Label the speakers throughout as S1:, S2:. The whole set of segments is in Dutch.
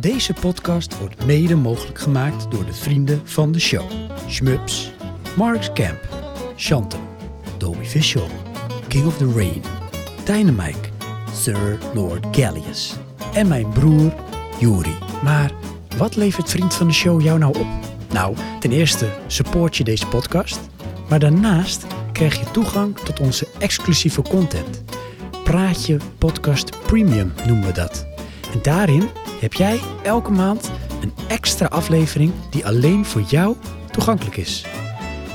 S1: Deze podcast wordt mede mogelijk gemaakt door de vrienden van de show. Schmups, Marks Camp, Chantem, Dolby Visual, King of the Rain, Dynamite, Sir Lord Gallius en mijn broer Juri. Maar wat levert vriend van de show jou nou op? Nou, ten eerste support je deze podcast, maar daarnaast krijg je toegang tot onze exclusieve content. Praatje Podcast Premium noemen we dat. En daarin heb jij elke maand een extra aflevering die alleen voor jou toegankelijk is.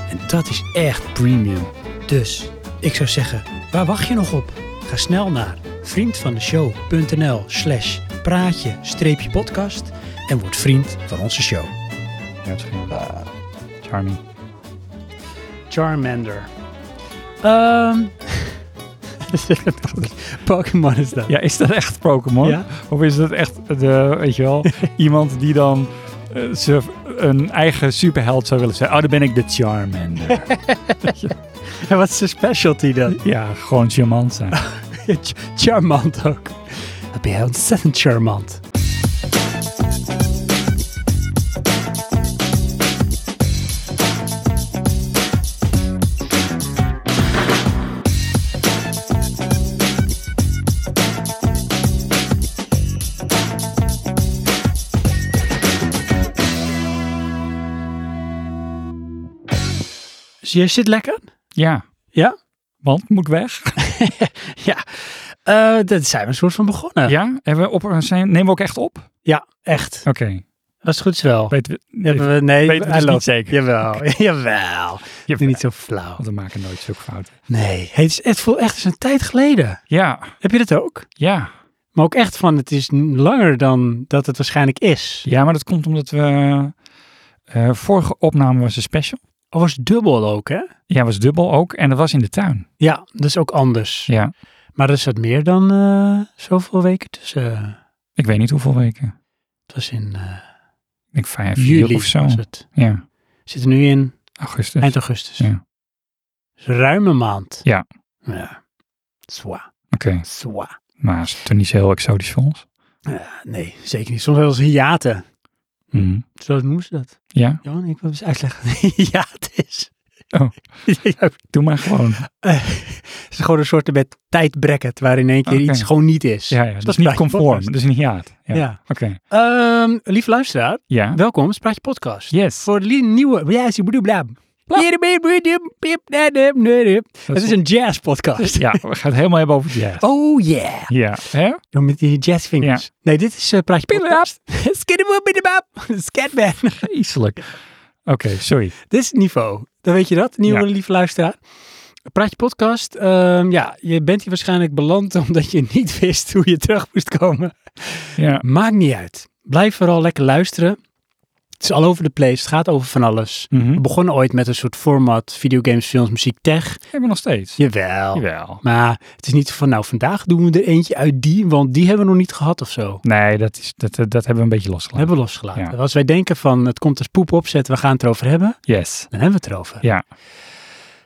S1: En dat is echt premium. Dus ik zou zeggen, waar wacht je nog op? Ga snel naar vriendvandeshow.nl slash praatje-podcast en word vriend van onze show.
S2: Ja, het is geen- Charming.
S1: Charmander. Ehm Pokémon is dat.
S2: Ja, is dat echt Pokémon?
S1: Ja.
S2: Of is dat echt, de, weet je wel, iemand die dan eh, ze een eigen superheld zou willen zijn? Oh, dan ben ik de Charmander.
S1: En wat is de specialty dan?
S2: ja, gewoon charmant zijn.
S1: Ch- charmant ook. Dan ben jij ontzettend charmant. Dus jij zit lekker?
S2: ja,
S1: Ja?
S2: want moet weg.
S1: Ja, Eh daar zijn we een soort van begonnen.
S2: ja, hebben we op, zijn, nemen we ook echt op?
S1: Ja, echt.
S2: Oké.
S1: Dat is goed wel.
S2: Weten we, even-
S1: Hebben we, nee,
S2: weten we
S1: hij
S2: dus
S1: loopt.
S2: niet zeker.
S1: Jawel, jawel.
S2: Je-
S1: Doe niet zo flauw.
S2: Want we maken nooit zulke fouten.
S1: Nee, het, is, het voelt echt als een tijd geleden.
S2: Ja,
S1: Heb je dat ook?
S2: ja.
S1: Maar ook echt van, het is n- langer dan dat het waarschijnlijk is.
S2: Ja, maar dat komt omdat we... eh, vorige opname was een special.
S1: Al was het dubbel ook, hè?
S2: Ja, was dubbel ook. En dat was in de tuin.
S1: Ja, dat is ook anders.
S2: Ja.
S1: Maar er zat meer dan eh, zoveel weken tussen.
S2: Ik weet niet hoeveel weken.
S1: Het was in eh,
S2: Ik denk vijf
S1: juli
S2: of zo.
S1: was het.
S2: Ja,
S1: We zitten nu in
S2: augustus.
S1: eind augustus.
S2: Ja.
S1: Dus ruim een maand.
S2: Ja.
S1: Ja. Zwa,
S2: Oké,
S1: zwa.
S2: maar is het toch niet zo heel exotisch voor ons?
S1: Ja, nee, zeker niet. Soms wel eens hiaten.
S2: Mhm.
S1: Zo noemen ze dat.
S2: Ja,
S1: Johan, ik wil eens uitleggen wat een hiaat is.
S2: Oh.
S1: Ja,
S2: doe maar gewoon.
S1: eh, het is gewoon een soort met tijdbracket waar in één keer
S2: Oké.
S1: iets gewoon niet is.
S2: Ja, ja. Dat is
S1: bij
S2: niet
S1: de
S2: conform,
S1: podcast.
S2: dat is een hiaat. Ja.
S1: Ja.
S2: Oké,
S1: Ehm, lieve luisteraar,
S2: ja.
S1: welkom. bij Spraatje Podcast.
S2: Yes.
S1: Voor de li- nieuwe... Ja, is
S2: Dat
S1: Het is een jazz podcast.
S2: Ja, we gaan het helemaal hebben over jazz.
S1: Oh yeah.
S2: Ja, hè?
S1: Dan met die jazzvingers. Nee, dit is eh, Praatje Podcast. Skidderwoop, Scatman.
S2: Geestelijk. Oké, sorry.
S1: Dit is het niveau. Dan weet je dat, nieuwe
S2: Ja.
S1: lieve luisteraar. Praatje podcast. Ehm, ja, je bent hier waarschijnlijk beland omdat je niet wist hoe je terug moest komen.
S2: Ja,
S1: Maakt niet uit. Blijf vooral lekker luisteren. Het is all over the place. Het gaat over van alles.
S2: Mhm.
S1: We begonnen ooit met een soort format, videogames, films, muziek, tech.
S2: hebben we nog steeds.
S1: Jawel.
S2: Jawel.
S1: Maar het is niet van, nou vandaag doen we er eentje uit die, want die hebben we nog niet gehad of zo.
S2: Nee, dat, is, dat, dat, dat hebben we een beetje
S1: We
S2: losgelaten.
S1: hebben we losgelaten.
S2: Ja.
S1: Als wij denken van, het komt als poep opzet, we gaan het erover hebben,
S2: Yes.
S1: dan hebben we het erover.
S2: Ja,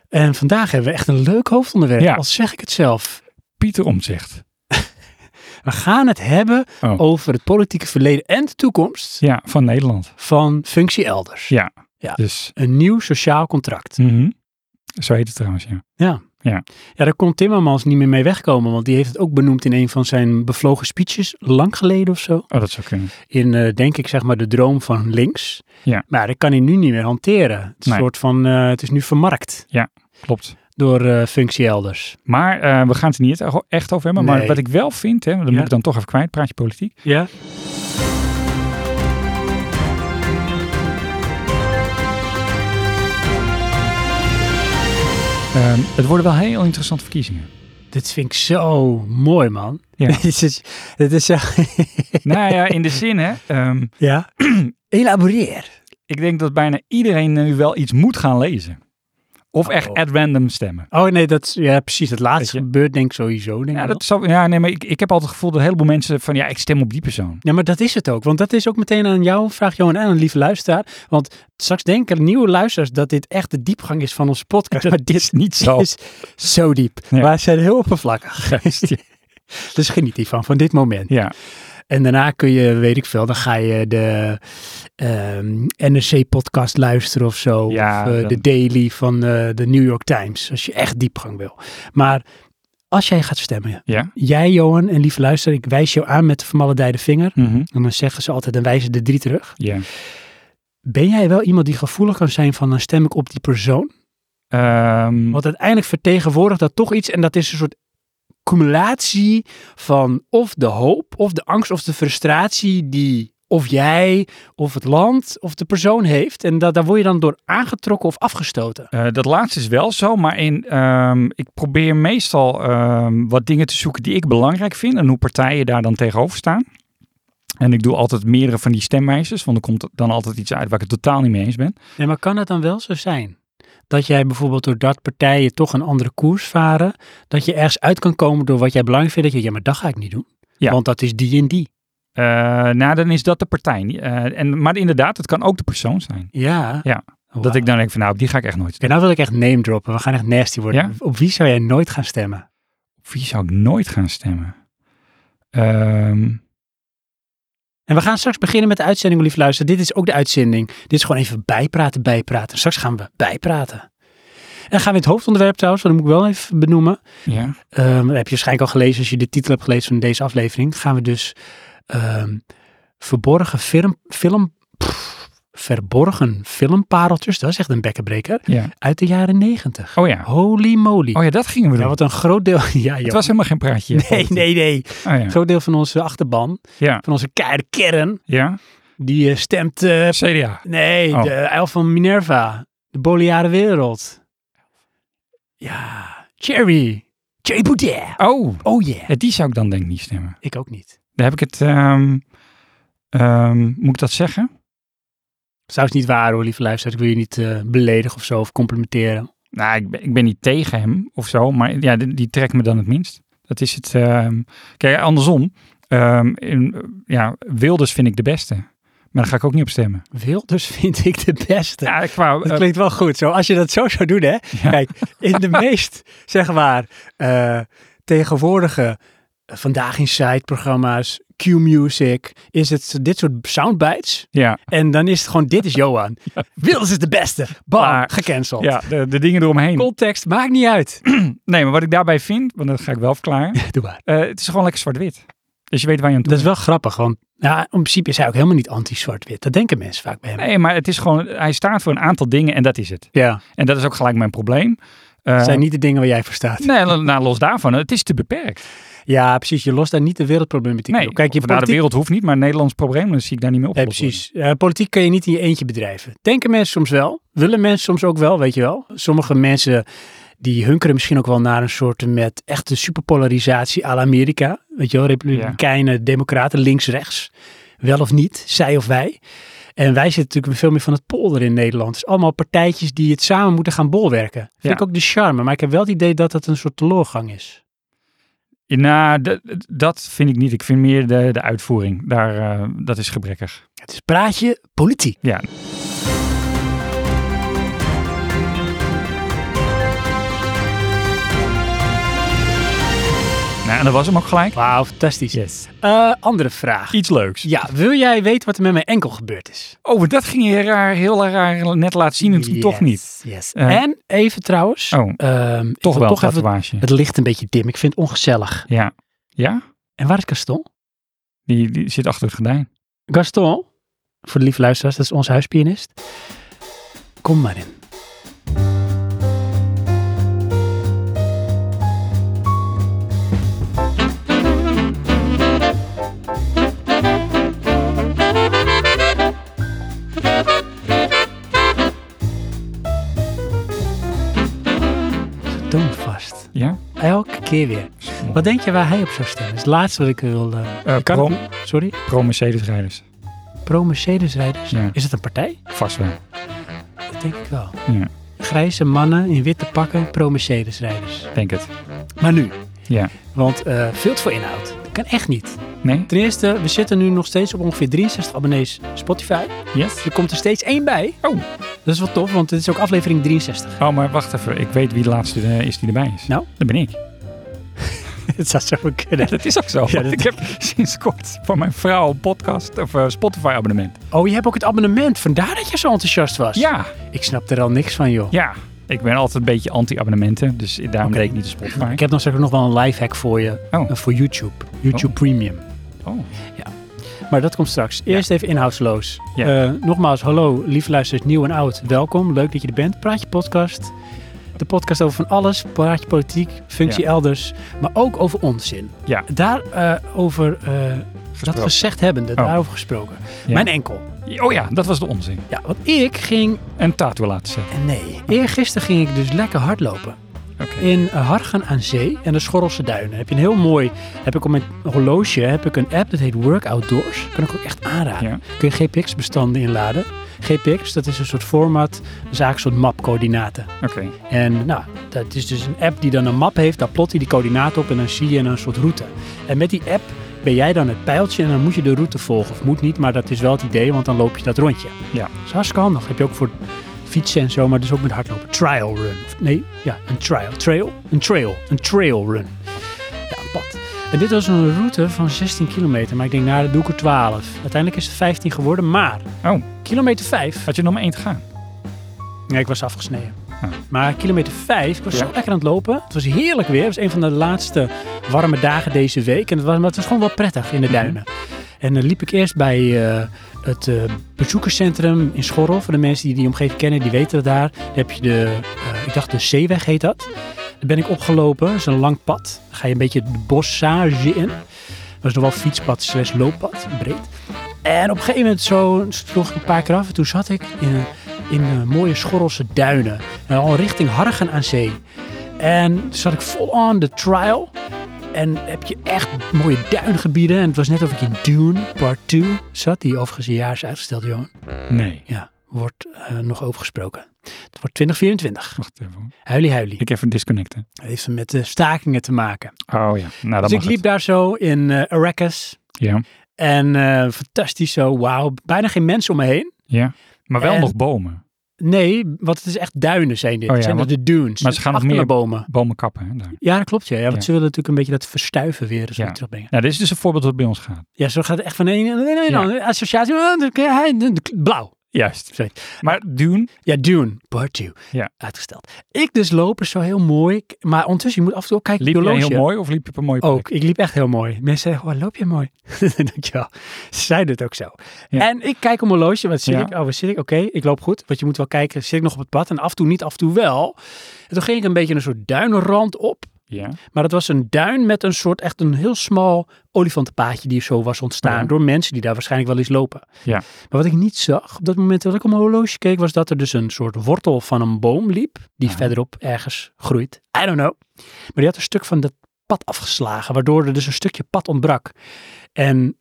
S1: En vandaag hebben we echt een leuk hoofdonderwerp,
S2: Ja.
S1: al zeg ik het zelf.
S2: Pieter Omtzigt.
S1: We gaan het hebben
S2: Oh.
S1: over het politieke verleden en de toekomst
S2: Ja, van Nederland.
S1: van functie elders.
S2: Ja.
S1: Ja.
S2: Dus,
S1: Een nieuw sociaal contract.
S2: mhm. zo heet het trouwens, ja.
S1: Ja, daar kon Timmermans niet meer mee wegkomen, want die heeft het ook benoemd in een van zijn bevlogen speeches, lang geleden of zo.
S2: Oh, dat zou kunnen.
S1: In, eh, denk ik, zeg maar de droom van links.
S2: Ja.
S1: Maar dat kan hij nu niet meer hanteren. Het is een
S2: Nee.
S1: soort van, eh, het is nu vermarkt
S2: Klopt.
S1: door eh functie elders.
S2: Maar eh, we gaan het er niet echt- echt over hebben. Maar
S1: Nee.
S2: wat ik wel vind, hè, dat
S1: Ja.
S2: moet ik dan toch even kwijt, praatje politiek.
S1: Ja.
S2: Ehm, het worden wel heel interessante verkiezingen.
S1: Dit vind ik zo mooi, man.
S2: Ja.
S1: dit is, dit is echt...
S2: nou ja, in de zin, hè. ehm,
S1: Ja. Elaboreer.
S2: ik denk dat bijna iedereen nu wel iets moet gaan lezen. Of
S1: Oh.
S2: echt at random stemmen.
S1: Oh nee, dat is, ja, precies. Het laatste
S2: Weet je?
S1: gebeurt denk ik sowieso. Denk
S2: Ja,
S1: ik
S2: dat zou, ja nee, maar ik, ik heb altijd het gevoel dat een heleboel mensen van, ja, ik stem op die persoon.
S1: Ja, maar dat is het ook. Want dat is ook meteen aan jou, vraag Johan en aan een lieve luisteraar. Want straks denken nieuwe luisteraars dat dit echt de diepgang is van onze podcast. maar dit
S2: is niet zo.
S1: is zo diep.
S2: Ja.
S1: Wij zijn heel oppervlakkig. dus geniet hiervan, van dit moment.
S2: Ja,
S1: En daarna kun je, weet ik veel, dan ga je de ehm NRC-podcast luisteren of zo.
S2: Ja,
S1: of eh,
S2: dan-
S1: de Daily van eh, de New York Times, als je echt diepgang wil. Maar als jij gaat stemmen,
S2: Ja.
S1: jij Johan en lieve luister, ik wijs jou aan met de vermaledijde vinger.
S2: Mhm.
S1: En dan zeggen ze altijd en wijzen de drie terug.
S2: Ja.
S1: Ben jij wel iemand die gevoelig kan zijn van dan stem ik op die persoon?
S2: Ehm,
S1: Want uiteindelijk vertegenwoordigt dat toch iets en dat is een soort cumulatie van of de hoop, of de angst, of de frustratie die of jij, of het land, of de persoon heeft. En dat, daar word je dan door aangetrokken of afgestoten.
S2: eh, dat laatste is wel zo, maar in, ehm, ik probeer meestal ehm, wat dingen te zoeken die ik belangrijk vind en hoe partijen daar dan tegenover staan. En ik doe altijd meerdere van die stemwijzers, want er komt dan altijd iets uit waar ik het totaal niet mee eens ben.
S1: Nee, maar kan het dan wel zo zijn? Dat jij bijvoorbeeld doordat partijen toch een andere koers varen, dat je ergens uit kan komen door wat jij belangrijk vindt. Dat je, ja, maar dat ga ik niet doen.
S2: Ja.
S1: Want dat is die en die.
S2: Eh, nou, dan is dat de partij. Eh, en, maar inderdaad, het kan ook de persoon zijn.
S1: Ja.
S2: Ja.
S1: Wauw.
S2: Dat ik dan denk van, nou, op die ga ik echt nooit
S1: Oké,
S2: stemmen.
S1: nou wil ik echt name droppen. We gaan echt nasty worden.
S2: Ja?
S1: Op wie zou jij nooit gaan stemmen?
S2: Op Wie zou ik nooit gaan stemmen? Ehm,
S1: En we gaan straks beginnen met de uitzending, lief luisteren. Dit is ook de uitzending. Dit is gewoon even bijpraten, bijpraten. Straks gaan we bijpraten. En dan gaan we in het hoofdonderwerp trouwens, want dat moet ik wel even benoemen.
S2: ja.
S1: Ehm, dat heb je waarschijnlijk al gelezen als je de titel hebt gelezen van deze aflevering. Gaan we dus ehm, verborgen film, film pff, verborgen filmpareltjes, dat is echt een bekkenbreker,
S2: ja.
S1: uit de jaren negentig.
S2: Oh ja.
S1: Holy moly.
S2: Oh ja, dat gingen we doen.
S1: ja, wat een groot deel. Ja,
S2: het
S1: joh.
S2: was helemaal geen praatje.
S1: Nee, nee, nee.
S2: Oh ja.
S1: Een groot deel van onze achterban,
S2: Ja.
S1: van onze keiharde kern,
S2: ja.
S1: die eh, stemt, eh,
S2: CDA.
S1: nee,
S2: Oh.
S1: de uil van Minerva, de boliare wereld. Ja, Cherry, Cherry Boudet,
S2: Oh,
S1: oh yeah.
S2: ja, die zou ik dan denk ik niet stemmen.
S1: Ik ook niet.
S2: Daar heb ik het... ehm, ehm, moet ik dat zeggen?
S1: Zou het niet waar hoor, lieve luisteraars, ik wil je niet eh, beledigen of zo, of complimenteren.
S2: Nou, ik ben, ik ben niet tegen hem of zo, maar ja, die, die trekt me dan het minst. Dat is het... ehm, kijk, andersom. Ehm, in- ja, Wilders vind ik de beste. Maar daar ga ik ook niet op stemmen.
S1: Wilders vind ik de beste.
S2: Ja, qua... eh,
S1: Dat klinkt wel goed. Zo, als je dat zo zou doen, hè.
S2: Ja.
S1: Kijk, in de meest, zeg maar, eh, tegenwoordige eh, Vandaag in Sight programma's, Q-Music, is het dit soort soundbites.
S2: ja.
S1: En dan is het gewoon, dit is Johan. Wils is de beste. Bam,
S2: Klaar.
S1: gecanceld.
S2: Ja, de, de dingen eromheen.
S1: Context, maakt niet uit.
S2: Nee, maar wat ik daarbij vind, want dat ga ik wel verklaren.
S1: Doe maar.
S2: eh, het is gewoon lekker zwart-wit. Dus je weet waar je aan toe
S1: Dat is wel grappig, want ja, in principe is hij ook helemaal niet anti-zwart-wit. Dat denken mensen vaak bij hem.
S2: bent. Nee, maar het is gewoon, hij staat voor een aantal dingen en dat is het.
S1: Ja,
S2: En dat is ook gelijk mijn probleem. Eh,
S1: dat zijn niet de dingen waar jij voor staat.
S2: Nee, nou, los daarvan, het is te beperkt.
S1: Ja, precies. Je lost daar niet de wereldproblematiek
S2: Nee,
S1: op. Kijk, je
S2: of nou, de
S1: politiek-
S2: wereld hoeft niet, maar het Nederlands probleem dan zie ik daar niet meer op.
S1: Ja, precies. Eh, politiek kun je niet in je eentje bedrijven. Denken mensen soms wel. Willen mensen soms ook wel, weet je wel. Sommige mensen die hunkeren misschien ook wel naar een soort met echte superpolarisatie à la Amerika. Weet je wel, republikeinen, democraten, links-rechts. Wel of niet, zij of wij. En wij zitten natuurlijk veel meer van het polder in Nederland. Dus allemaal partijtjes die het samen moeten gaan bolwerken. Vind
S2: Ja.
S1: ik ook de charme. Maar ik heb wel het idee dat dat een soort teleurgang is.
S2: Nou, dat- dat vind ik niet. Ik vind meer de, de uitvoering. Daar, eh, dat is gebrekkig.
S1: Het is praatje politiek.
S2: Ja. Nou, en dat was hem ook gelijk.
S1: Wauw, fantastisch.
S2: Yes.
S1: Eh, andere vraag.
S2: Iets leuks.
S1: Ja, wil jij weten wat er met mijn enkel gebeurd is?
S2: Oh, want dat ging je raar, heel raar net laten zien en toen
S1: Yes,
S2: toch niet.
S1: yes.
S2: Eh.
S1: en even trouwens,
S2: Oh,
S1: ehm, ik
S2: toch
S1: wil
S2: wel een
S1: toch even,
S2: tatoeage.
S1: het licht een beetje dim. Ik vind het ongezellig.
S2: Ja. Ja?
S1: En waar is Gaston?
S2: Die, die zit achter het gordijn.
S1: Gaston, voor de lieve luisteraars, dat is onze huispianist. Kom maar in. Zo Toonvast.
S2: Ja?
S1: Elke keer weer. Wat denk je waar hij op zou stemmen? Dat is het laatste wat ik wil. eh,
S2: Eh,
S1: ik kan
S2: pro,
S1: het niet. Sorry?
S2: Mercedes rijders.
S1: Pro-Mercedes-rijders?
S2: Ja.
S1: Is het een partij?
S2: Vast wel.
S1: Dat denk ik wel.
S2: Ja,
S1: Grijze mannen in witte pakken, pro-Mercedes-rijders.
S2: denk het.
S1: Maar nu,
S2: Ja.
S1: want eh, veel te veel inhoud. Dat kan echt niet.
S2: Nee?
S1: Ten eerste, we zitten nu nog steeds op ongeveer 63 abonnees Spotify. Dus
S2: Yes?
S1: er komt er steeds één bij.
S2: Oh.
S1: Dat is wel tof, want dit is ook aflevering 63.
S2: Oh, maar wacht even. Ik weet wie de laatste eh, is die erbij is.
S1: Nou?
S2: Dat ben ik.
S1: Het zou zo goed kunnen.
S2: Dat is ook zo.
S1: Ja,
S2: want Ik heb sinds kort voor mijn vrouw een podcast of eh, Spotify abonnement.
S1: Oh, je hebt ook het abonnement. Vandaar dat je zo enthousiast was.
S2: Ja,
S1: Ik snap er al niks van, joh.
S2: ja. Ik ben altijd een beetje anti-abonnementen, dus daarom
S1: Oké.
S2: deed ik niet de Spotify.
S1: Ik heb dan straks nog wel een live hack voor je.
S2: Oh.
S1: Eh, Voor YouTube. YouTube
S2: Oh.
S1: Premium.
S2: Oh.
S1: Maar dat komt straks. Eerst even inhoudsloos.
S2: Ja.
S1: Eh, nogmaals, hallo, lieve luisteraars, nieuw en oud. Welkom, leuk dat je er bent. Praatje podcast. De podcast over van alles. Praatje politiek, functie elders. Maar ook over onzin.
S2: Ja.
S1: Daarover, eh dat
S2: Gesproken. Oh.
S1: gezegd hebbende, daarover gesproken.
S2: Ja.
S1: Mijn enkel.
S2: Oh ja, dat was de onzin.
S1: Ja, want ik ging...
S2: En tattoo laten zetten.
S1: Nee, eergisteren ging ik dus lekker hardlopen.
S2: Oké.
S1: In Hargen aan Zee en de Schorrelse Duinen. Heb je een heel mooi... Heb ik op mijn horloge heb ik een app, dat heet Workout Doors. Kan ik ook echt aanraden.
S2: Ja.
S1: kun je GPX-bestanden inladen. GPX, dat is een soort format, dat is eigenlijk een soort mapcoördinaten.
S2: Oké.
S1: En nou, dat is dus een app die dan een map heeft, daar plot hij die coördinaten op en dan zie je een soort route. En met die app ben jij dan het pijltje en dan moet je de route volgen. Of moet niet, maar dat is wel het idee, want dan loop je dat rondje.
S2: Ja.
S1: Dat is hartstikke handig. Heb je ook voor fietsen en zo, maar dus ook met hardlopen. Trial run. Of Nee, ja, een trial. Trail? Een trail. Een trail run. Ja, een pad. En dit was een route van 16 kilometer, maar ik denk, nou, dat doe ik er 12. Uiteindelijk is het 15 geworden, maar
S2: Oh.
S1: kilometer 5
S2: Had je nog maar één te gaan?
S1: Nee, ik was afgesneden.
S2: Ah.
S1: Maar kilometer 5, ik was
S2: Ja.
S1: zo lekker aan het lopen. Het was heerlijk weer. Het was een van de laatste warme dagen deze week. En het was, maar het was gewoon wel prettig
S2: Mhm.
S1: in de duinen. En dan liep ik eerst bij eh, het eh, bezoekerscentrum in Schorrel. Voor de mensen die die omgeving kennen, die weten dat daar. Daar heb je de, eh, ik dacht de Zeeweg heet dat. Daar ben ik opgelopen. Dat is een lang pad. Dan ga je een beetje de bossage in. Dat is nog wel fietspad slash looppad, breed. En op een gegeven moment zo sloeg ik een paar keer af. En toen zat ik in, een- in een mooie Schorrelse duinen. En al richting Hargen aan zee. En toen zat ik vol on de trial. En heb je echt mooie duingebieden. En het was net of ik in Dune Part 2 zat. Die overigens een jaar is uitgesteld, jongen.
S2: Nee.
S1: Ja, wordt eh, nog overgesproken. Het wordt 2024.
S2: Wacht even. hoor.
S1: Huilie huilie.
S2: Ik even disconnecten.
S1: Het heeft met de stakingen te maken.
S2: Oh ja. Nou, dat
S1: dus ik
S2: mag
S1: liep
S2: het.
S1: daar zo in eh Arrakis.
S2: Ja.
S1: En eh, fantastisch zo, wauw. Bijna geen mensen om me heen.
S2: ja. Maar wel
S1: En-
S2: nog bomen.
S1: Nee, want het is echt duinen zijn dit.
S2: Oh ja,
S1: het zijn
S2: want-
S1: dus de dunes.
S2: maar ze gaan nog meer-
S1: bomen.
S2: Bomen kappen. Hè, daar.
S1: Ja, dat klopt. Ja, ja, want
S2: Ja.
S1: ze willen natuurlijk een beetje dat verstuiven weer eens
S2: Ja.
S1: weer terugbrengen.
S2: Nou, dit is dus een voorbeeld wat bij ons gaat.
S1: Ja, zo gaat het echt van een en een
S2: Ja.
S1: ander. associatie. eh, dan kun je- hij- de- de- Blauw.
S2: Juist.
S1: Sorry.
S2: Maar Dune.
S1: Ja, Dune, part 2.
S2: Ja.
S1: Uitgesteld. Ik dus lopen zo heel mooi. k- Maar ondertussen, je moet af en toe ook kijken. op
S2: Liep
S1: je
S2: je heel
S1: horloge.
S2: mooi of liep je op een mooie plek?
S1: Ook, ik liep echt heel mooi. Mensen zeggen, oh, loop je mooi. Dankjewel. Ze zeiden het ook zo.
S2: Ja.
S1: En ik kijk om mijn horloge, wat zit
S2: Ja.
S1: ik? Oh, wat zit ik? Oké, ik loop goed. Want je moet wel kijken, zit ik nog op het pad? En af en toe niet, af en toe wel. En toen ging ik een beetje een soort duinrand op.
S2: Ja.
S1: Maar dat was een duin met een soort, echt een heel smal olifantenpaadje die zo was ontstaan.
S2: Ja.
S1: Door mensen die daar waarschijnlijk wel eens lopen.
S2: Ja.
S1: Maar wat ik niet zag op dat moment dat ik om mijn horloge keek, was dat er dus een soort wortel van een boom liep. Die
S2: Ja.
S1: verderop ergens groeit. I don't know. Maar die had een stuk van dat pad afgeslagen, waardoor er dus een stukje pad ontbrak. En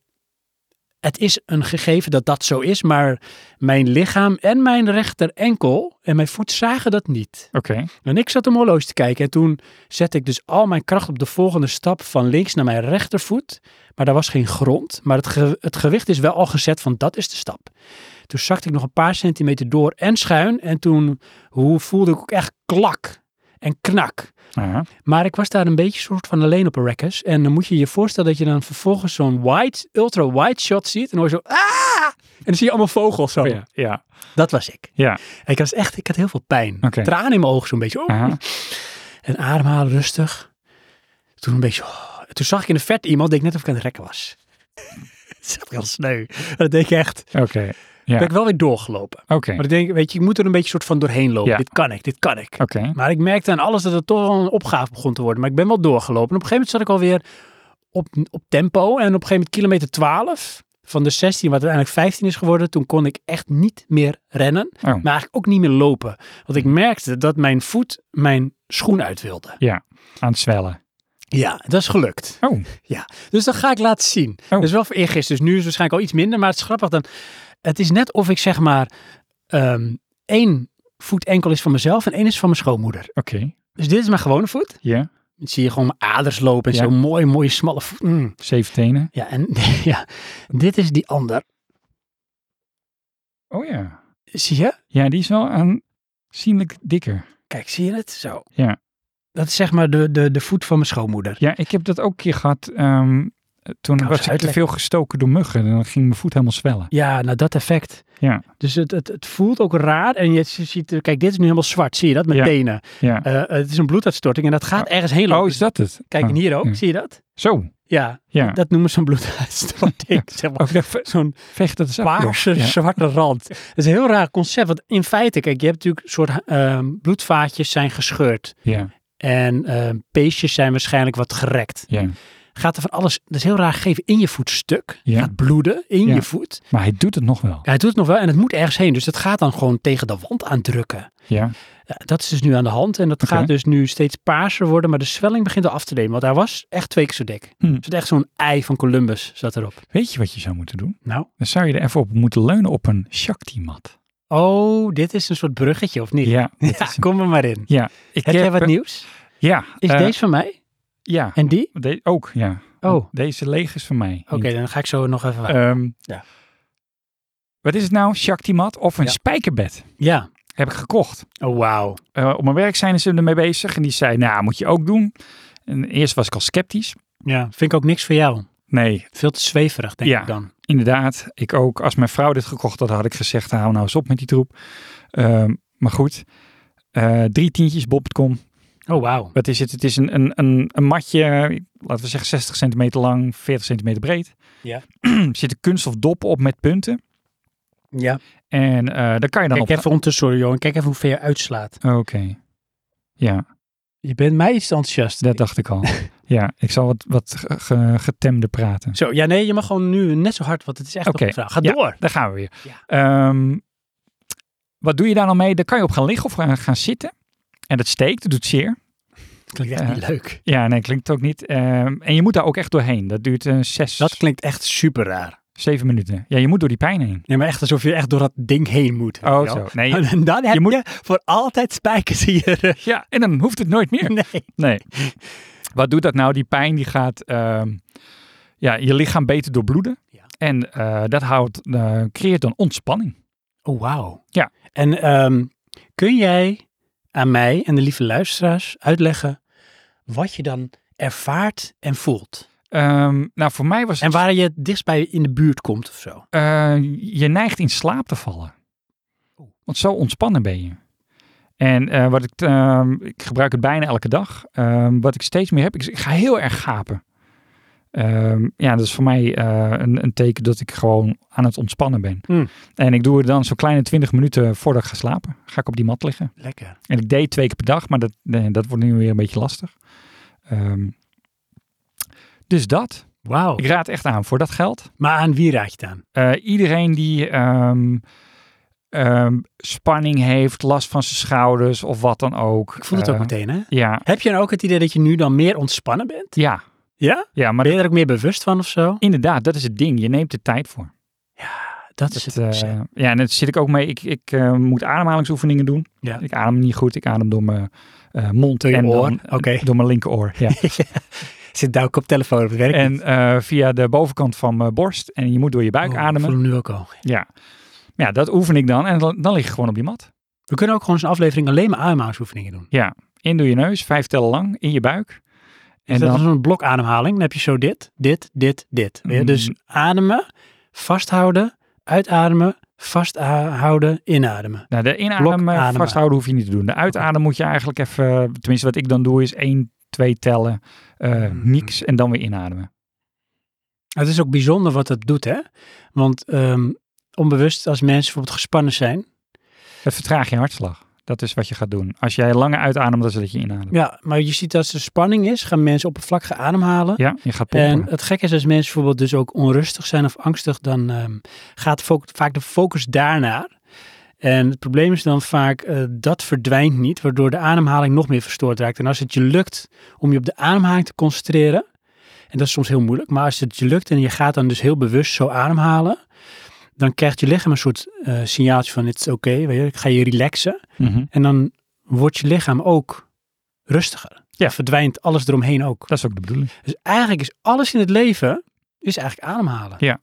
S1: het is een gegeven dat dat zo is, maar mijn lichaam en mijn rechter enkel en mijn voet zagen dat niet.
S2: Oké.
S1: En ik zat om horloge te kijken en toen zette ik dus al mijn kracht op de volgende stap van links naar mijn rechtervoet. Maar daar was geen grond, maar het, ge- het gewicht is wel al gezet van dat is de stap. Toen zakte ik nog een paar centimeter door en schuin en toen hoe voelde ik ook echt klak en knak.
S2: Ja.
S1: Maar ik was daar een beetje soort van alleen op een rekkers. En dan moet je je voorstellen dat je dan vervolgens zo'n wide, ultra-wide shot ziet. En dan hoor je zo, ah! En dan zie je allemaal vogels zo.
S2: Oh ja. Ja.
S1: Dat was ik.
S2: Ja.
S1: En ik was echt, ik had heel veel pijn.
S2: Oké.
S1: Tranen in mijn ogen zo'n beetje. Oh.
S2: Aha.
S1: En ademhalen rustig. Toen een beetje... oh. Toen zag ik in de verte iemand, deed ik net of ik aan het rekken was. dat is echt heel sneu. Maar Dat deed ik echt.
S2: Oké. Ja.
S1: Ben ik wel weer doorgelopen.
S2: Oké.
S1: Maar ik denk, weet je, ik moet er een beetje soort van doorheen lopen.
S2: Ja.
S1: Dit kan ik, dit kan ik.
S2: Oké.
S1: Maar ik merkte aan alles dat het toch wel een opgave begon te worden. Maar ik ben wel doorgelopen. En op een gegeven moment zat ik alweer op, op tempo. En op een gegeven moment kilometer 12 van de 16, wat uiteindelijk 15 is geworden. Toen kon ik echt niet meer rennen.
S2: Oh. Mm.
S1: Maar eigenlijk ook niet meer lopen. Want ik merkte dat mijn voet mijn schoen uit wilde.
S2: Aan het zwellen.
S1: Ja, dat is gelukt.
S2: Oh.
S1: Dus dat ga ik laten zien.
S2: Oh.
S1: Dat is wel voor eergisteren. Dus nu is het waarschijnlijk al iets minder. Maar het is grappig dan. Het is net of ik zeg maar ehm één voet enkel is van mezelf en één is van mijn schoonmoeder.
S2: Oké.
S1: Dus dit is mijn gewone voet.
S2: Ja.
S1: Dan zie je gewoon mijn aders lopen en
S2: Ja.
S1: zo'n mooi, mooie smalle voet. Mm.
S2: Zeven tenen.
S1: Ja, en ja, dit is die ander.
S2: Oh ja.
S1: Zie je?
S2: Ja, die is wel aanzienlijk dikker.
S1: Kijk, zie je het? Zo.
S2: Ja.
S1: dat is zeg maar de, de, de voet van mijn schoonmoeder.
S2: Ja, ik heb dat ook een keer gehad. ehm, toen
S1: Koude
S2: was ik te
S1: uitlek.
S2: veel gestoken door muggen. En dan ging mijn voet helemaal zwellen.
S1: Ja, nou dat effect.
S2: Ja,
S1: Dus het, het, het voelt ook raar. En je ziet, er- kijk, dit is nu helemaal zwart. Zie je dat? Mijn
S2: Ja.
S1: tenen.
S2: ja.
S1: Eh, dus- het is een bloeduitstorting en dat gaat ergens heel lang.
S2: oh, is dat het?
S1: Kijk, en
S2: Oh,
S1: hier ook.
S2: ja.
S1: Zie je dat?
S2: Zo.
S1: Ja,
S2: Ja.
S1: dat noemen ze een bloeduitstorting. Zeg maar.
S2: Ook dat ve-
S1: Zo'n
S2: vecht, dat is ook
S1: paarse
S2: nog. Ja.
S1: zwarte rand. Dat is een heel raar concept. Want in feite, kijk, je hebt natuurlijk een soort ehm, bloedvaatjes zijn gescheurd.
S2: Ja,
S1: En ehm, peestjes zijn waarschijnlijk wat gerekt.
S2: ja.
S1: Gaat er van alles, dat is heel raar gegeven, in je voetstuk.
S2: Ja.
S1: Gaat bloeden in
S2: Ja.
S1: je voet.
S2: Maar hij doet het nog wel.
S1: Ja, hij doet het nog wel en het moet ergens heen. Dus dat gaat dan gewoon tegen de wand aandrukken.
S2: Ja,
S1: Ja, dat is dus nu aan de hand. En dat
S2: Oké.
S1: gaat dus nu steeds paarser worden. Maar de zwelling begint al af te nemen. Want hij was echt twee keer zo dik.
S2: Hm.
S1: Er zat echt zo'n ei van Columbus zat erop.
S2: weet je wat je zou moeten doen?
S1: Nou.
S2: Dan zou je er even op moeten leunen op een Shakti-mat.
S1: Oh, dit is een soort bruggetje of niet?
S2: Ja, dat
S1: Ja,
S2: is een-
S1: kom er maar in.
S2: ja. Ik
S1: Heb jij wat
S2: eh,
S1: nieuws?
S2: Ja.
S1: Is
S2: eh,
S1: deze van mij?
S2: Ja,
S1: En die?
S2: de- ook, ja.
S1: Oh, Eh. oké.
S2: Deze leeg is van mij.
S1: dan ga ik zo nog even...
S2: Ehm,
S1: Ja.
S2: Wat is het nou? Shakti-mat of een
S1: Ja.
S2: spijkerbed?
S1: ja.
S2: Heb ik gekocht.
S1: Oh, wauw.
S2: Eh, op mijn werk zijn ze ermee bezig. En die zei, nou, moet je ook doen. En eerst was ik al sceptisch.
S1: Ja, vind ik ook niks voor jou.
S2: Nee,
S1: Veel te zweverig, denk
S2: Ja.
S1: ik dan.
S2: inderdaad. Ik ook. Als mijn vrouw dit gekocht had, had ik gezegd, hou nou eens op met die troep. Ehm, maar goed. Eh drie tientjes, bob.com.
S1: Oh, wauw.
S2: Wat is het? Het is een, een, een, een matje, laten we zeggen 60 centimeter lang, 40 centimeter breed.
S1: Ja.
S2: er zitten kunststof doppen op met punten.
S1: Ja.
S2: En eh daar kan je dan
S1: Kijk
S2: op...
S1: even ondertussen, sorry jongen. Kijk even hoe ver je uitslaat.
S2: Oké. Ja,
S1: Je bent mij iets te enthousiast.
S2: dat dacht ik al. ja, ik zal wat, wat ge- ge- getemde praten.
S1: Zo, ja nee, je mag gewoon nu net zo hard, want het is echt
S2: Oké.
S1: nog een vraag. Ga
S2: Ja.
S1: door.
S2: Daar gaan we weer. Ehm, wat doe je daar dan mee? Daar kan je op gaan liggen of gaan, gaan zitten. En dat steekt, dat doet zeer.
S1: Dat klinkt echt
S2: Ja.
S1: niet leuk.
S2: Ja, nee, klinkt ook niet. Ehm, en je moet daar ook echt doorheen. Dat duurt eh, zes,
S1: Dat klinkt echt super raar.
S2: zeven minuten. Ja, je moet door die pijn heen.
S1: Nee, maar echt alsof je echt door dat ding heen moet. weet
S2: Oh,
S1: je wel.
S2: zo. Nee,
S1: En dan heb
S2: je
S1: je,
S2: moet-
S1: voor altijd spijkers in je rug.
S2: ja, en dan hoeft het nooit meer.
S1: Nee.
S2: Nee. Wat doet dat nou? Die pijn die gaat ehm, ja, je lichaam beter doorbloeden.
S1: Ja.
S2: En eh, dat houdt, eh, creëert dan ontspanning.
S1: Oh, wauw.
S2: Ja.
S1: En ehm, kun jij aan mij en de lieve luisteraars uitleggen wat je dan ervaart en voelt?
S2: Ehm, nou, voor mij was het,
S1: En waar je het dichtst bij in de buurt komt of zo?
S2: eh, je neigt in slaap te vallen.
S1: Oeh.
S2: Want zo ontspannen ben je. En eh, wat ik, ehm, ik gebruik het bijna elke dag. Ehm, wat ik steeds meer heb, ik, ik ga heel erg gapen. Ehm, ja, dat is voor mij eh, een, een teken dat ik gewoon aan het ontspannen ben.
S1: Hmm.
S2: En ik doe het dan zo'n kleine 20 minuten voordat ik ga slapen. Ga ik op die mat liggen.
S1: Lekker.
S2: En ik deed twee keer per dag, maar dat, nee, dat wordt nu weer een beetje lastig. Ehm, dus dat.
S1: Wauw.
S2: Ik raad echt aan voor dat geld.
S1: Maar aan wie raad je het aan?
S2: Eh, iedereen die ehm, ehm, spanning heeft, last van zijn schouders of wat dan ook.
S1: Ik voel het ook
S2: Eh,
S1: meteen, hè?
S2: Ja,
S1: Heb je dan ook het idee dat je nu dan meer ontspannen bent?
S2: ja,
S1: Ja?
S2: ja, maar
S1: Ben je er ook meer bewust van of zo?
S2: inderdaad, dat is het ding. Je neemt de tijd voor.
S1: Dat is het. dus,
S2: Dat, eh, ja, en daar zit ik ook mee. Ik, ik eh, moet ademhalingsoefeningen doen.
S1: Ja.
S2: Ik adem niet goed. Ik adem door mijn eh, mond
S1: Door je
S2: en
S1: oor,
S2: dan-
S1: oké.
S2: door mijn linkeroor. Ja.
S1: Zit daar ook op telefoon op het werk?
S2: En eh, via de bovenkant van mijn borst. En je moet door je buik ademen.
S1: Oh, Ik voel hem nu ook al.
S2: Ja. ja, dat oefen ik dan. En dan, dan lig ik gewoon op die mat.
S1: We kunnen ook gewoon eens een aflevering alleen maar ademhalingsoefeningen doen.
S2: In door je neus, vijf tellen lang, in je buik.
S1: En Dus
S2: En
S1: dat is
S2: dan,
S1: een blokademhaling. Dan heb je zo dit, dit, dit, dit. Weet je? Dus
S2: Mm.
S1: ademen, vasthouden, uitademen, vasthouden, inademen.
S2: nou, de
S1: Blok
S2: inademen
S1: ademen.
S2: vasthouden hoef je niet te doen. De uitademen moet je eigenlijk even, eh, tenminste wat ik dan doe, is één, twee tellen, eh,
S1: Mm.
S2: niks en dan weer inademen.
S1: Het is ook bijzonder wat dat doet, hè? Want ehm, onbewust, als mensen bijvoorbeeld gespannen zijn.
S2: Het vertraagt je hartslag. Dat is wat je gaat doen. Als jij langer uitademt, dan is dat je inademt.
S1: Ja, maar je ziet dat als er spanning is, gaan mensen oppervlakkig ademhalen.
S2: Ja, je gaat pompen.
S1: En het gekke is als mensen bijvoorbeeld dus ook onrustig zijn of angstig, dan ehm, gaat fo- vaak de focus daarnaar. En het probleem is dan vaak, eh, dat verdwijnt niet, waardoor de ademhaling nog meer verstoord raakt. En als het je lukt om je op de ademhaling te concentreren, en dat is soms heel moeilijk, maar als het je lukt en je gaat dan dus heel bewust zo ademhalen, dan krijgt je lichaam een soort eh signaaltje van, het is oké, weet je, ik ga je relaxen.
S2: Mhm.
S1: En dan wordt je lichaam ook rustiger.
S2: Ja.
S1: Verdwijnt alles eromheen ook.
S2: Dat is ook de bedoeling.
S1: Dus eigenlijk is alles in het leven is eigenlijk ademhalen.
S2: Ja.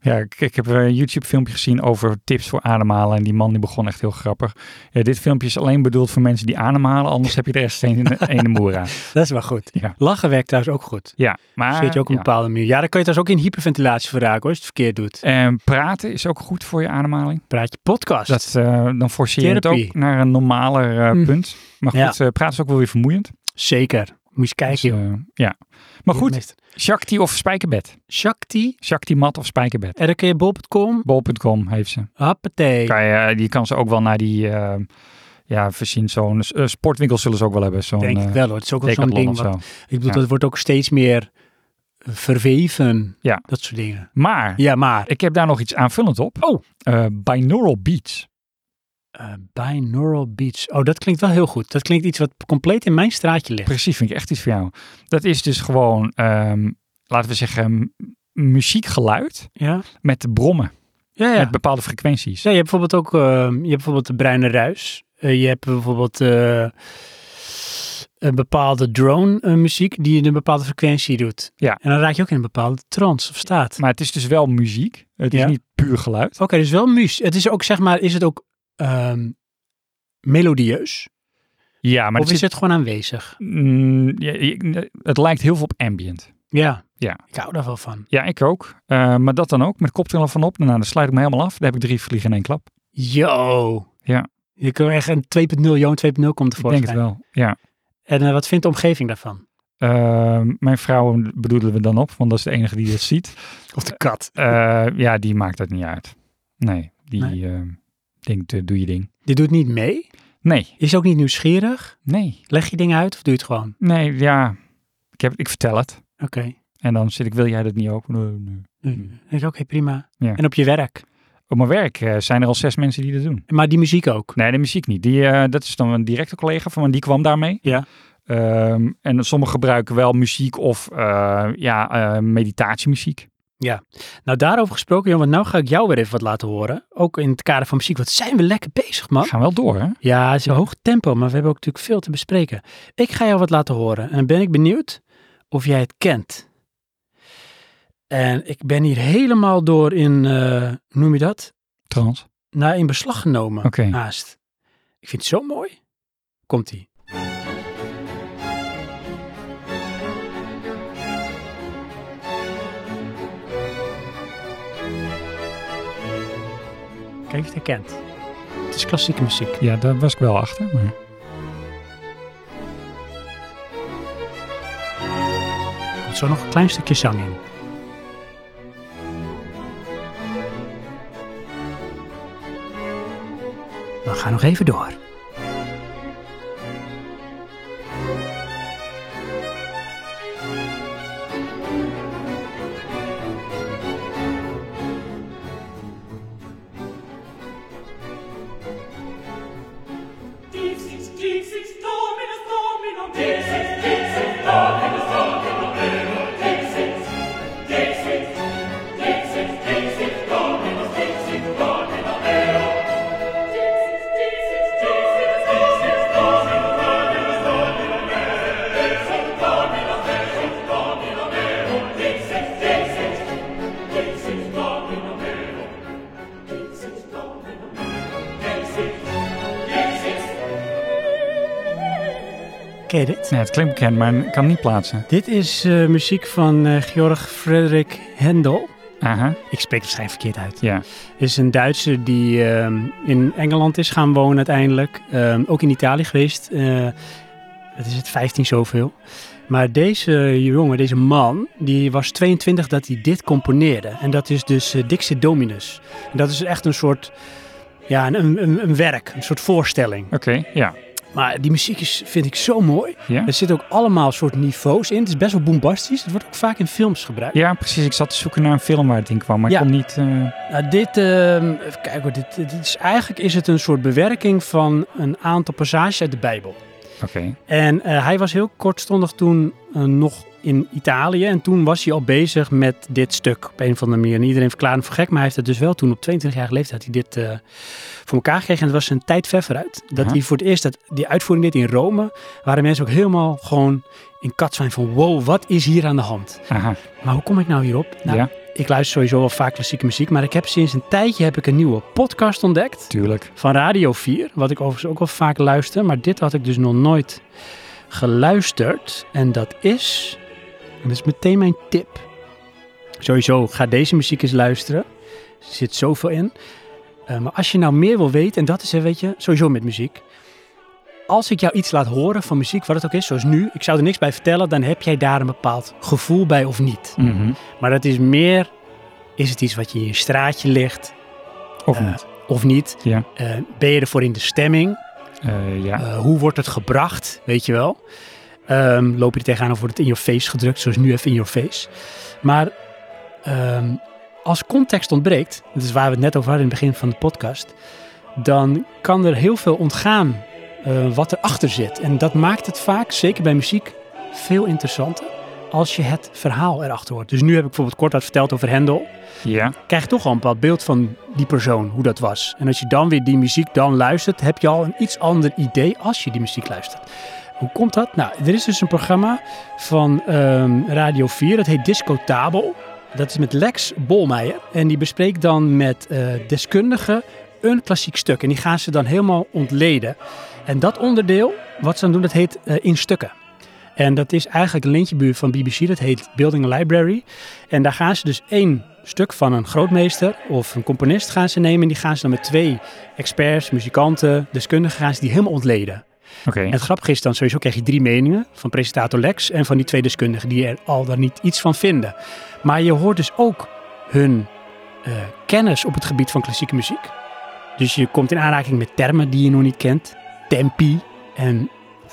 S2: Ja, ik, ik heb een YouTube-filmpje gezien over tips voor ademhalen. En die man die begon echt heel grappig. Ja, dit filmpje is alleen bedoeld voor mensen die ademhalen. Anders heb je de rest een, een de moer aan.
S1: Dat is wel goed.
S2: Ja.
S1: Lachen werkt trouwens ook goed. Dus
S2: Ja, maar...
S1: Zit je ook op een
S2: ja.
S1: bepaalde manier. Ja, dan kan je trouwens ook in hyperventilatie verraken hoor, als je het verkeerd doet.
S2: En praten is ook goed voor je ademhaling.
S1: Praat je podcast.
S2: Dat, eh, dan forceer je het
S1: Therapie.
S2: ook naar een normaler eh,
S1: Hm.
S2: punt. Maar goed,
S1: Ja.
S2: eh, praten is ook wel weer vermoeiend.
S1: Zeker. Moet je eens kijken.
S2: Dus, eh, ja. Maar goed, Shakti of spijkerbed.
S1: Shakti.
S2: Shakti mat of spijkerbed.
S1: En dan kun je bol.com.
S2: Bol.com heeft ze.
S1: Happatee.
S2: Kan je, eh, die kan ze ook wel naar die... eh, ja, voorzien zo'n eh, sportwinkel zullen ze ook wel hebben. Zo'n
S1: Denk
S2: eh,
S1: ik wel hoor. Het is ook wel zo'n
S2: Decathlon
S1: ding.
S2: of
S1: Wat,
S2: zo.
S1: ik bedoel,
S2: Ja.
S1: dat wordt ook steeds meer verweven.
S2: Ja.
S1: Dat soort dingen.
S2: Maar
S1: Ja, maar.
S2: ik heb daar nog iets aanvullend op.
S1: Oh.
S2: Eh, binaural beats.
S1: eh, binaural beats. Oh, dat klinkt wel heel goed. Dat klinkt iets wat compleet in mijn straatje ligt.
S2: Precies, vind ik echt iets voor jou. Dat is dus gewoon, ehm, laten we zeggen, m- muziekgeluid
S1: Ja.
S2: met brommen.
S1: Ja, ja.
S2: Met bepaalde frequenties.
S1: Ja, je hebt bijvoorbeeld ook eh, je hebt bijvoorbeeld de bruine ruis. Eh, je hebt bijvoorbeeld eh, een bepaalde drone eh, muziek die een bepaalde frequentie doet.
S2: Ja.
S1: En dan raak je ook in een bepaalde trance of staat.
S2: Maar het is dus wel muziek. Het
S1: Ja.
S2: is niet puur geluid.
S1: Oké, dus wel muus. Het is ook zeg maar, is het ook ehm, melodieus?
S2: Ja, maar
S1: of
S2: het,
S1: is
S2: zit-
S1: het gewoon aanwezig?
S2: Mm, ja, je- het lijkt heel veel op ambient.
S1: Ja.
S2: Ja.
S1: Ik hou daar wel van.
S2: Ja, ik ook. Eh, maar dat dan ook, met koptelefoon op. Nou, dan sluit ik me helemaal af. Dan heb ik drie vliegen in één klap.
S1: Yo.
S2: Ja.
S1: Je kan echt een 2.0, Joon 2.0 komt
S2: Ik
S1: ervoor.
S2: denk het wel, ja.
S1: En eh, wat vindt de omgeving daarvan?
S2: Eh, mijn vrouw bedoelen we dan op, want dat is de enige die dit ziet.
S1: Of de kat?
S2: Eh, ja, die maakt dat niet uit. Nee, die
S1: Nee.
S2: eh, denkt, eh, doe je ding.
S1: Die doet niet mee?
S2: Nee,
S1: Is ook niet nieuwsgierig?
S2: nee,
S1: Leg je dingen uit of doe je het gewoon?
S2: nee, ja. Ik, heb, ik vertel het.
S1: Oké. Dus
S2: En dan zit ik, wil jij dat niet ook? Nee, nee.
S1: Nee,
S2: Hmm.
S1: ik denk, Oké, prima.
S2: Ja.
S1: En op je werk.
S2: Op mijn werk eh, zijn er al zes mensen die dat doen.
S1: Maar die muziek ook.
S2: Nee, de muziek niet. Die, eh, dat is dan een directe collega van me, die kwam daarmee.
S1: Ja.
S2: Ehm, en sommigen gebruiken wel muziek of eh, ja, eh, meditatiemuziek.
S1: Nou, daarover gesproken, jongen, want nou ga ik jou weer even wat laten horen. Ook in het kader van muziek. Wat zijn we lekker bezig, man.
S2: We gaan wel door, hè?
S1: Ja, het is een hoog tempo, maar we hebben ook natuurlijk veel te bespreken. Ik ga jou wat laten horen en dan ben ik benieuwd of jij het kent. En ik ben hier helemaal door in, eh, hoe noem je dat?
S2: Trans. Ah.
S1: Nou, in beslag genomen.
S2: Oké.
S1: Haast. Ik vind het zo mooi. Komt-ie. Kijk of je het herkent. Het is klassieke muziek.
S2: Ja, daar was ik wel achter. Maar...
S1: Er komt zo nog een klein stukje zang in. We gaan nog even door.
S3: Dixit, dixit, dominus, dominum, dixit, dixit, dixit, dixit, dominus, dixit, dominum, eo. Dixit, dixit, dixit, dixit, dominus, dominus, dominum, eo. Dixit, dominus, dixit, dominum, eo. Dixit, dixit, dixit, dominum, eo. Dixit, dominum, eo. Dixit, dixit.
S1: Ken je dit?
S2: Nee, het klinkt bekend, maar ik kan het niet plaatsen.
S1: Dit is eh, muziek van eh, Georg Frederik Hendel.
S2: Aha,
S1: Ik spreek het waarschijnlijk verkeerd uit.
S2: ja.
S1: is een Duitser die ehm, in Engeland is gaan wonen uiteindelijk. Ehm, ook in Italië geweest. Eh het is het 15 zoveel. Maar deze jongen, deze man, die was 22 dat hij dit componeerde. En dat is dus eh, Dixit Dominus. En dat is echt een soort, ja, een, een, een werk, een soort voorstelling.
S2: Oké, ja.
S1: Maar die muziek is, vind ik zo mooi.
S2: Ja?
S1: Er zitten ook allemaal soort niveaus in. Het is best wel bombastisch. Het wordt ook vaak in films gebruikt.
S2: ja, precies. Ik zat te zoeken naar een film waar het in kwam, maar
S1: Ja.
S2: ik kon niet... eh,
S1: Nou, dit, ehm even kijken hoor, dit, dit is, eigenlijk is het een soort bewerking van een aantal passages uit de Bijbel.
S2: Oké,
S1: En eh, hij was heel kortstondig toen eh, nog in Italië en toen was hij al bezig met dit stuk op een of andere manier. En iedereen verklaarde hem voor gek, maar hij heeft het dus wel toen op 22-jarige leeftijd had hij dit eh, voor elkaar gekregen. En het was een tijd ver vooruit dat
S2: Aha.
S1: hij voor het eerst dat, die uitvoering deed in Rome, waren mensen ook helemaal gewoon in kat zijn van wow, wat is hier aan de hand?
S2: aha.
S1: Maar hoe kom ik nou hierop? Nou,
S2: ja,
S1: ik luister sowieso wel vaak klassieke muziek, maar ik heb sinds een tijdje heb ik een nieuwe podcast ontdekt
S2: Tuurlijk.
S1: van Radio 4, wat ik overigens ook wel vaak luister, maar dit had ik dus nog nooit geluisterd. En dat is, en dat is meteen mijn tip. Sowieso, ga deze muziek eens luisteren. Er zit zoveel in. Eh, maar als je nou meer wil weten, en dat is, eh, weet je, sowieso met muziek. Als ik jou iets laat horen van muziek, wat het ook is, zoals nu, ik zou er niks bij vertellen, dan heb jij daar een bepaald gevoel bij of niet.
S2: Mhm.
S1: Maar dat is meer, is het iets wat je in je straatje ligt
S2: Of
S1: Eh,
S2: niet?
S1: of niet?
S2: Ja.
S1: Eh, ben je ervoor in de stemming?
S2: Eh, ja.
S1: Eh, hoe wordt het gebracht, weet je wel? Ehm, loop je er tegenaan of wordt het in your face gedrukt, zoals nu even in your face? Maar ehm, als context ontbreekt, dat is waar we het net over hadden in het begin van de podcast, dan kan er heel veel ontgaan eh wat erachter zit. En dat maakt het vaak, zeker bij muziek, veel interessanter als je het verhaal erachter hoort. Dus nu heb ik bijvoorbeeld kort wat verteld over Hendel
S2: ja.
S1: krijg je toch al een bepaald beeld van die persoon, hoe dat was. En als je dan weer die muziek dan luistert, heb je al een iets ander idee als je die muziek luistert. Hoe komt dat? Nou, er is dus een programma van ehm, Radio 4, dat heet Disco Tabel. Dat is met Lex Bolmeijer. En die bespreekt dan met eh, deskundigen een klassiek stuk. En die gaan ze dan helemaal ontleden. En dat onderdeel, wat ze dan doen, dat heet eh, In Stukken. En dat is eigenlijk een lintjebuur van BBC, dat heet Building a Library. En daar gaan ze dus één stuk van een grootmeester of een componist gaan ze nemen. En die gaan ze dan met twee experts, muzikanten, deskundigen, gaan ze die helemaal ontleden.
S2: Oké.
S1: En het grappige is dan sowieso krijg je drie meningen van presentator Lex en van die twee deskundigen die er al dan niet iets van vinden. Maar je hoort dus ook hun eh, kennis op het gebied van klassieke muziek. Dus je komt in aanraking met termen die je nog niet kent. Tempi en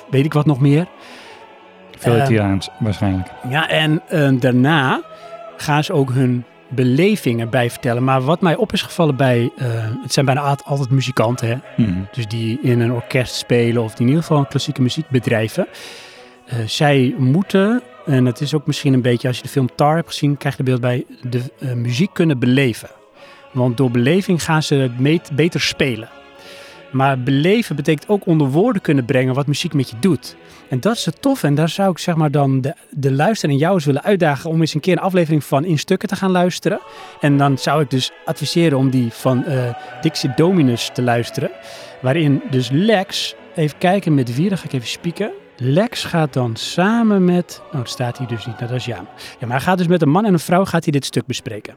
S1: weet ik wat nog meer.
S2: Veel eh,
S1: ehm,
S2: Italiaans waarschijnlijk.
S1: Ja, en eh, daarna gaan ze ook hun belevingen bij vertellen. Maar wat mij op is gevallen bij... eh, het zijn bijna aat- altijd muzikanten, hè?
S2: Mhm.
S1: Dus die in een orkest spelen of die in ieder geval een klassieke muziek bedrijven. Eh, zij moeten, en dat is ook misschien een beetje... Als je de film Tar hebt gezien, krijg je er beeld bij... de eh, muziek kunnen beleven. Want door beleving gaan ze het meet- beter spelen. Maar beleven betekent ook onder woorden kunnen brengen wat muziek met je doet. En dat is het tof. En daar zou ik zeg maar dan de, de luisteraar en jou eens willen uitdagen om eens een keer een aflevering van In Stukken te gaan luisteren. En dan zou ik dus adviseren om die van eh Dixit Dominus te luisteren. Waarin dus Lex, even kijken met wie, dan ga ik even spieken. Lex gaat dan samen met, oh dat staat hier dus niet, nou, dat is Jaam. Ja, maar hij gaat dus met een man en een vrouw gaat hij dit stuk bespreken.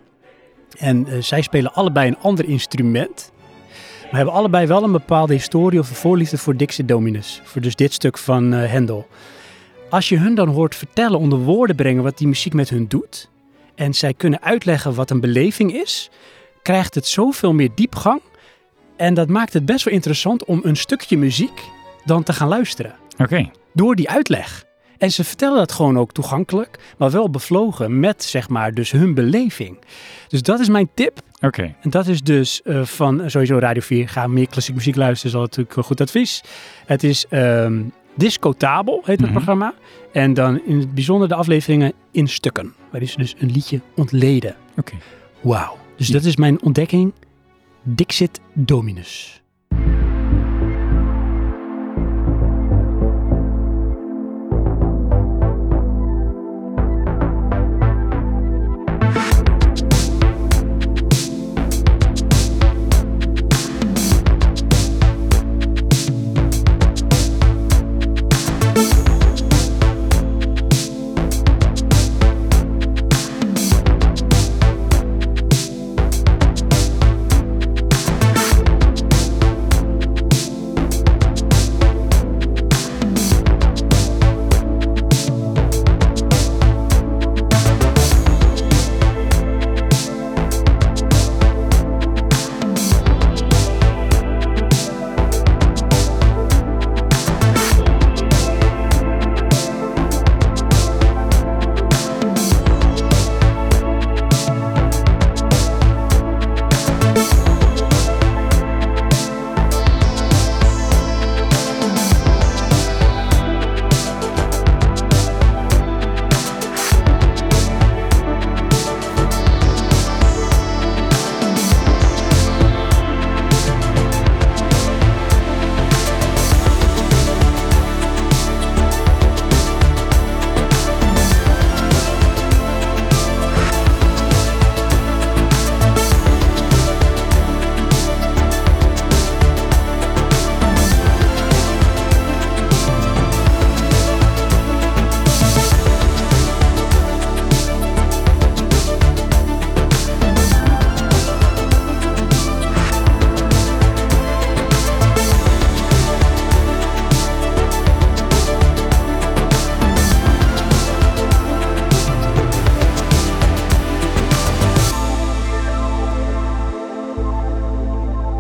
S1: En eh, zij spelen allebei een ander instrument. Maar hebben allebei wel een bepaalde historie of een voorliefde voor Dixit Dominus. Voor dus dit stuk van eh, Hendel. Als je hun dan hoort vertellen, onder woorden brengen wat die muziek met hun doet. En zij kunnen uitleggen wat een beleving is. Krijgt het zoveel meer diepgang. En dat maakt het best wel interessant om een stukje muziek dan te gaan luisteren
S2: Oké.
S1: door die uitleg. En ze vertellen dat gewoon ook toegankelijk, maar wel bevlogen met zeg maar dus hun beleving. Dus dat is mijn tip.
S2: Oké.
S1: En dat is dus eh, van eh, sowieso Radio 4. Ga meer klassiek muziek luisteren, is al natuurlijk een goed advies. Het is ehm Discotabel, heet het
S2: Mhm.
S1: programma. En dan in het bijzonder de afleveringen in stukken. Waarin ze dus een liedje ontleden.
S2: Oké.
S1: Wauw. Dus dat is mijn ontdekking. Dixit Dominus.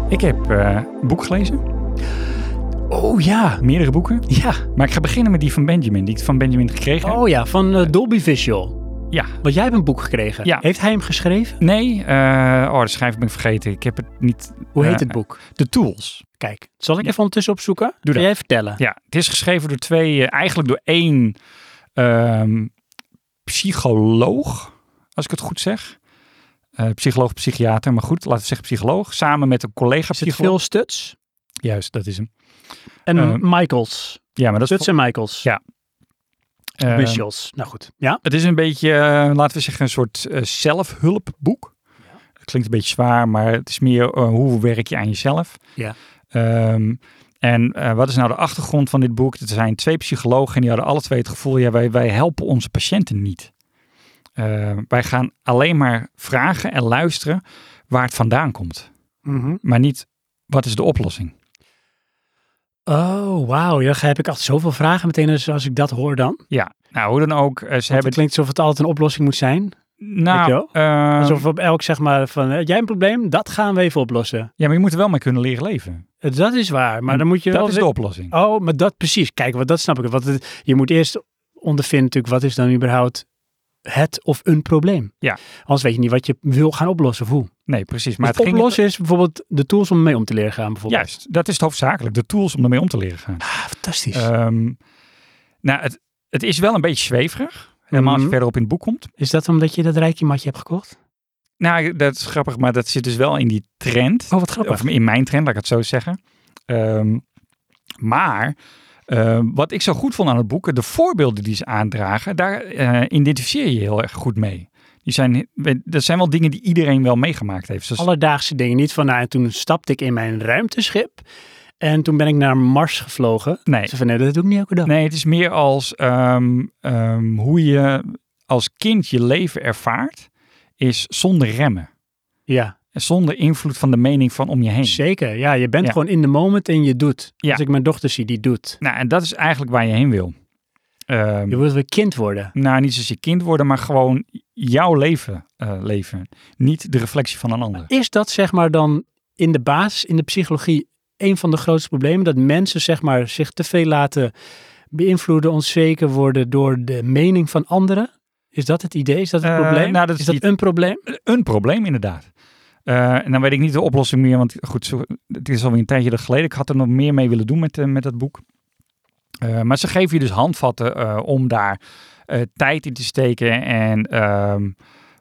S2: Ik heb eh, een boek gelezen,
S1: Oh ja.
S2: meerdere boeken.
S1: Ja.
S2: Maar ik ga beginnen met die van Benjamin, die ik van Benjamin gekregen heb.
S1: Oh ja, van eh, Dolby Visual.
S2: Ja.
S1: Want jij hebt een boek gekregen.
S2: Ja.
S1: Heeft hij hem geschreven?
S2: Nee, eh oh, de schrijver ben ik vergeten. Ik heb het niet.
S1: Hoe heet
S2: eh,
S1: het boek?
S2: De Tools.
S1: Kijk, zal ik
S2: Ja.
S1: even ondertussen opzoeken? Doe Kun
S2: dat.
S1: jij vertellen?
S2: Ja, het is geschreven door twee, eh, eigenlijk door één ehm, psycholoog, als ik het goed zeg. Eh, psycholoog, psychiater, maar goed, laten we zeggen psycholoog. Samen met een collega
S1: Is het
S2: psycholoog.
S1: veel Stuts?
S2: Juist, dat is hem.
S1: En
S2: Eh,
S1: Michaels.
S2: Ja, maar dat
S1: Stuts
S2: is...
S1: en Michaels.
S2: Ja.
S1: Of
S2: ehm,
S1: Michels. Nou goed. Ja.
S2: Het is een beetje, eh, laten we zeggen, een soort eh, zelfhulpboek. Het klinkt een beetje zwaar, maar het is meer eh, hoe werk je aan jezelf.
S1: Ja.
S2: Ehm, en eh, wat is nou de achtergrond van dit boek? Er zijn twee psychologen en die hadden alle twee het gevoel, ja, wij, wij helpen onze patiënten niet. Eh, wij gaan alleen maar vragen en luisteren waar het vandaan komt. Maar niet, wat is de oplossing?
S1: Oh, wauw. Ja, heb ik altijd zoveel vragen meteen als, als ik dat hoor dan. Want
S2: Ja, nou, hoe dan ook. eh, ze hebben...
S1: Het klinkt alsof het altijd een oplossing moet zijn. weet je
S2: Nou, eh,
S1: Alsof we op elk zeg maar van, eh, jij hebt een probleem, dat gaan we even oplossen.
S2: ja, maar je moet er wel mee kunnen leren leven.
S1: Eh, Dat is waar, maar dan moet je wel...
S2: Mm, Dat is de
S1: we-
S2: oplossing.
S1: Oh, maar dat precies. Kijk, wat, dat snap ik. Want het- je moet eerst ondervinden natuurlijk, wat is dan überhaupt het of een probleem?
S2: Ja.
S1: Anders weet je niet wat je wil gaan oplossen of hoe.
S2: Nee, precies. Maar
S1: Maar
S2: het ging-
S1: oplossen is bijvoorbeeld de tools om mee om te leren gaan bijvoorbeeld.
S2: Juist, dat is het hoofdzakelijk. De tools om ermee om te leren gaan.
S1: Ah, fantastisch.
S2: Ehm, nou, het, het is wel een beetje zweverig. Helemaal als je
S1: Mhm.
S2: verderop in het boek komt.
S1: is dat omdat je dat rijkje matje hebt gekocht?
S2: Nou, dat is grappig, maar dat zit dus wel in die trend.
S1: Oh, wat grappig.
S2: Of in mijn trend, laat ik het zo zeggen. Ehm, maar ehm, wat ik zo goed vond aan het boek, de voorbeelden die ze aandragen, daar eh, identificeer je je heel erg goed mee. Die zijn, dat zijn wel dingen die iedereen wel meegemaakt heeft. Dus,
S1: Alledaagse dingen. Niet van, nou, en toen stapte ik in mijn ruimteschip en toen ben ik naar Mars gevlogen.
S2: nee,
S1: Ze van, nee, dat doe ik niet elke dag.
S2: Nee, het is meer als ehm, ehm, hoe je als kind je leven ervaart, is zonder remmen.
S1: Ja,
S2: En zonder invloed van de mening van om je heen.
S1: zeker. Ja, je bent
S2: Ja.
S1: gewoon in de moment en je doet.
S2: Ja.
S1: Als ik mijn dochter zie, die doet.
S2: Nou, en dat is eigenlijk waar je heen wil. Ehm,
S1: Je wilt weer kind worden.
S2: nou, niet zozeer kind worden, maar gewoon jouw leven eh, leven. Niet de reflectie van een ander.
S1: Is dat zeg maar dan in de basis, in de psychologie, een van de grootste problemen? Dat mensen zeg maar zich te veel laten beïnvloeden, onzeker worden door de mening van anderen? Is dat het idee? Is dat het
S2: Eh,
S1: probleem?
S2: nou, dat is niet-
S1: dat een probleem?
S2: Een probleem inderdaad. Eh, en dan weet ik niet de oplossing meer, want goed, zo, het is alweer een tijdje geleden. Ik had er nog meer mee willen doen met, eh, met dat boek. Eh, maar ze geven je dus handvatten eh, om daar eh, tijd in te steken. En ehm,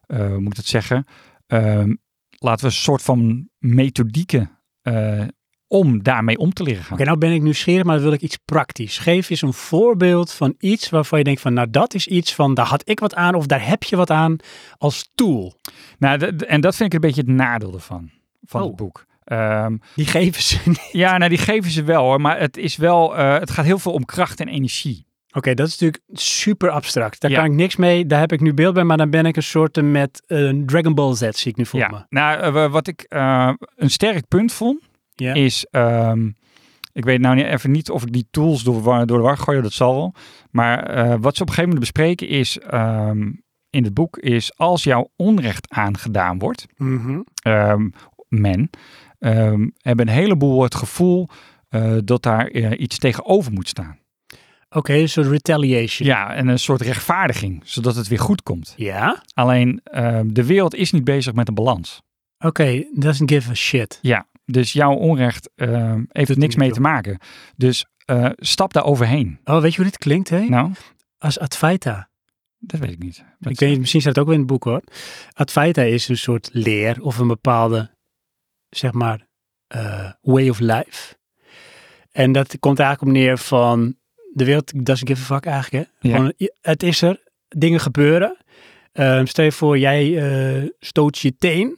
S2: eh, hoe moet ik dat zeggen? Ehm, laten we een soort van methodieken eh, om daarmee om te leren gaan.
S1: Oké, nou ben ik nieuwsgierig, maar dan wil ik iets praktisch. Geef eens een voorbeeld van iets waarvan je denkt van, nou dat is iets van, daar had ik wat aan of daar heb je wat aan als tool.
S2: Nou, d- d- en dat vind ik een beetje het nadeel ervan, van
S1: Oh.
S2: het boek. Ehm,
S1: Die geven ze niet. Oké,
S2: ja, nou die geven ze wel hoor, maar het, is wel, eh, het gaat heel veel om kracht en energie.
S1: dat is natuurlijk super abstract. Daar
S2: Ja.
S1: kan ik niks mee, daar heb ik nu beeld bij, maar dan ben ik een soort met een Dragon Ball Z, zie ik nu voor me.
S2: Nou, eh, wa- wat ik eh, een sterk punt vond,
S1: Ja.
S2: is... ehm, ik weet nou niet, even niet of ik die tools door, de war- door de war gooi, dat zal wel. Maar eh, wat ze op een gegeven moment bespreken is... ehm, in het boek is, als jouw onrecht aangedaan wordt...
S1: Mhm.
S2: ehm, men, ehm, hebben een heleboel het gevoel... eh, dat daar eh, iets tegenover moet staan.
S1: Oké, een soort retaliation.
S2: Ja, en een soort rechtvaardiging, zodat het weer goed komt.
S1: Ja?
S2: Alleen, ehm, de wereld is niet bezig met een balans.
S1: Oké, doesn't give a shit.
S2: Ja, dus jouw onrecht ehm, heeft er
S1: er
S2: niks mee
S1: niet
S2: te maken. Dus eh, stap daar overheen.
S1: Oh, weet je hoe dit klinkt, hè?
S2: Nou,
S1: Als Advaita.
S2: dat weet ik niet. Wat-
S1: Ik weet niet, misschien staat het ook weer in het boek hoor. Advaita is een soort leer of een bepaalde, zeg maar, eh, way of life. En dat komt eigenlijk op neer van, de wereld doesn't give a fuck eigenlijk. Hè?
S2: Ja.
S1: Gewoon, je- het is er, dingen gebeuren. Ehm, stel je voor, jij eh, stoot je teen.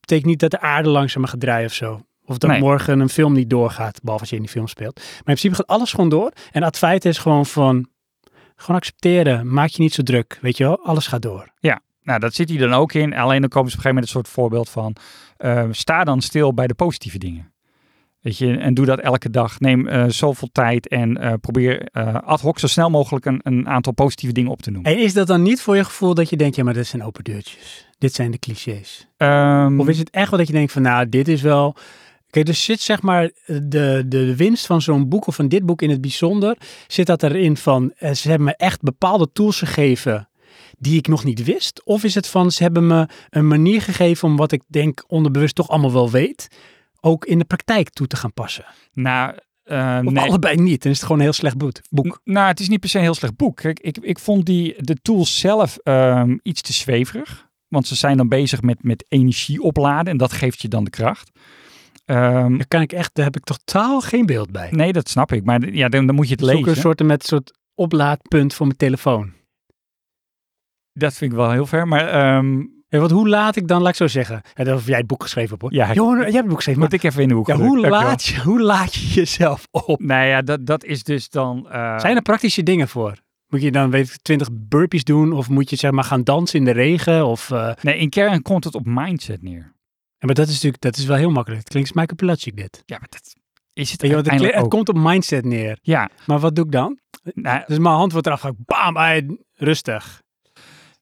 S1: Betekent niet dat de aarde langzamer gaat draaien of zo. Of dat
S2: Nee.
S1: morgen een film niet doorgaat, behalve als je in die film speelt. Maar in principe gaat alles gewoon door. En Advaita is gewoon van, gewoon accepteren. Maak je niet zo druk, weet je wel. Alles gaat door.
S2: Nou, dat zit hier dan ook in. Alleen dan komen ze op een gegeven moment een soort voorbeeld van... eh, sta dan stil bij de positieve dingen. Weet je, en doe dat elke dag. Neem eh, zoveel tijd en eh, probeer eh, ad hoc zo snel mogelijk een, een aantal positieve dingen op te noemen.
S1: En is dat dan niet voor je gevoel dat je denkt, ja, maar dit zijn open deurtjes. Dit zijn de clichés.
S2: Ehm,
S1: Of is het echt wel dat je denkt van, nou, dit is wel Oké, dus zit zeg maar de, de winst van zo'n boek of van dit boek in het bijzonder, zit dat erin van eh, ze hebben me echt bepaalde tools gegeven die ik nog niet wist? Of is het van ze hebben me een manier gegeven om wat ik denk onderbewust toch allemaal wel weet, ook in de praktijk toe te gaan passen?
S2: Nou, eh,
S1: Of
S2: nee.
S1: allebei niet, dan is het gewoon een heel slecht boek. boek.
S2: N- Nou, het is niet per se een heel slecht boek. Kijk, ik, ik vond die, de tools zelf ehm, iets te zweverig. Want ze zijn dan bezig met, met energie opladen en dat geeft je dan de kracht. Ehm,
S1: Daar, kan ik echt, daar heb ik totaal geen beeld bij.
S2: nee, dat snap ik. Maar d- ja, dan, dan moet je het
S1: Ik Zoek
S2: lezen.
S1: een soort, met, soort oplaadpunt voor mijn telefoon.
S2: Dat vind ik wel heel ver. Maar ehm,
S1: Ja, want hoe laat ik dan, laat ik zo zeggen. En dat of jij het boek geschreven hebt hoor.
S2: Ja, ik-
S1: Johan, jij hebt het boek geschreven.
S2: moet ik even in de hoek.
S1: Ja, hoe,
S2: gedrukt. Dankjewel.
S1: laat je, hoe laat je jezelf op?
S2: Nou ja, dat, dat is dus dan... eh,
S1: Zijn er praktische dingen voor? Moet je dan, weet ik, 20 burpees doen? Of moet je zeg maar gaan dansen in de regen? Of, eh,
S2: Nee, in kern komt het op mindset neer.
S1: ja, maar dat is natuurlijk dat is wel heel makkelijk. Het klinkt als Michael Pilatschik dit.
S2: Ja, maar dat is het
S1: Weet je, wat, het,
S2: uiteindelijk
S1: kle- het
S2: ook.
S1: komt op mindset neer.
S2: Ja,
S1: Maar wat doe ik dan?
S2: nou,
S1: Dus mijn hand wordt eraf gehakt. Bam, ei, rustig.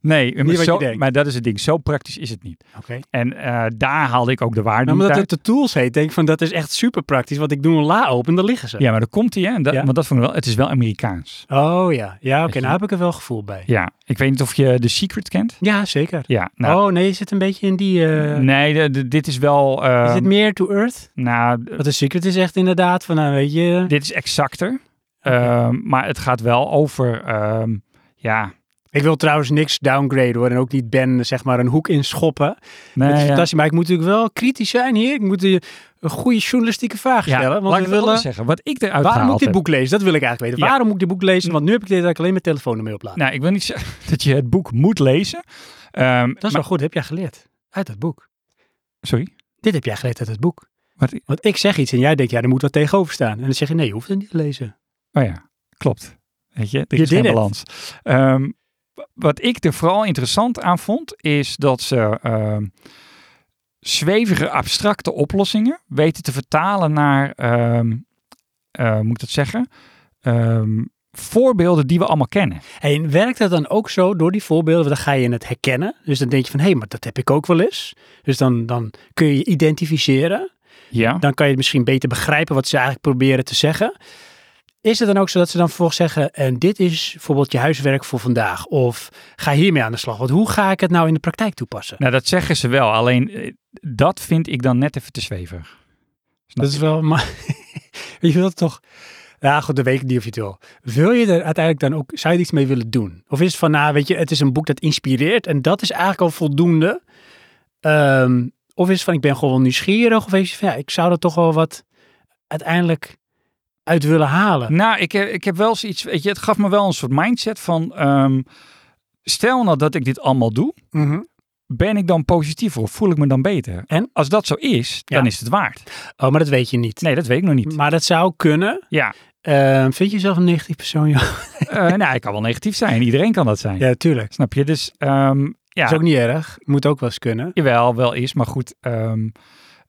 S2: nee, maar,
S1: wat je
S2: zo-
S1: denkt.
S2: maar dat is het ding. Zo praktisch is het niet.
S1: Oké.
S2: En eh, daar haalde ik ook de waarde
S1: Nou,
S2: niet
S1: omdat
S2: uit.
S1: het de tools heet, denk ik van dat is echt super praktisch. Want ik doe een la open en dan liggen ze.
S2: Ja, maar dan komt hij, hè? En dat,
S1: Ja.
S2: Want dat vond ik wel, het is wel Amerikaans.
S1: Oh ja, ja oké,
S2: je?
S1: nou heb ik er wel gevoel bij.
S2: Ja, ik weet niet of je The Secret kent.
S1: Ja, zeker.
S2: Ja, nou, Mm,
S1: oh nee, je zit een beetje in die... eh,
S2: nee, de- de- dit is wel, eh,
S1: Is het meer to earth?
S2: nou, d-
S1: Wat een secret is echt inderdaad van, nou weet je...
S2: dit is exacter. Ehm, maar het gaat wel over, ehm, ja,
S1: Ik wil trouwens niks downgraden hoor. En ook niet Ben zeg maar een hoek in schoppen. dat is
S2: nee, nou ja.
S1: fantastisch. Maar ik moet natuurlijk wel kritisch zijn hier. Ik moet eh, een goede journalistieke vraag
S2: Ja,
S1: stellen.
S2: laat
S1: Want we
S2: ik het anders
S1: willen...
S2: zeggen. Wat ik eruit
S1: Waarom moet
S2: gehaald
S1: ik dit
S2: heb.
S1: boek lezen? Dat wil ik eigenlijk weten.
S2: Ja. Mm.
S1: Waarom moet ik dit boek lezen? Want nu heb ik dit eigenlijk alleen mijn telefoon ermee opladen.
S2: Nou, ik wil niet zeggen dat je het boek moet lezen. Ehm,
S1: dat is wel goed. Heb jij geleerd? Uit het boek.
S2: Sorry.
S1: Dit heb jij geleerd uit het boek.
S2: Wat,
S1: Want ik zeg iets en jij denkt, ja, er moet wat tegenover staan. En dan zeg je, nee, je hoeft het niet te lezen.
S2: oh ja, klopt. Weet je, er
S1: You
S2: is geen
S1: did it.
S2: balans. Ehm, w- wat ik er vooral interessant aan vond, is dat ze ehm, zwevige, abstracte oplossingen weten te vertalen naar, ehm, eh, hoe moet ik dat zeggen, Ehm, voorbeelden die we allemaal kennen.
S1: En werkt dat dan ook zo door die voorbeelden? Want dan ga je het herkennen. Dus dan denk je van, hé, maar dat heb ik ook wel eens. Dus dan, dan kun je je identificeren.
S2: Ja.
S1: dan kan je het misschien beter begrijpen wat ze eigenlijk proberen te zeggen. Is het dan ook zo dat ze dan vervolgens zeggen, en dit is bijvoorbeeld je huiswerk voor vandaag, of ga hiermee aan de slag, want hoe ga ik het nou in de praktijk toepassen?
S2: Nou, dat zeggen ze wel. Alleen eh, dat vind ik dan net even te zweverig. Snap
S1: dat is
S2: je?
S1: wel, maar je wilt toch, ja goed, de week niet of je het wil. Wil je er uiteindelijk dan ook, zou je er iets mee willen doen? Of is het van, nou weet je, het is een boek dat inspireert en dat is eigenlijk al voldoende? Ehm, of is het van, ik ben gewoon wel nieuwsgierig, of is het van, ja, ik zou er toch wel wat uiteindelijk uit willen halen?
S2: Nou, ik heb, ik heb wel zoiets, weet je, het gaf me wel een soort mindset van, ehm, stel nou dat ik dit allemaal doe, ben ik dan positiever of voel ik me dan beter?
S1: En?
S2: Als dat zo is,
S1: Ja. Mm.
S2: dan is het waard.
S1: Oh, maar dat weet je niet.
S2: Nee, dat weet ik nog niet.
S1: Maar dat zou kunnen.
S2: Ja,
S1: Eh, vind je jezelf een negatief persoon? joh?
S2: Eh, nou, ik kan wel negatief zijn. Iedereen kan dat zijn.
S1: Ja, tuurlijk.
S2: Snap je? Dus ehm, ja,
S1: Dat is ook niet erg. Moet ook wel eens kunnen.
S2: jawel, wel is, maar goed. ehm,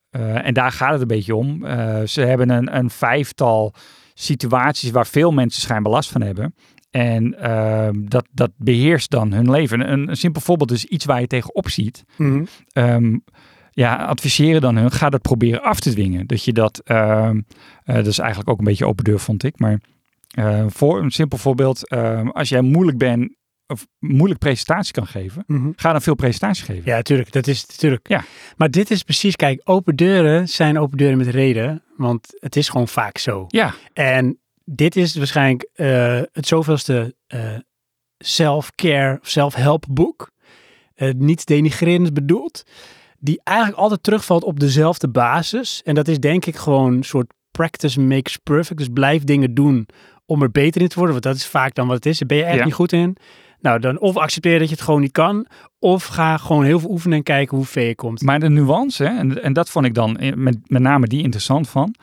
S2: eh, en daar gaat het een beetje om. Eh, ze hebben een, een vijftal situaties waar veel mensen schijnbaar last van hebben. En ehm, dat, dat beheerst dan hun leven. Een, een simpel voorbeeld is iets waar je tegenop ziet. ehm, ja, adviseren dan hun, ga dat proberen af te dwingen. Dat je dat, ehm, eh, dat is eigenlijk ook een beetje open deur, vond ik. Maar eh, voor een simpel voorbeeld, ehm, als jij moeilijk bent, of moeilijk presentatie kan geven,
S1: Mhm.
S2: ga dan veel presentaties geven.
S1: Ja, tuurlijk. Dat is tuurlijk.
S2: Ja.
S1: Maar dit is precies, kijk, open deuren zijn open deuren met reden. Want het is gewoon vaak zo.
S2: Ja,
S1: En dit is waarschijnlijk eh, het zoveelste eh self-care, of self-help boek. Eh, niets denigrerends bedoeld. Die eigenlijk altijd terugvalt op dezelfde basis. En dat is denk ik gewoon een soort practice makes perfect. Dus blijf dingen doen om er beter in te worden. Want dat is vaak dan wat het is. Daar ben je echt
S2: Ja.
S1: niet goed in. Nou, dan of accepteer dat je het gewoon niet kan. Of ga gewoon heel veel oefenen en kijken hoe ver je komt.
S2: maar de nuance, hè, en, en dat vond ik dan eh, met, met name die interessant van,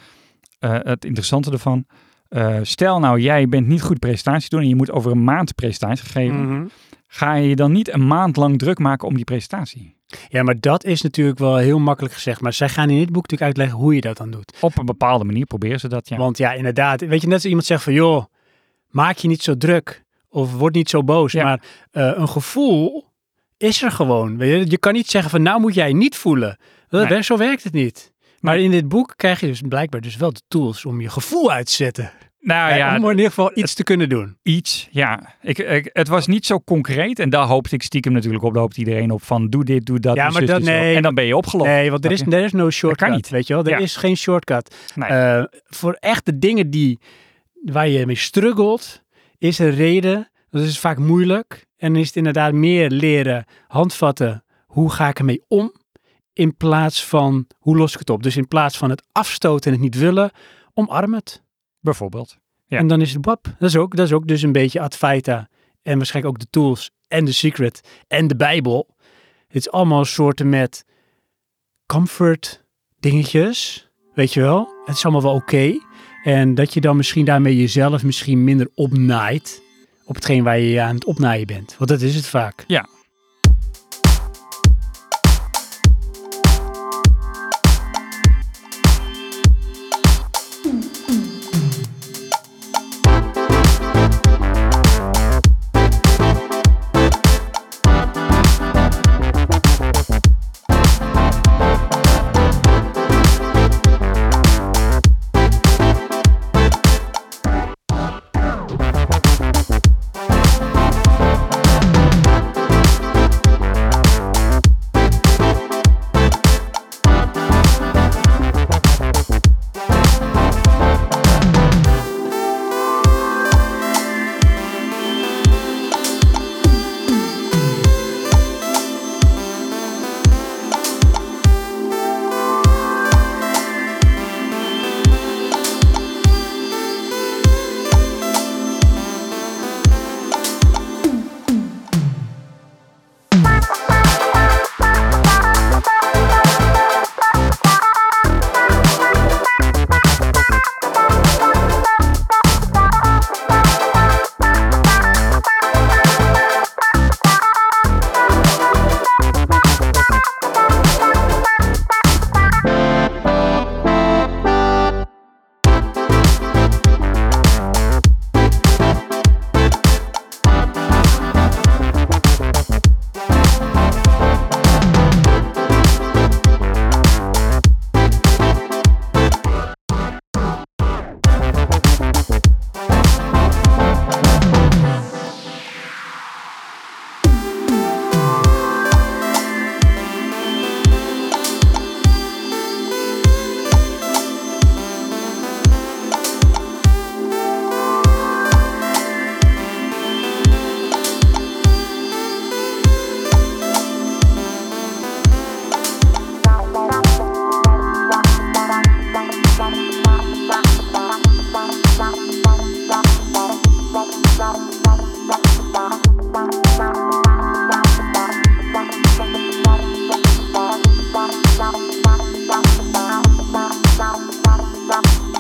S2: eh, het interessante ervan. eh, stel nou, jij bent niet goed presentatie doen en je moet over een maand presentatie geven.
S1: Mhm.
S2: Ga je je dan niet een maand lang druk maken om die presentatie?
S1: Ja, maar dat is natuurlijk wel heel makkelijk gezegd. Maar zij gaan in dit boek natuurlijk uitleggen hoe je dat dan doet.
S2: Op een bepaalde manier proberen ze dat, ja.
S1: Want ja, inderdaad. Weet je, net als iemand zegt van, joh, maak je niet zo druk. Of word niet zo boos.
S2: Ja.
S1: Maar eh, een gevoel is er gewoon. Weet je? je kan niet zeggen van, nou moet jij niet voelen. Dat,
S2: Nee.
S1: Zo werkt het niet. Maar in dit boek krijg je dus blijkbaar dus wel de tools om je gevoel uit te zetten.
S2: Nou ja,
S1: om in ieder geval iets te kunnen doen.
S2: iets. Ja, ik, ik- het was niet zo concreet. En daar hoopte ik stiekem natuurlijk op. Daar hoopt iedereen op van doe dit, doe dat.
S1: Ja,
S2: doe
S1: maar
S2: zus,
S1: dat-
S2: doe zo.
S1: nee.
S2: En dan ben je opgelopen.
S1: Nee, want er is,
S2: Snap
S1: er is no shortcut.
S2: niet.
S1: Weet je wel, er
S2: Ja.
S1: is geen shortcut.
S2: Nee.
S1: Eh, voor echt de dingen die, waar je mee struggelt, is er reden. Dat is vaak moeilijk. En is het inderdaad meer leren handvatten. Hoe ga ik ermee om? In plaats van, hoe los ik het op? Dus in plaats van het afstoten en het niet willen, omarm het.
S2: Bijvoorbeeld. Ja.
S1: En dan is het wap. Dat is, ook, dat is ook dus een beetje Advaita. En waarschijnlijk ook de tools. En de secret. En de Bijbel. Het is allemaal soorten met comfort dingetjes. Weet je wel? Het is allemaal wel oké. En dat je dan misschien daarmee jezelf misschien minder opnaait. Op hetgeen waar je je aan het opnaaien bent. Want dat is het vaak.
S2: Ja.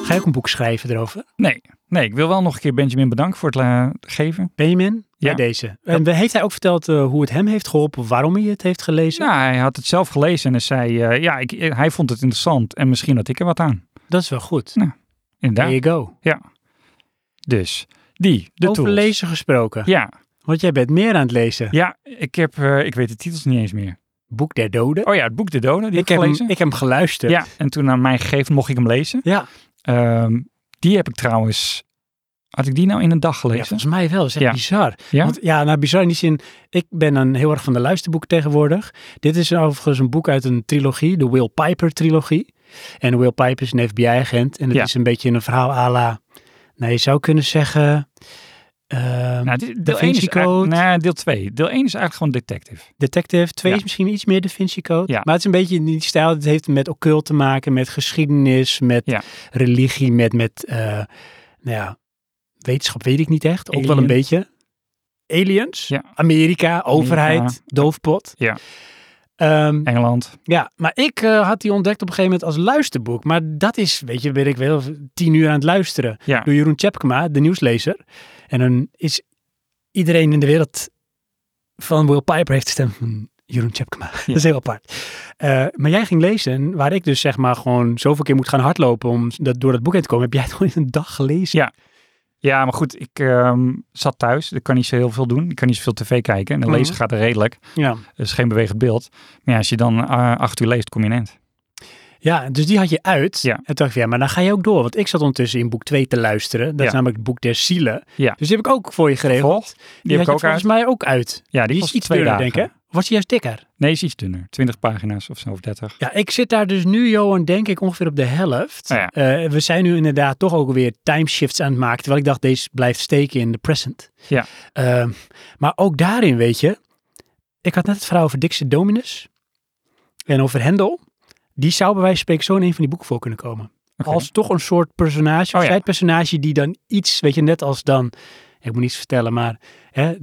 S1: Ga je ook een boek schrijven erover?
S2: Nee, nee, ik wil wel nog een keer Benjamin bedanken voor het eh, geven.
S1: Benjamin?
S2: Ja.
S1: Ja. deze. En heeft hij ook verteld eh, hoe het hem heeft geholpen? Waarom hij het heeft gelezen?
S2: Nou, hij had het zelf gelezen en hij zei, eh, ja, ik, hij vond het interessant en misschien had ik er wat aan.
S1: Dat is wel goed.
S2: Inderdaad.
S1: There you go.
S2: Dus, die, de
S1: Over
S2: tools.
S1: lezen gesproken.
S2: Ja,
S1: Want jij bent meer aan het lezen.
S2: ja ik, heb, eh, ik weet de titels niet eens meer.
S1: Boek der Doden.
S2: Oh ja, het boek De Doden, die
S1: ik,
S2: heb
S1: heb hem,
S2: gelezen.
S1: ik heb hem geluisterd.
S2: ja, en toen aan mij gegeven mocht ik hem lezen.
S1: ja.
S2: Ehm, die heb ik trouwens, had ik die nou in een dag
S1: Ja,
S2: gelezen?
S1: volgens mij wel. Dat is echt
S2: Ja.
S1: bizar.
S2: Ja?
S1: Want, ja, nou bizar in die zin. Ik ben dan heel erg van de luisterboeken tegenwoordig. Dit is overigens een boek uit een trilogie, de Will Piper trilogie. En Will Piper is een FBI-agent. En het
S2: Ja.
S1: is een beetje een verhaal à la, nou je zou kunnen zeggen, ehm,
S2: Nou, dit- deel 1 is
S1: Vinci
S2: eigenlijk-
S1: Code.
S2: Nee, deel 2. Deel 1 is eigenlijk gewoon detective.
S1: detective. Twee
S2: Ja.
S1: is misschien iets meer Da Vinci Code.
S2: Ja.
S1: Maar het is een beetje in die stijl. Het heeft met occult te maken, met geschiedenis, met
S2: Ja.
S1: religie, met, met eh, nou ja, wetenschap weet ik niet echt. Ook wel een
S2: Aliens.
S1: beetje. Aliens,
S2: Ja.
S1: Amerika, overheid, doofpot.
S2: Ja.
S1: Ehm,
S2: Engeland.
S1: ja, maar ik eh, had die ontdekt op een gegeven moment als luisterboek. Maar dat is, weet je, weet ik wel, tien uur aan het luisteren.
S2: Ja.
S1: Door Jeroen Tjepkema, de nieuwslezer. En dan is iedereen in de wereld van Will Piper heeft de stem van Jeroen Tjepkema. Dat is heel apart. Eh, maar jij ging lezen en waar ik dus zeg maar gewoon zoveel keer moet gaan hardlopen om dat, door dat boek heen te komen, heb jij het gewoon in een dag gelezen.
S2: Ja. Ja, maar goed, ik ehm, zat thuis. Ik kan niet zo heel veel doen. Ik kan niet zoveel tv kijken. En de
S1: Mhm.
S2: lezen gaat er redelijk.
S1: Ja.
S2: Er is geen bewegend beeld. Maar ja, als je dan eh, acht uur leest, kom je in eind.
S1: Ja, dus die had je uit.
S2: Ja.
S1: En toen dacht ik, ja, maar dan ga je ook door. Want ik zat ondertussen in boek 2 te luisteren. Dat
S2: Ja.
S1: is namelijk het boek der zielen.
S2: Ja.
S1: Dus die heb ik ook voor je geregeld.
S2: Volgt. Die, heb
S1: had
S2: ik
S1: je
S2: ook uit.
S1: volgens mij ook uit.
S2: Ja, die,
S1: Die,
S2: kost
S1: is iets
S2: twee
S1: dunner,
S2: dagen.
S1: denk ik. hè? Was die juist dikker?
S2: Nee, is iets dunner. 20 pagina's of zo, of 30.
S1: Ja, ik zit daar dus nu, Johan, denk ik ongeveer op de helft.
S2: Ja.
S1: Eh, we zijn nu inderdaad toch ook weer timeshifts aan het maken. Terwijl ik dacht, deze blijft steken in de present.
S2: Ja.
S1: Ehm, maar ook daarin, weet je. Ik had net het verhaal over Dixie Dominus. En over Hendel. Die zou bij wijze van spreken zo in een van die boeken voor kunnen komen.
S2: Oké.
S1: Als toch een soort personage,
S2: Oh
S1: een
S2: ja.
S1: zijpersonage die dan iets, weet je, net als dan, ik moet niets vertellen, maar hè,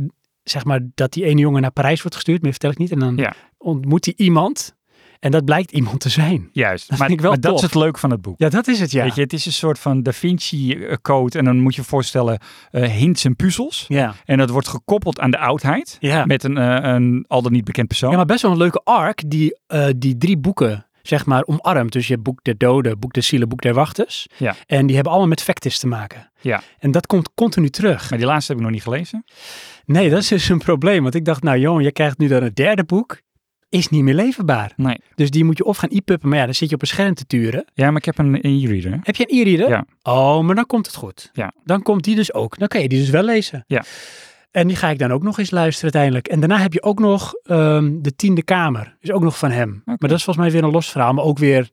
S1: zeg maar dat die ene jongen naar Parijs wordt gestuurd, meer vertel ik niet. En dan
S2: Ja.
S1: ontmoet hij iemand en dat blijkt iemand te zijn.
S2: Juist.
S1: Dat
S2: maar
S1: vind ik wel
S2: maar dat is
S1: tof.
S2: het leuke van het boek.
S1: Ja, dat is het, ja.
S2: Weet je, het is een soort van Da Vinci-code. En dan moet je je voorstellen eh, hints en puzzels.
S1: Ja.
S2: En dat wordt gekoppeld aan de oudheid.
S1: Ja.
S2: Met een, eh, een al dan niet bekend persoon.
S1: ja, maar best wel een leuke arc die eh, die drie boeken, zeg maar, omarmt. Dus je hebt Boek der Doden, Boek der Zielen, Boek der Wachters.
S2: Ja.
S1: En die hebben allemaal met Vectis te maken.
S2: Ja.
S1: En dat komt continu terug.
S2: Maar die laatste heb ik nog niet gelezen.
S1: Nee, dat is dus een probleem. Want ik dacht, nou Johan, je krijgt nu dan het derde boek. Is niet meer leverbaar.
S2: Nee.
S1: Dus die moet je of gaan e-puppen, maar ja, dan zit je op een scherm te turen.
S2: Ja, maar ik heb een een e-reader. hè?
S1: Heb je een e-reader?
S2: Ja.
S1: Oh, maar dan komt het goed.
S2: Ja.
S1: Dan komt die dus ook. Dan kan je die dus wel lezen.
S2: Ja.
S1: En die ga ik dan ook nog eens luisteren uiteindelijk. En daarna heb je ook nog ehm, de Tiende Kamer. Is ook nog van hem. Maar dat is volgens mij weer een los verhaal, maar ook weer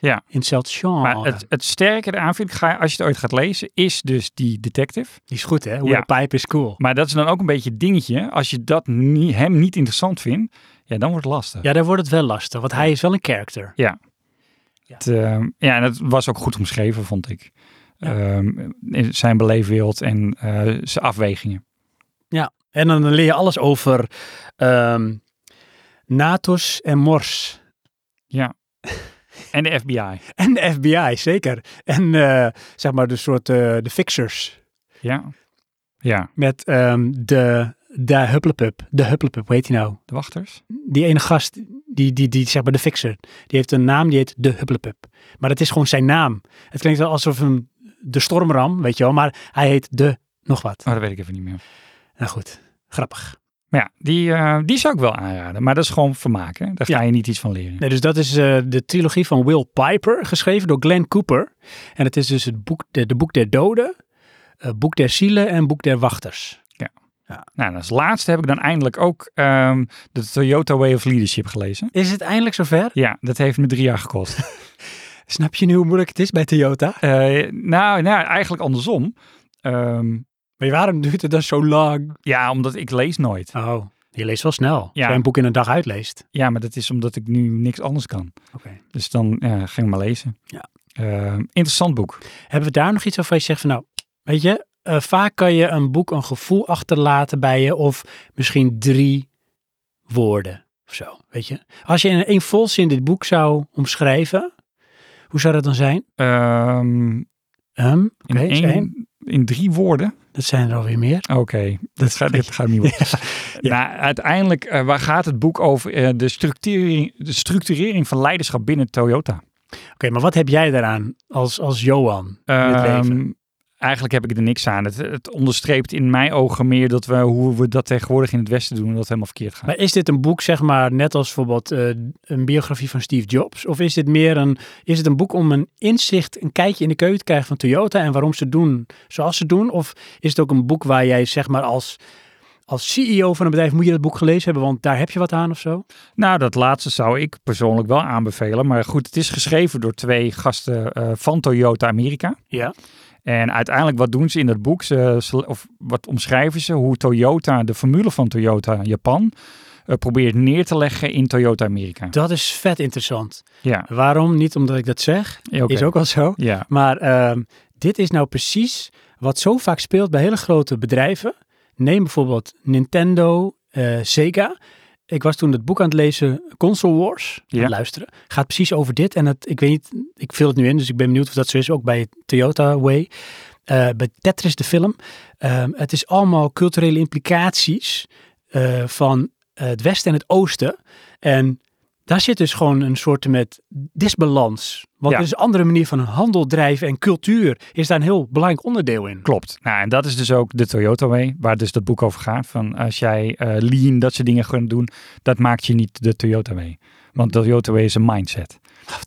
S2: Ja.
S1: in hetzelfde genre.
S2: Maar het, het sterke eraan vind ik, ga- als je het ooit gaat lezen, is dus die detective.
S1: Die is goed, hè? Hoe
S2: Ja.
S1: de pipe is cool.
S2: Maar dat is dan ook een beetje het dingetje. Als je dat nie- hem niet interessant vindt, ja, dan wordt het lastig.
S1: Ja, daar wordt het wel lastig, want hij is wel een character.
S2: Het, ehm, ja, en dat was ook goed omschreven, vond ik. Ehm, in zijn beleefwereld en eh, zijn afwegingen.
S1: En dan leer je alles over ehm Natos en Mors.
S2: En de FBI.
S1: En de FBI, zeker. En eh, zeg maar de soort eh, de fixers.
S2: Ja. Ja,
S1: Met ehm, de, de hupplepup. De hupplepup, hoe heet die nou?
S2: de wachters.
S1: Die ene gast, die, die, die zeg maar de fixer. Die heeft een naam, die heet de hupplepup. Maar dat is gewoon zijn naam. Het klinkt wel alsof hem de stormram, weet je wel. Maar hij heet de nog wat.
S2: Oh, dat weet ik even niet meer.
S1: Nou goed, grappig.
S2: Maar ja, die, eh, die zou ik wel aanraden. Maar dat is gewoon vermaak, hè? Daar ga
S1: Ja.
S2: je niet iets van leren.
S1: Nee, dus dat is eh, de trilogie van Will Piper, geschreven door Glenn Cooper. En het is dus het boek, de, de Boek der Doden, eh, Boek der Zielen en Boek der Wachters.
S2: Nou, en als laatste heb ik dan eindelijk ook ehm, de Toyota Way of Leadership gelezen.
S1: Is het eindelijk zover?
S2: Ja, dat heeft me drie jaar gekost.
S1: Snap je nu hoe moeilijk het is bij Toyota?
S2: Eh, nou, nou, eigenlijk andersom. Ehm,
S1: Maar waarom duurt het dan zo lang?
S2: ja, omdat ik lees nooit.
S1: Oh, je leest wel snel. Als
S2: Ja.
S1: jij een boek in een dag uitleest.
S2: Ja, maar dat is omdat ik nu niks anders kan.
S1: Oké.
S2: Dus dan eh, ging ik maar lezen.
S1: Ja.
S2: Ehm, interessant boek.
S1: Hebben we daar nog iets over? Je zegt van nou, weet je, eh, vaak kan je een boek een gevoel achterlaten bij je. Of misschien drie woorden of zo, weet je. Als je in één volzin dit boek zou omschrijven, hoe zou dat dan zijn?
S2: Ehm,
S1: Ehm, Oké,
S2: in,
S1: dat is
S2: één-
S1: één.
S2: in drie woorden.
S1: Dat zijn er alweer meer.
S2: Oké, dat gaat, dit gaat niet worden. Nou, uiteindelijk, eh, waar gaat het boek over? Eh, de, structurering, de structurering van leiderschap binnen Toyota.
S1: Oké, maar wat heb jij daaraan als, als Johan in het leven?
S2: Ehm, eigenlijk heb ik er niks aan. Het, het onderstreept in mijn ogen meer dat we, hoe we dat tegenwoordig in het Westen doen, dat het helemaal verkeerd gaat.
S1: Maar is dit een boek, zeg maar, net als bijvoorbeeld eh, een biografie van Steve Jobs? Of is dit meer een, is het een boek om een inzicht, een kijkje in de keuken te krijgen van Toyota en waarom ze doen zoals ze doen? Of is het ook een boek waar jij, zeg maar, als, als CEO van een bedrijf moet je dat boek gelezen hebben, want daar heb je wat aan of zo?
S2: Nou, dat laatste zou ik persoonlijk wel aanbevelen. Maar goed, het is geschreven door twee gasten eh, van Toyota Amerika.
S1: Ja.
S2: En uiteindelijk, wat doen ze in dat boek? Ze, ze- of wat omschrijven ze? Hoe Toyota, de formule van Toyota Japan, eh, probeert neer te leggen in Toyota Amerika.
S1: Dat is vet interessant.
S2: Ja,
S1: Waarom? Niet omdat ik dat zeg,
S2: ja, oké.
S1: is ook al zo.
S2: Ja,
S1: Maar ehm, dit is nou precies wat zo vaak speelt bij hele grote bedrijven. Neem bijvoorbeeld Nintendo, eh, Sega. Ik was toen het boek aan het lezen, Console Wars, aan
S2: Ja.
S1: het luisteren. Gaat precies over dit. En het, ik weet niet, ik vul het nu in, dus ik ben benieuwd of dat zo is. Ook bij Toyota Way, eh, bij Tetris de film. Ehm, het is allemaal culturele implicaties eh, van eh, het Westen en het Oosten. En daar zit dus gewoon een soort met disbalans. Want
S2: Ja.
S1: er is een andere manier van handel drijven en cultuur is daar een heel belangrijk onderdeel in.
S2: Klopt. Nou, en dat is dus ook de Toyota Way, waar dus dat boek over gaat. Van als jij eh, lean, dat soort dingen gaat doen, dat maakt je niet de Toyota Way. Want de Toyota Way is een mindset.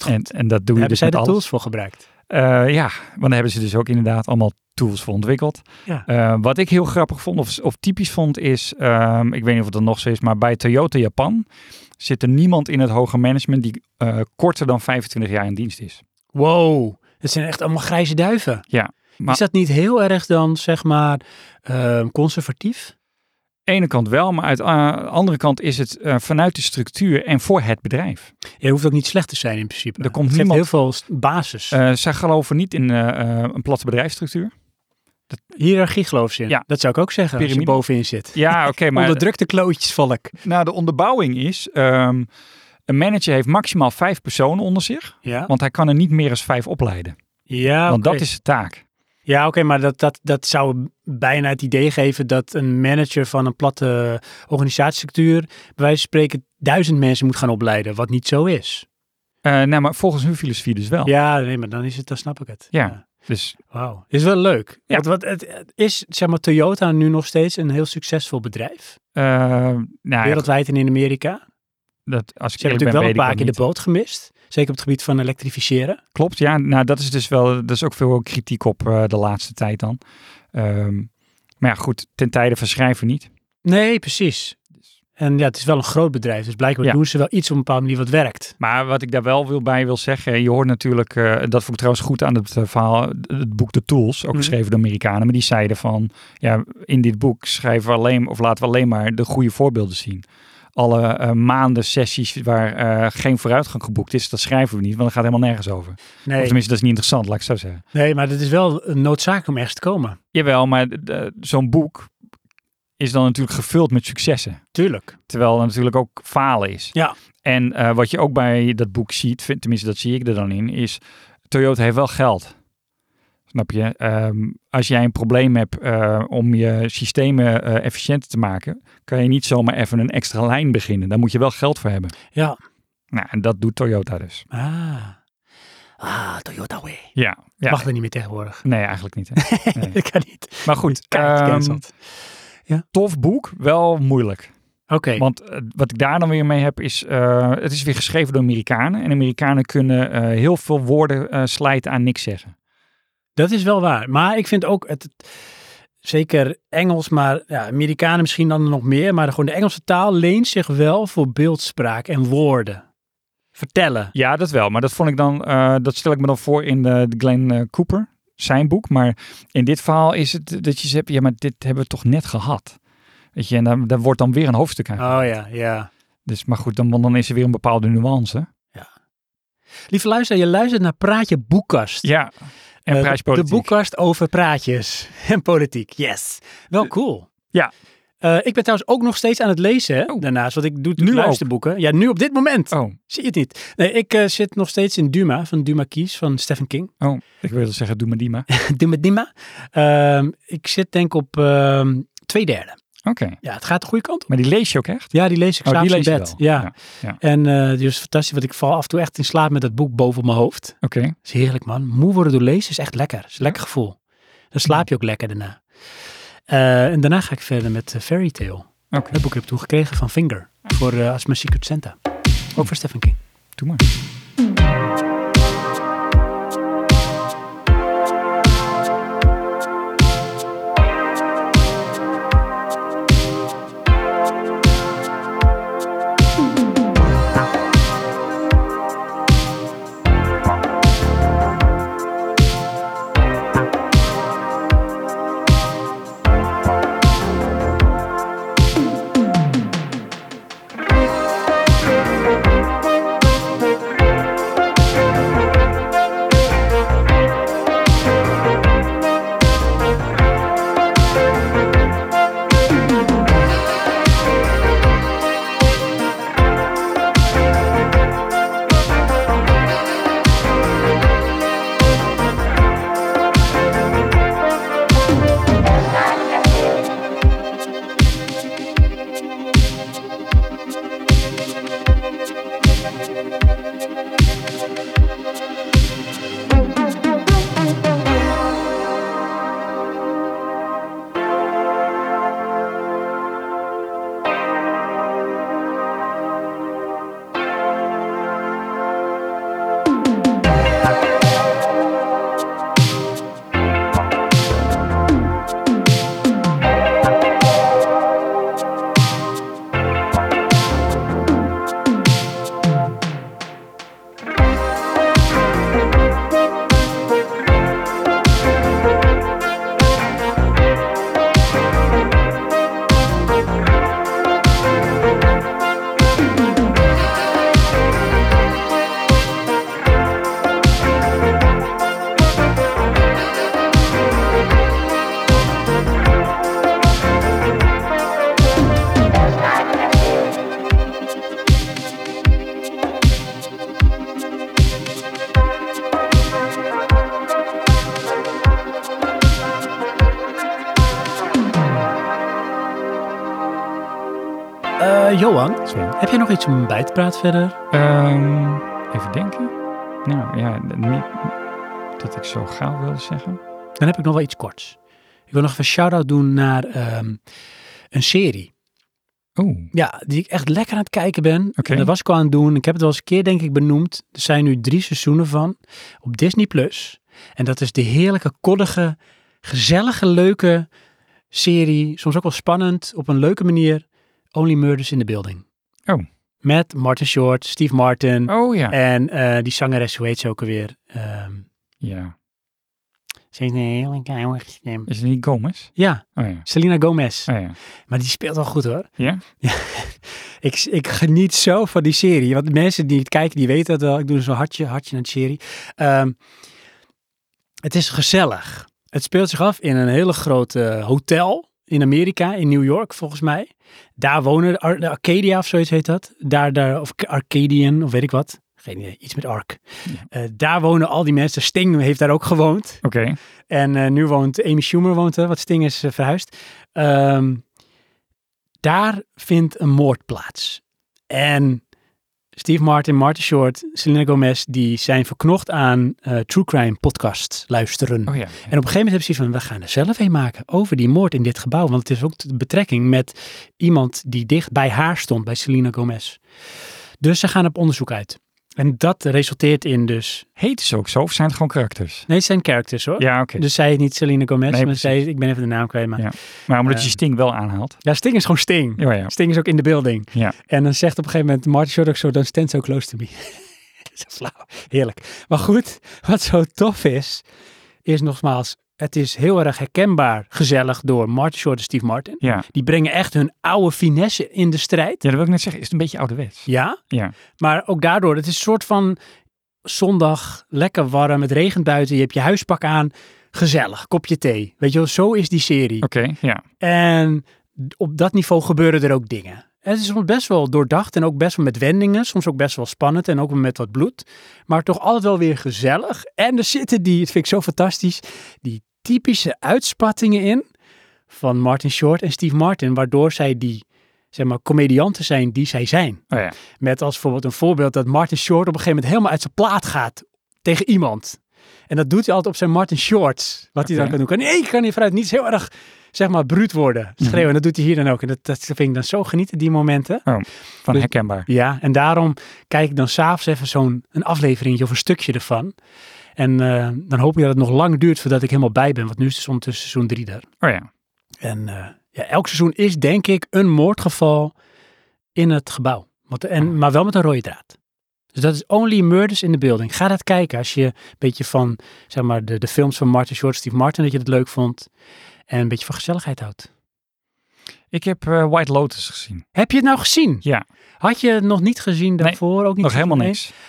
S2: En, en dat doe je
S1: hebben
S2: dus
S1: zij
S2: met
S1: de
S2: alles.
S1: tools voor gebruikt?
S2: Eh, ja, want daar hebben ze dus ook inderdaad allemaal tools voor ontwikkeld.
S1: Ja.
S2: Eh, wat ik heel grappig vond of, of typisch vond is, ehm, ik weet niet of het er nog zo is, maar bij Toyota Japan zit er niemand in het hoge management die eh, korter dan 25 jaar in dienst is.
S1: Wow, het zijn echt allemaal grijze duiven.
S2: Ja, maar-
S1: Is dat niet heel erg dan, zeg maar, eh, conservatief?
S2: ene kant wel, maar uit de andere kant is het eh, vanuit de structuur en voor het bedrijf.
S1: Je hoeft ook niet slecht te zijn in principe.
S2: Er komt
S1: het geeft
S2: niemand-
S1: heel veel st- basis.
S2: Eh zij geloven niet in eh, eh, een platte bedrijfsstructuur.
S1: Hiërarchie geloof ze in.
S2: ja.
S1: Dat zou ik ook zeggen als
S2: Piramide.
S1: je bovenin zit.
S2: Ja, oké, maar
S1: Onderdrukte klootjesvolk.
S2: nou, de onderbouwing is, ehm, een manager heeft maximaal vijf personen onder zich,
S1: Ja,
S2: want hij kan er niet meer dan vijf opleiden.
S1: ja
S2: Want
S1: Ah, oké.
S2: dat is de taak.
S1: Ja, oké, maar dat, dat, dat zou bijna het idee geven dat een manager van een platte organisatiestructuur, bij wijze van spreken, duizend mensen moet gaan opleiden, wat niet zo is.
S2: Eh, nou, maar volgens hun filosofie dus wel.
S1: Ja, nee, maar dan is het, dan snap ik het.
S2: Ja. Dus
S1: Wauw, is wel leuk.
S2: Ja.
S1: Want, wat, het, het is, zeg maar, Toyota nu nog steeds een heel succesvol bedrijf,
S2: eh, nou, ja,
S1: wereldwijd en in Amerika. Ze
S2: dat, als ik
S1: hebben
S2: eerlijk
S1: natuurlijk
S2: ben,
S1: wel
S2: weet
S1: een
S2: ik
S1: paar
S2: dat
S1: keer de
S2: niet.
S1: boot gemist, zeker op het gebied van elektrificeren.
S2: Klopt, ja. Nou, dat is dus wel, dat is ook veel kritiek op eh, de laatste tijd dan. Ehm, maar ja, goed, ten tijde van schrijven niet.
S1: Nee, precies. En ja, het is wel een groot bedrijf, dus blijkbaar
S2: Ja.
S1: doen ze wel iets op een bepaalde manier wat werkt.
S2: Maar wat ik daar wel wil bij wil zeggen, je hoort natuurlijk, eh, dat vond ik trouwens goed aan het eh, verhaal, het boek The Tools, ook
S1: Mhm.
S2: geschreven door Amerikanen, maar die zeiden van, ja, in dit boek schrijven we alleen, of laten we alleen maar de goede voorbeelden zien. Alle eh, maanden sessies waar eh, geen vooruitgang geboekt is, dat schrijven we niet, want dat gaat helemaal nergens over.
S1: Nee,
S2: Of tenminste, dat is niet interessant, laat ik het zo zeggen.
S1: nee maar het is wel een noodzaak om ergens te komen.
S2: Jawel, maar d- d- zo'n boek is dan natuurlijk gevuld met successen.
S1: Tuurlijk.
S2: Terwijl er natuurlijk ook falen is.
S1: Ja.
S2: En eh, wat je ook bij dat boek ziet, vind, tenminste dat zie ik er dan in, is Toyota heeft wel geld. Snap je? Ehm, als jij een probleem hebt eh, om je systemen eh, efficiënter te maken, kan je niet zomaar even een extra lijn beginnen. Daar moet je wel geld voor hebben.
S1: Ja.
S2: Nou, en dat doet Toyota dus.
S1: Ah. Ah, Toyota Way.
S2: Ja. ja.
S1: Mag er niet meer tegenwoordig.
S2: Nee, eigenlijk niet. Hè?
S1: Dat kan niet.
S2: Maar goed,
S1: Kaart
S2: ehm,
S1: gecanceld.
S2: tof boek, wel moeilijk.
S1: Oké.
S2: Want eh, wat ik daar dan weer mee heb is, eh, het is weer geschreven door Amerikanen. En Amerikanen kunnen eh, heel veel woorden eh, slijten aan niks zeggen.
S1: Dat is wel waar. Maar ik vind ook, het, het- zeker Engels, maar ja, Amerikanen misschien dan nog meer. Maar gewoon de Engelse taal leent zich wel voor beeldspraak en woorden. Vertellen.
S2: Ja, dat wel. Maar dat vond ik dan, eh, dat stel ik me dan voor in de, de Glenn eh, Cooper, zijn boek. Maar in dit verhaal is het dat je zegt, ja, maar dit hebben we toch net gehad. Weet je, en daar, daar wordt dan weer een hoofdstuk aan.
S1: Oh ja, ja.
S2: Dus, maar goed, dan, want dan is er weer een bepaalde nuance.
S1: Lieve luisteraar, je luistert naar Praatje Boekkast.
S2: Ja, en
S1: Eh,
S2: prijspolitiek.
S1: De boekkast over praatjes en politiek. Yes. Wel cool.
S2: Ja.
S1: Eh, ik ben trouwens ook nog steeds aan het lezen hè,
S2: Oh.
S1: daarnaast, want ik doe
S2: Nu ook?
S1: luisterboeken. Ja, nu op dit moment.
S2: Oh,
S1: Zie je het niet? Nee, ik eh, zit nog steeds in Duma, van Duma Kies, van Stephen King.
S2: oh, ik wilde zeggen, doe maar die maar.
S1: Duma Dima. Ehm, ik zit denk op ehm, twee derde.
S2: Oké,
S1: Ja, het gaat de goede kant op.
S2: maar die lees je ook echt?
S1: Ja, die lees ik
S2: Oh, die
S1: s'avonds
S2: lees je
S1: in bed.
S2: wel.
S1: Ja.
S2: Ja, ja.
S1: En eh dus fantastisch, want ik val af en toe echt in slaap met dat boek boven mijn hoofd.
S2: Oké,
S1: Dat is heerlijk, man. Moe worden door lezen is echt lekker. is een lekker gevoel. Dan slaap je ook lekker daarna. Eh, en daarna ga ik verder met eh, Fairy Tale.
S2: oké,
S1: Dat boek heb ik toen gekregen van Finger. Voor eh, als mijn Secret Santa. Ook voor Stephen King.
S2: doe maar.
S1: Eh, Johan,
S2: Sven.
S1: heb jij nog iets om bij te praten verder?
S2: Ehm, even denken. Nou ja, n- niet dat ik zo gauw wilde zeggen.
S1: Dan heb ik nog wel iets korts. Ik wil nog even een shout-out doen naar ehm, een serie.
S2: Oeh,
S1: Ja, die ik echt lekker aan het kijken ben.
S2: Oké.
S1: En Dat was ik al aan het doen. Ik heb het wel eens een keer, denk ik, benoemd. Er zijn nu drie seizoenen van op Disney+. Plus. En dat is de heerlijke, koddige, gezellige, leuke serie. Soms ook wel spannend, op een leuke manier. Only Murders in the Building.
S2: Oh.
S1: Met Martin Short, Steve Martin.
S2: oh ja.
S1: En eh, die zangeres, hoe heet ze ook alweer? Ehm,
S2: Ja.
S1: ze heeft een hele kleine stem.
S2: Is het niet Gomez?
S1: Ja,
S2: Oh ja.
S1: Selena Gomez.
S2: Oh ja.
S1: Maar die speelt wel goed hoor.
S2: Ja?
S1: Ik, ik geniet zo van die serie. Want de mensen die het kijken, die weten dat wel. Ik doe zo'n hartje, hartje naar de serie. Ehm, het is gezellig. Het speelt zich af in een hele grote hotel in Amerika, in New York volgens mij. Daar wonen, de Ar- de Arcadia of zoiets heet dat. Daar, daar, of K- Arcadian of weet ik wat. Geen idee, iets met Ark. Eh, daar wonen al die mensen. Sting heeft daar ook gewoond.
S2: Oké.
S1: En eh, nu woont Amy Schumer, woont, er, wat Sting is eh, verhuisd. Ehm, daar vindt een moord plaats. En Steve Martin, Martin Short, Selena Gomez, die zijn verknocht aan eh, True Crime podcast luisteren.
S2: Oh ja.
S1: En op een gegeven moment hebben ze zoiets van, we gaan er zelf een maken over die moord in dit gebouw. Want het is ook de betrekking met iemand die dicht bij haar stond, bij Selena Gomez. Dus ze gaan op onderzoek uit. En dat resulteert in dus,
S2: Heet ze ook zo of zijn het gewoon karakters?
S1: nee het zijn characters hoor.
S2: Ja, oké.
S1: Dus zij heet niet Selena Gomez,
S2: Nee,
S1: maar
S2: precies.
S1: zij, ik ben even de naam kwijt. Maar...
S2: Ja.
S1: Ja.
S2: Maar omdat je
S1: Ehm.
S2: Sting wel aanhaalt. Oh
S1: Sting is gewoon Sting.
S2: Ja, ja.
S1: Sting is ook in de building.
S2: Ja.
S1: En dan zegt op een gegeven moment Martin Short ook zo, don't stand so close to me. Dat is flauw. Heerlijk. Maar goed, wat zo tof is, is nogmaals, het is heel erg herkenbaar gezellig door Martin Short en Steve Martin.
S2: Ja.
S1: Die brengen echt hun oude finesse in de strijd.
S2: Ja, dat wil ik net zeggen. Is het een beetje ouderwets?
S1: Ja,
S2: Ja.
S1: maar ook daardoor, het is een soort van zondag, lekker warm, het regent buiten, je hebt je huispak aan, gezellig, kopje thee. Weet je wel, zo is die serie.
S2: Oké, ja.
S1: En op dat niveau gebeuren er ook dingen. Het is soms best wel doordacht en ook best wel met wendingen. Soms ook best wel spannend en ook wel met wat bloed. Maar toch altijd wel weer gezellig. En er zitten die, het vind ik zo fantastisch, die typische uitspattingen in van Martin Short en Steve Martin. Waardoor zij die, zeg maar, comedianten zijn die zij zijn.
S2: Oh ja.
S1: Met als bijvoorbeeld een voorbeeld dat Martin Short op een gegeven moment helemaal uit zijn plaat gaat tegen iemand. En dat doet hij altijd op zijn Martin Shorts. Wat hij dan
S2: Oké.
S1: kan doen. Kan, nee, ik kan hier vanuit niets heel erg, zeg maar, bruut worden. Schreeuwen. En dat doet hij hier dan ook. En dat, dat vind ik dan zo genieten, die momenten.
S2: Van
S1: Dus-
S2: herkenbaar.
S1: Ja, en daarom kijk ik dan s'avonds even zo'n een afleveringje of een stukje ervan. En eh, dan hoop ik dat het nog lang duurt voordat ik helemaal bij ben. Want nu is het ondertussen seizoen drie daar.
S2: Oh ja.
S1: En eh, ja, elk seizoen is denk ik een moordgeval in het gebouw. Want,
S2: Oh.
S1: en, maar wel met een rode draad. Dus dat is Only Murders in the Building. Ga dat kijken als je een beetje van zeg maar, de, de films van Martin Short, Steve Martin, dat je het leuk vond. En een beetje van gezelligheid houdt.
S2: Ik heb eh, White Lotus gezien.
S1: Heb je het nou gezien?
S2: Ja.
S1: Had je het nog niet gezien
S2: Nee,
S1: daarvoor? ook niet
S2: Nog helemaal
S1: gezien?
S2: niks.
S1: Nee.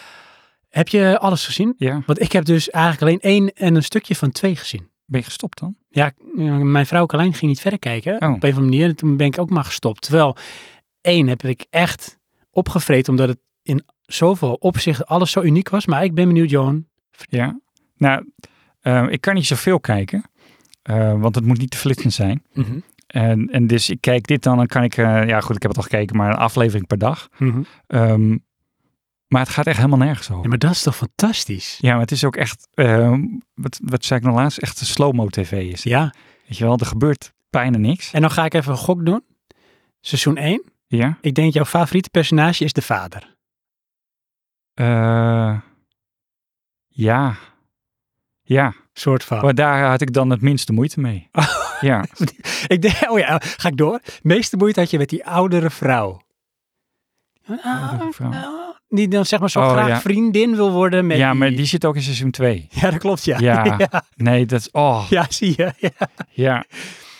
S1: Heb je alles gezien?
S2: Ja.
S1: Want ik heb dus eigenlijk alleen één en een stukje van twee gezien.
S2: Ben je gestopt dan?
S1: Ja, k- eh, mijn vrouw Carlijn ging niet verder kijken. Op
S2: Oh.
S1: een of andere manier. En toen ben ik ook maar gestopt. Terwijl één heb ik echt opgevreten. Omdat het in zoveel opzichten alles zo uniek was. Maar ik ben benieuwd, Johan.
S2: Ja. Nou, eh, ik kan niet zoveel kijken. eh, want het moet niet te flitsend zijn.
S1: Mhm.
S2: En, en dus ik kijk dit dan, dan kan ik, eh, ja goed, ik heb het al gekeken, maar een aflevering per dag.
S1: Mhm.
S2: Ehm, maar het gaat echt helemaal nergens
S1: Ja,
S2: over.
S1: maar dat is toch fantastisch?
S2: Ja, maar het is ook echt, ehm, wat, wat zei ik nog laatst, echt een slow-mo tv is. het.
S1: Ja.
S2: Weet je wel, er gebeurt bijna niks.
S1: En dan ga ik even een gok doen. Seizoen 1.
S2: Ja.
S1: Ik denk jouw favoriete personage is de vader.
S2: Eh, ja. Ja.
S1: Soort van.
S2: Maar daar had ik dan het minste moeite mee. ja.
S1: Ik denk, oh ja, ga ik door. Meeste moeite had je met die oudere vrouw.
S2: Oudere vrouw.
S1: Ah, Die dan zeg maar zo
S2: Oh,
S1: graag
S2: ja.
S1: vriendin wil worden met
S2: ja, maar
S1: die...
S2: die zit ook in seizoen 2.
S1: Ja, dat klopt, ja.
S2: Ja.
S1: ja,
S2: Nee, dat is, oh,
S1: ja, zie je. Ja.
S2: Ja,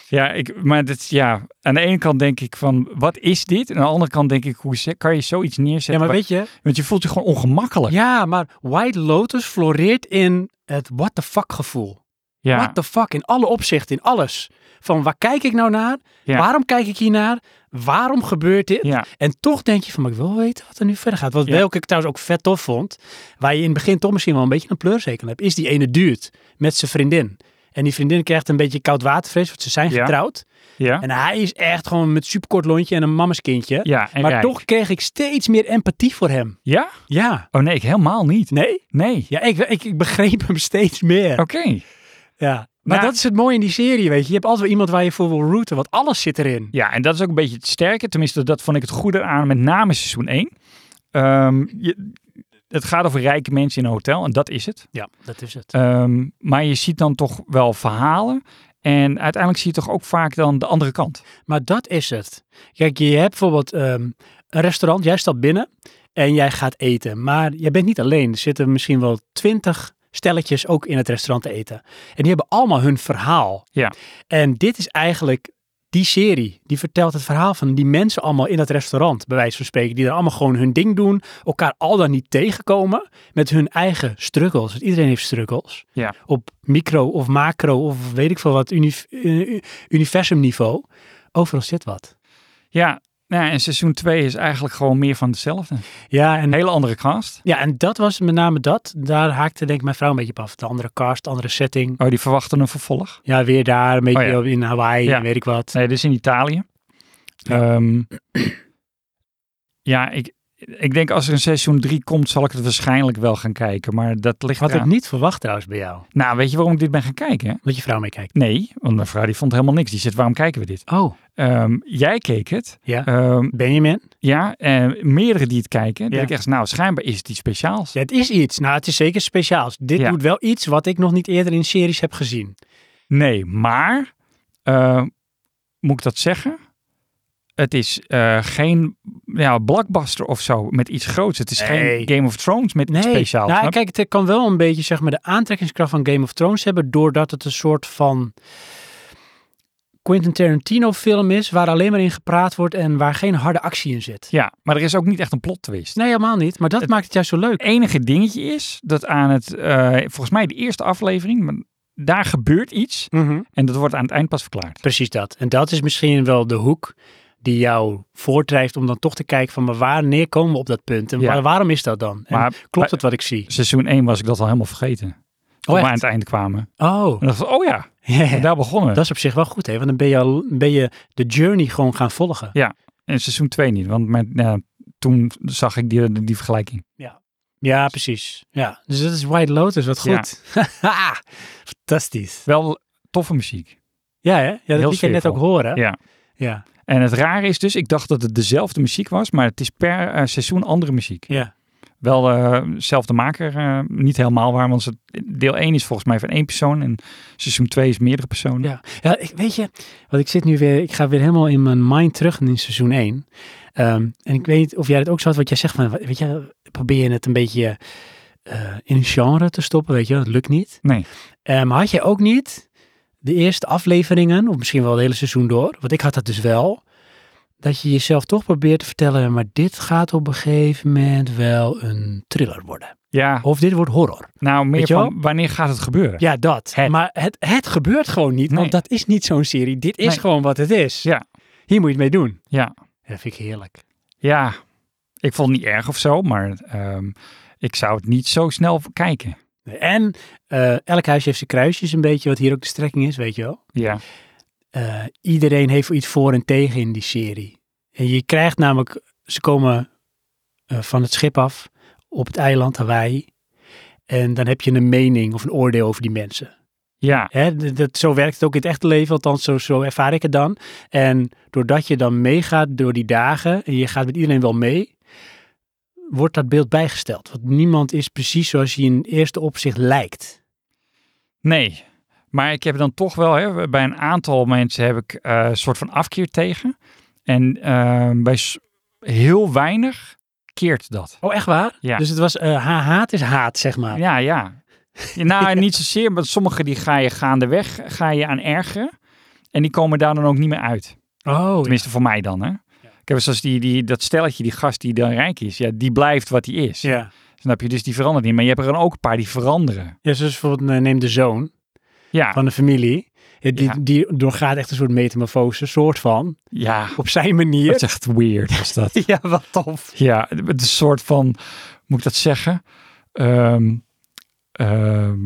S2: ja, ik, maar dat, is- ja, aan de ene kant denk ik van, wat is dit? En aan de andere kant denk ik, hoe ze- kan je zoiets neerzetten?
S1: Ja, maar
S2: Wa-
S1: weet je...
S2: Want je voelt je gewoon ongemakkelijk.
S1: Ja, maar White Lotus floreert in het what the fuck gevoel.
S2: Ja,
S1: What the fuck, in alle opzichten, in alles. Van waar kijk ik nou naar?
S2: Ja.
S1: Waarom kijk ik hier naar? Waarom gebeurt dit?
S2: ja,
S1: En toch denk je van, maar ik wil wel weten wat er nu verder gaat. Wat
S2: Ja.
S1: welke ik trouwens ook vet tof vond, waar je in het begin toch misschien wel een beetje een pleurzeker aan hebt, is die ene duurt met zijn vriendin. En die vriendin krijgt een beetje koud watervrees, want ze zijn
S2: Ja.
S1: getrouwd.
S2: Ja,
S1: En eh, hij is echt gewoon met superkort lontje en een mammerskindje.
S2: ja en
S1: maar
S2: rijk.
S1: toch kreeg ik steeds meer empathie voor hem.
S2: Ja?
S1: Ja.
S2: Oh nee, ik helemaal niet.
S1: Nee?
S2: Nee.
S1: Ja, ik, ik, ik begreep hem steeds meer.
S2: Oké.
S1: Ja. Maar
S2: Nou-
S1: dat is het mooie in die serie, weet je. Je hebt altijd wel iemand waar je voor wil routen, want alles zit erin.
S2: Ja, en dat is ook een beetje het sterke. Tenminste, dat vond ik het goede aan, met name seizoen 1. het gaat over rijke mensen in een hotel en dat is het.
S1: Ja, dat is het.
S2: Ehm, maar je ziet dan toch wel verhalen. En uiteindelijk zie je toch ook vaak dan de andere kant.
S1: Maar dat is het. Kijk, je hebt bijvoorbeeld ehm, een restaurant. Jij stapt binnen en jij gaat eten. Maar jij bent niet alleen. Er zitten misschien wel twintig stelletjes ook in het restaurant te eten. En die hebben allemaal hun verhaal.
S2: Ja.
S1: En dit is eigenlijk die serie. Die vertelt het verhaal van die mensen allemaal in dat restaurant. Bij wijze van spreken. Die er allemaal gewoon hun ding doen. Elkaar al dan niet tegenkomen. Met hun eigen struggles. Want iedereen heeft struggles.
S2: Ja.
S1: Op micro of macro of weet ik veel wat. Uni universum niveau. Overal zit wat.
S2: Ja, nou, en seizoen 2 is eigenlijk gewoon meer van hetzelfde.
S1: Ja en,
S2: Een hele andere cast.
S1: ja, en dat was met name dat. Daar haakte denk ik mijn vrouw een beetje op af. De andere cast, andere setting.
S2: Oh, die verwachten een vervolg.
S1: Ja, weer daar, een beetje
S2: Oh
S1: in Hawaii
S2: Ja.
S1: en weet ik wat.
S2: Nee, dit is in Italië. Ja, ja ik, ik denk als er een seizoen 3 komt, zal ik het waarschijnlijk wel gaan kijken. Maar dat ligt
S1: Had ik
S2: eraan.
S1: niet verwacht trouwens bij jou.
S2: Nou, weet je waarom ik dit ben gaan kijken? hè?
S1: Dat je vrouw mee kijkt.
S2: Nee, want mijn vrouw die vond helemaal niks. Die zegt, waarom kijken we dit?
S1: Oh,
S2: Ehm, jij keek het.
S1: ja.
S2: Ehm,
S1: Benjamin?
S2: ja, en meerdere die het kijken. Dat
S1: Ja.
S2: ik echt, nou, schijnbaar is het iets speciaals.
S1: Ja, het is iets. Nou, het is zeker speciaals. Dit
S2: Ja.
S1: doet wel iets wat ik nog niet eerder in series heb gezien.
S2: Nee, maar eh, moet ik dat zeggen? Het is eh, geen ja, blockbuster of zo met iets groots. Het is
S1: Nee.
S2: geen Game of Thrones met
S1: Nee.
S2: iets speciaals.
S1: nou,
S2: snap je?
S1: kijk, het kan wel een beetje zeg maar, de aantrekkingskracht van Game of Thrones hebben. Doordat het een soort van Quentin Tarantino film is. Waar alleen maar in gepraat wordt en waar geen harde actie in zit.
S2: Ja, maar er is ook niet echt een plot twist.
S1: Nee, helemaal niet. Maar dat
S2: Het-
S1: maakt het juist zo leuk.
S2: Het enige dingetje is dat aan het, eh, volgens mij de eerste aflevering, maar daar gebeurt iets en dat wordt aan het eind pas verklaard.
S1: Precies dat. En dat is misschien wel de hoek die jou voortdrijft om dan toch te kijken van maar wanneer komen we op dat punt? En
S2: Ja.
S1: waar- waarom is dat dan? En
S2: Maar
S1: klopt het wat ik zie?
S2: seizoen 1 was ik dat al helemaal vergeten. Toen
S1: Oh,
S2: we aan
S1: echt?
S2: het eind kwamen. En
S1: Oh,
S2: dan dacht ik, oh ja, daar begonnen we.
S1: dat is op zich wel goed, hè? Want dan ben je, al, ben je de journey gewoon gaan volgen.
S2: En seizoen 2 niet, want mijn, nou, toen zag ik die, die vergelijking.
S1: Ja, precies. Ja, dus dat is White Lotus, wat
S2: Ja.
S1: goed. Haha, Fantastisch.
S2: Wel toffe muziek.
S1: Ja, hè? Ja, dat
S2: Heel
S1: liet je net
S2: sfeervol.
S1: ook horen. hè?
S2: Ja.
S1: Ja.
S2: En het rare is dus, ik dacht dat het dezelfde muziek was, maar het is per eh, seizoen andere muziek.
S1: ja.
S2: Wel eh, dezelfde maker, eh, niet helemaal waar, want ze- deel 1 is volgens mij van één persoon en seizoen 2 is meerdere personen.
S1: Ja, ja ik, weet je, want ik zit nu weer, ik ga weer helemaal in mijn mind terug in seizoen 1. en ik weet niet of jij dat ook zo had, wat jij zegt van, weet je, probeer je het een beetje eh, in een genre te stoppen, weet je, dat lukt niet.
S2: Nee.
S1: Eh, maar had je ook niet de eerste afleveringen, of misschien wel het hele seizoen door, want ik had dat dus wel, dat je jezelf toch probeert te vertellen, maar dit gaat op een gegeven moment wel een thriller worden.
S2: Ja,
S1: Of dit wordt horror.
S2: nou meer
S1: Weet je wel?
S2: van wanneer gaat het gebeuren?
S1: Ja, dat.
S2: Het.
S1: Maar het, het gebeurt gewoon niet,
S2: Nee.
S1: want dat is niet zo'n serie. Dit is
S2: Nee.
S1: gewoon wat het is.
S2: Ja.
S1: Hier moet je het mee doen.
S2: Ja.
S1: Dat vind ik heerlijk.
S2: Ja, ik vond het niet erg of zo, maar ehm, ik zou het niet zo snel kijken.
S1: En eh, elk huis heeft zijn kruisjes een beetje, wat hier ook de strekking is, weet je wel.
S2: Ja,
S1: Eh, iedereen heeft iets voor en tegen in die serie. En je krijgt namelijk, ze komen eh, van het schip af op het eiland Hawaii. En dan heb je een mening of een oordeel over die mensen.
S2: ja,
S1: Hè, d- dat, zo werkt het ook in het echte leven, althans zo, zo ervaar ik het dan. En doordat je dan meegaat door die dagen en je gaat met iedereen wel mee, wordt dat beeld bijgesteld. Want niemand is precies zoals hij in eerste opzicht lijkt.
S2: nee. Maar ik heb dan toch wel, hè, bij een aantal mensen heb ik eh, een soort van afkeer tegen. En ehm, bij s- heel weinig keert dat.
S1: Oh, echt waar?
S2: Ja.
S1: Dus het was, eh, ha haat is haat, zeg maar.
S2: Ja, ja. Ja, Nou, niet zozeer, maar sommige die ga je gaandeweg ga je aan ergeren. En die komen daar dan ook niet meer uit.
S1: Oh,
S2: Tenminste, voor mij dan, hè. Ik heb zoals die, die, dat stelletje, die gast die dan rijk is, ja, die blijft wat hij is.
S1: ja.
S2: Snap je? Dus die verandert niet. Maar je hebt er dan ook een paar die veranderen.
S1: ja. Zoals bijvoorbeeld, eh, neem de zoon
S2: Ja,
S1: van de familie. Ja, Die,
S2: Ja.
S1: die doorgaat echt een soort metamorfose, soort van,
S2: ja.
S1: op zijn
S2: Dat is
S1: manier.
S2: echt weird, is dat.
S1: Ja, wat tof.
S2: Ja, het is een soort van, moet ik dat zeggen? Ehm, ehm,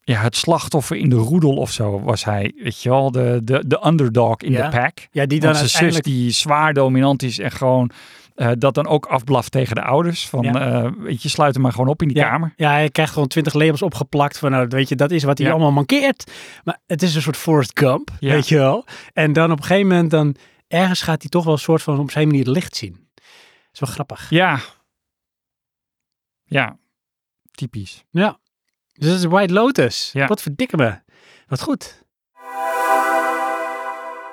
S2: ja, het slachtoffer in de roedel of zo was hij. Weet je wel, de, de, de underdog in de
S1: Ja.
S2: pack.
S1: Ja, die dan
S2: Want zijn zus
S1: uiteindelijk...
S2: die zwaar dominant is en gewoon eh, dat dan ook afblaft tegen de ouders. Van,
S1: Ja.
S2: eh, weet je, sluit hem maar gewoon op in die kamer.
S1: Ja, hij krijgt gewoon twintig labels opgeplakt van, nou, weet je, dat is wat hij
S2: Ja.
S1: allemaal mankeert. Maar het is een soort Forrest Gump,
S2: Ja.
S1: weet je wel. En dan op een gegeven moment, dan ergens gaat hij toch wel een soort van op zijn manier het licht zien. Dat is wel grappig.
S2: Ja. Ja. Typisch.
S1: Ja. Dus dat is White Lotus.
S2: Ja.
S1: Wat verdikken me. Wat goed.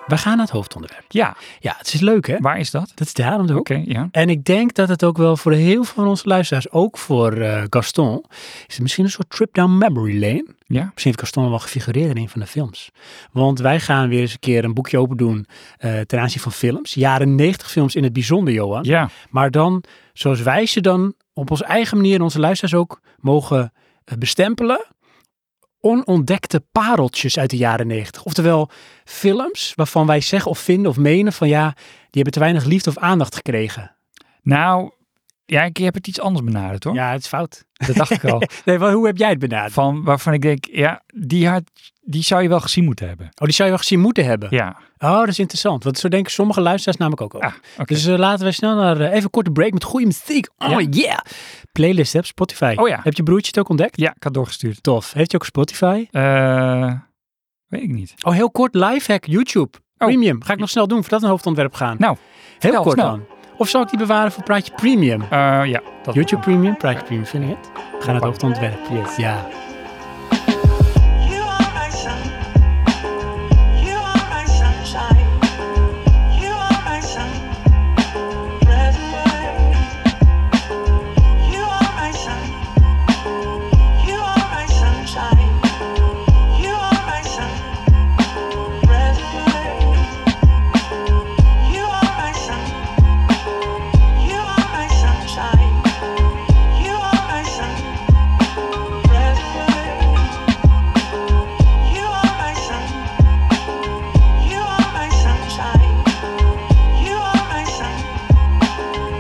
S1: We gaan naar het hoofdonderwerp.
S2: Ja.
S1: Ja, het is leuk hè.
S2: Waar is dat?
S1: Dat is daar om de hoek.
S2: Oké, ja.
S1: En ik denk dat het ook wel voor heel veel van onze luisteraars, ook voor eh, Gaston, is het misschien een soort trip down memory lane.
S2: Ja.
S1: Misschien heeft Gaston wel gefigureerd in een van de films. Want wij gaan weer eens een keer een boekje open doen eh, ten aanzien van films. Jaren 90 films in het bijzonder, Johan.
S2: Ja.
S1: Maar dan, zoals wij ze dan op onze eigen manier, en onze luisteraars ook, mogen eh, bestempelen. Onontdekte pareltjes uit de jaren 90. Oftewel films waarvan wij zeggen of vinden of menen van ja, die hebben te weinig liefde of aandacht gekregen.
S2: Nou, ja, ik heb het iets anders benaderd hoor.
S1: Ja, het is fout.
S2: Dat dacht ik al.
S1: Nee, wel, hoe heb jij het benaderd?
S2: Van waarvan ik denk, ja, die, had, die zou je wel gezien moeten hebben.
S1: Oh, die zou je wel gezien moeten hebben.
S2: Ja.
S1: Oh, dat is interessant. Want zo denken sommige luisteraars namelijk ook over.
S2: Ah, oké.
S1: Dus eh, laten we snel naar eh, even een korte break met goede muziek. Oh
S2: Ja.
S1: yeah! Playlist hè, op Spotify.
S2: Oh ja.
S1: Heb je broertje het ook ontdekt?
S2: Ja, ik had doorgestuurd.
S1: Tof. Heeft je ook Spotify?
S2: Eh, weet ik niet.
S1: Oh, heel kort. Lifehack, YouTube. Premium. Ga ik nog snel doen voordat we een hoofdonderwerp gaan.
S2: Nou,
S1: heel
S2: vertel
S1: kort
S2: snel.
S1: dan. Of zal ik die bewaren voor Praatje Premium?
S2: Eh, ja. Dat
S1: YouTube Premium, Praatje Premium, vind ik het? Ga naar het hoofdontwerp. Yes. Ja.
S4: You are my sun. You are my sunshine. You are my sun. Red You are my sun. You are my sunshine. You are my sun. Red You are my sun. You are my sunshine. You are my sun. Red you are my sun. You are my sunshine. You are my sun. Red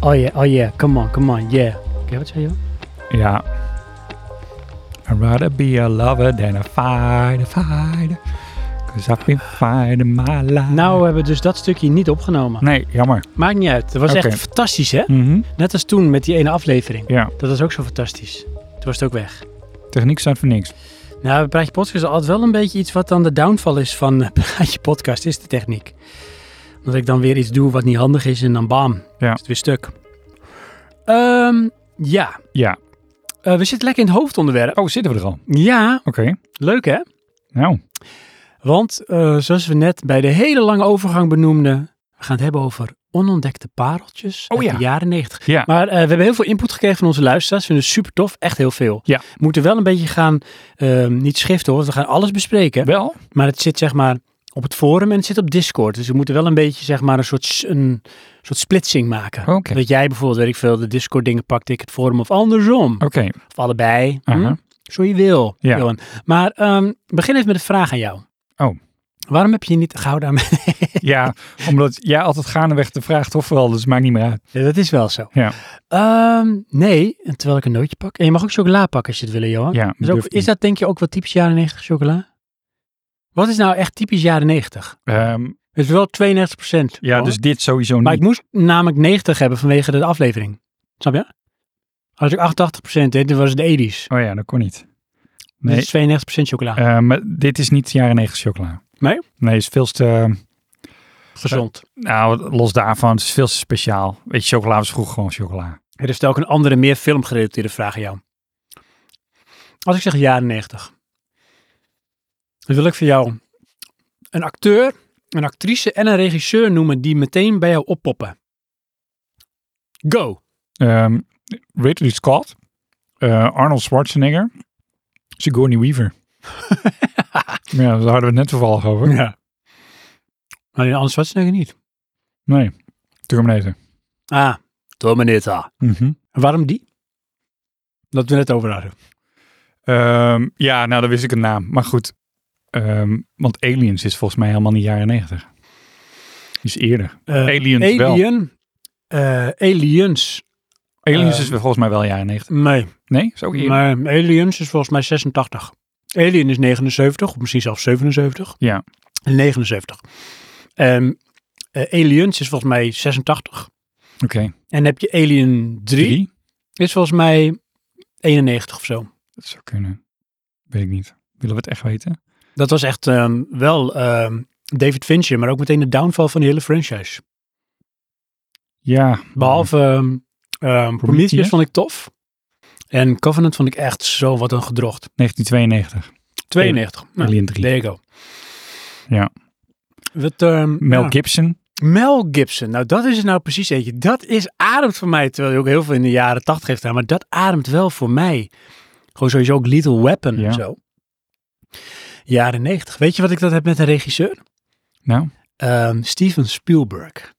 S1: Oh yeah, oh yeah. Come on, come on, yeah. Oké, wat zei je?
S2: Ja. I'd rather be a lover than a fighter, fighter. Cause I've been fighting my life.
S1: Nou, we hebben dus dat stukje niet opgenomen.
S2: Nee, jammer.
S1: Maakt niet uit. Dat was
S2: Oké.
S1: echt fantastisch, hè?
S2: Mhm.
S1: Net als toen met die ene aflevering.
S2: Ja,
S1: Dat was ook zo fantastisch. Toen was het ook weg.
S2: techniek staat voor niks.
S1: Nou, Praatje Podcast is altijd wel een beetje iets wat dan de downfall is van eh, Praatje Podcast, is de techniek. Omdat ik dan weer iets doe wat niet handig is en dan bam,
S2: Ja.
S1: is het weer stuk. Ehm, ja,
S2: Ja.
S1: Eh, we zitten lekker in het hoofdonderwerp.
S2: Oh, zitten we er al? Oké.
S1: Ja, leuk hè?
S2: Nou,
S1: Want eh, zoals we net bij de hele lange overgang benoemden, we gaan het hebben over onontdekte pareltjes
S2: Oh
S1: uit
S2: ja.
S1: de jaren negentig.
S2: ja.
S1: Maar eh, we hebben heel veel input gekregen van onze luisteraars. Vinden het super tof. Echt heel veel.
S2: Ja.
S1: We moeten wel een beetje gaan, ehm, niet schiften hoor, want we gaan alles bespreken.
S2: Wel?
S1: Maar het zit zeg maar op het forum en het zit op Discord. Dus we moeten wel een beetje zeg maar een soort, s- een soort splitsing maken.
S2: Oké.
S1: Dat jij bijvoorbeeld, weet ik veel, de Discord dingen pakt, ik het forum of andersom.
S2: Oké.
S1: Of allebei. Hm?
S2: Oh. Aha.
S1: Zo je wil,
S2: Ja.
S1: Johan. Maar ehm, begin even met een vraag aan jou.
S2: Oh.
S1: Waarom heb je je niet gehouden aan mij?
S2: Ja, omdat jij altijd gaandeweg de vraag toch wel, dus maakt niet meer uit.
S1: Ja, dat is wel zo.
S2: Ja.
S1: Ehm, nee, en terwijl ik een nootje pak. En je mag ook chocola pakken als je het wil, Johan.
S2: Ja,
S1: Is,
S2: durf
S1: ook-
S2: ik
S1: is
S2: niet.
S1: dat denk je ook wel typisch jaren 90 chocola? Wat is nou echt typisch jaren 90?
S2: Ehm,
S1: Het is wel 92 procent.
S2: ja, dus dit sowieso
S1: Maar
S2: niet.
S1: ik moest namelijk 90 hebben vanwege de aflevering. Snap je? Als ik 88 procent deed, dan was het de 80s.
S2: Oh ja, dat kon niet.
S1: Nee.
S2: Nee, eh,
S1: Dit is 92 procent chocola.
S2: ehm, dit is niet jaren 90 chocola.
S1: Nee?
S2: Nee, is veel te...
S1: gezond.
S2: Nou, los daarvan, het is veel te speciaal. Weet je, chocola was vroeger gewoon chocola.
S1: Er is ook een andere, meer filmgerelateerde vraag aan jou. Als ik zeg jaren 90, dan wil ik voor jou een acteur, een actrice en een regisseur noemen die meteen bij jou oppoppen. Go.
S2: Ehm, Ridley Scott, eh, Arnold Schwarzenegger, Sigourney Weaver. ja, daar hadden we het net toevallig over.
S1: Ja. Maar in anders was het niet.
S2: Nee, Terminator.
S1: Ah, Terminator.
S2: Mhm.
S1: En waarom die? Dat we net over hadden.
S2: Ehm, ja, nou, dan wist ik een naam. Maar goed, ehm, want Aliens is volgens mij helemaal niet jaren negentig. Is eerder.
S1: Eh,
S2: Aliens wel.
S1: Alien. eh, aliens.
S2: Aliens
S1: eh,
S2: is volgens mij wel jaren negentig.
S1: Nee.
S2: Nee, is ook eerder.
S1: Maar Aliens is volgens mij 86. Alien is 79, of misschien zelfs 77.
S2: ja.
S1: En 79. Ehm, eh, Aliens is volgens mij 86.
S2: Oké.
S1: En heb je Alien 3,
S2: Drie?
S1: is volgens mij 91 of zo.
S2: Dat zou kunnen. Weet ik niet. Willen we het echt weten?
S1: Dat was echt ehm, wel ehm, David Fincher, maar ook meteen de downfall van de hele franchise.
S2: Ja.
S1: Behalve ehm ehm, Prometheus
S2: Prometheus?
S1: vond ik tof. En Covenant vond ik echt zo wat een gedrocht.
S2: 1992.
S1: 92. Nou,
S2: Alien 3.
S1: There you go.
S2: Ja.
S1: Wat, ehm,
S2: Mel
S1: ja.
S2: Gibson.
S1: Mel Gibson. Nou, dat is het nou precies eentje. Dat is ademt voor mij, terwijl hij ook heel veel in de jaren tachtig heeft gedaan. Maar dat ademt wel voor mij. Gewoon sowieso ook Little Weapon
S2: Ja.
S1: en zo. Jaren negentig. Weet je wat ik dat heb met een regisseur?
S2: Nou,
S1: Ehm, Steven Spielberg.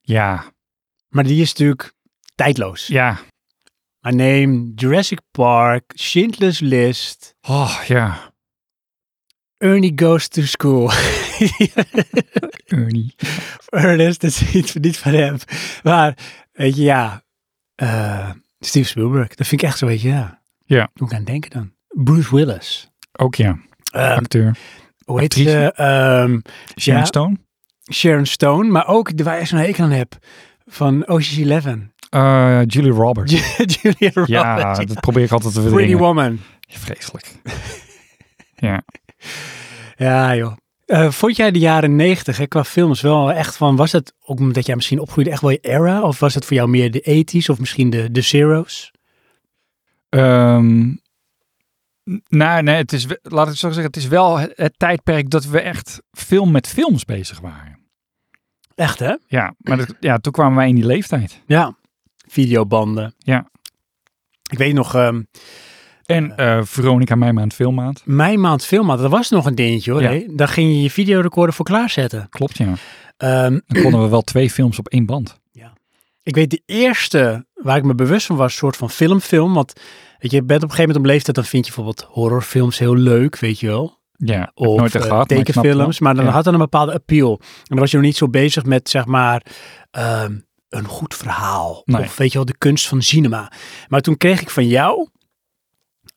S2: ja.
S1: Maar die is natuurlijk tijdloos.
S2: Ja.
S1: Maar neem Jurassic Park, Schindler's List,
S2: Oh, ja.
S1: Ernie Goes to School.
S2: Ernie.
S1: Ernest, dat is niet, niet van hem. Maar, weet je, ja. eh, Steve Spielberg, dat vind ik echt zo, weet je, ja.
S2: Ja.
S1: Moet ik aan denken dan. Bruce Willis.
S2: Ook ja.
S1: Ehm,
S2: Acteur.
S1: hoe heet
S2: actrice.
S1: ze? Ehm,
S2: Sharon
S1: ja,
S2: Stone.
S1: Sharon Stone. Maar ook, de- waar ik zo'n hekel aan heb, van Ocean's Eleven.
S2: Eh, Julie Roberts.
S1: Julia Roberts.
S2: Ja, dat probeer ik altijd te
S1: Pretty
S2: verdringen.
S1: Woman.
S2: Vreselijk. ja.
S1: Ja, joh. Eh, vond jij de jaren negentig qua films wel echt van, was dat ook omdat jij misschien opgroeide echt wel je era? Of was dat voor jou meer de 80s of misschien de, de zeros?
S2: Ehm, n- nou, nee, het is, we- laat ik het zo zeggen, het is wel het, het tijdperk dat we echt veel met films bezig waren.
S1: Echt hè?
S2: Ja, maar dat, ja, toen kwamen wij in die leeftijd.
S1: Ja, videobanden.
S2: Ja.
S1: Ik weet nog, ehm,
S2: En eh Veronica Mijmaand Filmmaand.
S1: mijn maand filmmaand, dat was nog een dingetje hoor.
S2: Ja.
S1: hè? Daar ging je je videorecorder voor klaarzetten.
S2: Klopt, ja.
S1: Ehm,
S2: Dan konden we wel twee films op één band.
S1: ik weet de eerste waar ik me bewust van was, soort van filmfilm. Want weet je, je bent op een gegeven moment op leeftijd, dan vind je bijvoorbeeld horrorfilms heel leuk, weet je wel.
S2: Ja, heb ik
S1: Of
S2: nooit echt
S1: eh,
S2: gehad. maar ik snap het wel.
S1: tekenfilms, maar dan
S2: Ja.
S1: had dat een bepaalde appeal. En dan was je nog niet zo bezig met, zeg maar, ehm, een goed verhaal.
S2: Nee.
S1: Of weet je wel, de kunst van cinema. Maar toen kreeg ik van jou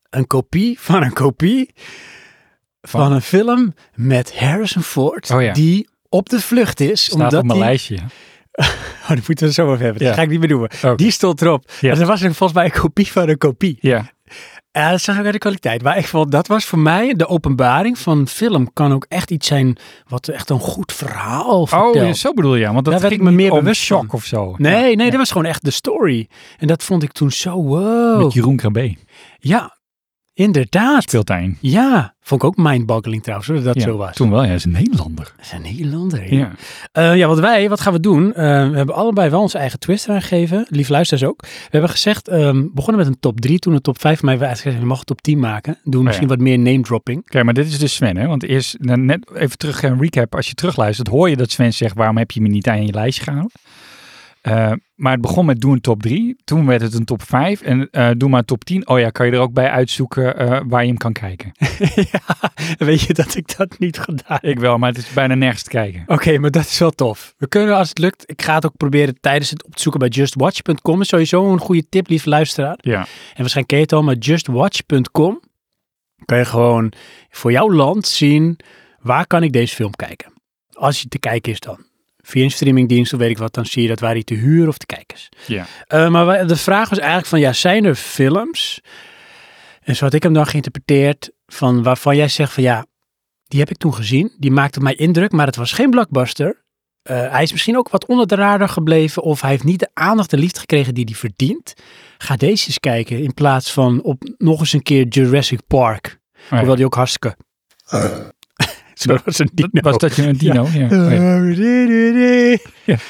S1: een kopie van een kopie van,
S2: Van?
S1: een film met Harrison Ford.
S2: Oh ja.
S1: Die op de vlucht is.
S2: Staat op mijn
S1: die-
S2: lijstje. ja.
S1: Oh, dat moeten we zo over hebben.
S2: Ja.
S1: Dat ga ik niet meer doen.
S2: Oké.
S1: Die stond erop.
S2: Ja.
S1: En dat was volgens mij een kopie van een kopie.
S2: Ja,
S1: Ja, Eh, dat zag ik uit de kwaliteit. Maar ik vond, dat was voor mij de openbaring van film. Kan ook echt iets zijn wat echt een goed verhaal vertelt.
S2: oh, zo bedoel je. ja, Want dat
S1: Daar werd
S2: ging
S1: ik me
S2: niet
S1: meer
S2: om
S1: bewust van.
S2: shock of zo.
S1: Nee, nee, dat was gewoon echt de story. En dat vond ik toen zo, wow.
S2: Met Jeroen Krabbe.
S1: Ja, inderdaad.
S2: Speelt hij in.
S1: Ja, vond ik ook mindboggling trouwens, hoor, dat dat
S2: Ja,
S1: zo was.
S2: Toen wel, ja, hij is een Nederlander.
S1: Dat is een Nederlander. hè?
S2: Ja.
S1: Eh, ja, wat wij, wat gaan we doen? Eh, we hebben allebei wel onze eigen twist eraan gegeven. Lief luisteraars ook. We hebben gezegd, ehm, begonnen met een top 3. Toen een top 5, maar we eigenlijk gezegd, we mogen top 10 maken.
S2: Oh
S1: Doen we misschien wat meer name dropping.
S2: Oké, maar dit is dus Sven, hè? Want eerst, nou, net even terug een recap. Als je terugluistert, hoor je dat Sven zegt, waarom heb je me niet aan je lijstje gehouden? Eh, maar het begon met doe een top 3. Toen werd het een top 5. En eh, doe maar een top 10. Oh ja, kan je er ook bij uitzoeken eh, waar je hem kan kijken.
S1: Weet je dat ik dat niet gedaan heb?
S2: Ik wel, maar het is bijna nergens te kijken.
S1: Oké, maar dat is wel tof. We kunnen als het lukt, ik ga het ook proberen tijdens het op te zoeken bij justwatch.com. Is sowieso een goede tip, lieve luisteraar.
S2: Ja.
S1: En waarschijnlijk ken je het al, maar justwatch.com kan je gewoon voor jouw land zien waar kan ik deze film kijken. Als hij te kijken is dan. Via een streamingdienst of weet ik wat, dan zie je dat waar hij te huren of te kijken is.
S2: ja.
S1: Eh, maar wij- de vraag was eigenlijk van, ja, zijn er films? En zo had ik hem dan geïnterpreteerd van waarvan jij zegt van, ja, Die heb ik toen gezien. Die maakte mij indruk, maar het was geen blockbuster. Eh, hij is misschien ook wat onder de radar gebleven of hij heeft niet de aandacht en liefde gekregen die hij verdient. Ga deze eens kijken in plaats van op nog eens een keer Jurassic Park.
S2: ja.
S1: Hoewel die ook hartstikke... Zo was een dino.
S2: Was dat je een dino? Ja.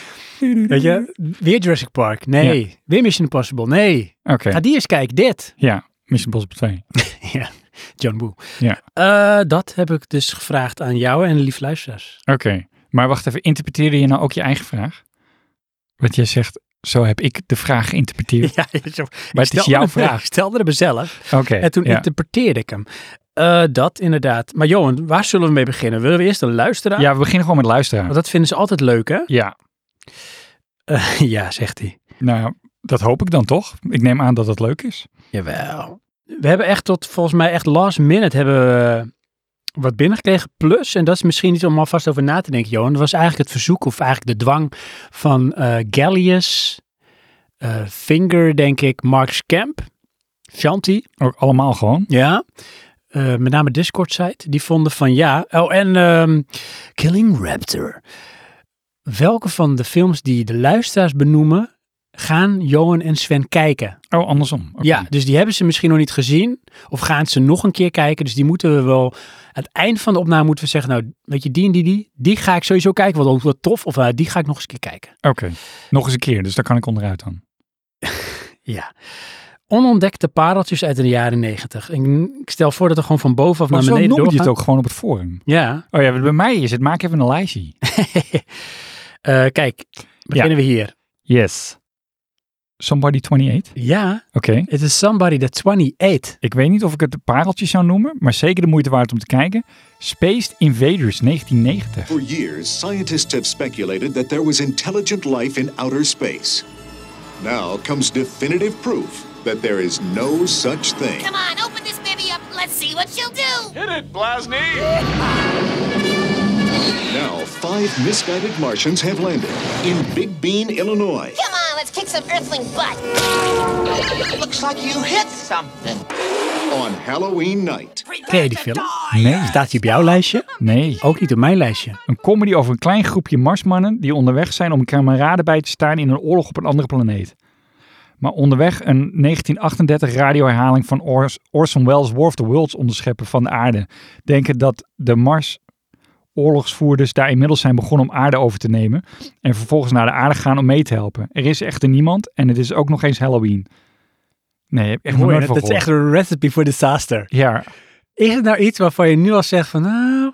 S2: Oh, ja. Ja.
S1: Weet je, weer Jurassic Park. Nee. Weer Mission Impossible. Nee.
S2: Oké,
S1: Ga die eens kijken. Dit.
S2: ja. Mission Impossible 2.
S1: Ja. John Woo.
S2: Ja.
S1: Eh, dat heb ik dus gevraagd aan jou en lief luisteraars.
S2: Oké, maar wacht even. Interpreteerde je nou ook je eigen vraag? Want jij zegt, zo heb ik de vraag geïnterpreteerd.
S1: Ja, zo.
S2: Maar het is jouw vraag.
S1: Ik stelde hem mezelf.
S2: Oké.
S1: En toen
S2: ja.
S1: interpreteerde ik hem. Eh, dat inderdaad. Maar Johan, waar zullen we mee beginnen? Willen we eerst een luisteraar?
S2: ja, we beginnen gewoon met luisteren.
S1: Want dat vinden ze altijd leuk, hè?
S2: Ja,
S1: Eh, ja, zegt hij.
S2: nou, dat hoop ik dan toch. Ik neem aan dat het leuk is.
S1: Jawel. We hebben echt tot, volgens mij, echt last minute hebben we wat binnengekregen. Plus, en dat is misschien niet om alvast over na te denken, Johan. Dat was eigenlijk het verzoek of eigenlijk de dwang van eh Gallius, eh, Finger, denk ik, Mark Camp, Shanti.
S2: Ook allemaal gewoon.
S1: Ja. Eh, met name Discord-site. Die vonden van ja. Oh, en ehm, Killing Raptor. Welke van de films die de luisteraars benoemen, gaan Johan en Sven kijken?
S2: Oh, andersom. Oké.
S1: Ja, dus die hebben ze misschien nog niet gezien. Of gaan ze nog een keer kijken. Dus die moeten we wel. Aan het eind van de opname moeten we zeggen. Nou, weet je, die en die, die. Die ga ik sowieso kijken. Want ook wat tof. Of eh, die ga ik nog eens een keer kijken.
S2: Oké, nog eens een keer. Dus daar kan ik onderuit dan.
S1: Ja. Onontdekte pareltjes uit de jaren negentig. Ik, ik stel voor dat we gewoon van bovenaf
S2: Maar
S1: naar
S2: zo
S1: beneden
S2: noem je het
S1: doorgaan.
S2: ook gewoon op het forum.
S1: Ja.
S2: Oh ja, bij mij is het. Maak even een lijstje.
S1: Eh, kijk, beginnen we hier.
S2: Yes. Somebody 28. Oké.
S1: Ja, het is Somebody That 28.
S2: Ik weet niet of ik het de pareltjes zou noemen, maar zeker de moeite waard om te kijken. Spaced Invaders 1990.
S5: For years, scientists have speculated that there was intelligent life in outer space. Now comes definitive proof that there is no such thing.
S6: Come on, open this baby up. Let's see what she'll do.
S5: Now, five misguided Martians have landed in Big Bean, Illinois.
S6: Come on, let's kick some earthling butt.
S7: Looks like you hit something.
S5: On Halloween night,
S1: Ken je die film?
S2: Nee.
S1: Staat die op jouw lijstje?
S2: Nee.
S1: Ook niet op mijn lijstje.
S2: Een comedy over een klein groepje marsmannen die onderweg zijn om een kameraden bij te staan in een oorlog op een andere planeet. Maar onderweg een 1938 radioherhaling van Ors- Orson Welles' War of the Worlds onderscheppen van de aarde. Denken dat de Mars oorlogsvoerders daar inmiddels zijn begonnen om aarde over te nemen. En vervolgens naar de aarde gaan om mee te helpen. Er is echter niemand en het is ook nog eens Halloween. Nee, heb ik echt nog nooit van
S1: dat is echt
S2: gehoord.
S1: een recipe for disaster.
S2: Ja,
S1: Is het nou iets waarvan je nu al zegt van, nou,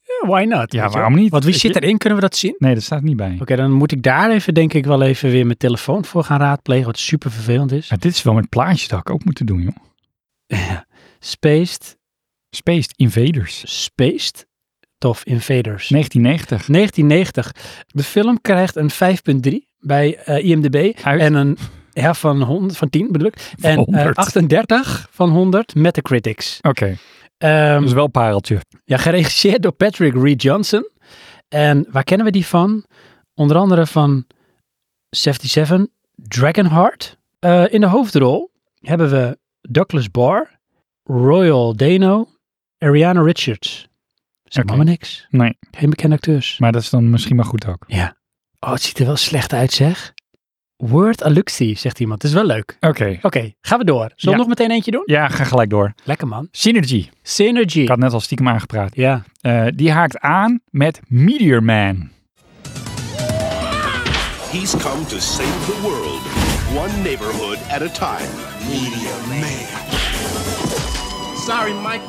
S1: ja, why not? Weet je
S2: waarom
S1: wel?
S2: niet?
S1: Want wie
S2: Weet
S1: zit
S2: je?
S1: erin? Kunnen we dat zien? Oké,
S2: nee, dat staat niet bij.
S1: dan moet ik daar even, denk ik, wel even weer mijn telefoon voor gaan raadplegen, wat super vervelend is.
S2: Maar dit is wel met plaatjes dat ik ook moeten doen, joh.
S1: Spaced,
S2: Spaced Invaders,
S1: Spaced, Tof Invaders.
S2: 1990.
S1: 1990. De film krijgt een 5.3 bij eh, IMDb.
S2: Uit?
S1: En een ja, van, 100, van 10 bedoel ik. En eh,
S2: 100.
S1: 38 van 100 Metacritics.
S2: Oké,
S1: Ehm,
S2: dat is wel pareltje.
S1: Ja, geregisseerd door Patrick Reed Johnson. En waar kennen we die van? Onder andere van 77, Dragonheart. Eh, in de hoofdrol hebben we Douglas Barr, Royal Dano, Ariana Richards. Zeg
S2: Oké.
S1: maar niks.
S2: Nee,
S1: Geen bekende acteurs.
S2: maar dat is dan misschien maar goed ook.
S1: Ja. Oh, het ziet er wel slecht uit, zeg. Word Aluxi, zegt iemand. Dat is wel leuk.
S2: Oké.
S1: Oké, gaan we door. Zullen we
S2: Ja.
S1: nog meteen eentje doen?
S2: Ja, ga gelijk door.
S1: Lekker, man.
S2: Synergy.
S1: Synergy.
S2: Ik had net al stiekem aangepraat.
S1: Ja.
S2: Eh, die haakt aan met Meteor Man.
S8: He's come to save the world, one neighborhood at a time. Media Man. Sorry, Mike.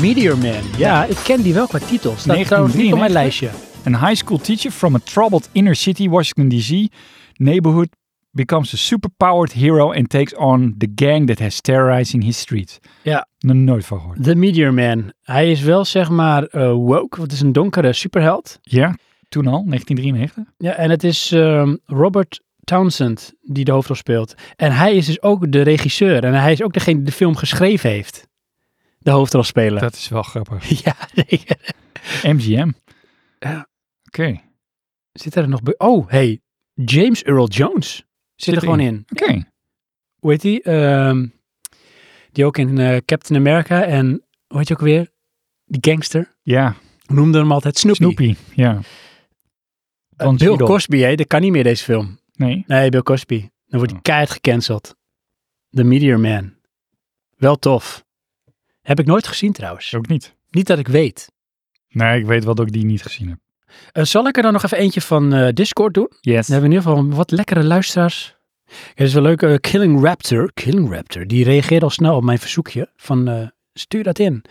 S1: Meteor Man. Ja, ik ken die wel qua titel. Staat trouwens niet op mijn
S2: 1993.
S1: lijstje.
S2: Een high school teacher from a troubled inner city, Washington D.C. neighborhood becomes a superpowered hero and takes on the gang that has terrorizing his streets.
S1: Ja.
S2: Nog nooit van gehoord.
S1: The Meteor Man. Hij is wel zeg maar eh, woke, want het is een donkere superheld.
S2: Ja, toen al, 1993.
S1: Ja, en het is ehm, Robert Townsend die de hoofdrol speelt. En hij is dus ook de regisseur. En hij is ook degene die de film geschreven heeft. De hoofdrolspeler.
S2: Dat is wel grappig.
S1: Ja, nee.
S2: MGM.
S1: Ja.
S2: Oké.
S1: Zit er nog bij? Oh, hey. James Earl Jones. Zit, er gewoon in.
S2: Oké.
S1: Hoe heet die? Ehm, die ook in eh, Captain America en, hoe heet je ook weer? die gangster,
S2: Ja,
S1: noemde hem altijd Snoopy.
S2: Snoopy. Ja.
S1: Eh,
S2: Want
S1: Bill
S2: Idol.
S1: Cosby, hè, dat kan niet meer deze film.
S2: Nee.
S1: Nee, Bill Cosby. Dan wordt hij keihard gecanceld. The Meteor Man. Wel tof. Heb ik nooit gezien trouwens.
S2: Ook niet.
S1: Niet dat ik weet.
S2: Nee, ik weet wel dat ik die niet gezien heb.
S1: Eh, zal ik er dan nog even eentje van eh, Discord doen?
S2: Yes.
S1: Dan hebben we in ieder geval wat lekkere luisteraars. Het is wel leuk. eh, Killing Raptor. Killing Raptor. Die reageerde al snel op mijn verzoekje. Van eh, stuur dat in.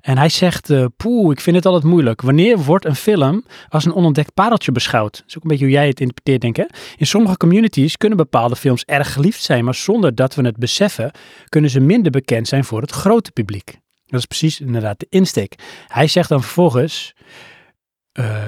S1: En hij zegt, eh, poeh, ik vind het altijd moeilijk. Wanneer wordt een film als een onontdekt pareltje beschouwd? Dat is ook een beetje hoe jij het interpreteert, denk ik. hè? In sommige communities kunnen bepaalde films erg geliefd zijn, maar zonder dat we het beseffen, kunnen ze minder bekend zijn voor het grote publiek. Dat is precies inderdaad de insteek. Hij zegt dan vervolgens, eh,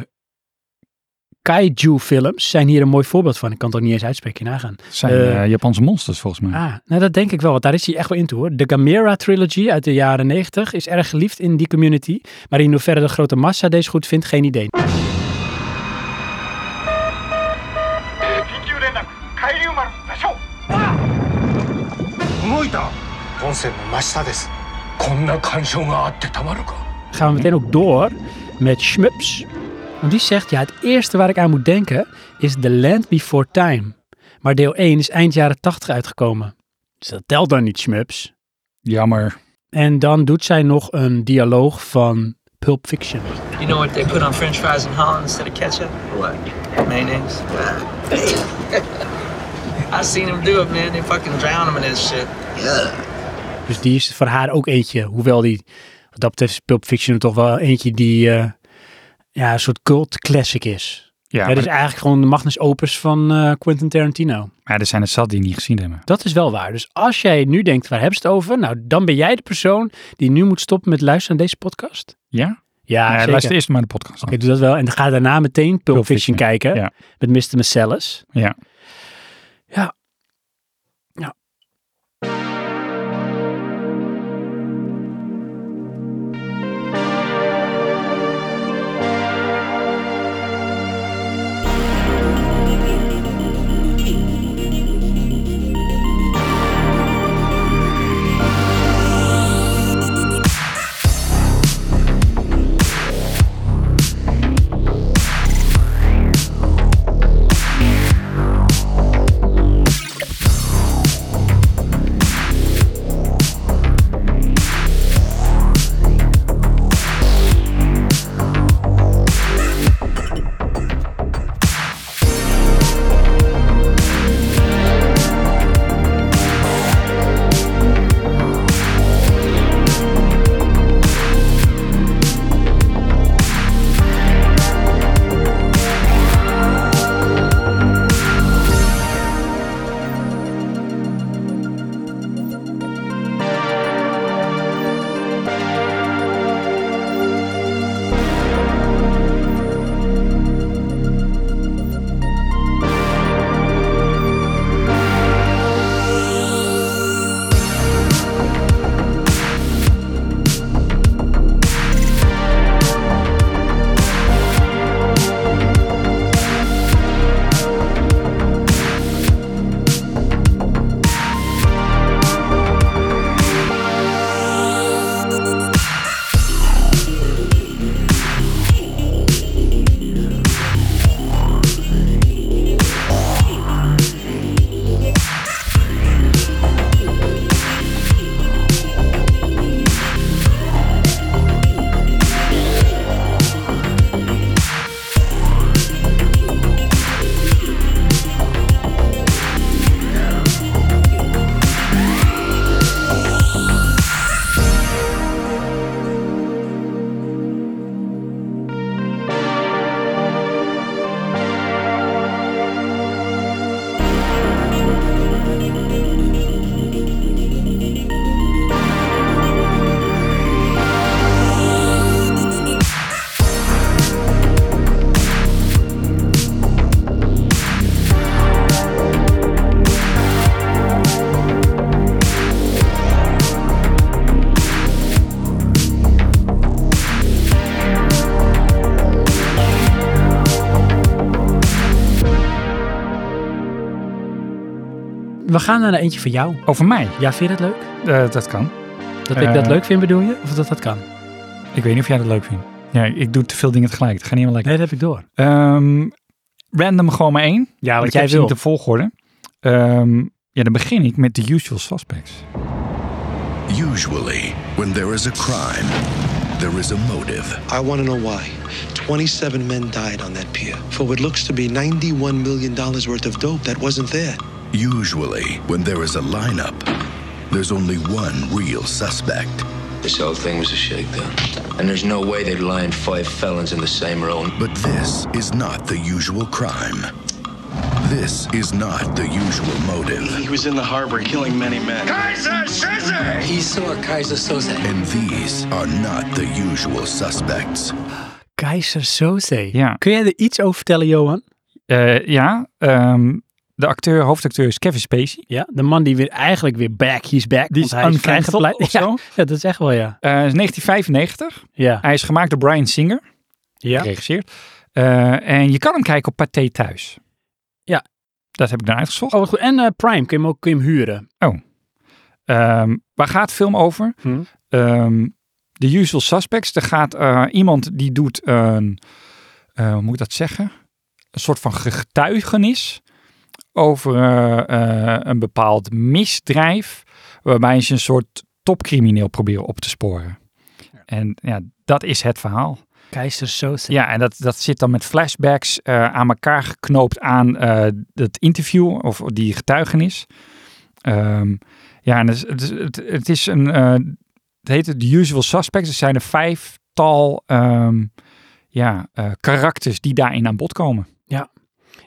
S1: kaiju films zijn hier een mooi voorbeeld van. Ik kan het ook niet eens uitspreken, nagaan.
S2: zijn
S1: eh,
S2: eh, Japanse monsters volgens mij.
S1: Ah, nou dat denk ik wel, want daar is hij echt wel in toe hoor. De Gamera trilogy uit de jaren 90 is erg geliefd in die community. Maar in hoeverre de grote massa deze goed vindt, geen idee.
S9: 緊急連絡海流丸座礁動いた本線の真下ですこんな干渉があってたまるか
S1: Gaan we meteen ook door met Schmups. Want die zegt, ja het eerste waar ik aan moet denken is The Land Before Time. Maar deel 1 is eind jaren 80 uitgekomen. Dus dat telt dan niet, Schmups.
S2: Jammer.
S1: En dan doet zij nog een dialoog van Pulp Fiction.
S10: You know what they put on french fries in Holland instead of ketchup? What? Mayonnaise. I seen them do it, man. They fucking drown them in that shit.
S1: Dus die is voor haar ook eentje. Hoewel die, wat dat betreft, is Pulp Fiction toch wel eentje die eh, ja, een soort cult classic is.
S2: Ja,
S1: dat
S2: maar,
S1: is eigenlijk gewoon de magnus opus van eh, Quentin Tarantino.
S2: maar er zijn er zat die niet gezien hebben.
S1: Dat is wel waar. Dus als jij nu denkt, waar hebben ze het over? Nou, dan ben jij de persoon die nu moet stoppen met luisteren naar deze podcast.
S2: Ja?
S1: Ja,
S2: nee,
S1: Ah, zeker.
S2: luister eerst maar de podcast.
S1: Ik doe dat wel. En ga daarna meteen Pulp,
S2: Pulp
S1: Fiction,
S2: Fiction,
S1: kijken
S2: ja.
S1: met Mr. Marcellus.
S2: Ja.
S1: Ja. Ja. We gaan naar eentje van jou.
S2: Over mij?
S1: Ja, vind je dat leuk?
S2: Eh, dat kan.
S1: Dat ik dat
S2: Eh.
S1: leuk vind, bedoel je? Of dat dat kan?
S2: Ik weet niet of jij dat leuk vindt. Ja, ik doe te veel dingen tegelijk. Dat gaat niet helemaal lekker.
S1: Nee, dat heb ik door.
S2: Ehm, random gewoon maar één.
S1: Ja,
S2: Want
S1: wat
S2: ik
S1: jij
S2: heb ze
S1: wil.
S2: Niet de volgorde. Ehm, ja, dan begin ik met The Usual Suspects.
S11: Usually, when there is a crime, there is a motive.
S3: I want to know why. 27 men died on that pier for what looks to be $91 million worth of dope that wasn't there.
S11: Usually, when there is a lineup, there's only one real suspect.
S12: This whole thing was a shakedown. And there's no way they'd line five felons in the same room.
S11: But this is not the usual crime. This is not the usual motive.
S13: He was in the harbor killing many men. Kaiser Soze! He saw Kaiser Soze.
S11: And these are not the usual suspects.
S1: Keizer Soze.
S2: Ja.
S1: Kun jij er iets over vertellen, Johan?
S2: Eh, ja, ehm, de acteur, hoofdacteur is Kevin Spacey.
S1: Ja, de man die weer eigenlijk weer back, he's back.
S2: Die is
S1: want hij is
S2: uncancelled
S1: vrijgepleit.
S2: of zo.
S1: Ja, ja, dat is echt wel, ja.
S2: Eh, is 1995.
S1: Ja.
S2: Hij is gemaakt door Brian Singer.
S1: Ja.
S2: Geregisseerd. Eh, en je kan hem kijken op Pathé Thuis.
S1: Ja.
S2: Dat heb ik dan uitgezocht.
S1: Oh, wat goed. En eh, Prime, kun je hem ook kun je hem huren.
S2: Ehm, waar gaat de film over?
S1: Hm.
S2: Ehm, The Usual Suspects. Er gaat eh, iemand die doet een, eh, hoe moet ik dat zeggen? Een soort van getuigenis over eh, eh, een bepaald misdrijf. Waarbij ze een soort topcrimineel proberen op te sporen. En ja, dat is het verhaal.
S1: Keizer Soze.
S2: Ja, en dat, dat zit dan met flashbacks eh, aan elkaar geknoopt aan eh, het interview of die getuigenis. Ehm, ja, en het, is- het, is- het, het is een. eh, het heet het The Usual Suspects. Er zijn een vijftal ehm, ja, eh, karakters die daarin aan bod komen.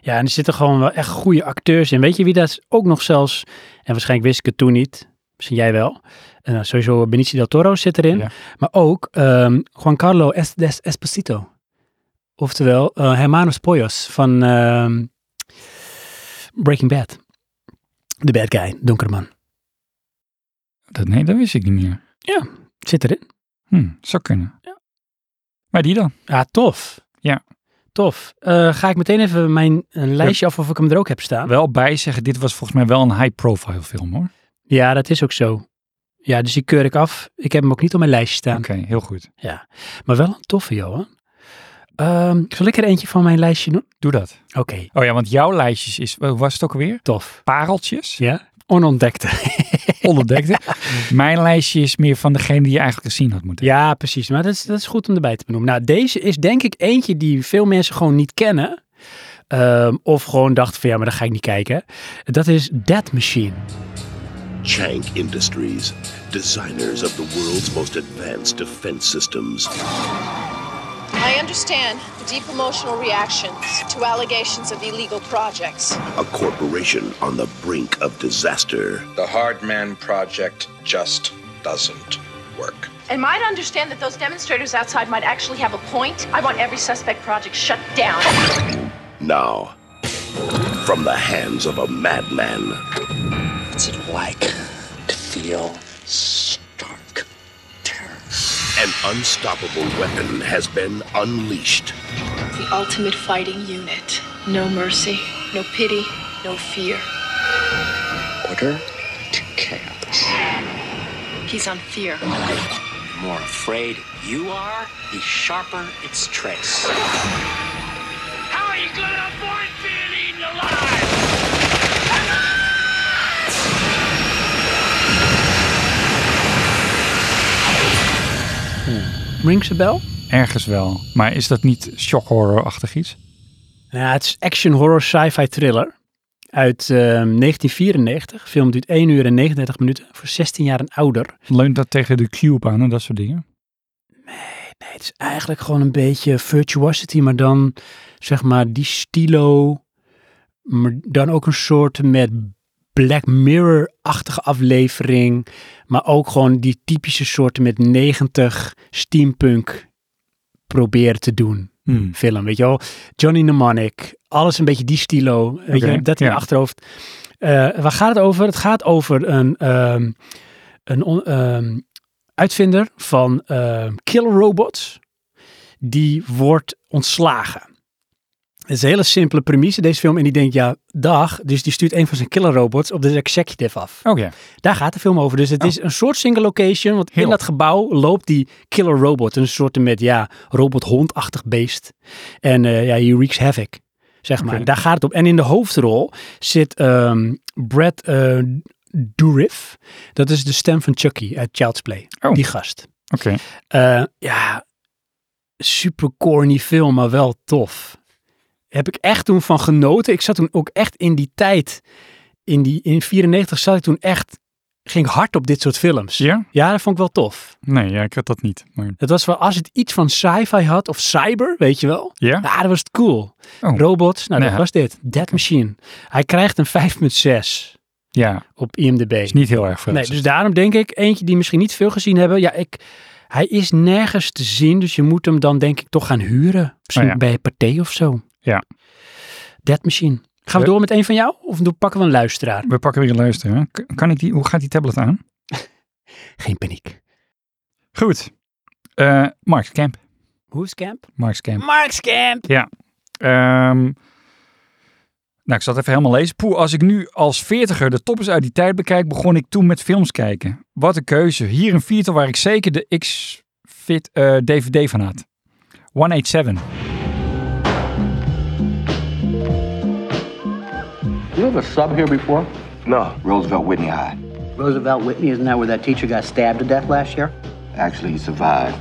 S1: Ja, en er zitten gewoon wel echt goede acteurs in. Weet je wie dat is? ook nog zelfs, en waarschijnlijk wist ik het toen niet, misschien jij wel. En dan sowieso Benicio del Toro zit erin.
S2: Ja.
S1: Maar ook ehm Juancarlo Es- Des- Esposito. Oftewel eh, Hermanos Poyos van ehm, Breaking Bad. De bad guy, donkere man.
S2: Dat, nee, dat wist ik niet meer.
S1: Ja, zit erin.
S2: Hm, zou kunnen. Maar die dan?
S1: Ja, Ah, tof.
S2: Ja.
S1: Tof. Eh, ga ik meteen even mijn een lijstje af of ik hem er ook heb staan.
S2: Wel bij zeggen, dit was volgens mij wel een high-profile film hoor.
S1: Ja, dat is ook zo. Ja, dus die keur ik af. Ik heb hem ook niet op mijn lijstje staan.
S2: Oké, heel goed.
S1: Ja, maar wel een toffe, Johan. Ehm, zal ik er eentje van mijn lijstje doen?
S2: Doe dat.
S1: Oké,
S2: Oh ja, want jouw lijstjes is, hoe was het ook alweer?
S1: tof.
S2: Pareltjes.
S1: Ja? Onontdekte.
S2: Onontdekte. Mijn lijstje is meer van degene die je eigenlijk gezien had moeten.
S1: ja, precies. Maar dat is, dat is goed om erbij te benoemen. Nou, deze is denk ik eentje die veel mensen gewoon niet kennen. Ehm, of gewoon dachten van ja, maar dat ga ik niet kijken. Dat is Dead Machine.
S14: Chank Industries, designers of the world's most advanced defense systems.
S15: I understand the deep emotional reactions to allegations of illegal projects.
S14: A corporation on the brink of disaster.
S16: The Hardman Project just doesn't work.
S15: And might understand that those demonstrators outside might actually have a point. I want every suspect project shut down.
S14: Now, from the hands of a madman. What's it like to feel stark terror? An unstoppable weapon has been unleashed.
S15: The ultimate fighting unit. No mercy, no pity, no fear.
S10: Order to chaos.
S15: He's on fear.
S10: More afraid you are, the sharper its trace.
S17: How are you gonna avoid being eaten alive?
S1: Rings a bell?
S2: Ergens wel. Maar is dat niet shock horror-achtig iets?
S1: Nou, ja, het is action horror sci-fi thriller uit ehm, 1994. film duurt 1 uur en 39 minuten voor 16 jaar en ouder.
S2: Leunt dat tegen de cube aan en dat soort dingen?
S1: Nee, het is eigenlijk gewoon een beetje virtuosity, maar dan zeg maar die stilo, maar dan ook een soort met Black Mirror-achtige aflevering, maar ook gewoon die typische soorten met 90 steampunk proberen te doen.
S2: Hmm.
S1: Film, weet je wel. Johnny Mnemonic, alles een beetje die stilo, weet
S2: Oké,
S1: je, dat in
S2: ja.
S1: je achterhoofd. Eh, waar gaat het over? Het gaat over een, ehm, een on- ehm, uitvinder van ehm killer robots. Die wordt ontslagen. Het is een hele simpele premisse, deze film. En die denkt, ja, dag. Dus die stuurt een van zijn killerrobots op de executive af.
S2: Oh ja.
S1: Daar gaat de film over. Dus
S2: Oh.
S1: het is een soort single location. Want in dat gebouw loopt die killer robot. Een soort met, ja, robothondachtig beest. En eh, ja, he wreaks havoc. Zeg maar.
S2: Oké.
S1: Daar gaat het op. En in de hoofdrol zit ehm Brad eh, Dourif. Dat is de stem van Chucky uit Child's Play.
S2: Oh.
S1: Die gast.
S2: Oké.
S1: Eh, ja, super corny film, maar wel tof. Heb ik echt toen van genoten. Ik zat toen ook echt in die tijd, in die in 94 zat ik toen echt, ging ik hard op dit soort films.
S2: Ja?
S1: Ja, dat vond ik wel tof.
S2: Nee, ja, ik had dat niet. Maar...
S1: Het was wel, als het iets van sci-fi had, of cyber, weet je wel.
S2: Ja?
S1: Ja, dat was het cool.
S2: Oh.
S1: Robots, nou
S2: Ja.
S1: dat was dit. Dead Machine. Hij krijgt een 5,6
S2: Ja,
S1: op IMDb.
S2: is niet heel erg veel.
S1: Nee, dus daarom denk ik, eentje die misschien niet veel gezien hebben. Ja, ik, hij is nergens te zien, dus je moet hem dan denk ik toch gaan huren. Misschien
S2: Oh ja.
S1: bij Pathé of zo.
S2: Ja.
S1: Dead Machine. Gaan we
S2: Ja.
S1: door met een van jou? Of doen- pakken we een luisteraar?
S2: We pakken weer een luister. hè. K- Kan ik die, hoe gaat die tablet aan?
S1: Geen paniek.
S2: Goed. Eh Marks Camp.
S1: Hoe is Camp?
S2: Marks Camp.
S1: Mark's Camp!
S2: Ja. Ehm, nou, ik zal het even helemaal lezen. Poeh, als ik nu als veertiger de toppers uit die tijd bekijk, begon ik toen met films kijken. Wat een keuze. Hier een viertal waar ik zeker de X-Fit eh, DVD van had. 187.
S15: You have a sub here before? No. Roosevelt Whitney High.
S18: Roosevelt Whitney, isn't that where that teacher got stabbed to death last year?
S15: Actually, he survived.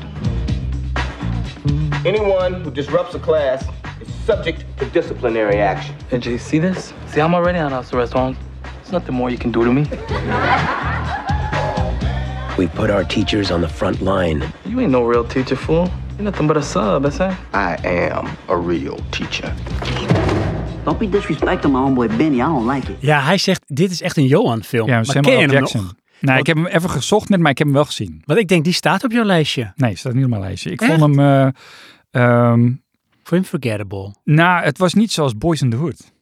S19: Anyone who disrupts a class is subject to disciplinary action.
S10: Did you see this? See, I'm already on house arrest, Holmes. There's nothing more you can do to me.
S18: We put our teachers on the front line.
S10: You ain't no real teacher, fool. You're nothing but a sub, I say.
S15: I am a real teacher.
S18: Don't be disrespectful, my homeboy Benny. I don't like it.
S1: Ja, hij zegt, dit is echt een Johan-film.
S2: Ja,
S1: maar ken je hem
S2: Jackson.
S1: nog?
S2: Nou, ik heb hem even gezocht net, maar ik heb hem wel gezien.
S1: Want ik denk, die staat op jouw lijstje.
S2: Nee, staat niet op mijn lijstje. Ik
S1: Echt?
S2: vond hem... eh, ehm,
S1: Voor him forgettable.
S2: nou, het was niet zoals Boys in the Hood.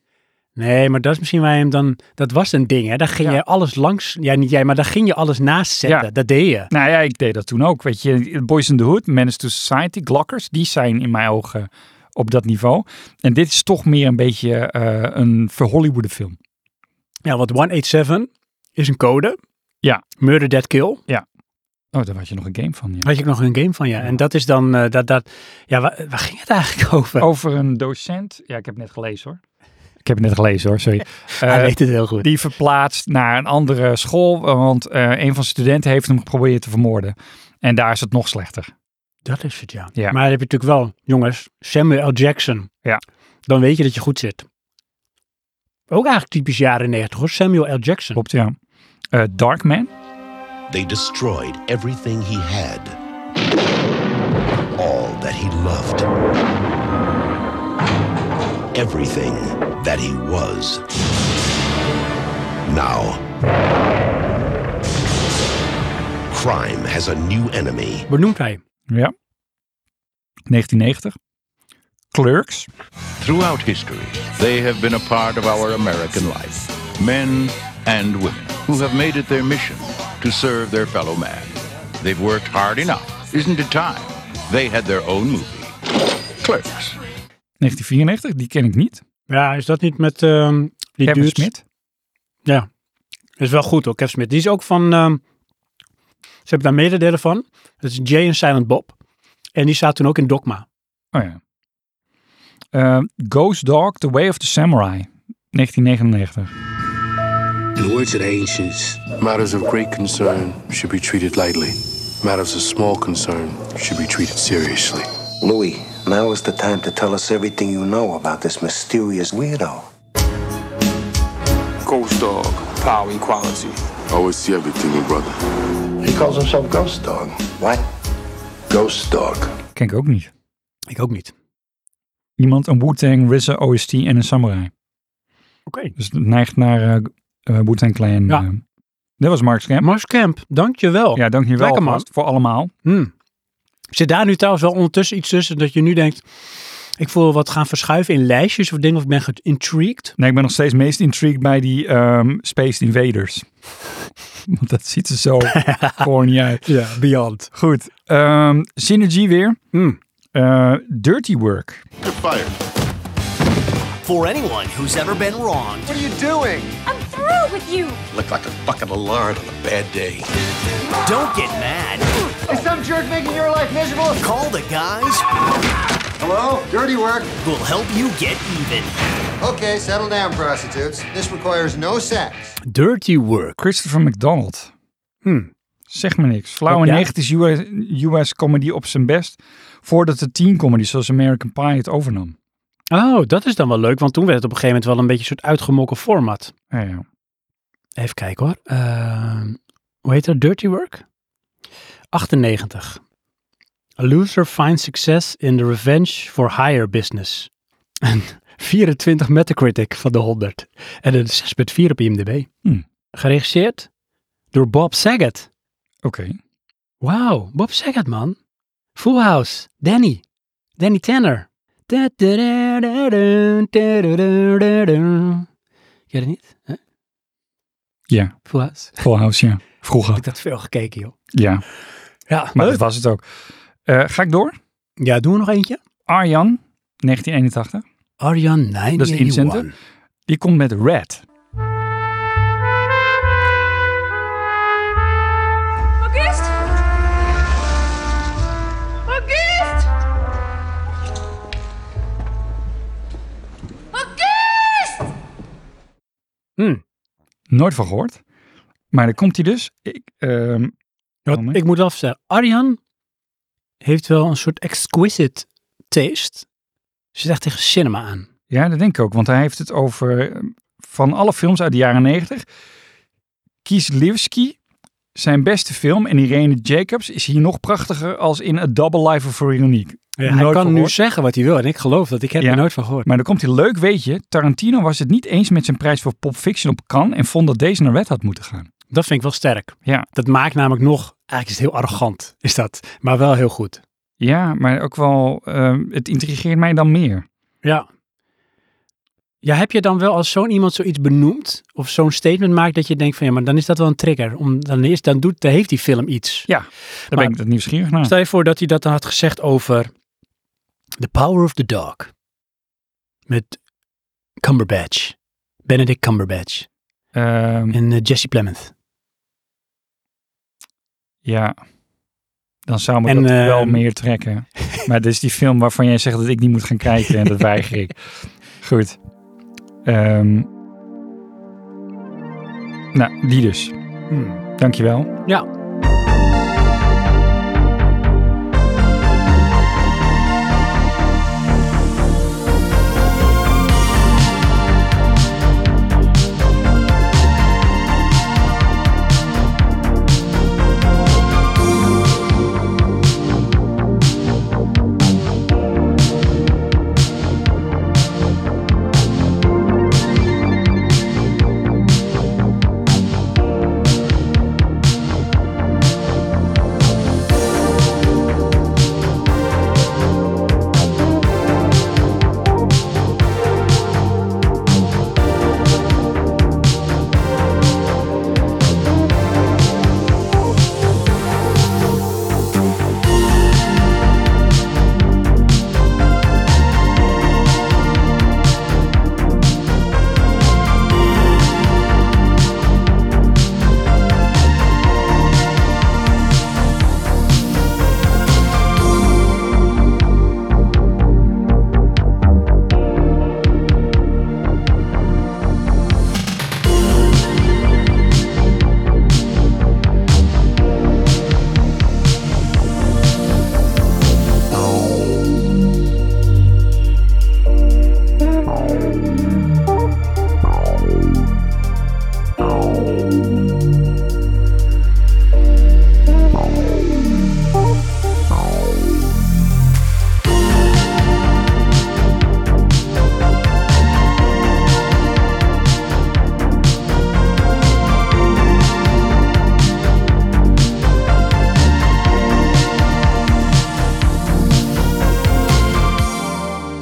S1: Nee, maar dat is misschien waar je hem dan... Dat was een ding, hè? Daar ging jij alles langs... Ja, niet jij, maar daar ging je alles naast zetten.
S2: Ja.
S1: Dat deed je.
S2: Nou ja, ik deed dat toen ook. Weet je, Boys in the Hood, Menace to Society, Glockers, die zijn in mijn ogen op dat niveau. En dit is toch meer een beetje eh, een verhollywoode film.
S1: Ja, want 187 is een code.
S2: Ja.
S1: Murder, Dead, Kill.
S2: Ja. Oh, daar had je nog een game van. Ja.
S1: Had je ook nog een game van, ja. En dat is dan... eh, dat, dat, ja, waar, waar ging het eigenlijk over?
S2: Over een docent. Ja, ik heb het net gelezen hoor. Ik heb het net gelezen hoor, sorry.
S1: Hij
S2: Eh,
S1: weet het heel goed.
S2: Die verplaatst naar een andere school, want eh, een van zijn studenten heeft hem geprobeerd te vermoorden. En daar is het nog slechter.
S1: Dat is het, ja.
S2: Ja.
S1: Maar dan heb je natuurlijk wel, jongens, Samuel L. Jackson.
S2: Ja.
S1: Dan weet je dat je goed zit. Ook eigenlijk typisch jaren 90 hoor, Samuel L. Jackson.
S2: Klopt, ja. Eh Darkman.
S8: They destroyed everything he had, all that he loved, everything that he was. Now, crime has a new enemy.
S1: Benoemt hij.
S2: Ja. 1990. Clerks.
S20: Throughout history, they have been a part of our American life. Men and women who have made it their mission to serve their fellow man. They've worked hard enough. Isn't it time? They had their own movie. Clerks.
S2: 1994, die ken ik niet.
S1: Ja, is dat niet met... ehm, die
S2: Kevin
S1: dudes?
S2: Smith.
S1: Ja. Is wel goed hoor, Kevin Smith. Die is ook van... ehm, ze hebben daar mededelen van. Dat is Jay en Silent Bob. En die staat toen ook in Dogma.
S2: Oh ja. Eh, Ghost Dog, The Way of the Samurai. 1999.
S14: In the words of the ancients, matters of great concern should be treated lightly. Matters of small concern should be treated seriously.
S15: Louis, now is the time to tell us everything you know about this mysterious weirdo.
S14: Ghost dog, power equality. Always see everything, in brother. He calls himself Ghost Dog. What? Ghost Dog.
S2: Ken ik ook niet.
S1: Ik ook niet.
S2: Iemand een Wu-Tang, RZA, OST en een samurai.
S1: Oké.
S2: Dus het neigt naar eh eh, Wu-Tang Clan.
S1: Ja.
S2: eh. dat was Mark Camp.
S1: Mars Camp, dankjewel.
S2: Ja, dankjewel
S1: Lekker, man.
S2: alvast voor allemaal.
S1: Hmm. Zit daar nu trouwens wel ondertussen iets tussen dat je nu denkt, ik voel wat gaan verschuiven in lijstjes of dingen of ik ben geïntrigued?
S2: Nee, ik ben nog steeds meest intrigued bij die ehm, Space Invaders. Want dat ziet er zo corny uit.
S1: Ja, beyond. Hmm.
S2: Goed. ehm, Synergy weer. Eh, dirty Work.
S8: You're fired.
S21: for anyone who's ever been wronged.
S19: What are you doing?
S21: I'm through with you.
S22: Look like a bucket of lard on a bad day.
S21: Don't get mad.
S19: Is some jerk making your life miserable?
S21: Call the guys
S19: Hello? Dirty work.
S21: who'll help you get even.
S23: Okay, settle down, prostitutes. This requires no sex.
S1: Dirty Work.
S2: Christopher McDonald.
S1: Hmm.
S2: Zeg me niks. Flauw
S1: Ook
S2: en
S1: ja?
S2: 90 US, US comedy op zijn best. Voordat de teen comedy zoals American Pie het overnam.
S1: Oh, dat is dan wel leuk, want toen werd het op een gegeven moment wel een beetje een soort uitgemokken format.
S2: Ja, ja.
S1: Even kijken hoor. Ehm, hoe heet dat? Dirty Work? 98. A loser finds success in the revenge for hire business. En 24 Metacritic van de 100. En een 6,4 op IMDb.
S2: Hmm.
S1: Geregisseerd door Bob Saget.
S2: Oké.
S1: Wauw, Bob Saget man. Full House, Danny. Danny Tanner. Ken je dat niet? Hè?
S2: Ja.
S1: Full House.
S2: Full House, ja.
S1: Heb
S2: Vroeger.
S1: ik dat veel gekeken, joh.
S2: Ja.
S1: Ja,
S2: Maar
S1: leuk.
S2: dat was het ook. Eh, ga ik door?
S1: Ja, doen we nog eentje?
S2: Arjan, 1981.
S1: Arjan 981.
S2: Dat is de inzender. Die komt met Red.
S3: August? August? August!
S1: Hmm.
S2: Nooit van gehoord. Maar daar komt hij dus. Ik, ehm,
S1: Wat,
S2: moment.
S1: ik moet wel zeggen, Arjan heeft wel een soort exquisite taste. Ze zegt tegen cinema aan.
S2: ja, dat denk ik ook. Want hij heeft het over eh, van alle films uit de jaren 90. Kieslewski, zijn beste film. En Irene Jacobs is hier nog prachtiger als in A Double Life of Veronique.
S1: hij
S2: Nooit
S1: kan
S2: van
S1: nu
S2: gehoord.
S1: zeggen wat hij wil en ik geloof dat ik heb
S2: Ja.
S1: er nooit van gehoord.
S2: Maar dan komt hij leuk, weet je. Tarantino was het niet eens met zijn prijs voor Pop Fiction op Cannes en vond dat deze naar Red had moeten gaan.
S1: Dat vind ik wel sterk.
S2: Ja.
S1: Dat maakt namelijk nog, eigenlijk is het heel arrogant, is dat. Maar wel heel goed.
S2: Ja, maar ook wel, ehm, het intrigeert mij dan meer.
S1: Ja. Ja, heb je dan wel als zo'n iemand zoiets benoemt of zo'n statement maakt dat je denkt van ja, maar dan is dat wel een trigger. Om, dan, is, dan, doet, dan heeft die film iets.
S2: Ja, daar
S1: Maar-
S2: ben ik dat nieuwsgierig naar.
S1: Stel je voor dat hij dat dan had gezegd over The Power of the Dog. Met Cumberbatch. Benedict Cumberbatch.
S2: Ehm,
S1: En eh, Jesse Plemons.
S2: ja, dan zou me
S1: En,
S2: dat wel
S1: ehm,
S2: meer trekken. maar dit is die film waarvan jij zegt dat ik niet moet gaan kijken en dat weiger ik. Goed. Ehm, nou, die dus.
S1: Hmm.
S2: Dankjewel.
S1: Ja.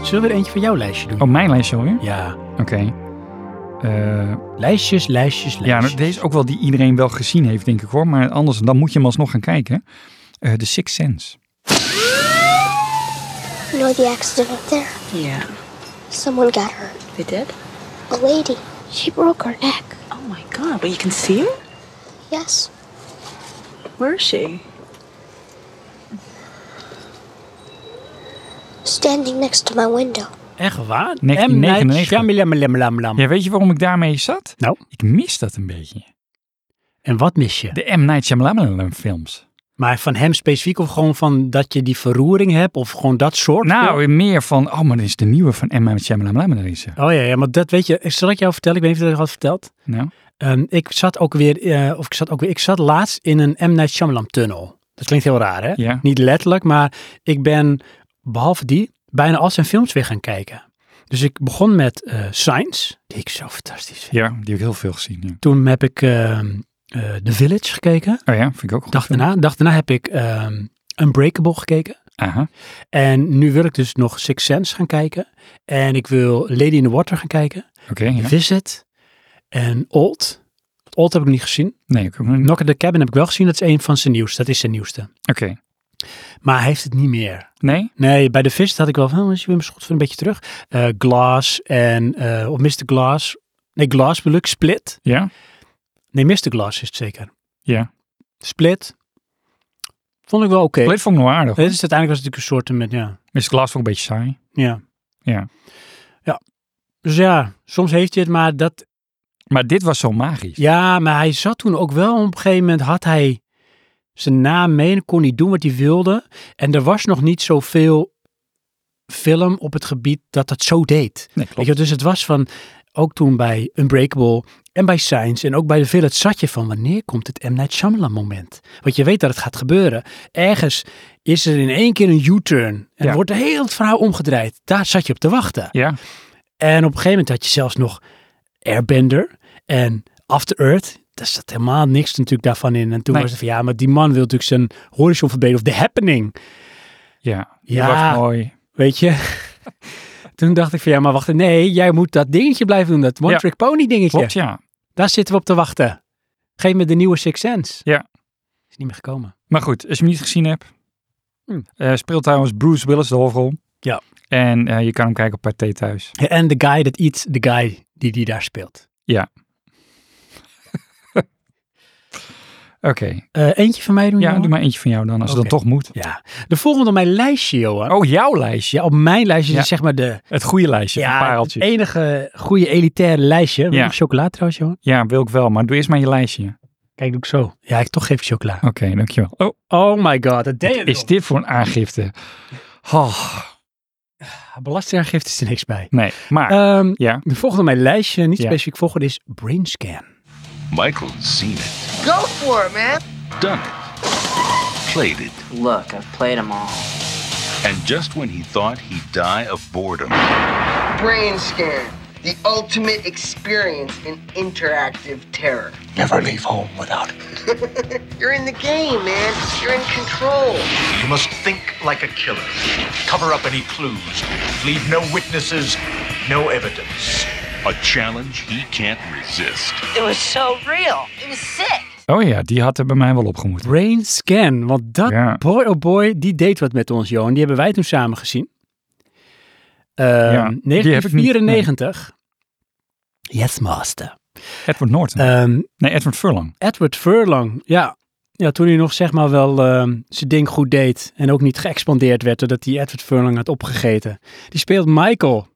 S1: Zullen we er eentje van jouw lijstje doen?
S2: Oh, mijn lijstje alweer?
S1: Ja.
S2: Oké. Eh,
S1: Lijstjes, lijstjes, lijstjes.
S2: ja, nou, deze is ook wel die iedereen wel gezien heeft, denk ik hoor. Maar anders, dan moet je hem alsnog gaan kijken. Eh The Sixth Sense.
S24: You know the accident up there?
S25: Yeah.
S4: Someone got hurt.
S6: They did?
S4: A lady. She broke her neck.
S6: Oh my god, but you can see her?
S4: Yes.
S6: Where is she?
S4: Standing next to my window.
S1: Echt waar?
S2: Nek-
S1: M. Night
S2: 99.
S1: Shyamalan.
S2: Ja, weet je waarom ik daarmee zat?
S1: Nou?
S2: Ik mis dat een beetje.
S1: En wat mis je?
S2: De M. Night Shyamalan films.
S1: Maar van hem specifiek of gewoon van dat je die verroering hebt of gewoon dat soort? film?
S2: Nou, meer van, oh, maar dit is de nieuwe van M. Night Shyamalan. is er.
S1: Oh ja, ja, maar dat weet je. Zal ik jou vertellen? Ik weet niet of ik dat had verteld.
S2: Nou,
S1: Ehm, ik zat ook weer, eh, of ik zat ook weer, ik zat laatst in een M. Night Shyamalan tunnel. Dat klinkt heel raar, hè?
S2: Ja.
S1: Niet letterlijk, maar ik ben, behalve die, bijna al zijn films weer gaan kijken. Dus ik begon met eh Science, die ik zo fantastisch vind.
S2: ja, die heb ik heel veel gezien. Ja.
S1: Toen heb ik ehm, eh, The Village gekeken.
S2: Oh ja, vind ik ook goed.
S1: Dag daarna, dag daarna heb ik ehm, Unbreakable gekeken.
S2: Aha.
S1: En nu wil ik dus nog Six Sense gaan kijken. En ik wil Lady in the Water gaan kijken.
S2: Oké, ja.
S1: Visit en Old. Old heb ik nog niet gezien.
S2: Nee, ik ook nog niet.
S1: Knock at the Cabin heb ik wel gezien. Dat is een van zijn nieuws. Dat is zijn nieuwste.
S2: Oké.
S1: Maar hij heeft het niet meer.
S2: Nee?
S1: Nee, bij de Visit had ik wel van, oh, is hij weer mijn schot voor een beetje terug. Eh, Glass en, eh, of Mr. Glass. Nee, Glass bedoel ik. Split.
S2: Ja?
S1: Nee, Mr. Glass is het zeker.
S2: Ja.
S1: Split. Vond ik wel oké.
S2: Split vond ik nog aardig.
S1: Dit is uiteindelijk was het natuurlijk een soort met, ja.
S2: Mr. Glass vond ik een beetje saai.
S1: ja.
S2: Ja.
S1: Dus ja, soms heeft hij het, maar dat...
S2: Maar dit was zo magisch.
S1: Ja, maar hij zat toen ook wel, op een gegeven moment had hij zijn naam mee en kon hij doen wat hij wilde. En er was nog niet zoveel film op het gebied dat dat zo deed.
S2: Nee,
S1: Weet je, dus het was van, ook toen bij Unbreakable en bij Science en ook bij The Village zat je van, wanneer komt het M. Night Shyamalan moment? Want je weet dat het gaat gebeuren. Ergens is er in één keer een U-turn en
S2: Ja.
S1: wordt heel het verhaal omgedraaid. Daar zat je op te wachten.
S2: Ja.
S1: En op een gegeven moment had je zelfs nog Airbender en After Earth. Daar zat helemaal niks natuurlijk daarvan in. En toen
S2: Nee.
S1: was het van, ja, maar die man wil natuurlijk zijn horizon verbeteren. Of The Happening,
S2: Ja. Die
S1: Ja.
S2: was mooi.
S1: weet je. toen dacht ik van, ja, maar wacht, nee, jij moet dat dingetje blijven doen. Dat One
S2: Ja.
S1: Trick Pony dingetje.
S2: Klopt, ja.
S1: Daar zitten we op te wachten. Geef me de nieuwe Six Sense.
S2: Ja.
S1: Is niet meer gekomen.
S2: Maar goed, als je hem niet gezien hebt,
S1: Hm.
S2: eh, speelt trouwens Bruce Willis de hoofdrol.
S1: Ja.
S2: En eh, je kan hem kijken op Pathé thuis.
S1: En de guy that eats the guy die die daar speelt.
S2: Ja. Oké.
S1: Eh, eentje van mij doen
S2: Ja,
S1: Johan?
S2: doe maar eentje van jou dan, als het
S1: Oké.
S2: dan toch moet.
S1: Ja. De volgende op mijn lijstje, Johan.
S2: Oh, jouw lijstje.
S1: Ja, op mijn lijstje
S2: Ja.
S1: is zeg maar de
S2: Het goede lijstje van pareltjes.
S1: Het enige goede elitaire lijstje. Wil
S2: Ja.
S1: ik chocola trouwens, jongen?
S2: Ja, wil ik wel, maar doe eerst maar je lijstje.
S1: Kijk, doe ik zo. Ja, ik toch geef je chocola.
S2: Oké, dankjewel. Oh,
S1: Oh my god, dat deed je
S2: is dit voor een aangifte? Oh,
S1: nog. Belastingaangifte is dus er niks bij.
S2: nee, maar
S1: Ehm,
S2: ja.
S1: De volgende op mijn lijstje, niet
S2: Ja.
S1: specifiek volgende, is Brainscan.
S8: Michael's seen it,
S24: Go for it, man.
S8: done it, played it,
S6: Look, I've played them all.
S8: and just when he thought he'd die of boredom,
S24: Brain scan. The ultimate experience in interactive terror.
S9: Never leave home without it.
S24: You're in the game, man. You're in control.
S9: You must think like a killer. Cover up any clues. Leave no witnesses, no evidence.
S8: a challenge he can't resist.
S24: It was so real. It was sick.
S2: Oh ja, die had er bij mij wel opgemoet.
S1: Brainscan, want dat,
S2: Ja.
S1: boy oh boy, die deed wat met ons, Johan. Die hebben wij toen samen gezien. Ehm,
S2: Ja, die heb ik niet.
S1: 1994. Yes, master.
S2: Edward Norton.
S1: Ehm,
S2: nee, Edward Furlong.
S1: Edward Furlong, ja. Ja, toen hij nog zeg maar wel ehm, zijn ding goed deed en ook niet geëxpandeerd werd doordat hij Edward Furlong had opgegeten. Die speelt Michael.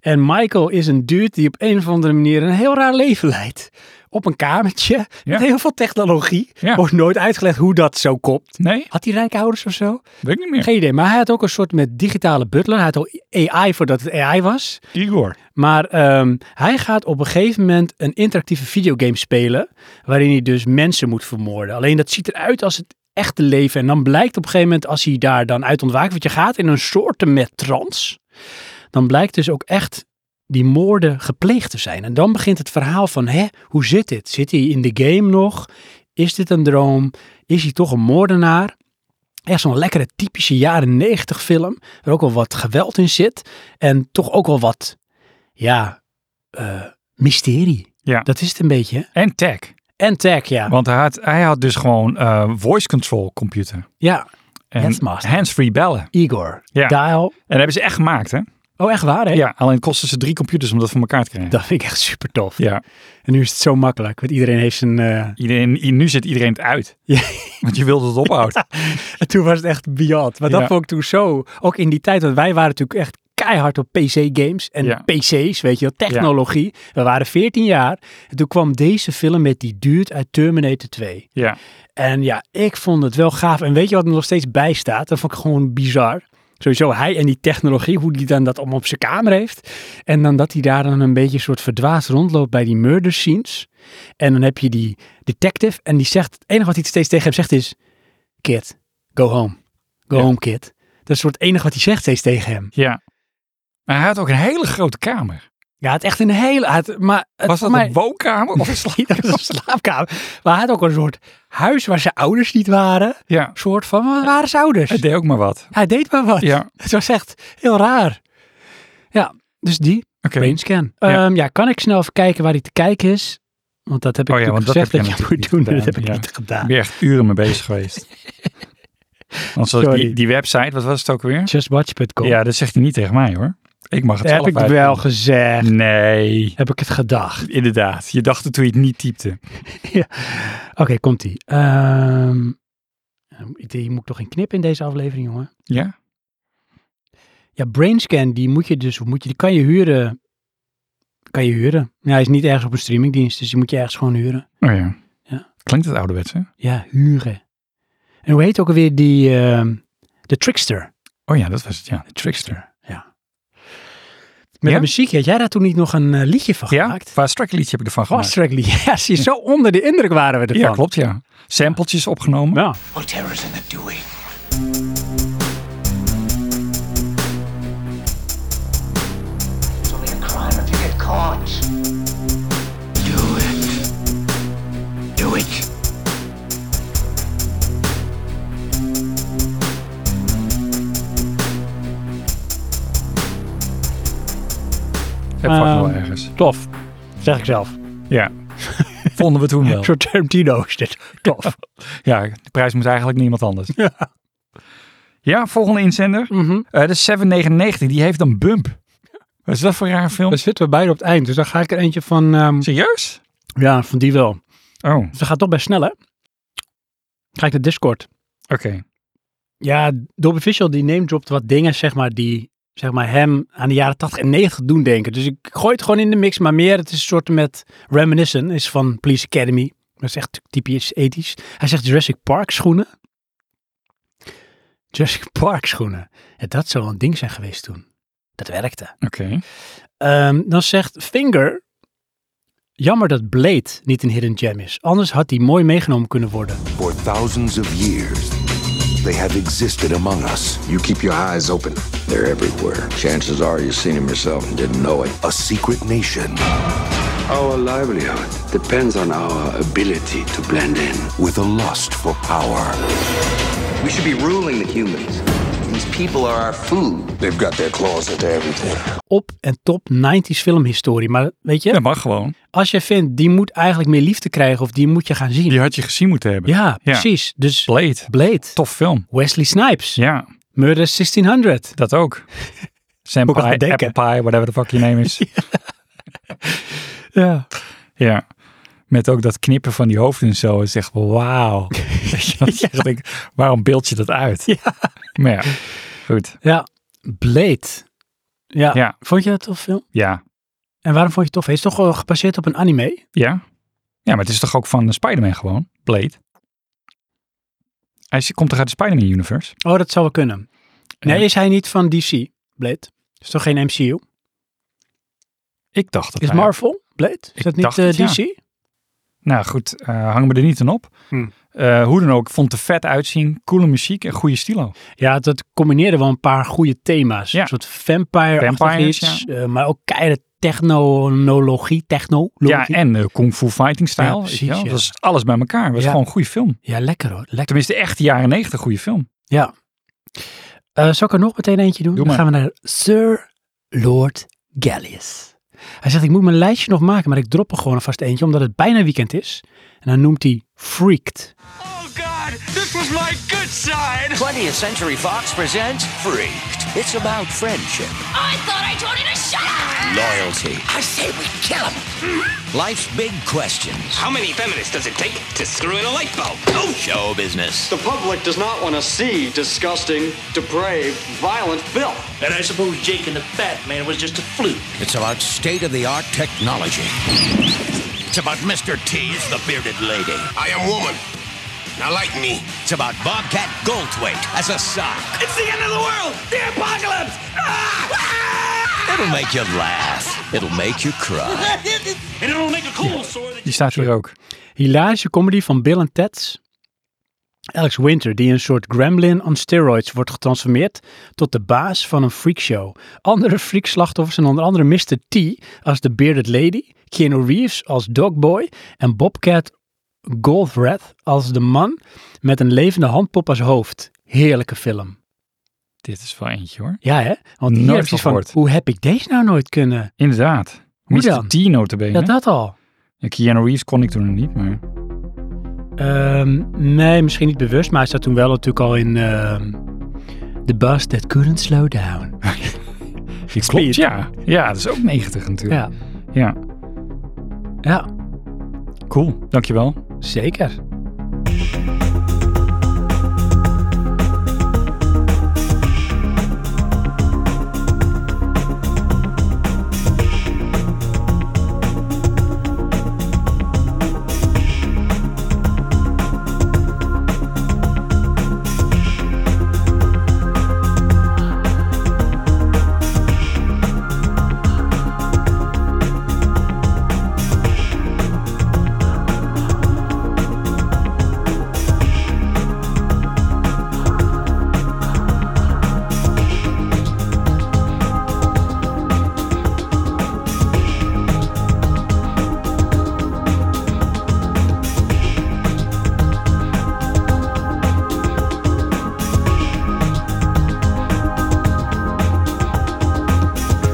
S1: En Michael is een dude die op een of andere manier een heel raar leven leidt. Op een kamertje met heel veel technologie.
S2: Ja.
S1: Wordt nooit uitgelegd hoe dat zo komt.
S2: Nee,
S1: Had hij rijke ouders of zo?
S2: weet ik niet meer.
S1: Geen idee. Maar hij had ook een soort met digitale butler. Hij had al AI voordat het AI was.
S2: Igor.
S1: Maar ehm, hij gaat op een gegeven moment een interactieve videogame spelen. Waarin hij dus mensen moet vermoorden. Alleen dat ziet eruit als het echte leven. En dan blijkt op een gegeven moment, als hij daar dan uit ontwaakt. Want je gaat in een soort met trance. Dan blijkt dus ook echt die moorden gepleegd te zijn. En dan begint het verhaal van, hè, hoe zit dit? Zit hij in de game nog? Is dit een droom? Is hij toch een moordenaar? Echt zo'n lekkere typische jaren negentig film. Waar ook wel wat geweld in zit. En toch ook wel wat ja, eh, mysterie.
S2: Ja.
S1: Dat is het een beetje. hè?
S2: En Tech.
S1: En tech, ja.
S2: Want hij had, hij had dus gewoon eh, voice control computer.
S1: ja,
S2: En
S1: Handmaster.
S2: hands-free bellen.
S1: Igor.
S2: Ja.
S1: Dial.
S2: En dat hebben ze echt gemaakt, hè?
S1: Oh, echt waar, hè?
S2: Ja, alleen kosten ze drie computers om dat voor elkaar te krijgen.
S1: Dat vind ik echt super tof.
S2: Ja.
S1: En nu is het zo makkelijk, want iedereen heeft zijn... eh,
S2: Iedereen, i- nu zit iedereen het uit. Want je wilde het ophouden.
S1: En toen was het echt beyond. Maar dat
S2: Ja.
S1: vond ik toen zo... Ook in die tijd, want wij waren natuurlijk echt keihard op PC-games en
S2: Ja.
S1: PC's, weet je wel, technologie. We waren 14 jaar. En toen kwam deze film met die duurt uit Terminator 2.
S2: Ja.
S1: En ja, ik vond het wel gaaf. En weet je wat me nog steeds bijstaat? Dat vond ik gewoon bizar. Sowieso hij en die technologie, hoe die dan dat allemaal op zijn kamer heeft. En dan dat hij daar dan een beetje soort verdwaasd rondloopt bij die murder scenes. En dan heb je die detective en die zegt, het enige wat hij steeds tegen hem zegt is, kid, go home. Go
S2: Ja.
S1: home, kid. Dat is het soort enige wat hij zegt steeds tegen hem.
S2: Ja. Maar hij had ook een hele grote kamer.
S1: Ja, het echt een hele... hij had- maar het-
S2: Was dat
S1: maar-
S2: een woonkamer of een
S1: Dat was
S2: slaapkamer?
S1: een slaapkamer. Maar hij had ook een soort huis waar zijn ouders niet waren.
S2: Ja.
S1: soort van, maar waren zijn ouders?
S2: Hij deed ook maar wat.
S1: Hij deed maar wat.
S2: Ja.
S1: Het was echt heel raar. Ja, dus die.
S2: Oké.
S1: Brainscan.
S2: Ja.
S1: Ehm, ja, kan ik snel even kijken waar die te kijken is? Want dat heb ik
S2: Oh ja,
S1: natuurlijk
S2: want dat
S1: gezegd dat,
S2: heb jij
S1: je moet
S2: natuurlijk
S1: doen.
S2: niet
S1: Dat heb ik
S2: gedaan,
S1: niet gedaan.
S2: Ik ben echt uren mee bezig geweest. Want zoals
S1: Sorry.
S2: die, die website, wat was het ook weer?
S1: Justwatch.com.
S2: Ja, dat zegt hij niet tegen mij hoor. Ik mag het
S1: heb ik
S2: allebei
S1: wel
S2: doen.
S1: gezegd.
S2: Nee.
S1: Heb ik het gedacht.
S2: Inderdaad. Je dacht het toen je het niet typte.
S1: Ja. Oké, komt-ie. Ehm, die moet ik toch een knip in deze aflevering, jongen?
S2: Ja?
S1: Ja, Brainscan, die moet je dus, moet je, die kan je huren. Kan je huren. Ja, hij is niet ergens op een streamingdienst, dus die moet je ergens gewoon huren.
S2: Oh ja.
S1: Ja.
S2: Klinkt het ouderwets hè?
S1: Ja, huren. En hoe heet ook alweer die, ehm, de Trickster?
S2: Oh ja, dat was het ja. Trickster.
S1: Ja. Met
S2: Ja?
S1: de muziek, had jij daar toen niet nog een eh, liedje van gemaakt?
S2: Fast Track liedje heb ik ervan gemaakt.
S1: Fast Track liedje. Ja, zie je, zo onder de indruk waren we ervan.
S2: Ja, klopt ja. Sampletjes opgenomen.
S1: Ja.
S3: Whatever's in the doing. It's only a crime if you get caught. Do it. Do it.
S2: Heb vast wel
S1: Ehm,
S2: ergens.
S1: Tof. Zeg ik zelf.
S2: Ja. Vonden we toen wel.
S1: Zo'n Tarantino is dit. Tof.
S2: Ja, de prijs moet eigenlijk niemand anders. Ja, volgende inzender. Eh, de 799, die heeft een bump. Wat is dat voor een raar film?
S1: We zitten we beide op het eind, dus dan ga ik er eentje van... ehm,
S2: Serieus?
S1: ja, van die wel.
S2: Oh, oké.
S1: Dus dat gaat toch best snel, hè? Ga ik naar Discord. Ja, Dobby Fischel die name dropt wat dingen, zeg maar, die zeg maar, hem aan de jaren 80 en 90 doen denken. Dus ik gooi het gewoon in de mix, maar meer, het is een soort met reminiscen, is van Police Academy. Dat is echt typisch ethisch. Hij zegt Jurassic Park schoenen. Jurassic Park schoenen. Ja, dat zou wel een ding zijn geweest toen. Dat werkte.
S2: Oké.
S1: Ehm, dan zegt Finger, jammer dat Blade niet een hidden gem is. Anders had die mooi meegenomen kunnen worden.
S26: For thousands of years, they have existed among us.
S22: You keep your eyes open. They're everywhere. Chances are you've seen them yourself and didn't know it.
S26: A secret nation
S19: Our livelihood depends on our ability to blend in.
S26: with a lust for power.
S19: We should be ruling the humans. These people are our food.
S22: They've got their claws into everything.
S1: Op en top 90s filmhistorie. Maar weet je,
S2: Dat mag gewoon.
S1: als je vindt, die moet eigenlijk meer liefde krijgen of die moet je gaan zien.
S2: Die had je gezien moeten hebben.
S1: Ja, precies. Dus
S2: Blade.
S1: Blade,
S2: Tof film.
S1: Wesley Snipes,
S2: Ja,
S1: Murder 1600.
S2: dat ook.
S1: Moet ik aan
S2: Senpai,
S1: denken.
S2: Apple Pie, whatever the fuck je name is. ja.
S1: Ja.
S2: Met ook dat knippen van die hoofden en zo. Het is echt wauw. Weet je, dat is echt, ik, waarom beeld je dat uit?
S1: Ja.
S2: Maar ja, goed.
S1: Ja, Blade. Ja.
S2: Ja.
S1: Vond je dat tof film?
S2: Ja.
S1: En waarom vond je het tof? Hij is toch wel gebaseerd op een anime?
S2: Ja? Ja, maar het is toch ook van eh, Spider-Man gewoon? Blade? Hij is- komt toch uit de Spider-Man-universe?
S1: Oh, dat zou wel kunnen.
S2: Eh,
S1: Nee, is hij niet van DC, Blade? Is toch geen MCU?
S2: Ik dacht dat
S1: Is
S2: hij-
S1: Marvel, Blade? Is
S2: Ik
S1: dat niet
S2: dacht
S1: eh,
S2: het, ja.
S1: DC?
S2: Nou goed, eh hang me er niet aan op.
S1: Hm.
S2: Eh, hoe dan ook, vond er vet uitzien, coole muziek en goede stilo.
S1: Ja, dat combineerde wel een paar goede thema's.
S2: Ja.
S1: Een soort vampire
S2: Vampires,
S1: iets, eh, maar ook keiharde technologie, techno.
S2: Ja, en eh, kung fu fighting stijl.
S1: Ja,
S2: weet je
S1: precies,
S2: wel.
S1: ja.
S2: Dat was alles bij elkaar. Het was
S1: Ja.
S2: gewoon een goede film.
S1: Ja, lekker hoor. Lekker.
S2: Tenminste, echt de jaren negentig goede film.
S1: Ja. Eh, zal ik er nog meteen eentje doen?
S2: Doe
S1: Dan
S2: maar.
S1: gaan we naar Sir Lord Gallius. Hij zegt, ik moet mijn lijstje nog maken, maar ik drop er gewoon alvast eentje, omdat het bijna weekend is. En dan noemt hij Freaked.
S3: Oh God, this was my good side.
S21: 20th Century Fox presents Freaked.
S5: It's about friendship,
S3: I thought I told you to shut up!
S5: loyalty,
S3: I say we kill him!
S5: life's big questions,
S7: How many feminists does it take to screw in a light bulb?
S5: show business.
S27: The public does not want to see disgusting, depraved, violent filth.
S5: And I suppose Jake and the Fat Man was just a fluke. It's about state of the art technology. It's about Mr. T's the bearded lady. I am woman. Now like me. It's about Bobcat Goldthwait as a sock.
S3: It's the end of the world! The apocalypse! Ah!
S5: It'll make you laugh. It'll make you cry.
S3: and it'll make a cold sore
S2: Die staat hier ook.
S1: Hilarische comedy van Bill en Ted's. Alex Winter, die een soort gremlin on steroids wordt getransformeerd tot de baas van een freakshow. Andere freakslachtoffers zijn onder andere Mr. T als de Bearded Lady, Keanu Reeves als Dogboy en Bobcat Goldthwait als de man met een levende handpop als hoofd. Heerlijke film.
S2: Dit is wel eentje hoor.
S1: Ja hè? Want hier
S2: Nooit
S1: heb je iets
S2: van
S1: van,
S2: gehoord.
S1: hoe heb ik deze nou nooit kunnen?
S2: Inderdaad.
S1: Hoe
S2: Mr.
S1: dan?
S2: T notabene.
S1: Ja, dat al.
S2: Ja, Keanu Reeves kon ik toen nog niet, maar...
S1: Ehm, nee, misschien niet bewust, maar hij staat toen wel natuurlijk al in ehm, The Bus That Couldn't Slow Down.
S2: Die klopt, ja. Ja, dat is ook 90 natuurlijk.
S1: Ja.
S2: Ja.
S1: Ja.
S2: Cool, dankjewel.
S1: Zeker.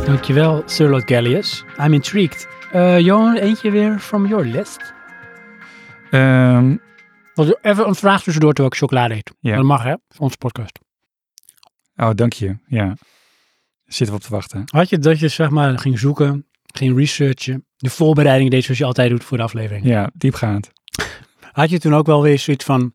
S1: Dankjewel, Sir Lord Gallius. I'm intrigued. Eh, Johan, eentje weer from your list.
S2: Ehm,
S1: Was Even een vraag tussendoor terwijl ik chocolade eet.
S2: Ja.
S1: Dat mag hè, voor onze podcast.
S2: oh, dank je. Ja. Zitten we op te wachten.
S1: Had je dat je zeg maar ging zoeken, ging researchen, de voorbereiding deed zoals je altijd doet voor de aflevering.
S2: Ja, diepgaand.
S1: Had je toen ook wel weer zoiets van,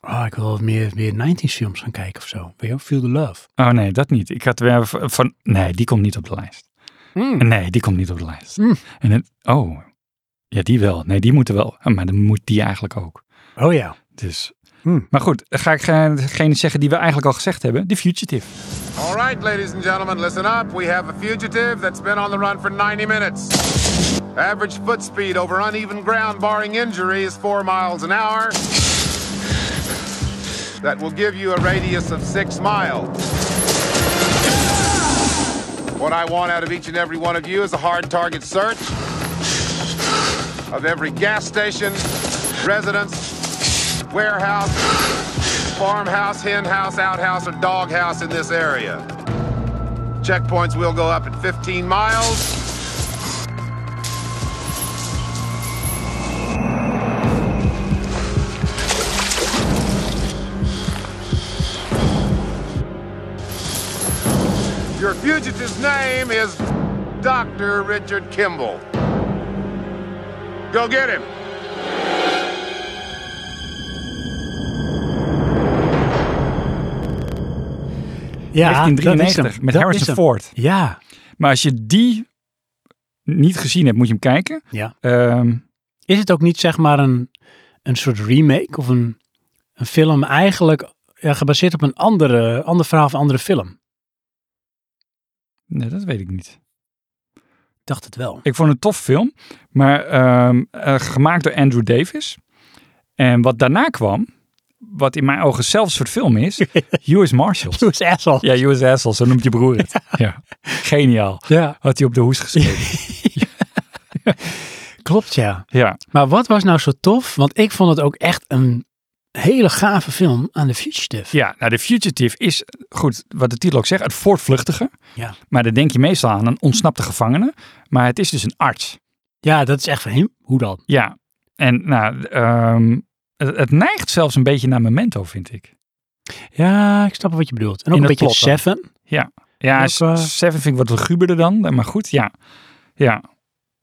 S1: oh, ik wil wat meer, meer 90s films gaan kijken of zo. Weet je, wel, Feel the Love.
S2: Oh nee, dat niet. Ik had weer van... van- Nee, die komt niet op de lijst.
S1: Hmm.
S2: Nee, die komt niet op de lijst.
S1: Mm.
S2: En het... Oh. Ja, die wel. Nee, die moeten wel. Ah, Maar dan moet die eigenlijk ook.
S1: Oh ja.
S2: Dus...
S1: Hmm.
S2: Maar goed, ga ik eh, degene zeggen die we eigenlijk al gezegd hebben. The Fugitive.
S28: All right, ladies and gentlemen, listen up. We have a fugitive that's been on the run for 90 minutes. Average foot speed over uneven ground, barring injury, is four miles an hour. That will give you a radius of six miles. What I want out of each and every one of you is a hard target search of every gas station, residence, warehouse, farmhouse, hen house, outhouse, or dog house in this area. Checkpoints will go up at 15 miles. Your fugitive's name is Dr. Richard Kimball. Go get him.
S1: Ja,
S2: 1993
S1: dat is hem.
S2: met
S1: Dat
S2: Harrison
S1: is hem.
S2: Ford.
S1: Ja.
S2: Maar als je die niet gezien hebt, moet je hem kijken.
S1: Ja.
S2: Ehm,
S1: Is het ook niet zeg maar een, een soort remake of een, een film eigenlijk ja, gebaseerd op een andere, ander verhaal of een andere film? Ik
S2: nee, dat weet ik niet.
S1: dacht het wel.
S2: Ik vond het een tof film, maar ehm, eh, gemaakt door Andrew Davis. En wat daarna kwam, wat in mijn ogen zelfs soort film is, U.S. Marshall.
S1: U.S. Asshole.
S2: Ja, U.S. Asshole, zo noemt je broer het. ja. Geniaal.
S1: Ja.
S2: Had hij op de hoes geschreven.
S1: Klopt ja.
S2: ja.
S1: Maar wat was nou zo tof? Want ik vond het ook echt een hele gave film aan The Fugitive.
S2: Ja, nou, The Fugitive is, goed, wat de titel ook zegt, het voortvluchtige.
S1: Ja.
S2: Maar dan denk je meestal aan een ontsnapte gevangene. Maar het is dus een arts.
S1: Ja, dat is echt van hem. Hoe dan?
S2: Ja, en nou, ehm, het, het neigt zelfs een beetje naar Memento, vind ik.
S1: Ja, ik snap wat je bedoelt. En ook
S2: In
S1: een
S2: het
S1: beetje
S2: plot dan.
S1: Seven.
S2: Ja, ja
S1: Ook,
S2: S-
S1: eh,
S2: Seven vind ik wat luguberder dan, maar goed, ja. Ja,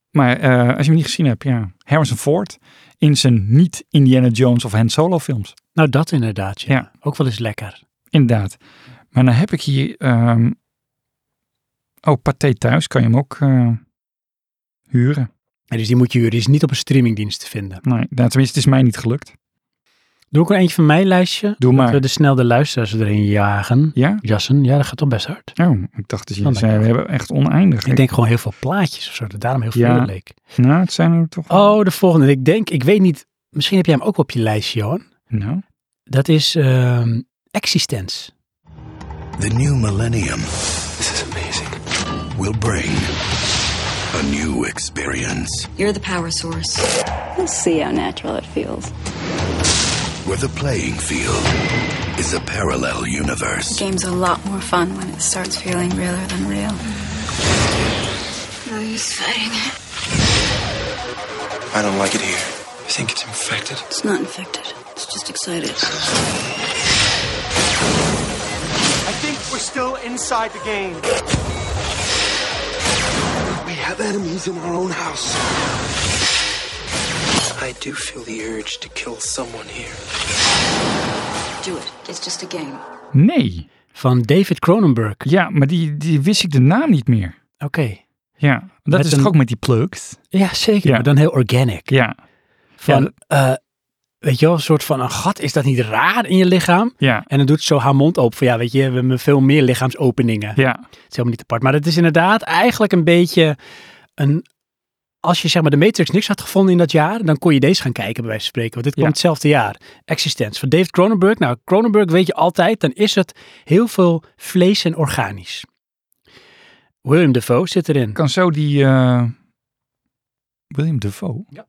S2: maar eh, als je hem niet gezien hebt, ja. Harrison Ford in zijn niet-Indiana Jones of Han Solo films.
S1: Nou, dat inderdaad, ja.
S2: Ja.
S1: Ook wel eens lekker.
S2: Inderdaad. Maar dan heb ik hier... ehm, Oh, Pathé Thuis kan je hem ook eh, huren.
S1: En dus die moet je huren. Die is niet op een streamingdienst te vinden.
S2: Nee, nou, tenminste, het is mij niet gelukt.
S1: Doe ik er eentje van mijn lijstje.
S2: Doe
S1: Dat we dus-
S2: maar.
S1: de snel de luisteraars erin jagen.
S2: Ja?
S1: Jassen. Ja, dat gaat toch best hard.
S2: Oh, ik dacht dat je
S1: Oh,
S2: zei, we hebben echt oneindig.
S1: Ik denk gewoon heel veel plaatjes of zo. Dat daarom heel
S2: Ja.
S1: veel leek.
S2: Nou, het zijn er toch...
S1: Oh, de volgende. Ik denk, ik weet niet. Misschien heb jij hem ook op je lijstje, Johan.
S2: Nou.
S1: Dat is ehm Existence.
S26: The new millennium. This is amazing. Will bring a new experience
S10: You're the power source. We'll see how natural it feels.
S26: where the playing field is a parallel
S10: The
S26: universe.
S10: game's a lot more fun when it starts feeling realer than real. No use fighting it.
S19: I don't like it here. I think it's infected.
S10: It's not infected. It's just excited.
S3: I think we're still inside the game.
S19: We have enemies in our own house. I do feel the urge to kill someone here.
S10: Do it. It's just a game.
S2: Nee.
S1: Van David Cronenberg.
S2: Ja, maar die, die wist ik de naam niet meer.
S1: Oké.
S2: Ja, dat
S1: Met
S2: is toch
S1: een-
S2: ook met die plugs?
S1: Ja, zeker.
S2: Ja.
S1: Maar dan heel organic.
S2: Ja.
S1: Van,
S2: Ja, dat-
S1: eh, weet je wel, een soort van, een gat, is dat niet raar in je lichaam?
S2: Ja.
S1: En dan doet ze zo haar mond open. Van, ja, weet je, we hebben veel meer lichaamsopeningen.
S2: Ja.
S1: Het is helemaal niet apart. Maar het is inderdaad eigenlijk een beetje een... Als je zeg maar de Matrix niks had gevonden in dat jaar, dan kon je deze gaan kijken bij wijze van spreken. Want dit
S2: Ja.
S1: komt hetzelfde jaar. Existence van David Cronenberg. Nou, Cronenberg weet je altijd, dan is het heel veel vlees en organisch. William Defoe zit erin.
S2: Kan zo die... eh, William Defoe? Ja.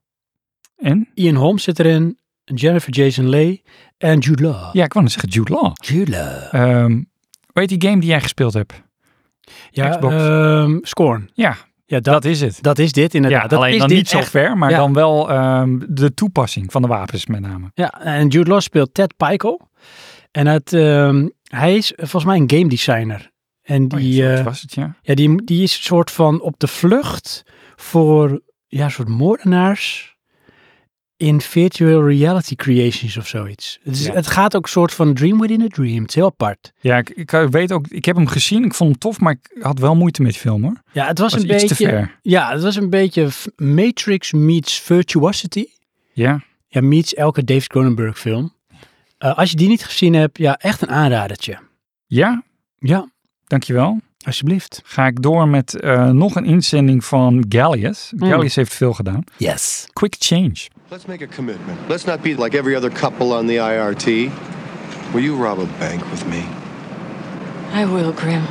S2: En?
S1: Ian Holmes zit erin. Jennifer Jason Leigh. En Jude Law.
S2: Ja, ik wou net zeggen Jude Law.
S1: Jude Law.
S2: Ehm, hoe heet die game die jij gespeeld hebt?
S1: Ja,
S2: Xbox.
S1: ehm, Scorn.
S2: Ja,
S1: Ja, dat,
S2: dat is het.
S1: dat is dit inderdaad.
S2: Ja,
S1: dat
S2: alleen
S1: is
S2: dan
S1: dit
S2: niet zo
S1: echt.
S2: ver, maar
S1: ja.
S2: dan wel ehm, de toepassing van de wapens met name.
S1: Ja, en Jude Law speelt Ted Pico. En het, ehm, hij is eh, volgens mij een game designer. En die,
S2: Zo
S1: eh,
S2: was het, Oh ja.
S1: ja, die, die is een soort van op de vlucht voor ja, een soort moordenaars in virtual reality creations of zoiets. Het, is-
S2: Ja.
S1: het gaat ook een soort van dream within a dream. Het is heel apart.
S2: Ja, ik, ik eh, weet ook, ik heb hem gezien, ik vond hem tof, maar ik had wel moeite met die film hoor.
S1: Ja, het was,
S2: Was
S1: een
S2: iets
S1: beetje.
S2: te ver.
S1: Ja, het was een beetje f- Matrix meets Virtuosity.
S2: Ja,
S1: Ja, meets elke David Cronenberg film. Eh, als je die niet gezien hebt, ja, echt een aanradertje.
S2: ja
S1: Ja,
S2: dankjewel.
S1: alsjeblieft.
S2: Ga ik door met eh, nog een inzending van Gallius. Gallius heeft veel gedaan.
S1: Yes.
S2: Quick Change.
S29: Let's make a commitment. Let's not be like every other couple on the IRT. Will you rob a bank with me?
S10: I will, Grim.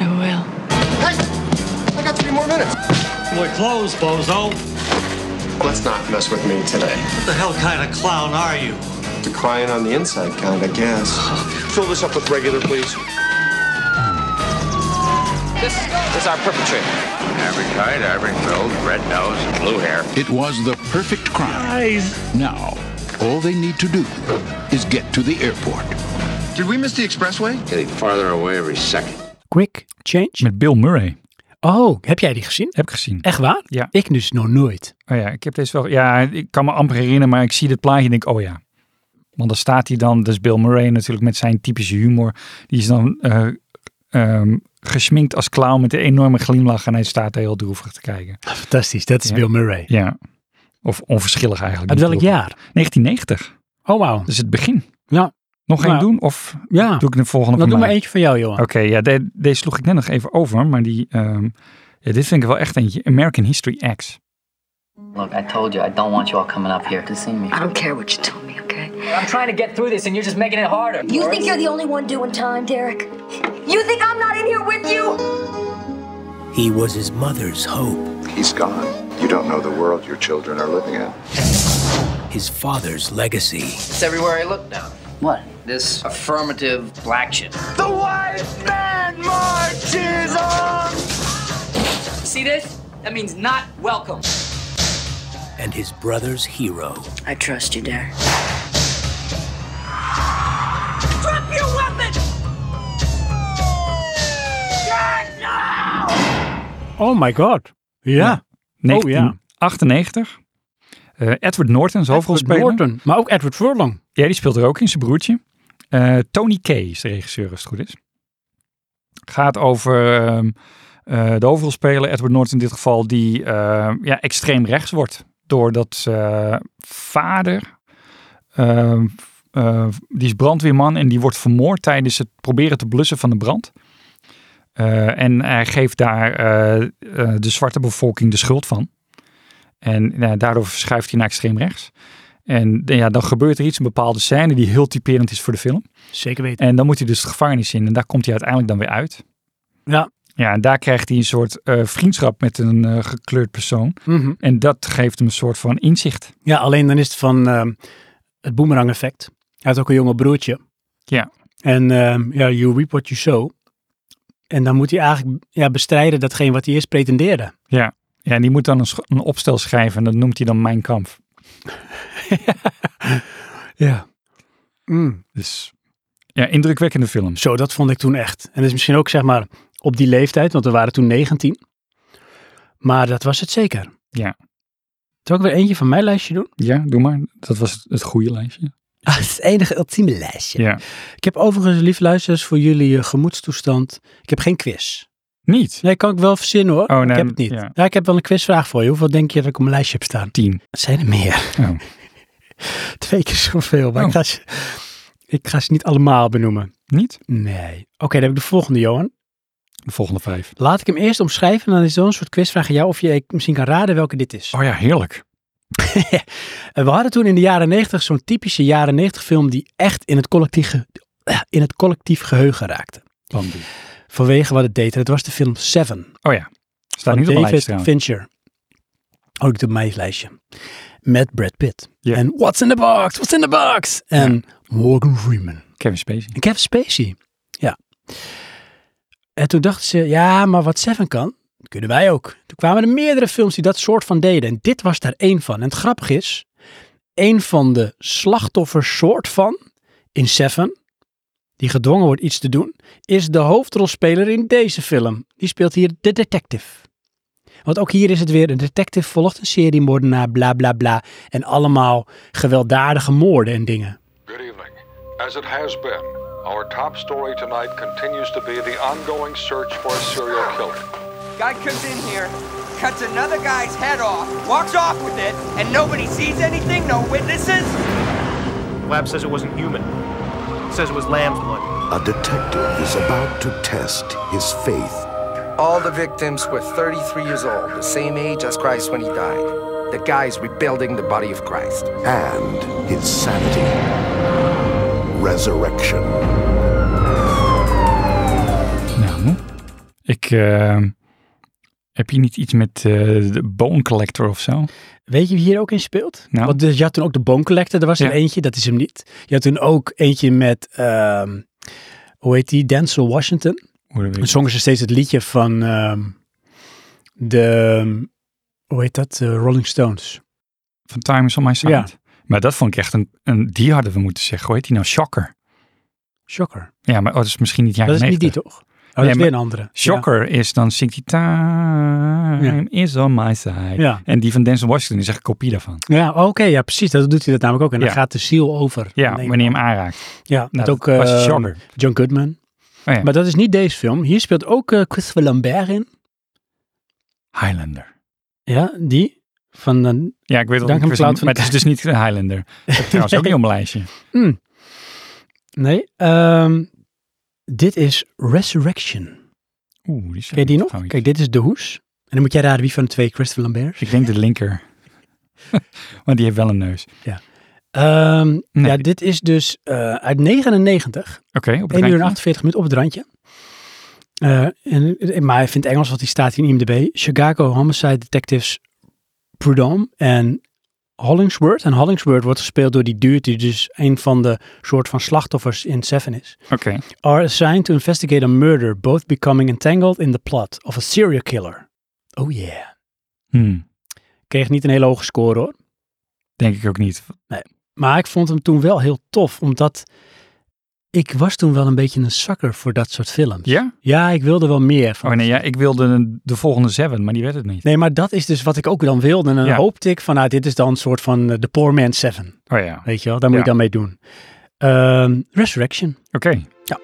S10: I will.
S29: I got three more minutes.
S7: We're closed, bozo.
S29: Let's not mess with me today.
S7: What the hell kind of clown are you?
S29: The crying on the inside kind, I guess. Fill this up with regular, please.
S18: This is our perpetrator.
S8: Average height, average build, red nose, blue hair.
S20: It was the perfect crime. Now, all they need to do is get to the airport.
S8: Did we miss the expressway? Getting farther away every second.
S1: Quick Change.
S2: Met Bill Murray.
S1: Oh, heb jij die gezien?
S2: Heb ik gezien.
S1: Echt waar?
S2: Ja.
S1: Ik dus nog nooit.
S2: Oh ja, ik heb deze wel. Ja, ik kan me amper herinneren, maar ik zie dit plaatje en denk, oh ja. Want dan staat hij dan, dat is Bill Murray natuurlijk met zijn typische humor. Die is dan eh, ehm, gesminkt als clown met een enorme glimlach en hij staat daar heel droevig te kijken.
S1: Fantastisch, dat is Bill Murray.
S2: Ja. Ah, Of onverschillig eigenlijk.
S1: Uit
S2: niet
S1: welk
S2: droevig.
S1: jaar?
S2: 1990.
S1: Oh, wauw.
S2: Dus het begin.
S1: Ja.
S2: Nog één
S1: Nou,
S2: doen of
S1: Ja.
S2: Nou, doe ik de volgende
S1: Dan
S2: van
S1: doe
S2: mij?
S1: maar eentje van jou, Johan.
S2: Oké, ja, de- deze sloeg ik net nog even over, maar die, ehm, ja, dit vind ik wel echt eentje. American History X.
S18: Look, I told you I don't want you all coming up here to see me. I don't care what you told me, okay? I'm trying to get through this and you're just making it harder.
S25: You think you're the only one doing time, Derek? You think I'm not in here with you?
S30: He was his mother's hope.
S8: He's gone. You don't know the world your children are living in.
S30: His father's legacy.
S18: It's everywhere I look now. What? This affirmative black shit. The white man marches on! See this? That means not welcome.
S30: and his brother's hero.
S25: I trust you, Derek.
S18: Drop your
S1: Oh my god. Ja. Oh ja.
S2: 1998. Eh, Edward Norton is hoofdrolspeler.
S1: Norton, maar ook Edward Furlong.
S2: Ja, die speelt er ook in, zijn broertje. Eh, Tony Kay is de regisseur, als het goed is. Gaat over ehm, eh, de hoofdrolspeler, Edward Norton in dit geval, die eh, ja, extreem rechts wordt. Doordat zijn eh, vader, ehm, eh, die is brandweerman en die wordt vermoord tijdens het proberen te blussen van de brand. Eh, en hij geeft daar eh, eh, de zwarte bevolking de schuld van. En nou, daardoor verschuift hij naar extreem rechts. En eh, ja, dan gebeurt er iets, een bepaalde scène die heel typerend is voor de film.
S1: Zeker weten.
S2: En dan moet hij dus de gevangenis in en daar komt hij uiteindelijk dan weer uit.
S1: Ja.
S2: Ja, en daar krijgt hij een soort eh, vriendschap met een eh, gekleurd persoon.
S1: Mhm.
S2: En dat geeft hem een soort van inzicht.
S1: Ja, alleen dan is het van ehm, het boomerang effect. Hij had ook een jonge broertje.
S2: Ja.
S1: En ehm, ja, you reap what you sow. En dan moet hij eigenlijk ja, bestrijden datgene wat hij eerst pretendeerde.
S2: Ja. ja, en die moet dan een, sch- een opstel schrijven en dat noemt hij dan Mijn Kamp.
S1: Ja.
S2: Dus ja, indrukwekkende film.
S1: Zo, dat vond ik toen echt. En dat is misschien ook zeg maar op die leeftijd, want we waren toen 19. Maar dat was het zeker.
S2: Ja.
S1: Zal ik weer eentje van mijn lijstje doen?
S2: Ja, doe maar. Dat was het, het goede lijstje.
S1: Ah, het is het enige ultieme lijstje.
S2: Ja.
S1: Ik heb overigens, lieve luisteraars, voor jullie eh, gemoedstoestand. Ik heb geen quiz.
S2: Niet?
S1: Nee, kan ik wel verzinnen hoor.
S2: Oh, nee,
S1: ik heb het niet.
S2: ja.
S1: Ja. ik heb wel een quizvraag voor je. Hoeveel denk je dat ik op mijn lijstje heb staan?
S2: Tien.
S1: Het zijn er meer.
S2: Oh.
S1: Twee keer zoveel. Maar
S2: Oh.
S1: ik, ga ze, ik ga ze niet allemaal benoemen.
S2: Niet?
S1: Nee. Oké, dan heb ik de volgende, Johan.
S2: De volgende vijf.
S1: Laat ik hem eerst omschrijven. En dan is er een soort quizvraag aan jou of je misschien kan raden welke dit is.
S2: Oh ja, heerlijk.
S1: En We hadden toen in de jaren 90 zo'n typische jaren 90 film die echt in het collectief, ge- in het collectief geheugen raakte.
S2: Bambi.
S1: Vanwege wat het deed. En het was de film Seven.
S2: Oh ja. Staat
S1: van
S2: niet op mijn lijst
S1: David
S2: trouwens.
S1: Fincher. Ook op mijn lijstje. Met Brad Pitt.
S2: Ja.
S1: En What's in the Box? What's in the Box? En Morgan Freeman.
S2: Kevin Spacey.
S1: En Kevin Spacey. Ja. En toen dachten ze, ja, maar wat Seven kan, kunnen wij ook. Toen kwamen er meerdere films die dat soort van deden. En dit was daar één van. En het grappige is, één van de slachtoffers soort van in Seven, die gedwongen wordt iets te doen, is de hoofdrolspeler in deze film. Die speelt hier de detective. Want ook hier is het weer, een detective volgt een seriemoordenaar, bla bla bla. En allemaal gewelddadige moorden en dingen.
S4: Good evening. As it has been, our top story tonight continues to be the ongoing search for a serial killer.
S6: Guy comes in here, cuts another guy's head off, walks off with it, and nobody sees anything, no witnesses?
S9: Lab says it wasn't human. says it was lamb's blood.
S26: A detective is about to test his faith.
S15: All the victims were 33 years old, the same age as Christ when he died. The guy's rebuilding the body of Christ.
S26: and his sanity. Resurrection.
S2: Nou, ik eh, heb hier niet iets met eh, de Bone Collector of zo.
S1: Weet je wie hier ook in speelt?
S2: Nou.
S1: Want dus je had toen ook de Bone Collector, er was
S2: Ja.
S1: er eentje, dat is hem niet. Je had toen ook eentje met, ehm, hoe heet die, Denzel Washington.
S2: Hoe dat
S1: Dan
S2: weet.
S1: zongen ze steeds het liedje van ehm, de, ehm, hoe heet dat, eh, Rolling Stones.
S2: Van Time is on my side.
S1: Ja.
S2: Maar dat vond ik echt een, een. Die hadden we moeten zeggen. Hoe heet die nou? Shocker.
S1: Shocker.
S2: Ja, maar oh, dat is misschien niet jaren
S1: dat is niet die
S2: 90.
S1: toch? Oh, dat is weer
S2: maar
S1: een andere.
S2: Shocker is dan zingt die Time is on my side.
S1: Ja.
S2: En die van Denzel Washington is echt een kopie daarvan.
S1: Ja, ja oh, oké, ja precies. Dat doet hij dat namelijk ook. En
S2: Ja.
S1: dan gaat de ziel over.
S2: Ja,
S1: Dan denk ik,
S2: wanneer je hem aanraakt.
S1: Ja,
S2: Nou,
S1: met
S2: dat
S1: ook
S2: was
S1: eh,
S2: Shocker.
S1: John Goodman.
S2: Oh ja.
S1: Maar dat is niet deze film. Hier speelt ook eh, Christopher Lambert in.
S2: Highlander.
S1: Ja, die. Van, eh,
S2: Ja, ik weet wel.
S1: Duncan
S2: Chris-
S1: Cloud van-
S2: Maar het is dus niet Highlander. Dat heb ik trouwens ook niet op mijn lijstje.
S1: hmm. Nee, ehm, dit is Resurrection.
S2: Oeh, die is
S1: Ken je die nog? Kijk, dit is De Hoes. En dan moet jij raden wie van de twee Christopher Lambert.
S2: Dus Ik denk de linker. Want die heeft wel een neus.
S1: Ja. Ehm, Ja, dit is dus eh, uit 99.
S2: Oké, op het
S1: 1 uur en
S2: randje.
S1: 48 minuten op het randje. Eh, en, maar hij vindt Engels, want die staat hier in IMDb. Chicago Homicide Detectives Prudhomme en Hollingsworth. En Hollingsworth wordt gespeeld door die duurt die dus een van de soort van slachtoffers in Seven is.
S2: Oké.
S1: Are assigned to investigate a murder, both becoming entangled in the plot of a serial killer. Oh yeah.
S2: Hmm,
S1: Kreeg niet een hele hoge score hoor.
S2: denk ik ook niet.
S1: Maar ik vond hem toen wel heel tof, omdat Ik was toen wel een beetje een zakker voor dat soort films.
S2: Ja?
S1: Ja, ik wilde wel meer van.
S2: Oh nee, ja, ik wilde de volgende Seven, maar die werd het niet.
S1: Nee, maar dat is dus wat ik ook dan wilde. En dan
S2: Ja.
S1: hoopte ik van, nou, dit is dan een soort van eh, de Poor Man Seven.
S2: Oh ja.
S1: Weet je wel, daar moet
S2: Ja.
S1: ik dan mee doen. Ehm, Resurrection.
S2: Oké.
S1: Ja.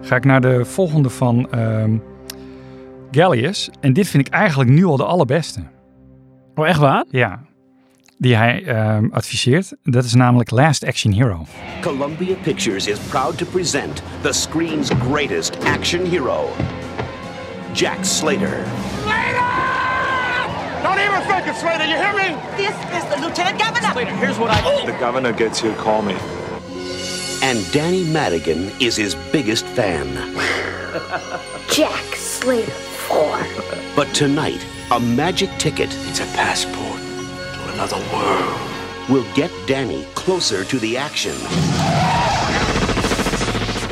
S2: Ga ik naar de volgende van ehm Gallius. En dit vind ik eigenlijk nu al de allerbeste.
S1: Oh, echt waar?
S2: Ja. Die hij ehm, adviseert. Dat is namelijk Last Action Hero.
S14: Columbia Pictures is proud to present the screen's greatest action hero, Jack Slater.
S3: Don't even think it, Slater. You hear me? This is the lieutenant governor. Slater, here's what I.
S8: Oh!
S14: The governor gets here, call me. And Danny Madigan is his biggest fan.
S31: Jack Slater 4.
S14: But tonight, a magic ticket. It's a passport to another world. Will get Danny closer to the action.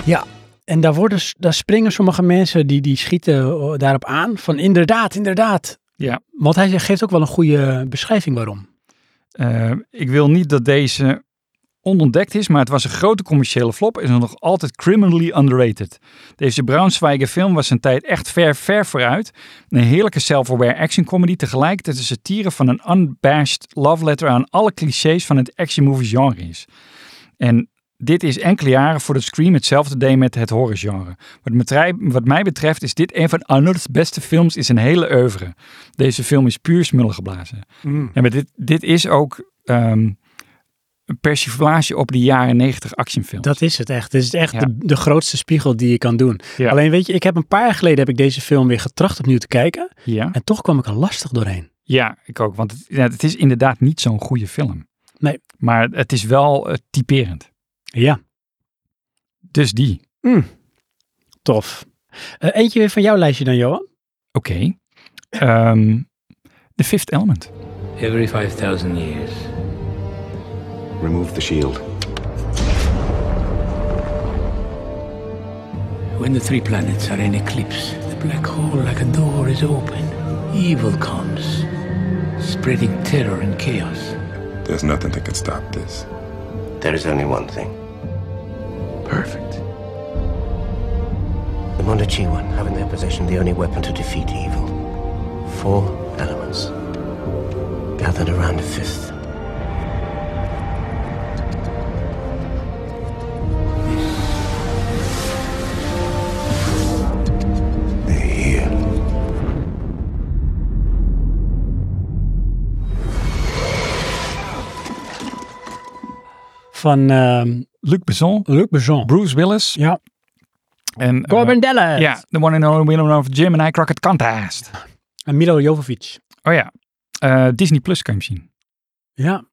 S1: Ja, en daar, worden, s- daar springen sommige mensen die, die schieten eh, daarop aan van inderdaad, inderdaad.
S2: Ja.
S1: Want hij geeft ook wel een goede beschrijving waarom.
S2: Eh, ik wil niet dat deze onontdekt is, maar het was een grote commerciële flop en is nog altijd criminally underrated. Deze Braunschweiger film was zijn tijd echt ver, ver vooruit. Een heerlijke self-aware action comedy tegelijk dat de satire van een unbashed love letter aan alle clichés van het action movie genre is. En dit is enkele jaren voordat Scream hetzelfde deed met het horrorgenre. Wat, me trei- wat mij betreft is dit een van Arnold's beste films in zijn hele oeuvre. Deze film is puur smullen geblazen.
S1: Mm.
S2: Ja, maar dit, dit is ook ehm, een persiflage op de jaren 90 actionfilm.
S1: Dat is het echt. Dit is echt
S2: Ja.
S1: de, de grootste spiegel die je kan doen.
S2: Ja.
S1: Alleen weet je, ik heb een paar jaar geleden heb ik deze film weer getracht opnieuw te kijken.
S2: Ja.
S1: En toch kwam ik er lastig doorheen.
S2: Ja, ik ook. Want het, ja, het is inderdaad niet zo'n goede film.
S1: Nee.
S2: Maar het is wel eh, typerend.
S1: Ja.
S2: Dus die.
S1: Mm. Tof. Eh, eentje weer van jouw lijstje dan, Johan.
S2: Oké. Ehm, the Fifth Element.
S30: Every 5,000 years.
S26: Remove the shield.
S30: When the three planets are in eclipse, the black hole, like a door, is open. Evil comes, spreading terror and chaos.
S27: There's nothing that can stop this.
S5: There is only one thing.
S27: Perfect.
S5: The Mondachiwan have in their possession the only weapon to defeat evil. Four elements gathered around a fifth.
S1: Van ehm,
S2: Luc Besson.
S1: Luc Besson.
S2: Bruce Willis.
S1: Ja.
S2: En,
S1: Corbin
S2: eh,
S1: Dallas.
S2: Ja, the one and only winner of Jim and I Crockett Contest.
S1: en Milo Jovovich.
S2: Oh ja. Eh, Disney Plus kan je hem zien.
S1: Ja.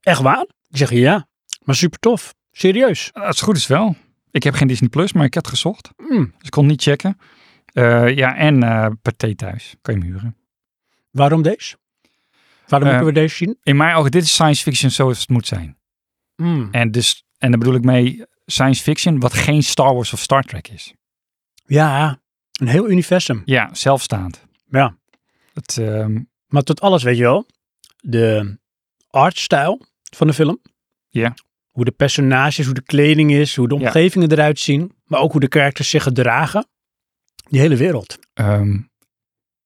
S1: Echt waar? Ik zeg ja. Maar super tof. Serieus.
S2: Eh, Als het goed is wel. Ik heb geen Disney Plus, maar ik had gezocht.
S1: Mm.
S2: Dus ik kon niet checken. Eh, ja, en eh Pathé thuis. Kan je hem huren.
S1: Waarom deze? Waarom
S2: Eh,
S1: moeten we deze zien?
S2: In mijn ogen, dit is science fiction zoals het moet zijn.
S1: Mm.
S2: En, dus, en daar bedoel ik mee science fiction wat geen Star Wars of Star Trek is.
S1: Ja, een heel universum.
S2: Ja, zelfstaand.
S1: Ja.
S2: Het, ehm,
S1: Maar tot alles, weet je wel. De artstijl van de film.
S2: Ja.
S1: Hoe de personages, hoe de kleding is, hoe de
S2: Ja.
S1: omgevingen eruit zien. Maar ook hoe de karakters zich gedragen. Die hele wereld.
S2: ehm, hoe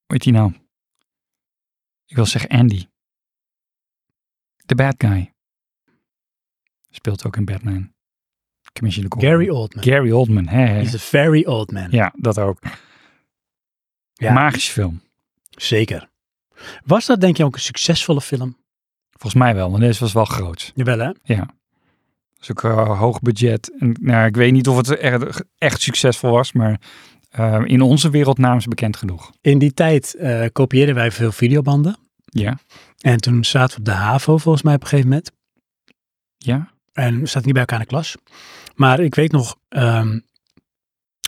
S2: heet die nou? Ik wil zeggen Andy. The bad guy. Speelt ook in Batman. Commissioner Gordon.
S1: Gary Oldman.
S2: Gary Oldman, hè? hè.
S1: He's a very old man.
S2: Ja, dat ook.
S1: Ja.
S2: Magische film.
S1: Zeker. Was dat denk je ook een succesvolle film?
S2: Volgens mij wel, want deze was wel groot.
S1: Jawel hè?
S2: Ja. Dus ook eh, hoog budget. En, nou, ik weet niet of het echt, echt succesvol was, maar eh, in onze wereld namens bekend genoeg.
S1: In die tijd eh, kopieerden wij veel videobanden.
S2: Ja.
S1: En toen zaten we op de HAVO volgens mij op een gegeven moment.
S2: Ja.
S1: En we zaten niet bij elkaar in de klas. Maar ik weet nog, ehm,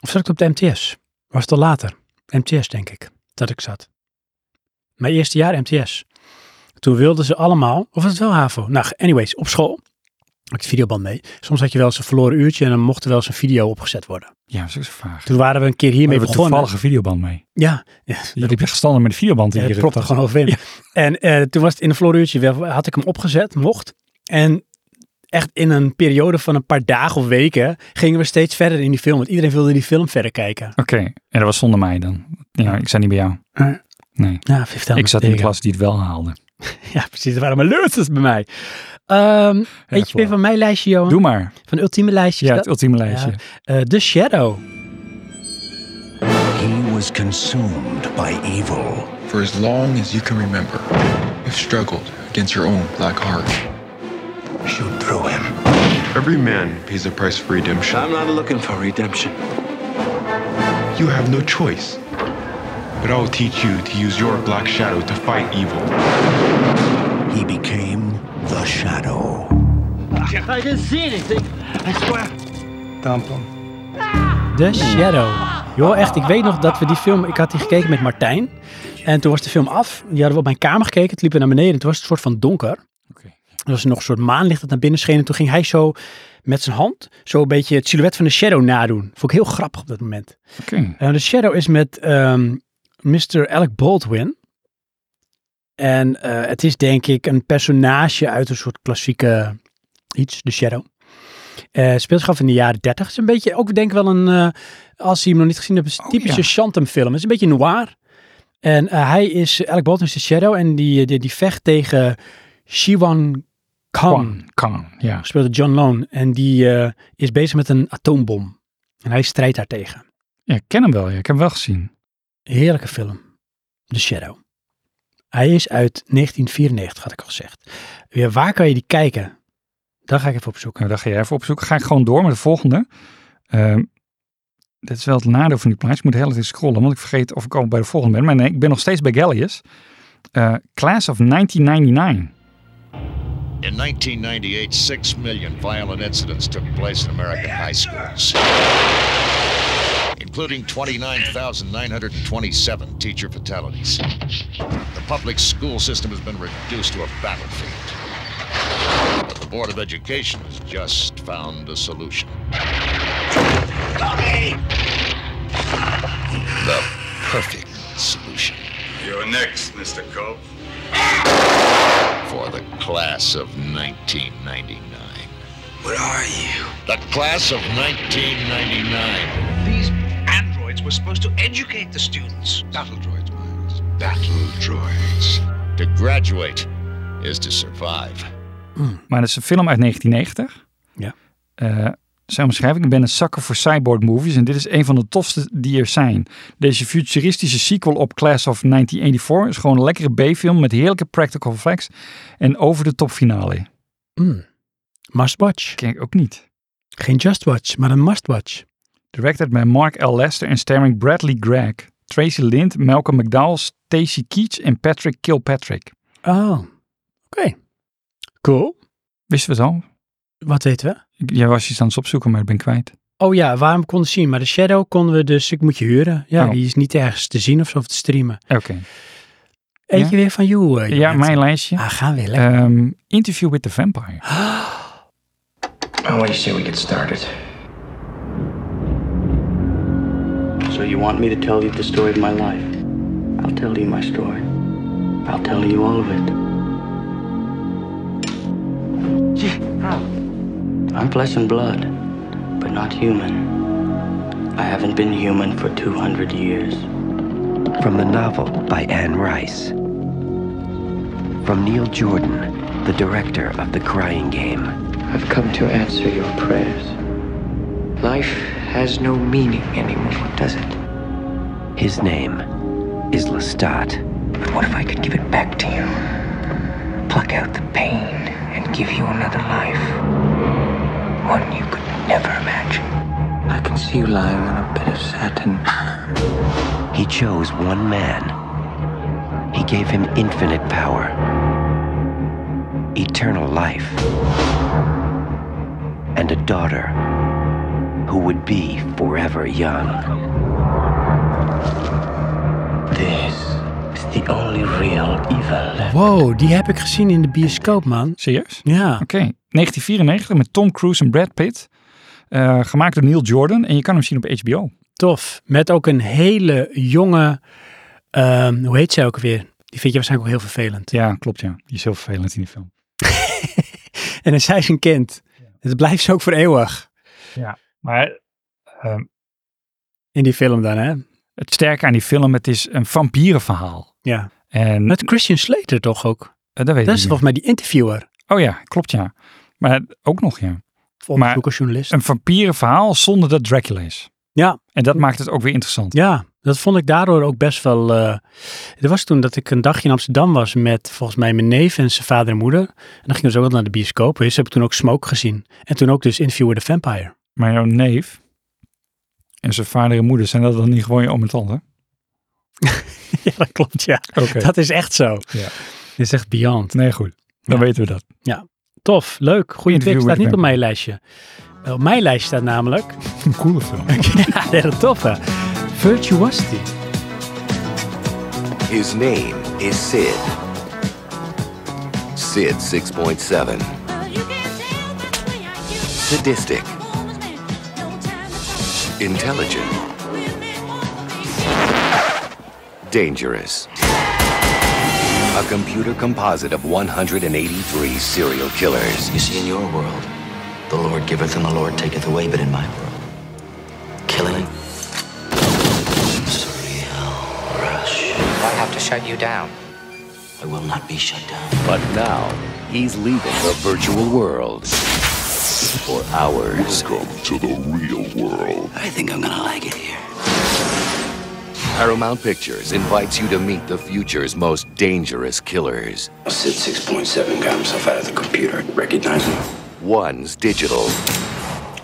S1: of zat ik op de MTS? Was het al later? MTS denk ik, dat ik zat. Mijn eerste jaar MTS. Toen wilden ze allemaal, of was het wel HAVO? Nou, anyways, op school. Had ik de videoband mee. Soms had je wel eens een verloren uurtje en dan mocht er wel eens een video opgezet worden.
S2: Ja, dat is ook zo vaag.
S1: Toen waren we een keer
S2: We
S1: hiermee
S2: hebben een
S1: begonnen.
S2: toevallige videoband mee.
S1: Ja,
S2: Je liep echt standaard met de videoband in
S1: ja,
S2: je
S1: Eh, het propte
S2: rugtas.
S1: gewoon overheen. En eh, toen was het in een floruurtje, wel- had ik hem opgezet, mocht. En echt in een periode van een paar dagen of weken gingen we steeds verder in die film. Want iedereen wilde die film verder kijken.
S2: Oké, en dat was zonder mij dan. Ja, ik zat niet bij jou.
S1: Eh.
S2: Nee.
S1: Ja, Fifth Element,
S2: ik zat in de
S1: zeker.
S2: klas die het wel haalde.
S1: Ja, precies. Er waren maar lurters bij mij. Ehm weet je weer van mijn lijstje, Johan?
S2: Doe maar.
S1: Van het ultieme lijstje. is
S2: Ja,
S1: dat?
S2: het ultieme lijstje.
S1: Ja. Eh, The Shadow.
S22: He was consumed by evil.
S14: For as long as you can remember, you've struggled against your own black heart. Shoot through him. Every man pays a price for redemption. I'm not looking for redemption. You have no choice. But I'll teach you to use your black shadow to fight evil. He became the shadow.
S23: I didn't see anything. I swear.
S22: Dump him.
S1: The Shadow. Joh, echt, ik weet nog dat we die film... Ik had die gekeken met Martijn. En toen was de film af. Die hadden we op mijn kamer gekeken. Het liep naar beneden. En toen was het een soort van donker. Er was nog een soort maanlicht dat naar binnen scheen. En toen ging hij zo met zijn hand... zo een beetje het silhouet van de Shadow nadoen. Vond ik heel grappig op dat moment.
S2: Oké.
S1: En de Shadow is met ehm, Mr. Alec Baldwin. En eh, het is denk ik een personage uit een soort klassieke iets, de Shadow. Eh speelt zich af in de jaren 30. Het is een beetje, ook denk ik wel een, eh, als je hem nog niet gezien hebt, een typische
S2: Oh, ja.
S1: Shantam film. Het is een beetje noir. En eh, hij is, Alec Baldwin is de Shadow en die, die, die vecht tegen Shiwan Khan.
S2: Khan, ja.
S1: Gespeeld door John Lone. En die eh, is bezig met een atoombom. En hij strijdt daartegen.
S2: Ja, ik ken hem wel. Ja. Ik heb hem wel gezien.
S1: Heerlijke film. The Shadow. Hij is uit 1994, had ik al gezegd. Ja, waar kan je die kijken? Daar ga ik even op zoeken.
S2: Nou, daar ga jij even op zoek. Ga ik gewoon door met de volgende. Ehm dit is wel het nadeel van die plaats. Ik moet de hele tijd scrollen, want ik vergeet of ik al bij de volgende ben. Maar nee, ik ben nog steeds bij Gallius. Eh, Class of 1999.
S24: In 1998, six million violent incidents took place in American high schools, including 29,927 teacher fatalities. The public school system has been reduced to a battlefield. But the Board of Education has just found a solution. The perfect solution
S32: You're next, Mr. Cope.
S24: for the class of 1999.
S32: What are you?
S24: The class of 1999.
S33: Androids were supposed to educate the students. Battle droids,
S24: Battle droids. To graduate is to survive.
S2: Maar dat is een film uit 1990.
S1: Ja.
S2: Eh, zijn omschrijving, ik ben een zakker voor cyborg movies en dit is een van de tofste die er zijn. Deze futuristische sequel op Class of 1984 is gewoon een lekkere B-film met heerlijke practical effects en over de top finale.
S1: Must watch.
S2: Ken ik ook niet.
S1: Geen just watch, maar een must watch.
S2: Directed bij Mark L. Lester en starring Bradley Gregg, Tracy Lind, Malcolm McDowell, Stacey Keach en Patrick Kilpatrick.
S1: Oh, oké. Cool.
S2: Wisten we het al?
S1: Wat weten we?
S2: Ik- Jij was iets aan het opzoeken, maar ik ben kwijt.
S1: Oh ja, waarom konden we zien? Maar de Shadow konden we dus, ik moet je huren. Ja,
S2: Oh.
S1: die is niet ergens te zien of zo, of te streamen.
S2: Oké.
S1: Eentje weer van jou. eh,
S2: Ja,
S1: Jeanette.
S2: mijn lijstje.
S1: Ah, gaan we lekker.
S2: Ehm, interview with the Vampire.
S10: What do you say we get started?
S34: So you want me to tell you the story of my life? I'll tell you my story. I'll tell you all of it. I'm flesh and blood, but not human. I haven't been human for 200 years.
S10: From the novel by Anne Rice. From Neil Jordan, the director of The Crying Game. I've come to answer your prayers.
S34: Life has no meaning anymore, does it?
S10: His name is Lestat. But what if I could give it back to you? Pluck out the pain and give you another life. One you could never imagine. I can see you lying on a bed of satin. He chose one man. He gave him infinite power, eternal life, and a daughter who would be forever young.
S34: This is the only real evil.
S1: Wow, die heb ik gezien in de bioscoop, man.
S2: Serieus?
S1: Ja.
S2: Oké. 1994 met Tom Cruise en Brad Pitt. Eh, gemaakt door Neil Jordan. En je kan hem zien op HBO.
S1: Tof. Met ook een hele jonge, ehm, hoe heet zij ook weer? Die vind je waarschijnlijk ook heel vervelend.
S2: Ja, klopt ja. Die is heel vervelend in die film.
S1: En dan zij is een kind. Het blijft ze ook voor eeuwig.
S2: Ja, maar...
S1: in die film dan, hè?
S2: Het sterke aan die film, het is een vampierenverhaal.
S1: Ja.
S2: En, eh,
S1: Met Christian Slater toch ook?
S2: dat weet
S1: dat
S2: ik
S1: is
S2: niet.
S1: volgens mij die interviewer.
S2: Oh ja, klopt ja. Maar ook nog ja.
S1: Onderzoekersjournalist.
S2: Een vampierenverhaal zonder dat Dracula is.
S1: Ja.
S2: En dat maakt het ook weer interessant.
S1: Ja, dat vond ik daardoor ook best wel... eh er was toen dat ik een dagje in Amsterdam was met volgens mij mijn neef en zijn vader en moeder. En dan gingen we zo wel naar de bioscoop. Dus heb ik toen ook Smoke gezien. En toen ook dus Interview with the Vampire.
S2: Maar jouw neef en zijn vader en moeder, zijn dat dan niet gewoon je oom en tante?
S1: ja, dat klopt ja.
S2: Oké.
S1: Dat is echt zo.
S2: Ja.
S1: Dit is echt beyond.
S2: Nee, goed. Dan weten we dat.
S1: Ja, tof, leuk. Goede
S2: Interview
S1: tip. Staat
S2: with
S1: niet
S2: the
S1: op mijn lijstje. Wel, Op mijn lijstje staat namelijk...
S2: Een coole film.
S1: ja, hele toffe. Virtuosity.
S14: His name is Sid. Sid 6.7. Sadistic. Intelligent. Dangerous. A computer composite of 183 serial killers.
S34: You see, in your world, the Lord giveth and the Lord taketh away, but in my world, killing. uh, I have to shut you down. I will not be shut down.
S14: But now, he's leaving the virtual world for ours. Welcome to the real world. I think I'm gonna like it here. Paramount Pictures invites you to meet the future's most dangerous killers. Sid 6.7 got himself out of the computer. Recognize him. One's digital.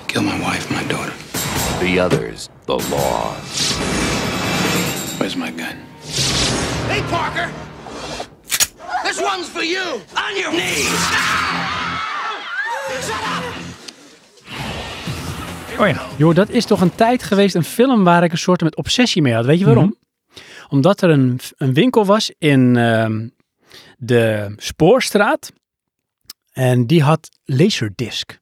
S14: Kill my wife, my daughter. The other's the law. Where's my gun?
S3: Hey, Parker! This one's for you! On your knees!
S2: Oh Oh ja.
S1: Joh, dat is toch een tijd geweest, een film waar ik een soort met obsessie mee had. Weet je waarom?
S2: Mhm.
S1: Omdat er een, een winkel was in ehm, de Spoorstraat. En die had Laserdisc.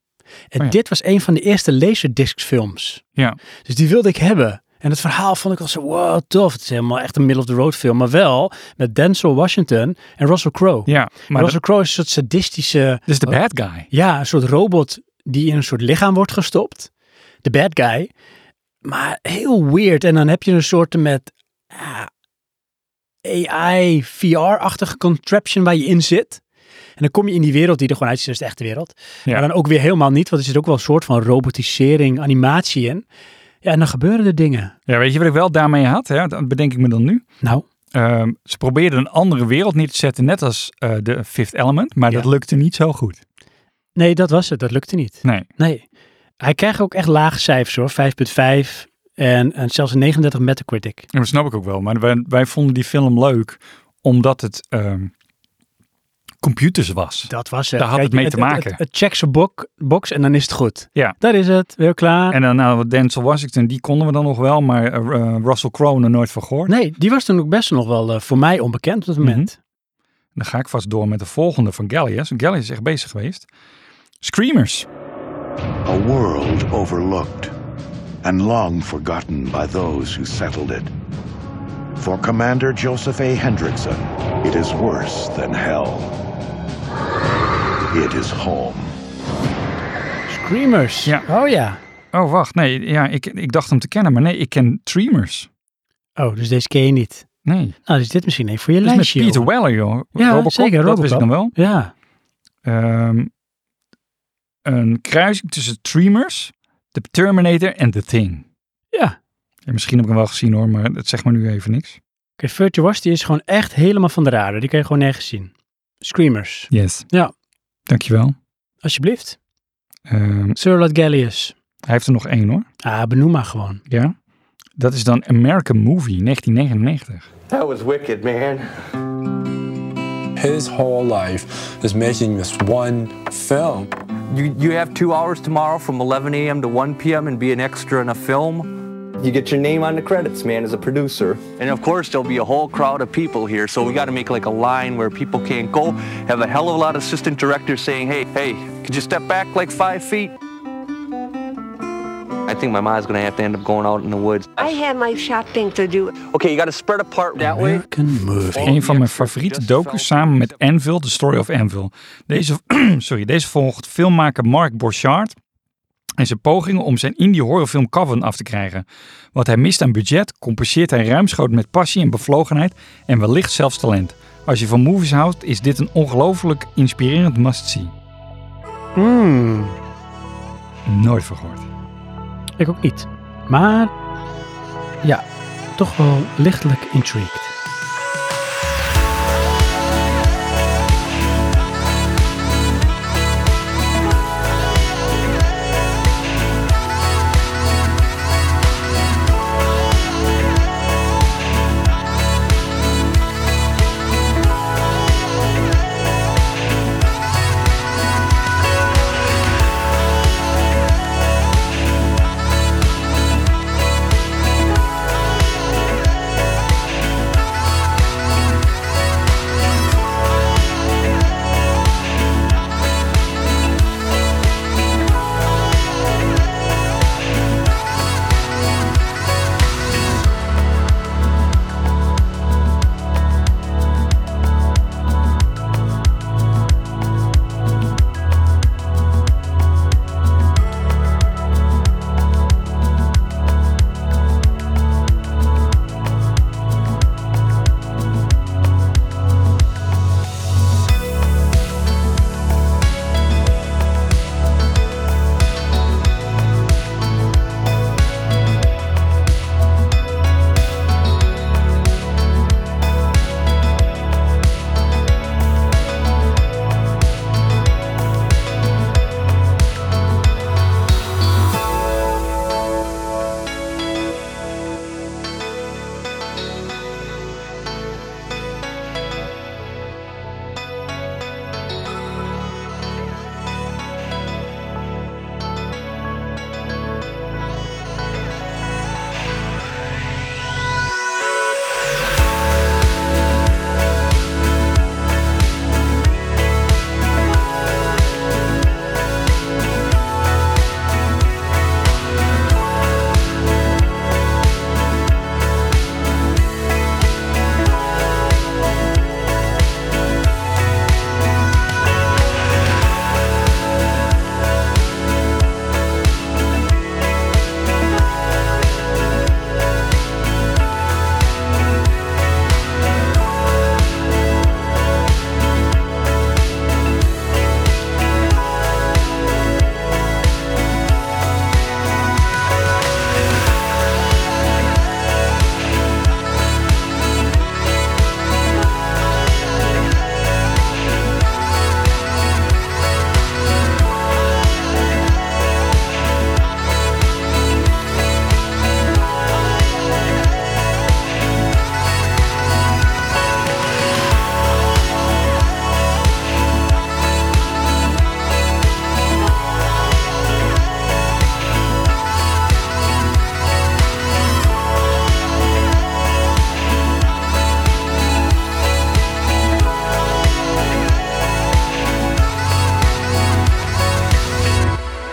S1: En
S2: Oh
S1: dit was een van de eerste Laserdisc films.
S2: Ja.
S1: Dus die wilde ik hebben. En het verhaal vond ik al zo, wow, tof. Het is helemaal echt een middle-of-the-road film. Maar wel met Denzel Washington en Russell Crowe.
S2: Ja,
S1: maar
S2: maar
S1: Russell
S2: dat-
S1: Crowe is een soort sadistische...
S2: Dit is Dus de bad guy.
S1: Ja, een soort robot die in een soort lichaam wordt gestopt. De bad guy. Maar heel weird. En dan heb je een soort met eh, AI, VR-achtige contraption waar je in zit. En dan kom je in die wereld die er gewoon uitziet als de echte wereld.
S2: Ja.
S1: Maar dan ook weer helemaal niet, want er zit ook wel een soort van robotisering, animatie in. Ja, en dan gebeuren er dingen.
S2: Ja, weet je wat ik wel daarmee had? Hè? Dat bedenk ik me dan nu.
S1: Nou.
S2: Ehm, ze probeerden een andere wereld neer te zetten, net als eh, de Fifth Element, maar dat lukte niet zo goed.
S1: Nee, dat was het. Dat lukte niet.
S2: Nee.
S1: Nee. Hij kreeg ook echt lage cijfers hoor. 5,5 en, en zelfs een 39 Metacritic.
S2: Ja, dat snap ik ook wel. Maar wij, wij vonden die film leuk omdat het ehm, computers was.
S1: Dat was het.
S2: Daar had
S1: Kijk,
S2: het mee te maken.
S1: Het, het checks een bok- box en dan is het goed.
S2: ja.
S1: Daar is het. Weer klaar.
S2: En dan nou, Denzel Washington, die konden we dan nog wel, maar eh, eh, Russell Crowe nog nooit van gehoord.
S1: Nee, die was toen ook best nog wel eh, voor mij onbekend op dat
S2: Mhm.
S1: moment.
S2: Dan ga ik vast door met de volgende van Gallius. Gallius is echt bezig geweest. Screamers.
S4: A world overlooked and long forgotten by those who settled it. For Commander Joseph A. Hendrickson, it is worse than hell. It is home.
S1: Screamers. Oh ja.
S2: Oh, wacht. Nee, ja, ik, ik dacht hem te kennen, maar nee, ik ken Dreamers.
S1: Oh, dus deze ken je niet?
S2: Nee.
S1: Nou, dus dit misschien even voor je
S2: Dat is met
S1: lijstje.
S2: Peter
S1: joh.
S2: Weller, joh.
S1: Ja,
S2: Robocop,
S1: zeker.
S2: Dat wist ik dan
S1: Robocop.
S2: wel.
S1: Ja.
S2: Ehm, een kruising tussen Dreamers, The Terminator en The Thing.
S1: Ja.
S2: Ja, Misschien heb ik hem wel gezien hoor, maar dat zegt me nu even niks.
S1: Oké, Virtuosity is gewoon echt helemaal van de radar. Die kan je gewoon nergens zien. Screamers.
S2: Yes.
S1: Ja,
S2: Dankjewel.
S1: alsjeblieft.
S2: Ehm,
S1: Sherlock Gallius.
S2: hij heeft er nog één hoor.
S1: Ah, benoem maar gewoon.
S2: Ja. Dat is dan American Movie 1999.
S8: That was wicked, man. His whole life is making this one film.
S29: You, you have two hours tomorrow from 11 a.m. to 1 p.m. and be an extra in a film. You get your name on the credits, man, as a producer. And of course, there'll be a whole crowd of people here, so we got to make like a line where people can't go. Have a hell of a lot of assistant directors saying, hey, hey, could you step back like five feet? I think my mom's going to have to end up going out in the woods.
S18: I had my shopping to do.
S29: Okay, you got to spread apart that way.
S2: Een van mijn favoriete docus samen met Anvil, The Story of Anvil. Deze, sorry, deze volgt filmmaker Mark Borchardt en zijn pogingen om zijn indie horrorfilm Coven af te krijgen. Wat hij mist aan budget, compenseert hij ruimschoots met passie en bevlogenheid en wellicht zelfs talent. Als je van movies houdt, is dit een ongelooflijk inspirerend must-see. Nooit van gehoord.
S1: Ik ook niet. Maar ja, toch wel lichtelijk intrigued.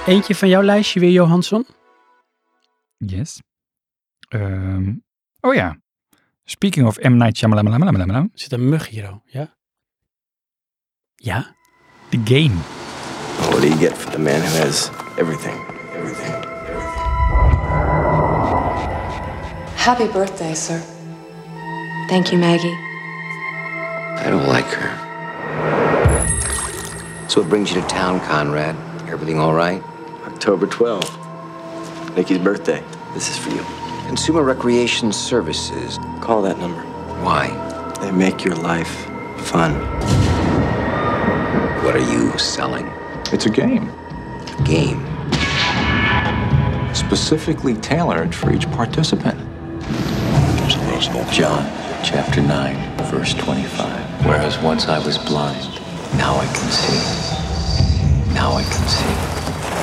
S1: Eentje van jouw lijstje weer, Johansson.
S2: Yes. Ehm, oh ja. Speaking of M. Night Shyamalan.
S1: Zit een mug hier al, ja? Ja?
S2: The Game.
S21: What do you get for the man who has everything? Everything.
S6: Happy birthday, sir. Thank you, Maggie.
S19: I don't like her. So what brings you to town, Conrad? Everything all right?
S21: October 12th. Nikki's birthday. This is for you.
S19: Consumer Recreation Services.
S21: Call that number.
S19: Why?
S21: They make your life fun.
S19: What are you selling?
S21: It's a game.
S19: Game.
S21: Specifically tailored for each participant. There's a rose bowl. John, chapter 9, verse 25. Whereas once I was blind, now I can see. Now I can see.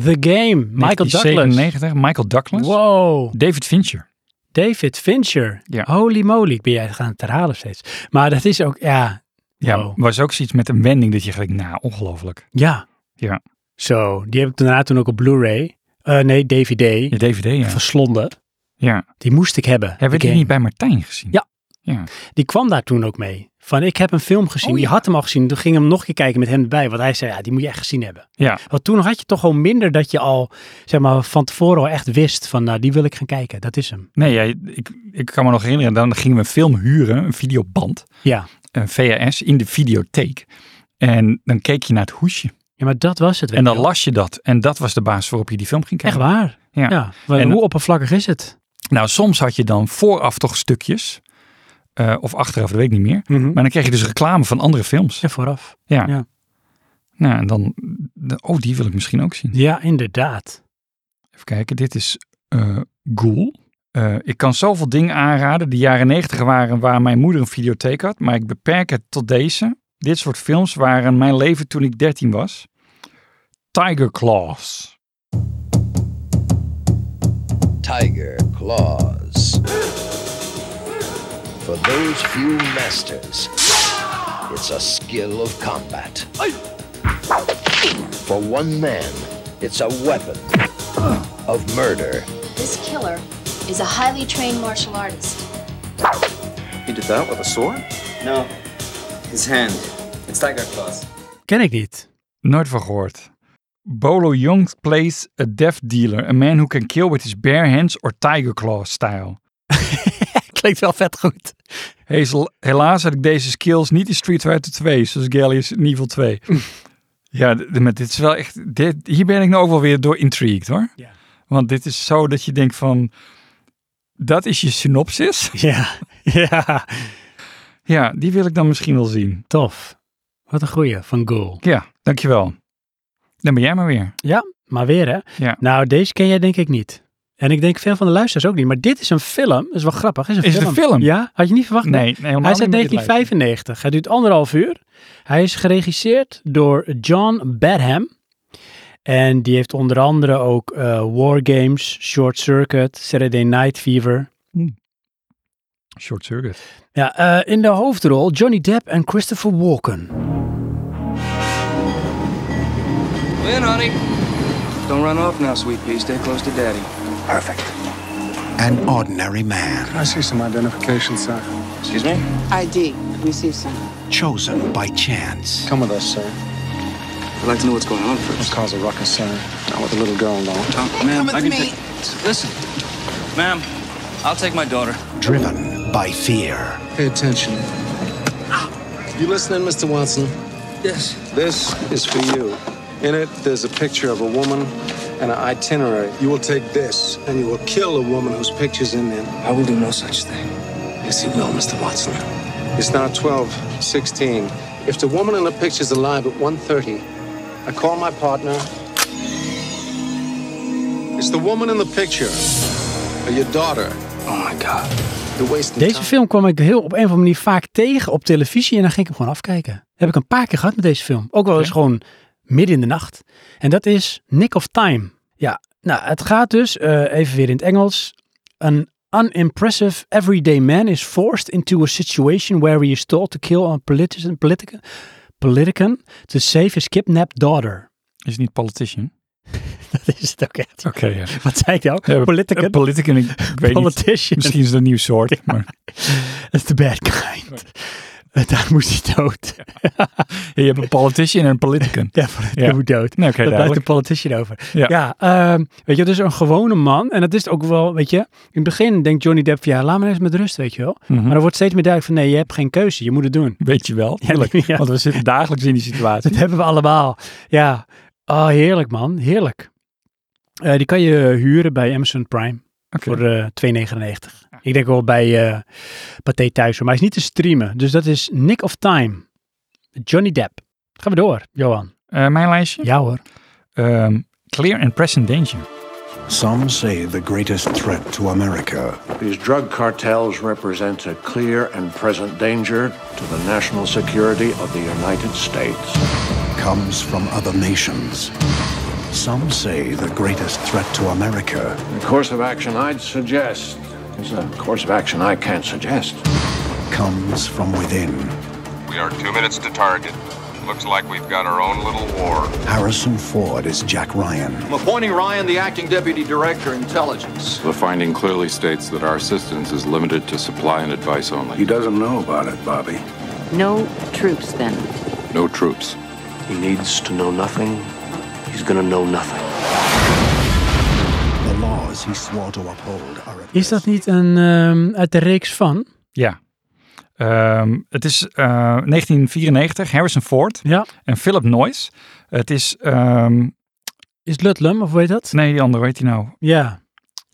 S1: The Game, Michael Douglas.
S2: 1997, Michael Douglas.
S1: Wow.
S2: David Fincher.
S1: David Fincher. Holy moly, ik ben jij gaan het herhalen steeds. Maar dat is ook, ja,
S2: Ja, was ook zoiets met een wending dat je gelijk, nou, ongelooflijk.
S1: ja.
S2: Ja.
S1: Zo, die heb ik daarna toen ook op Blu-ray. Eh, nee, DVD.
S2: DVD, ja.
S1: Verslonden.
S2: Ja.
S1: Die moest ik hebben.
S2: Hebben we die
S1: Game.
S2: niet bij Martijn gezien?
S1: Ja.
S2: Ja.
S1: Die kwam daar toen ook mee. Van, ik heb een film gezien. Die had hem al gezien. Toen ging ik hem nog een keer kijken met hem erbij. Want hij zei, ja, die moet je echt gezien hebben.
S2: Ja.
S1: Want toen had je toch al minder dat je al, zeg maar, van tevoren al echt wist van, nou, die wil ik gaan kijken. Dat is hem.
S2: Nee, ja, ik, ik kan me nog herinneren, dan gingen we een film huren, een videoband,
S1: Ja.
S2: een VHS, in de videotheek. En dan keek je naar het hoesje.
S1: Ja, maar dat was het. weet
S2: En
S1: je
S2: dan
S1: wel.
S2: las je dat. En dat was de basis waarop je die film ging
S1: Echt
S2: kijken.
S1: waar.
S2: Ja.
S1: maar
S2: En-
S1: hoe oppervlakkig is het?
S2: Nou, soms had je dan vooraf toch stukjes. eh, of achteraf, dat weet ik niet meer.
S1: Mhm.
S2: Maar dan kreeg je dus reclame van andere films.
S1: Ja, vooraf.
S2: Ja.
S1: Ja.
S2: Nou, en dan... de- Oh, die wil ik misschien ook zien.
S1: Ja, inderdaad.
S2: Even kijken, dit is eh Ghoul. Eh, ik kan zoveel dingen aanraden die jaren negentig waren waar mijn moeder een videotheek had. Maar ik beperk het tot deze. Dit soort films waren mijn leven toen ik 13 was. Tiger Claws.
S5: Tiger Claws. For those few masters, it's a skill of combat. For one man, it's a weapon of murder.
S15: This killer is a highly trained martial artist.
S21: He did that with a sword? No. His hand. It's tiger claws.
S1: Ken ik niet.
S2: Nooit van gehoord. Bolo Young plays a death dealer, a man who can kill with his bare hands or tiger claw style.
S1: Klinkt wel vet goed.
S2: Hazel, helaas had ik deze skills niet in Street Fighter 2, zoals Gallius in Niveau 2.
S1: Hm.
S2: ja, d- maar dit is wel echt... Dit, hier ben ik nou ook wel weer door intrigued, hoor. Want dit is zo dat je denkt van... Dat is je synopsis?
S1: Ja. Ja.
S2: Ja, die wil ik dan misschien wel zien.
S1: Tof. Wat een goeie van Goal.
S2: Ja, dankjewel. Dan ben jij maar weer.
S1: Ja, maar weer hè.
S2: Ja.
S1: Nou, deze ken jij denk ik niet. En ik denk veel van de luisteraars ook niet. Maar dit is een film. Dat is wel grappig. Is, een
S2: Is het
S1: film.
S2: een film?
S1: Ja, had je niet verwacht.
S2: Nee,
S1: hè?
S2: nee, helemaal
S1: Hij is
S2: niet
S1: uit
S2: met dit lijstje.
S1: 1995. Hij duurt anderhalf uur. Hij is geregisseerd door John Badham. En die heeft onder andere ook eh, War Games, Short Circuit, Saturday Night Fever.
S2: Short Circuit.
S1: Ja, eh, in de hoofdrol Johnny Depp en Christopher Walken.
S21: Win, honey. Don't run off now, sweet pea. Stay close to daddy. Perfect.
S26: An ordinary man
S21: Can I see some identification, sir? Excuse me?
S15: ID. We see some.
S26: chosen by chance.
S21: Come with us, sir. I'd like to know what's going on first. Let's cause a ruckus, sir. Not with a little girl, no. Oh, ma'am, I can take... Listen, ma'am, I'll take my daughter.
S26: Driven by fear.
S14: Pay attention. You listening, Mr. Watson?
S21: Yes.
S14: This is for you. In it, there's a picture of a woman and an itinerary. You will take this, and you will kill a woman whose picture's in there. I will do no such thing. Yes, you will, Mr. Watson. It's now 12, 16. If the woman in the picture's alive at 1.30, I call my partner. It's the woman in the picture, or your daughter. Oh, my God. The waste
S2: Oh.
S1: Deze film kwam ik heel op een of andere manier vaak tegen op televisie en dan ging ik hem gewoon afkijken. Heb ik een paar keer gehad met deze film. Ook wel eens gewoon midden in de nacht. En dat is Nick of Time. Ja, nou, het gaat dus, eh, even weer in het Engels. An unimpressive everyday man is forced into a situation where he is told to kill a politician, politician, politician to save his kidnapped daughter.
S2: Is het niet Politician?
S1: dat is het ook echt.
S2: Oké, ja.
S1: Wat zei ik nou?
S2: Ja,
S1: Politicus.
S2: een politicus, ik weet niet.
S1: Politician.
S2: Misschien is het een nieuw soort. Maar
S1: That's the bad kind. Daar moest hij dood.
S2: je hebt een politician en een politicus.
S1: Ja, politicus moet dood.
S2: Nee, Nou,
S1: dat
S2: oké,
S1: blijft de
S2: duidelijk.
S1: politician over.
S2: Ja.
S1: Ja, ehm, weet je, dus een gewone man. En dat is ook wel, weet je, in het begin denkt Johnny Depp, ja, laat me eens met rust, weet je wel.
S2: Mhm.
S1: Maar dan wordt steeds meer duidelijk van, nee, je hebt geen keuze, je moet het doen.
S2: Weet je wel, tuurlijk. Want we zitten dagelijks in die situatie.
S1: Dat hebben we allemaal. Ja, oh, heerlijk man, heerlijk. Eh, die kan je huren bij Amazon Prime voor eh, 2,99. Ik denk wel bij eh Pathé thuis, hoor. maar hij is niet te streamen. Dus dat is Nick of Time, Johnny Depp. Gaan we door, Johan.
S2: Eh, mijn lijstje? Ehm,
S1: Ja hoor.
S2: clear and present danger.
S14: Some say the greatest threat to America
S5: These drug cartels represent a clear and present danger to the national security of the United States.
S14: comes from other nations. Some say the greatest threat to America
S5: The course of action I'd suggest is a course of action I can't suggest.
S14: comes from within.
S24: We are two minutes to target. Looks like we've got our own little war.
S14: Harrison Ford is Jack Ryan.
S35: I'm appointing Ryan the acting deputy director, intelligence.
S24: The finding clearly states that our assistance is limited to supply and advice only. He doesn't know about it, Bobby.
S36: No troops then.
S24: No troops.
S5: He needs to know nothing. He's gonna know nothing.
S14: The laws he swore to uphold are at
S1: Is dat niet een ehm, uit de reeks van?
S2: Ja. Ehm, het is eh, 1994, Harrison Ford en Philip Noyce. Het is... ehm,
S1: is Ludlum, of weet dat?
S2: Nee, die andere, weet hij nou?
S1: Ja.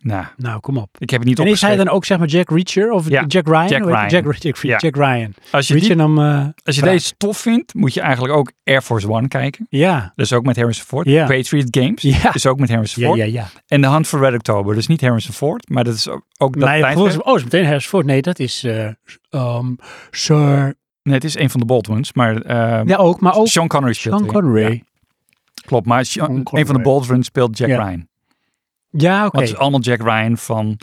S2: Nou,
S1: nou, kom op.
S2: Ik heb het niet
S1: en is hij
S2: opgeschreven.
S1: dan ook zeg maar Jack Reacher of
S2: Ja,
S1: Jack Ryan?
S2: Jack
S1: Hoe heet hij?
S2: Ryan.
S1: Jack, Jack,
S2: Ja.
S1: Jack Ryan.
S2: Als je,
S1: Reacher
S2: die-
S1: nam, eh,
S2: als je
S1: vraag.
S2: deze tof vindt, moet je eigenlijk ook Air Force One kijken.
S1: Ja.
S2: Dat is ook met Harrison Ford.
S1: Ja.
S2: Patriot Games
S1: Ja.
S2: is ook met Harrison
S1: Ja,
S2: Ford.
S1: ja, ja.
S2: En The Hunt for Red October. Dus niet Harrison Ford, maar dat is ook, ook
S1: Nee,
S2: dat
S1: volgens
S2: tijdperk.
S1: mij, oh, is meteen Harris Ford. Nee, dat is eh, ehm, Sir.
S2: Nee, het is een van de Baldwins, maar... eh,
S1: Ja, ook, maar ook
S2: Sean Connery speelt
S1: Sean
S2: erin.
S1: Connery.
S2: Ja. Klopt, maar Sean- een van de
S1: Connery.
S2: Baldwins speelt Jack
S1: Ja.
S2: Ryan.
S1: Ja, oké.
S2: Want het is allemaal Jack Ryan van...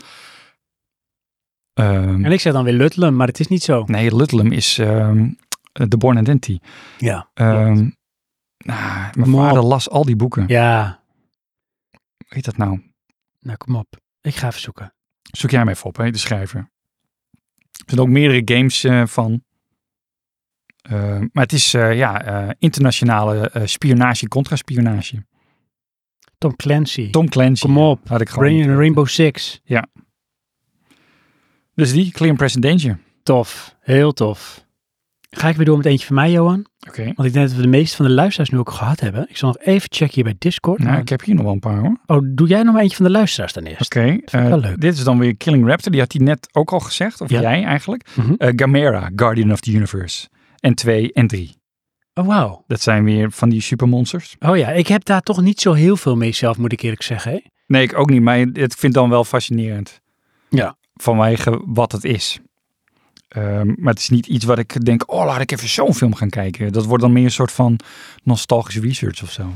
S2: ehm,
S1: En ik zeg dan weer Ludlum, maar het is niet zo.
S2: Nee, Ludlum is ehm The Born Identity.
S1: Ja.
S2: Ehm, ah, mijn vader las al die boeken.
S1: Ja.
S2: Hoe heet dat nou?
S1: Nou, kom op. Ik ga even zoeken.
S2: Zoek jij hem even op, hè, de schrijver. Er zijn ook meerdere games eh, van. Eh, maar het is eh, ja, eh, internationale eh, spionage, contra-spionage.
S1: Tom Clancy.
S2: Tom Clancy. Kom op. Had ik gewoon.
S1: Rain- Rainbow Six.
S2: Ja. Dus die, Clear and Present Danger.
S1: Tof. Heel tof. Ga ik weer door met eentje van mij, Johan?
S2: Oké.
S1: Want ik denk dat we de meeste van de luisteraars nu ook gehad hebben. Ik zal nog even checken hier bij Discord.
S2: Nou, ik heb hier nog wel een paar hoor.
S1: Oh, doe jij nog maar eentje van de luisteraars dan eerst?
S2: Oké. eh, Dit is dan weer Killing Raptor. Die had hij net ook al gezegd. Of
S1: Ja.
S2: jij eigenlijk. Eh, Gamera, Guardian of the Universe. En 2 en 3.
S1: Oh, wauw.
S2: Dat zijn weer van die supermonsters.
S1: Oh ja, ik heb daar toch niet zo heel veel mee zelf, moet ik eerlijk zeggen. Hè?
S2: Nee, ik ook niet. Maar het vind ik dan wel fascinerend.
S1: Ja.
S2: Vanwege wat het is. Ehm, maar het is niet iets wat ik denk, oh laat ik even zo'n film gaan kijken. Dat wordt dan meer een soort van nostalgische research of zo.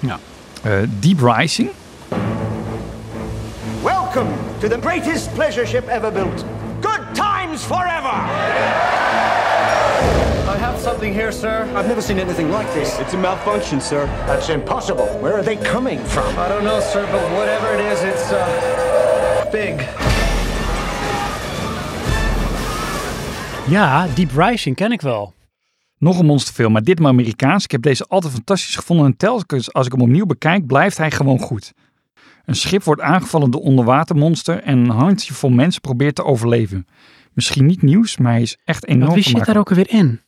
S1: Ja.
S2: Eh, Deep Rising.
S3: Welcome to the greatest pleasure ship ever built. Good times forever! I have something here, sir. I've never seen anything like this. It's a malfunction, sir. That's impossible. Where are they coming from? I don't know, sir, but whatever it is, it's, uh, big.
S1: Ja, Deep Rising ken ik wel.
S2: Nog een monsterfilm, maar ditmaal Amerikaans. Ik heb deze altijd fantastisch gevonden en telkens als ik hem opnieuw bekijk, blijft hij gewoon goed. Een schip wordt aangevallen door onderwatermonster en een handjevol mensen probeert te overleven. Misschien niet nieuws, maar hij is echt enorm
S1: Wat wie zit
S2: vermakelijk.
S1: daar ook alweer in?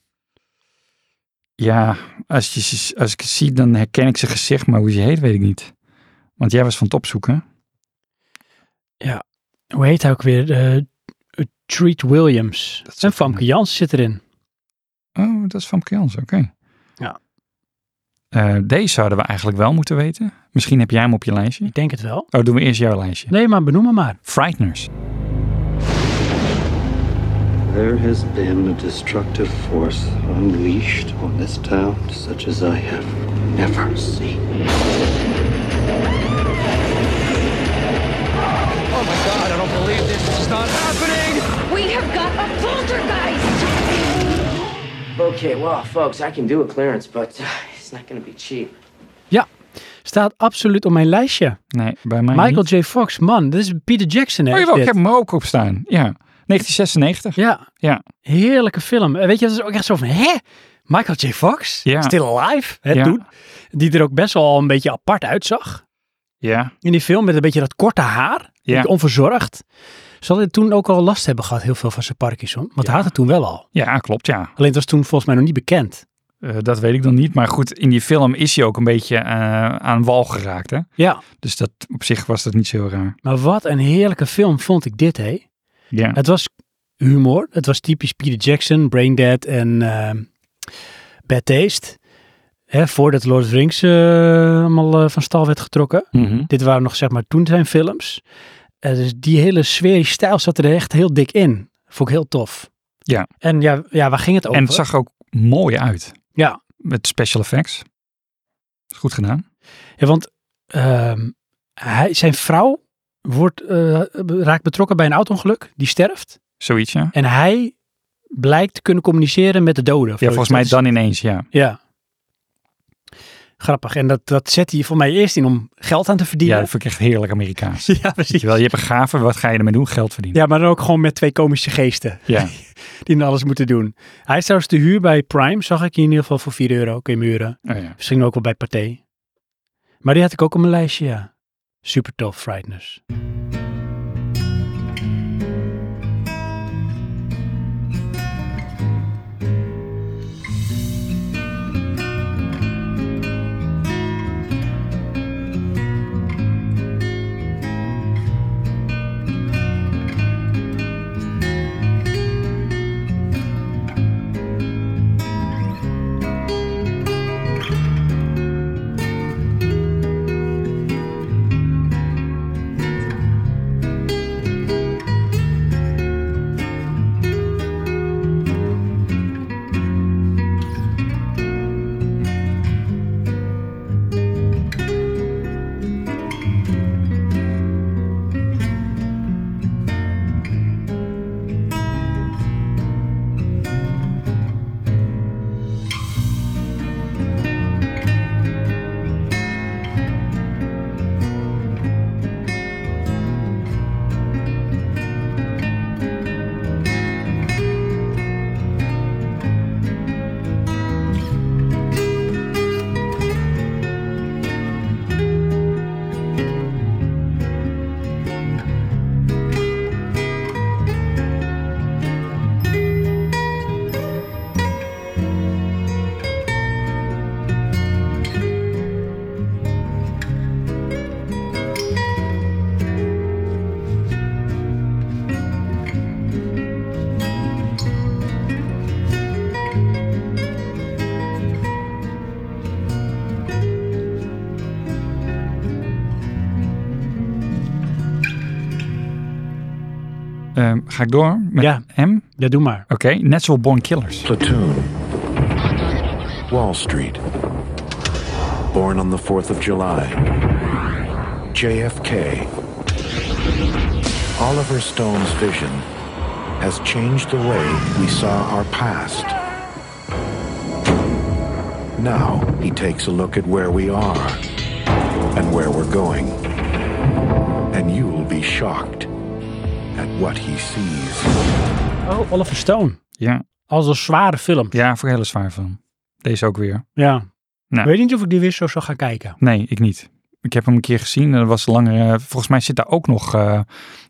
S2: Ja, als, je, ze- als ik het zie, dan herken ik zijn gezicht, maar hoe ze heet, weet ik niet. Want jij was van het opzoeken.
S1: Ja, hoe heet hij ook weer? Eh, eh, Treat Williams. en Famke Jans zit erin.
S2: Oh, dat is van Jans, oké.
S1: Ja.
S2: Eh, deze zouden we eigenlijk wel moeten weten. Misschien heb jij hem op je lijstje. Ik
S1: denk het wel.
S2: Oh, doen we eerst jouw lijstje.
S1: Nee, maar benoem hem maar.
S2: Frighteners.
S37: There has been a destructive force unleashed on this town such as I have never seen.
S38: Oh my god, I don't believe this. This is not happening! We have got a poltergeist!
S10: Okay, well, folks, I can do a clearance, but uh, it's not going to be cheap.
S1: Ja, Staat absoluut op mijn lijstje.
S2: Nee, bij mij
S1: Michael
S2: niet.
S1: J. Fox, man, dit is Peter Jackson. Hè,
S2: Oh
S1: is
S2: jawel, ik
S1: dit.
S2: heb hem er ook op staan. Ja, 1996.
S1: Ja.
S2: Ja.
S1: Heerlijke film. En weet je, dat is ook echt zo van, hè? Michael J. Fox?
S2: Ja.
S1: Still Alive? Hè,
S2: Ja.
S1: toen? Die er ook best wel al een beetje apart uitzag.
S2: Ja.
S1: In die film met een beetje dat korte haar.
S2: Ja.
S1: beetje Onverzorgd. Zal hij toen ook al last hebben gehad, heel veel van zijn Parkinson? Want hij had het toen wel al.
S2: Ja, klopt, ja.
S1: Alleen het was toen volgens mij nog niet bekend.
S2: Eh, dat weet ik dan niet. Maar goed, in die film is hij ook een beetje eh, aan wal geraakt. Hè?
S1: Ja.
S2: Dus dat, op zich was dat niet zo heel raar.
S1: Maar wat een heerlijke film vond ik dit, hé.
S2: Ja.
S1: Het was humor. Het was typisch Peter Jackson, Braindead en ehm, Bad Taste. Hè, voordat Lord of the Rings eh, allemaal eh, van stal werd getrokken. Dit waren nog, zeg maar, toen zijn films. Eh, dus die hele sfeer, die stijl zat er echt heel dik in. Vond ik heel tof.
S2: Ja.
S1: En ja, ja waar ging het over?
S2: En het zag ook mooi uit.
S1: Ja.
S2: Met special effects. Is goed gedaan.
S1: Ja, want ehm, hij, zijn vrouw wordt, eh, raakt betrokken bij een auto-ongeluk. Die sterft.
S2: Zoiets, ja.
S1: En hij blijkt te kunnen communiceren met de doden. of
S2: Ja,
S1: zoiets.
S2: volgens mij
S1: Dat is-
S2: dan ineens, ja.
S1: Ja. Grappig. En dat, dat zet hij voor mij eerst in om geld aan te verdienen.
S2: Ja, dat vind ik echt heerlijk Amerikaans.
S1: ja, precies.
S2: Je, wel, je hebt een gave, wat ga je ermee doen? Geld verdienen.
S1: Ja, maar dan ook gewoon met twee komische geesten.
S2: Ja.
S1: die dan alles moeten doen. Hij is trouwens te huur bij Prime, zag ik in ieder geval voor 4 euro. Kun je muren.
S2: Oh ja.
S1: Misschien ook wel bij Pathé. Maar die had ik ook op mijn lijstje, ja. Super tof, Frighteners.
S2: Ehm, ga ik door met
S1: Ja.
S2: hem?
S1: Ja, doe maar.
S2: Oké, Natural Born Killers.
S4: Platoon. Wall Street. Born on the 4th of July. JFK. Oliver Stone's vision has changed the way we saw our past. Now he takes a look at where we are and where we're going. And you'll be shocked at what he sees.
S1: Oh, Oliver Stone.
S2: Ja.
S1: Als een zware film.
S2: Ja, voor een hele zware film. Deze ook weer.
S1: Ja.
S2: Nou.
S1: Weet niet of ik die weer zo zou gaan kijken.
S2: Nee, ik niet. Ik heb hem een keer gezien en dat was langer. eh, volgens mij zit daar ook nog eh,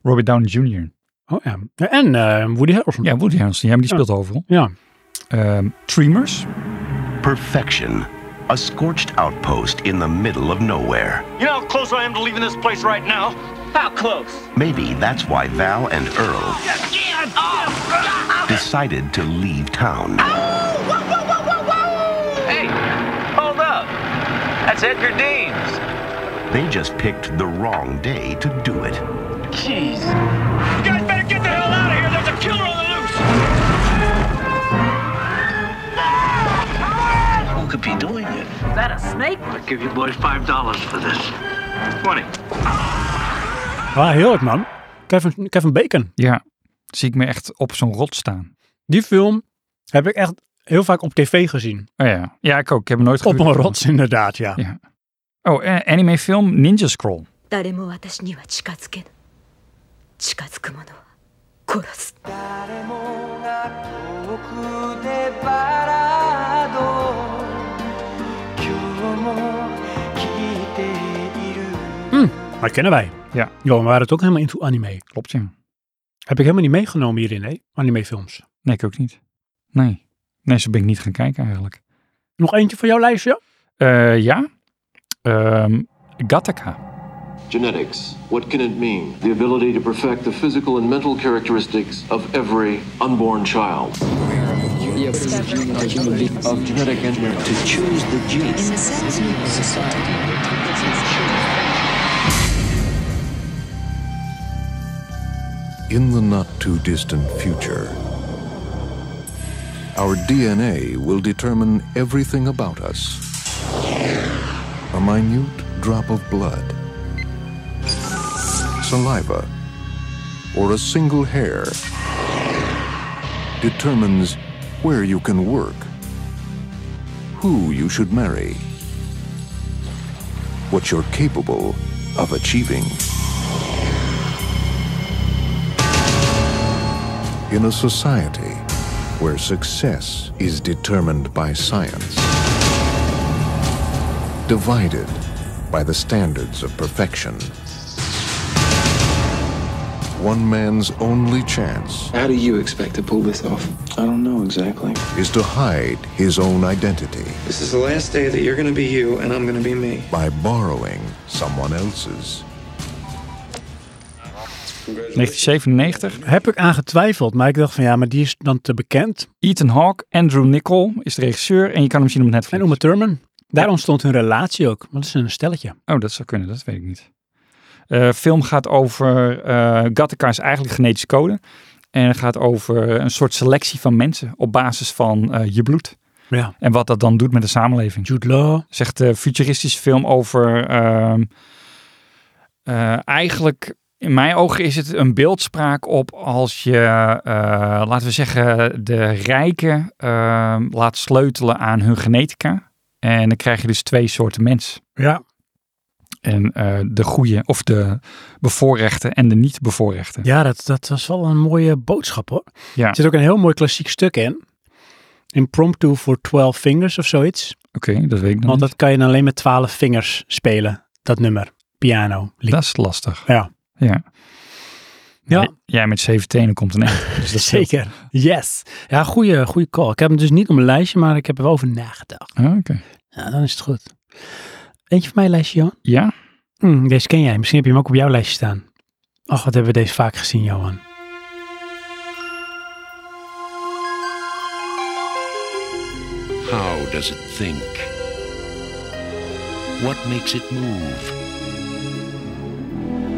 S2: Robert Downey Jr.
S1: Oh ja. En eh, Woody Harrelson.
S2: Ja, Woody Harrelson. Ja, maar die
S1: Ja.
S2: speelt overal.
S1: Ja.
S2: Ehm, Tremors.
S7: Perfection. A scorched outpost in the middle of nowhere.
S23: You know how close I am to leaving this place right now? How close?
S7: Maybe that's why Val and Earl decided to leave town.
S3: Hey, hold up. That's Edgar Deans.
S7: They just picked the wrong day to do it.
S3: Jeez. You guys better get the hell out of here. There's a killer on the loose.
S28: Who could be doing it?
S3: Is that a snake?
S28: I'll give you boys five dollars for this. Twenty.
S1: Ah, heerlijk man. Kevin, Kevin Bacon.
S2: Ja. Zie ik me echt op zo'n rot staan.
S1: Die film heb ik echt heel vaak op tv gezien.
S2: Oh ja. Ja, ik ook. Ik heb hem nooit
S1: Op
S2: gehuurd.
S1: een rots inderdaad, ja.
S2: Ja. Oh, eh, animefilm Ninja Scroll.
S39: 誰も私には近づけぬ近づく者は殺す
S1: Maar kennen wij.
S2: Ja.
S1: Jo, we waren het ook helemaal into anime.
S2: Klopt, ja.
S1: Heb ik helemaal niet meegenomen hierin, hè? Animefilms.
S2: Nee, ik ook niet. Nee. Nee, zo ben ik niet gaan kijken eigenlijk.
S1: Nog eentje van jouw lijstje?
S2: Eh, ja. Ehm, Gattaca.
S3: Genetics. What can it mean? The ability to perfect the physical and mental characteristics of every unborn child. Of genetic engineering to choose the genes.
S5: In the not too distant future, our DNA will determine everything about us. A minute drop of blood, saliva, or a single hair determines where you can work, who you should marry, what you're capable of achieving. in a society where success is determined by science, divided by the standards of perfection. One man's only chance
S40: How do you expect to pull this off? I don't know exactly.
S5: is to hide his own identity
S40: This is the last day that you're going to be you and I'm going to be me.
S5: by borrowing someone else's.
S2: 1997.
S1: Heb ik aangetwijfeld, maar ik dacht van ja, maar die is dan te bekend.
S2: Ethan Hawke, Andrew Niccol is de regisseur en je kan hem zien op Netflix.
S1: En Uma Thurman. Daar ontstond hun relatie ook. Want dat is een stelletje.
S2: Oh, dat zou kunnen, dat weet ik niet. Eh film gaat over. eh Gattaca is eigenlijk genetische code. En het gaat over een soort selectie van mensen op basis van eh, je bloed.
S1: Ja.
S2: En wat dat dan doet met de samenleving.
S1: Jude Law.
S2: Zegt een futuristische film over. ehm, eh, eigenlijk, in mijn ogen, is het een beeldspraak op als je, eh, laten we zeggen, de rijken ehm, laat sleutelen aan hun genetica. En dan krijg je dus twee soorten mens.
S1: Ja.
S2: En eh, de goede, of de bevoorrechte en de niet-bevoorrechte.
S1: Ja, dat, dat was wel een mooie boodschap hoor.
S2: Ja.
S1: Er zit ook een heel mooi klassiek stuk in. Impromptu for 12 fingers of zoiets.
S2: Oké, dat weet ik nog
S1: Want
S2: niet.
S1: dat kan je dan alleen met 12 vingers spelen. Dat nummer. Piano.
S2: Dat is lastig.
S1: Ja.
S2: Ja.
S1: Ja.
S2: J- Jij met 17 komt een eind. Dus dat scheelt.
S1: Zeker. Yes. Ja, goede, goede call. Ik heb hem dus niet op mijn lijstje, maar ik heb er wel over nagedacht.
S2: Ah, Oké.
S1: Ja, dan is het goed. Eentje van mijn lijstje, Johan.
S2: Ja?
S1: Hm, deze ken jij. Misschien heb je hem ook op jouw lijstje staan. Och, wat hebben we deze vaak gezien, Johan.
S14: How does it think? What makes it move?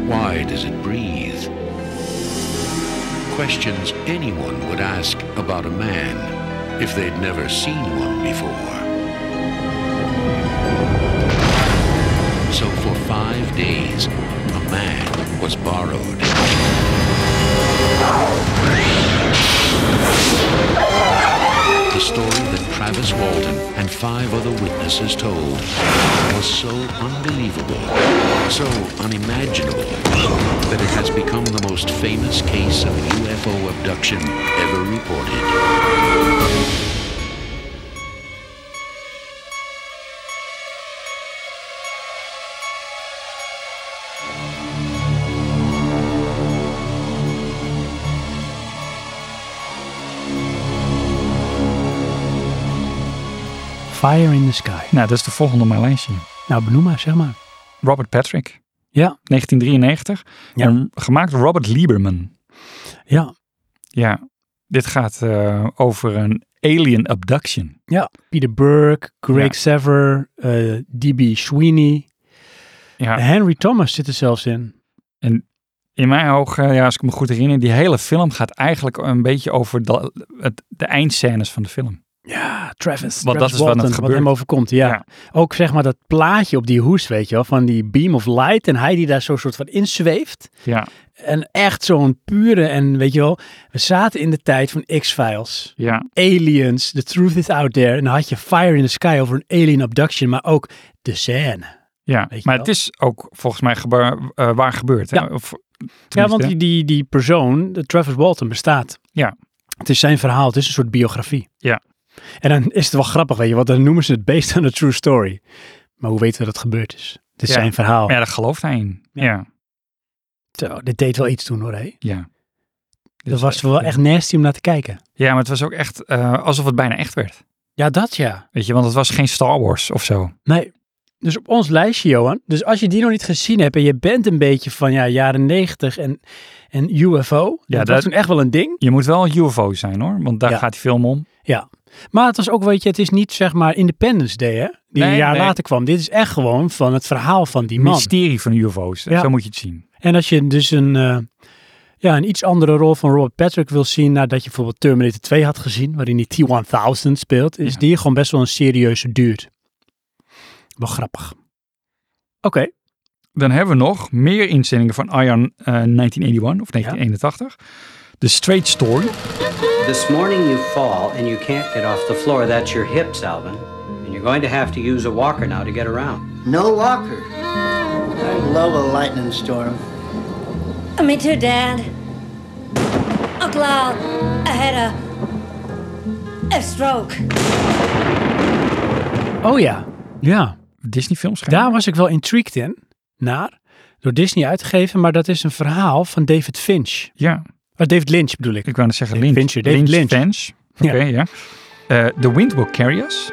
S14: Why does it breathe? Questions anyone would ask about a man if they'd never seen one before. So for five days, a man was borrowed. The story that Travis Walton and five other witnesses told was so unbelievable, so unimaginable, that it has become the most famous case of UFO abduction ever reported.
S1: Fire in the Sky.
S2: Nou, dat is de volgende op mijn lijstje.
S1: Nou, benoem maar, zeg maar.
S2: Robert Patrick.
S1: Ja.
S2: 1993. En gemaakt door Robert Lieberman.
S1: Ja.
S2: Ja. Dit gaat eh, over een alien abduction.
S1: Ja. Peter Burke, Greg
S2: Ja.
S1: Sever, eh, D.B. Sweeney.
S2: Ja.
S1: Henry Thomas zit er zelfs in.
S2: En in mijn ogen, ja, als ik me goed herinner, die hele film gaat eigenlijk een beetje over de, het, de eindscènes van de film.
S1: Ja, Travis.
S2: Want dat
S1: Travis
S2: is wat
S1: Walton,
S2: het
S1: Wat
S2: gebeurt.
S1: hem overkomt, ja. Ook zeg maar dat plaatje op die hoes, weet je wel, van die beam of light. En hij die daar zo'n soort van inzweeft.
S2: Ja,
S1: En echt zo'n pure, en weet je wel, we zaten in de tijd van X-Files.
S2: ja.
S1: Aliens, the truth is out there. En dan had je Fire in the Sky over een alien abduction, maar ook de scène.
S2: Ja,
S1: Weet je
S2: maar
S1: wel.
S2: het is ook volgens mij gebe- eh, waar gebeurd. Hè? Of,
S1: Ja, want
S2: tenminste,
S1: die, die, die persoon, de Travis Walton, bestaat.
S2: Ja.
S1: Het is zijn verhaal, het is een soort biografie.
S2: Ja.
S1: En dan is het wel grappig, weet je, want dan noemen ze het based on a true story. Maar hoe weten we dat het gebeurd is? Dit is
S2: Ja.
S1: zijn verhaal.
S2: Maar ja, daar gelooft hij in. Ja. ja.
S1: Zo, dit deed wel iets toen hoor, hé.
S2: Ja. Dus, eh,
S1: Dat was wel echt nasty om naar te kijken.
S2: maar het was ook echt eh, alsof het bijna echt werd.
S1: Ja, dat ja.
S2: Weet je, want het was geen Star Wars of zo.
S1: Nee. Dus op ons lijstje, Johan. Dus als je die nog niet gezien hebt en je bent een beetje van ja, jaren negentig en, en UFO.
S2: Ja,
S1: Ja, dat
S2: dat-
S1: was toen echt wel een ding.
S2: Je moet wel een UFO zijn hoor, want daar gaat die film om.
S1: Ja. Maar het was ook, weet je, het is niet zeg maar Independence Day, hè? Die
S2: Nee,
S1: een jaar
S2: nee.
S1: later kwam. Dit is echt gewoon van het verhaal van die man.
S2: Mysterie van UFO's,
S1: Ja.
S2: zo moet je het zien.
S1: En als je dus een, eh, ja, een iets andere rol van Robert Patrick wil zien, nadat je bijvoorbeeld Terminator 2 had gezien, waarin die T-1000 speelt, is die gewoon best wel een serieuze duurt. Wel grappig. Oké.
S2: Dan hebben we nog meer inzendingen van Iron eh, 1981 of 1981. The Straight Story.
S10: This morning you fall and you can't get off the floor. That's your hips, Alvin. And you're going to have to use a walker now to get around.
S29: No walker. I love a lightning storm.
S22: Me too, Dad. A cloud. I had a. a stroke.
S1: Oh ja. Ja.
S2: Disney films.
S1: Daar was ik wel intrigued in, naar, door Disney uitgegeven, maar dat is een verhaal van David Finch.
S2: Ja.
S1: Oh, David Lynch bedoel ik.
S2: Ik wou net zeggen Lynch.
S1: Fincher, David Lynch.
S2: Fans. Oké,
S1: Ja.
S2: ja. Eh, the Wind Will Carry Us.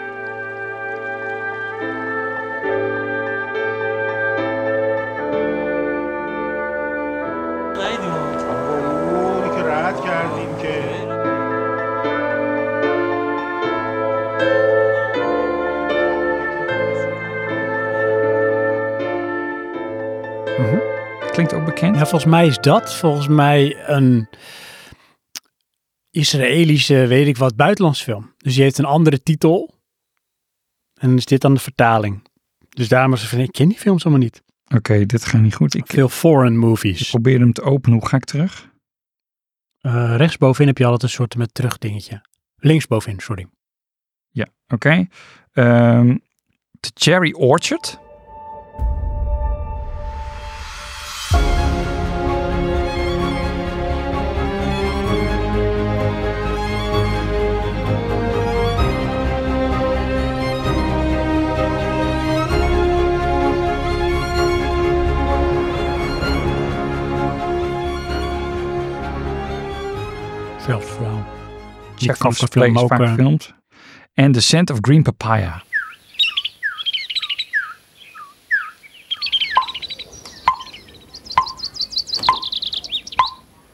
S2: Klinkt ook bekend.
S1: Ja, volgens mij is dat volgens mij een Israëlische, weet ik wat, buitenlandsfilm. Dus die heeft een andere titel. En dan is dit dan de vertaling. Dus daarom was ik van, ik ken die films allemaal niet.
S2: Oké, dit gaat niet goed. Ik,
S1: Veel foreign movies.
S2: ik probeer hem te openen. Hoe ga ik terug?
S1: Eh, rechtsbovenin heb je altijd een soort met terugdingetje. Linksbovenin, sorry.
S2: Ja, oké. Ehm the Cherry Orchard.
S1: Veldverhaal.
S2: Jack
S1: Kafka
S2: Frost
S1: film
S2: Plays
S1: ook,
S2: vaak
S1: eh.
S2: gefilmd. En The Scent of Green Papaya.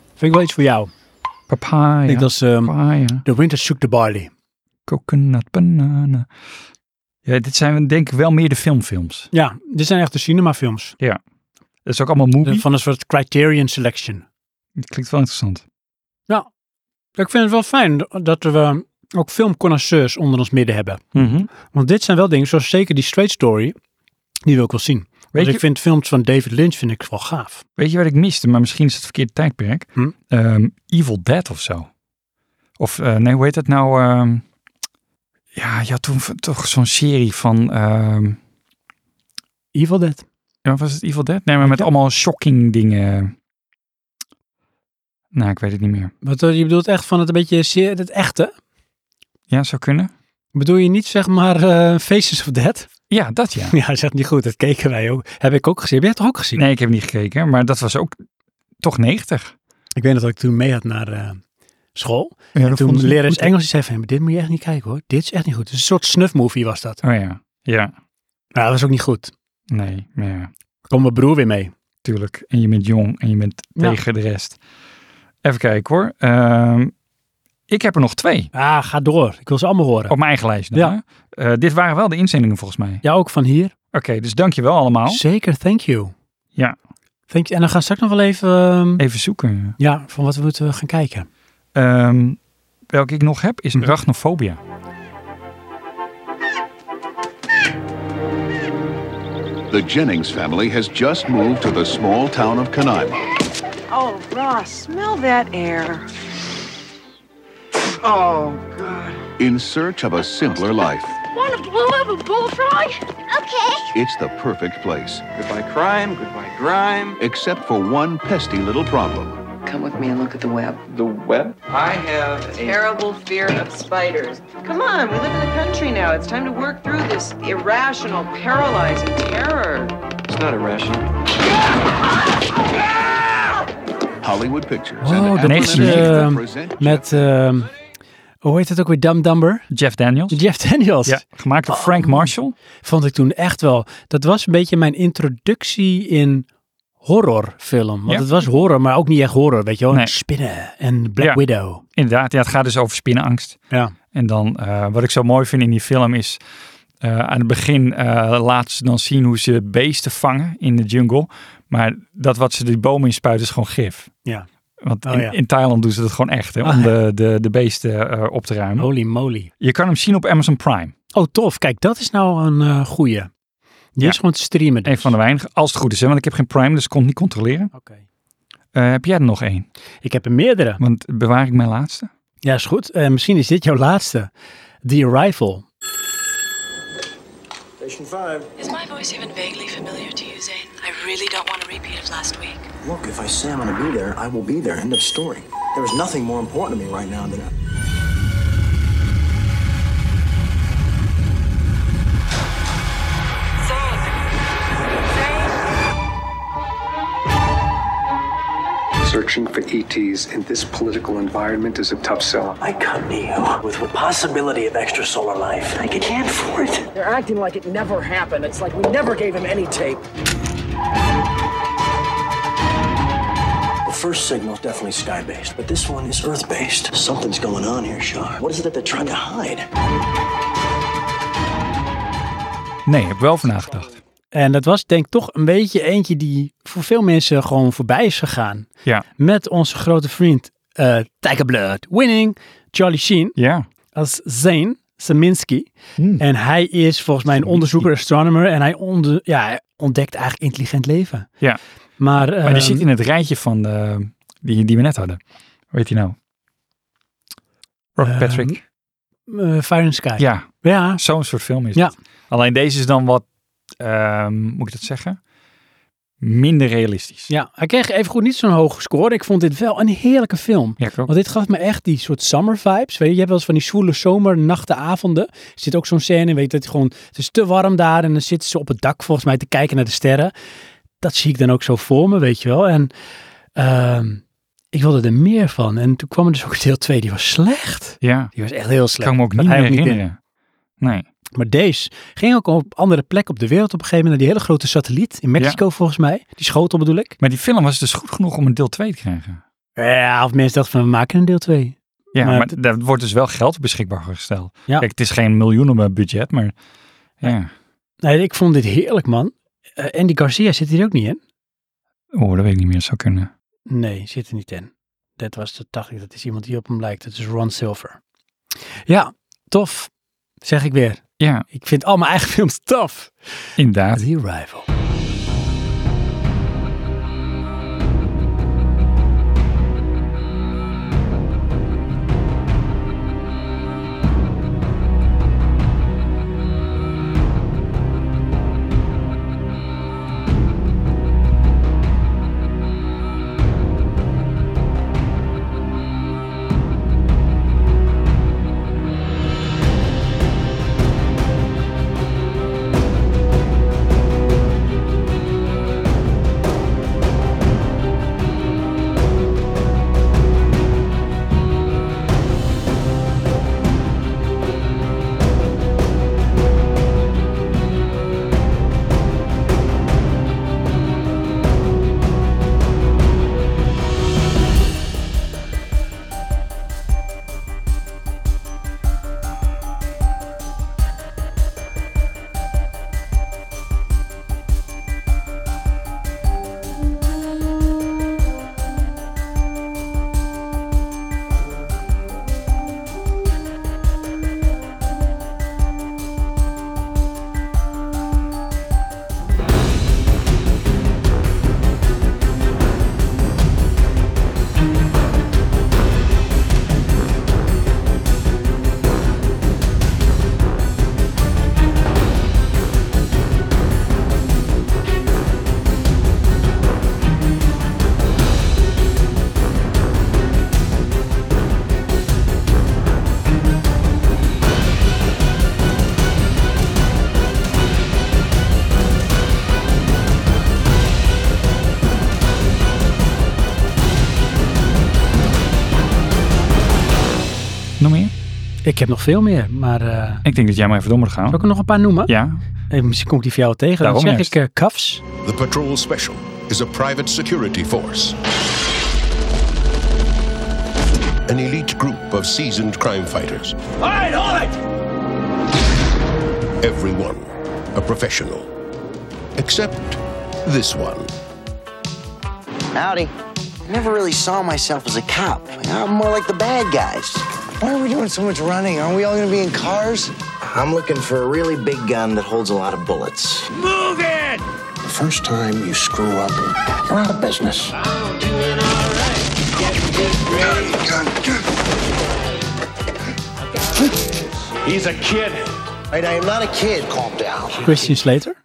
S1: Vind ik wel iets voor jou.
S2: Papaya.
S1: Ik denk dat is ehm, The Winter Shook the Barley.
S2: Coconut banana. Ja, dit zijn denk ik wel meer de filmfilms.
S1: Ja, dit zijn echt de cinemafilms.
S2: Ja. Dat is ook allemaal movie.
S1: Van een soort Criterion Selection.
S2: Dat klinkt wel interessant.
S1: Ja. Ik vind het wel fijn dat we ook filmconnoisseurs onder ons midden hebben.
S2: Mhm.
S1: Want dit zijn wel dingen, zoals zeker die Straight Story, die wil ik wel zien. Want
S2: je-
S1: ik vind films van David Lynch vind ik wel gaaf.
S2: Weet je wat ik miste? Maar misschien is het verkeerde tijdperk.
S1: Hm?
S2: Ehm, Evil Dead of zo. Of eh, nee, hoe heet dat nou? Ehm, ja, je had toen v- toch zo'n serie van... ehm,
S1: Evil Dead.
S2: Ja, was het Evil Dead? Nee, maar met allemaal shocking dingen. Nou, ik weet het niet meer.
S1: Wat, eh, je bedoelt echt van het een beetje zeer, het echte?
S2: Ja, zou kunnen.
S1: Bedoel je niet zeg maar eh, Faces of Dead?
S2: Ja, dat ja.
S1: Ja, zegt niet goed. Dat keken wij ook. Heb ik ook gezien. Heb jij het toch ook gezien?
S2: Nee, ik heb niet gekeken, maar dat was ook toch 90.
S1: Ik weet nog dat ik toen mee had naar eh, school.
S2: Ja,
S1: en
S2: dat
S1: toen
S2: vonden ze niet
S1: lerares
S2: goed, hè?
S1: Engels die zei van, "Ja, maar dit moet je echt niet kijken hoor. Dit is echt niet goed. Het is een soort snuffmovie was dat.
S2: Oh ja, ja.
S1: Nou, dat was ook niet goed.
S2: Nee, maar ja.
S1: Kom mijn broer weer mee.
S2: Tuurlijk. En je bent jong en je bent
S1: Ja.
S2: tegen de rest. Even kijken hoor. Ehm, ik heb er nog twee.
S1: Ah, ga door. Ik wil ze allemaal horen.
S2: Op mijn eigen lijst.
S1: Ja.
S2: Ja. dit waren wel de inzendingen volgens mij.
S1: Ja, ook van hier.
S2: Oké, dus dankjewel allemaal.
S1: Zeker, thank you.
S2: Ja.
S1: Thank you. En dan gaan we straks nog wel even... ehm,
S2: Even zoeken. ja.
S1: Ja, van wat we moeten gaan kijken.
S2: Ehm, welke ik nog heb is arachnophobia.
S18: The Jennings family has just moved to the small town of Canaima.
S24: Oh, Ross, smell that air. Oh, God.
S14: in search of a simpler life.
S41: Want to blow up a bullfrog? Okay.
S14: It's the perfect place,
S42: Goodbye, crime. Goodbye, grime.
S14: except for one pesty little problem.
S42: Come with me and look at the web. The web? I have a
S3: Terrible fear of spiders. Come on, we live in the country now. It's time to work through this irrational, paralyzing terror.
S42: It's not irrational.
S14: Hollywood Pictures.
S1: Oh, dat is eh, met, ehm, hoe heet het ook weer, Dumb Dumber?
S2: Jeff Daniels.
S1: Jeff Daniels.
S2: Ja, gemaakt door Frank Marshall.
S1: Vond ik toen echt wel, dat was een beetje mijn introductie in horrorfilm. Want
S2: Ja.
S1: het was horror, maar ook niet echt horror, weet je wel.
S2: Nee.
S1: Spinnen en Black
S2: Ja.
S1: Widow.
S2: Inderdaad, ja, het gaat dus over spinnenangst.
S1: Ja.
S2: En dan, eh, wat ik zo mooi vind in die film is, eh, aan het begin eh laat ze dan zien hoe ze beesten vangen in de jungle. Maar dat wat ze die bomen inspuiten is gewoon gif.
S1: Ja.
S2: Want
S1: Oh,
S2: in,
S1: ja.
S2: in Thailand doen ze dat gewoon echt, hè, om
S1: Ah, Oh. ja.
S2: de, de, de beesten eh, op te ruimen.
S1: Holy moly.
S2: Je kan hem zien op Amazon Prime.
S1: Oh, tof. Kijk, dat is nou een eh goeie. Die is gewoon te streamen.
S2: Een van de weinigen, als het goed is. Hè? Want ik heb geen Prime, dus ik kon het niet controleren.
S1: Oh.
S2: Eh, heb jij er nog één?
S1: Ik heb er meerdere.
S2: Want bewaar ik mijn laatste?
S1: Ja, is goed. Eh, misschien is dit jouw laatste. The Arrival.
S10: Station 5.
S15: Is my voice even vaguely familiar to you, Zane? I really don't want a repeat of last week.
S10: Look, if I say I'm gonna be there, I will be there. End of story. There is nothing more important to me right now than.
S43: Searching for ETs in this political environment is a tough sell.
S10: I come to you with the possibility of extrasolar life. I can't afford it.
S44: They're acting like it never happened. It's like we never gave him any tape.
S10: The first signal's definitely sky based, but this one is earth based. Something's going on here, Sean. What is it that they're trying to hide?
S2: Nee, heb wel van nagedacht.
S1: En dat was denk ik toch een beetje eentje die voor veel mensen gewoon voorbij is gegaan.
S2: Ja.
S1: Met onze grote vriend eh Tiger Blood winning, Charlie Sheen.
S2: Ja.
S1: Als Zane Saminsky. En hij is volgens mij een onderzoeker, astronomer. En hij onder, ja, hij ontdekt eigenlijk intelligent leven.
S2: Ja.
S1: Maar,
S2: Maar die
S1: ehm,
S2: zit in het rijtje van de, die, die we net hadden. Hoe heet die nou? Robert
S1: Ehm,
S2: Patrick.
S1: eh, Fire and Sky.
S2: Ja.
S1: ja.
S2: Zo'n soort film is
S1: Ja.
S2: het. Alleen deze is dan wat, ehm, moet ik dat zeggen? Minder realistisch.
S1: Ja, hij kreeg even goed niet zo'n hoge score. Ik vond dit wel een heerlijke film.
S2: Ja, ik ook.
S1: Want dit gaf me echt die soort summer vibes. Weet je, je hebt wel eens van die zwoele zomernachten, avonden. Er zit ook zo'n scène, weet je, dat het gewoon, het is te warm daar. En dan zitten ze op het dak volgens mij te kijken naar de sterren. Dat zie ik dan ook zo voor me, weet je wel. En ehm, ik wilde er meer van. En toen kwam er dus ook deel 2, die was slecht.
S2: Ja.
S1: Die was echt heel slecht.
S2: Kan me ook
S1: Dat
S2: niet
S1: hij
S2: meer
S1: ook niet in.
S2: herinneren. Nee.
S1: Maar deze ging ook op andere plekken op de wereld op een gegeven moment. Naar die hele grote satelliet in Mexico volgens mij. Die schotel bedoel ik.
S2: Maar die film was dus goed genoeg om een deel 2 te krijgen.
S1: Ja, of mensen dachten van we maken een deel 2.
S2: Ja,
S1: Maar
S2: maar,
S1: het-
S2: daar wordt dus wel geld beschikbaar gesteld.
S1: Ja.
S2: Kijk, het is geen miljoenen budget, maar ja.
S1: Nee, ik vond dit heerlijk, man. Eh, Andy Garcia zit hier ook niet in.
S2: Oh, dat weet ik niet meer. Zou kunnen.
S1: Nee, zit er niet in. Dat was, dat dacht ik, dat is iemand die op hem lijkt. Dat is Ron Silver. Ja, tof. Zeg ik weer.
S2: Ja.
S1: Ik vind al mijn eigen films tof.
S2: Inderdaad.
S1: The Arrival. Ik heb nog veel meer, maar... eh,
S2: Ik denk dat jij maar even door moet gaan.
S1: zal ik er nog een paar noemen?
S2: Ja.
S1: Eh, misschien kom ik die voor jou tegen. Dan
S2: Daarom
S1: zeg
S2: juist.
S1: ik eh, cuffs.
S26: The Patrol Special is a private security force. An elite group of seasoned crime fighters.
S3: All right, all right.
S26: Everyone a professional. Except this one.
S29: Howdy. I never really saw myself as a cop. I'm more like the bad guys. Why are we doing so much running? Aren't we all gonna be in cars? I'm looking for a really big gun that holds a lot of bullets.
S3: Move it!
S19: The first time you screw up, you're out of business.
S3: He's a kid.
S19: Right, I am not a kid. Calm down.
S1: Christian Slater.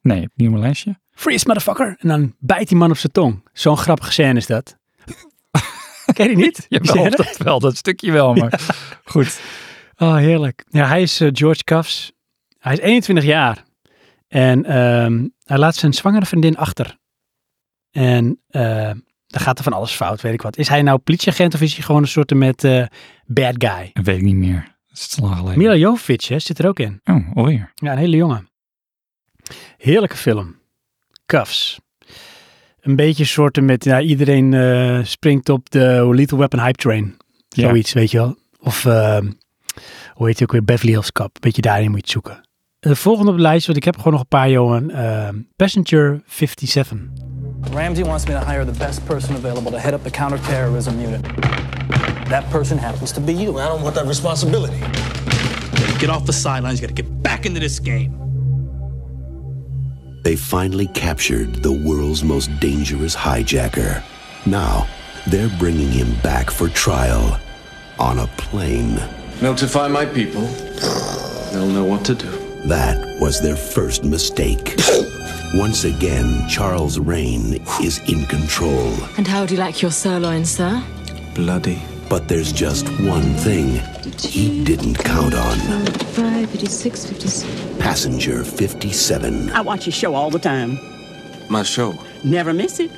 S2: Nee, niet op mijn lijstje.
S1: Freeze, motherfucker. En dan bijt die man op zijn tong. Zo'n grappige scène is dat. Ken je die niet? Die
S2: Jawel,
S1: scène?
S2: dat wel. Dat stukje wel, maar goed.
S1: Oh, heerlijk. Ja, hij is eh, George Cuffs. Hij is 21 jaar. En ehm, hij laat zijn zwangere vriendin achter. En eh dan gaat er van alles fout, weet ik wat. Is hij nou politieagent of is hij gewoon een soort met eh, bad guy?
S2: Dat weet ik niet meer. Dat is te lang geleden.
S1: Mila Jovovich hè, zit er ook in.
S2: Oh, alweer.
S1: Ja, een hele jongen. Heerlijke film. Cuffs. Een beetje soorten met, ja, iedereen eh, springt op de Little Weapon Hype Train.
S2: Ja.
S1: Zoiets, weet je wel. Of, ehm, hoe heet het ook weer, Beverly Hills Cop. Beetje daarin moet je het zoeken. Eh, De volgende op de lijst, want ik heb gewoon nog een paar, Johan. ehm, Passenger 57.
S27: Ramsey wants me to hire the best person available to head up the counterterrorism unit. That person happens to be you. I don't want that responsibility.
S20: Get off the sidelines. You got to get back into this game.
S14: They finally captured the world's most dangerous hijacker. Now, they're bringing him back for trial on a plane.
S9: Notify my people. They'll know what to do.
S14: That was their first mistake. Once again, Charles Rain is in control.
S15: And how do you like your sirloin, sir?
S14: Bloody. But there's just one thing he didn't count on
S15: 55, 56, 57.
S14: Passenger 57.
S25: I watch your show all the time.
S14: My show.
S25: Never miss it.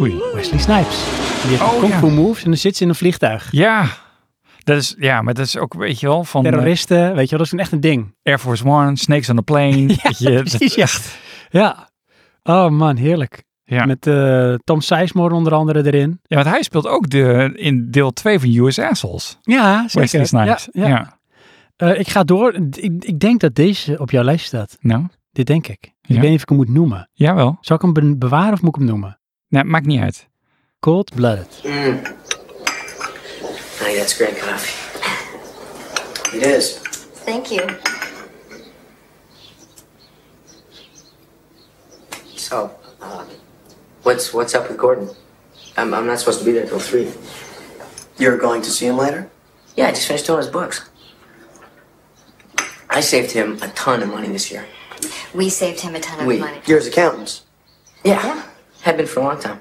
S1: Oei, Wesley Snipes. Die heeft
S2: Oh,
S1: kung
S2: ja.
S1: fu moves en dan zit ze in een vliegtuig.
S2: Ja. Dat is, ja, maar dat is ook, weet je wel, van eh,
S1: Terroristen, weet je wel, dat is een echt een ding.
S2: Air Force One, Snakes on the Plane. weet je, dat-
S1: Precies, ja. Ja. Oh man, heerlijk.
S2: Ja.
S1: Met eh, Tom Sizemore onder andere erin.
S2: Ja, want hij speelt ook de, in deel 2 van US Assholes.
S1: Ja, zeker.
S2: Wesley Snipes.
S1: Ja, ja. Eh, ik ga door. Ik, ik denk dat deze op jouw lijst staat.
S2: Nou,
S1: Dit denk ik.
S2: Ja.
S1: Ik weet niet of ik hem moet noemen.
S2: jawel.
S1: Zal ik hem be- bewaren of moet ik hem noemen?
S2: Nee, maakt niet uit.
S1: Cold Blooded.
S19: Hey, that's great coffee. It is.
S22: Thank you.
S19: So, um, what's what's up with Gordon? I'm, I'm not supposed to be there till three. You're going to see him later? Yeah, I just finished all his books. I saved him a ton of money this year.
S22: We saved him a ton of
S19: we,
S22: money.
S19: you're his accountants. Yeah, have been for a long time.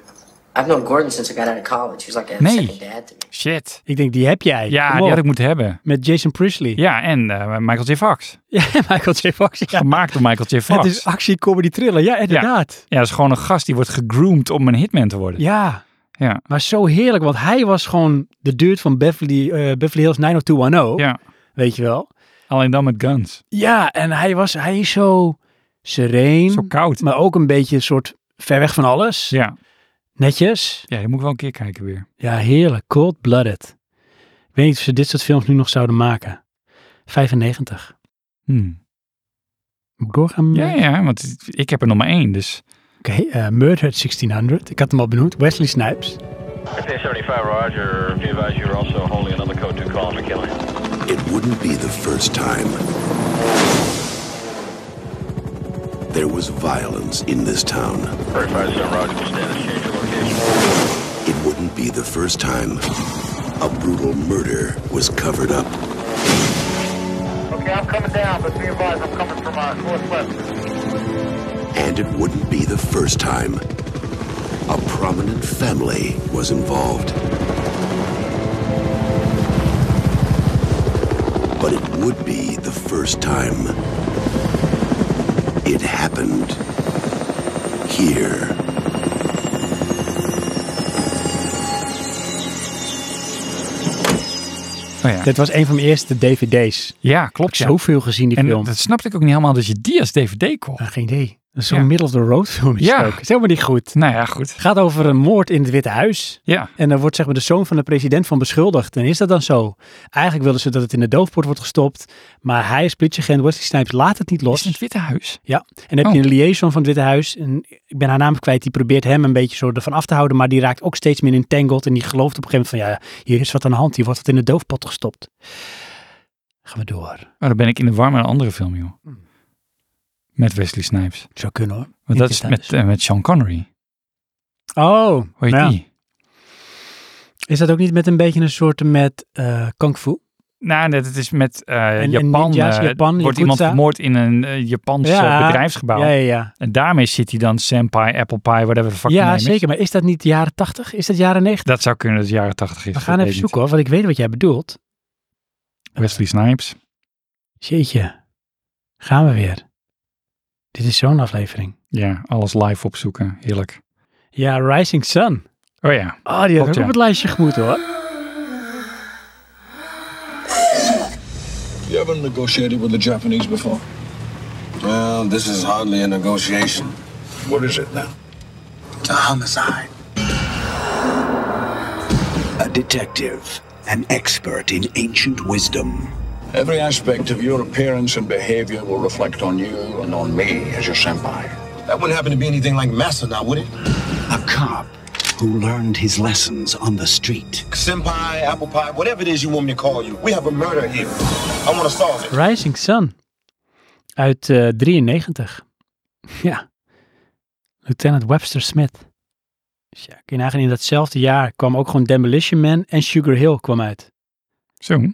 S19: I've known Gordon since I got out of college. He's like a
S2: Nee.
S19: second dad to me.
S2: Shit.
S1: Ik denk, die heb jij.
S2: Ja,
S1: Kom
S2: die
S1: op.
S2: had ik moeten hebben.
S1: Met Jason Priestley.
S2: Ja, en eh, Michael J. Fox.
S1: Ja, Michael J. Fox. Ja.
S2: Gemaakt door Michael J. Fox.
S1: Het is actie, comedy, thriller. Ja, inderdaad.
S2: Ja, dat is gewoon een gast die wordt gegroomd om een hitman te worden.
S1: ja.
S2: Ja.
S1: Maar zo heerlijk, want hij was gewoon de dude van Beverly, eh, Beverly Hills 90210.
S2: Ja.
S1: oh, Weet je wel?
S2: Alleen dan met guns.
S1: Ja, en hij, was, hij is zo sereen.
S2: Zo koud.
S1: Maar ook een beetje een soort ver weg van alles.
S2: Ja.
S1: Netjes.
S2: Ja, je moet ik wel een keer kijken weer.
S1: Ja, heerlijk. Cold-blooded. Ik weet niet of ze dit soort films nu nog zouden maken. 95.
S2: Hmm.
S1: Moet ik doorgaan?
S2: Ja, ja, want ik heb er nog maar één, dus...
S1: Oké, eh, Murder at 1600. Ik had hem al benoemd. Wesley Snipes.
S30: Airplane 75, Roger. Be advised you are also holding another code 2 calling for killing.
S14: It wouldn't be the first time. There was violence in this town.
S30: 35 Roger. Status change your location.
S14: It wouldn't be the first time a brutal murder was covered up.
S30: Okay, I'm coming down, but be advised I'm coming from uh, northwest.
S14: And it wouldn't be the first time a prominent family was involved. But it would be the first time it happened here.
S2: Oh ja.
S1: Dit was een van mijn eerste DVD's.
S2: Ja, klopt.
S1: Ik heb zoveel gezien die
S2: en
S1: film.
S2: dat snapte ik ook niet helemaal dat je die als DVD kocht.
S1: geen idee. Dat is Zo'n middle of the road film Ah, is
S2: Ja.
S1: het ook. Het is helemaal niet goed.
S2: Nou ja, goed.
S1: Het gaat over een moord in het Witte Huis.
S2: Ja.
S1: En daar wordt zeg maar de zoon van de president van beschuldigd. En is dat dan zo? Eigenlijk wilden ze dat het in de doofpot wordt gestopt. Maar hij is politieagent. Wesley Snipes laat het niet los.
S2: Is het in het Witte Huis?
S1: Ja, en dan heb
S2: Oh.
S1: je een liaison van het Witte Huis. En ik ben haar naam kwijt. Die probeert hem een beetje zo ervan af te houden. Maar die raakt ook steeds meer entangled. En die gelooft op een gegeven moment van ja, hier is wat aan de hand. Hier wordt het in de doofpot gestopt. Gaan we door.
S2: Maar Oh, dan ben ik in de war met een andere film, joh. Met Wesley Snipes.
S1: Zou kunnen hoor.
S2: Want dat
S1: Niet
S2: is
S1: in
S2: met, eh, met Sean Connery.
S1: Oh,
S2: Hoe heet
S1: nou ja.
S2: die?
S1: Is dat ook niet met een beetje een soort met eh kung fu?
S2: Nou, dat het is met eh,
S1: en
S2: Japan.
S1: ninja's,
S2: eh,
S1: Japan,
S2: wordt
S1: Yakuza.
S2: iemand vermoord in een eh, Japans eh,
S1: Ja.
S2: bedrijfsgebouw.
S1: Ja, ja, ja.
S2: En daarmee zit hij dan Senpai, Apple Pie, whatever the fuck the
S1: Ja,
S2: name is.
S1: zeker. Maar is dat niet jaren 80? Is dat jaren 90?
S2: Dat zou kunnen dat het jaren 80 is.
S1: We gaan
S2: dat
S1: even
S2: weet ik
S1: zoeken hoor, want ik weet wat jij bedoelt.
S2: niet. Wesley Snipes.
S1: Jeetje. Gaan we weer. Dit is zo'n aflevering.
S2: Ja, alles live opzoeken. Heerlijk.
S1: Ja, Rising Sun.
S2: Oh ja.
S1: Oh, die had
S2: Klopt,
S1: ik ook
S2: ja.
S1: op het lijstje gemoet hoor.
S21: You ever negotiated with the Japanese before?
S4: Well, this is hardly a negotiation.
S21: What is it now?
S4: It's a homicide.
S7: A detective, an expert in ancient wisdom.
S21: Every aspect of your appearance and behavior will reflect on you and on me as your senpai.
S4: That wouldn't happen to be anything like Massa now, would it?
S7: A cop who learned his lessons on the street.
S4: Senpai, apple pie, whatever it is you want me to call you. We have a murder here. I want to solve it.
S1: Rising Sun. Uit eh 93. Ja. Lieutenant Webster Smith. Dus ja, kun je nagaan, in datzelfde jaar kwam ook gewoon Demolition Man en Sugar Hill kwam uit.
S2: Zo.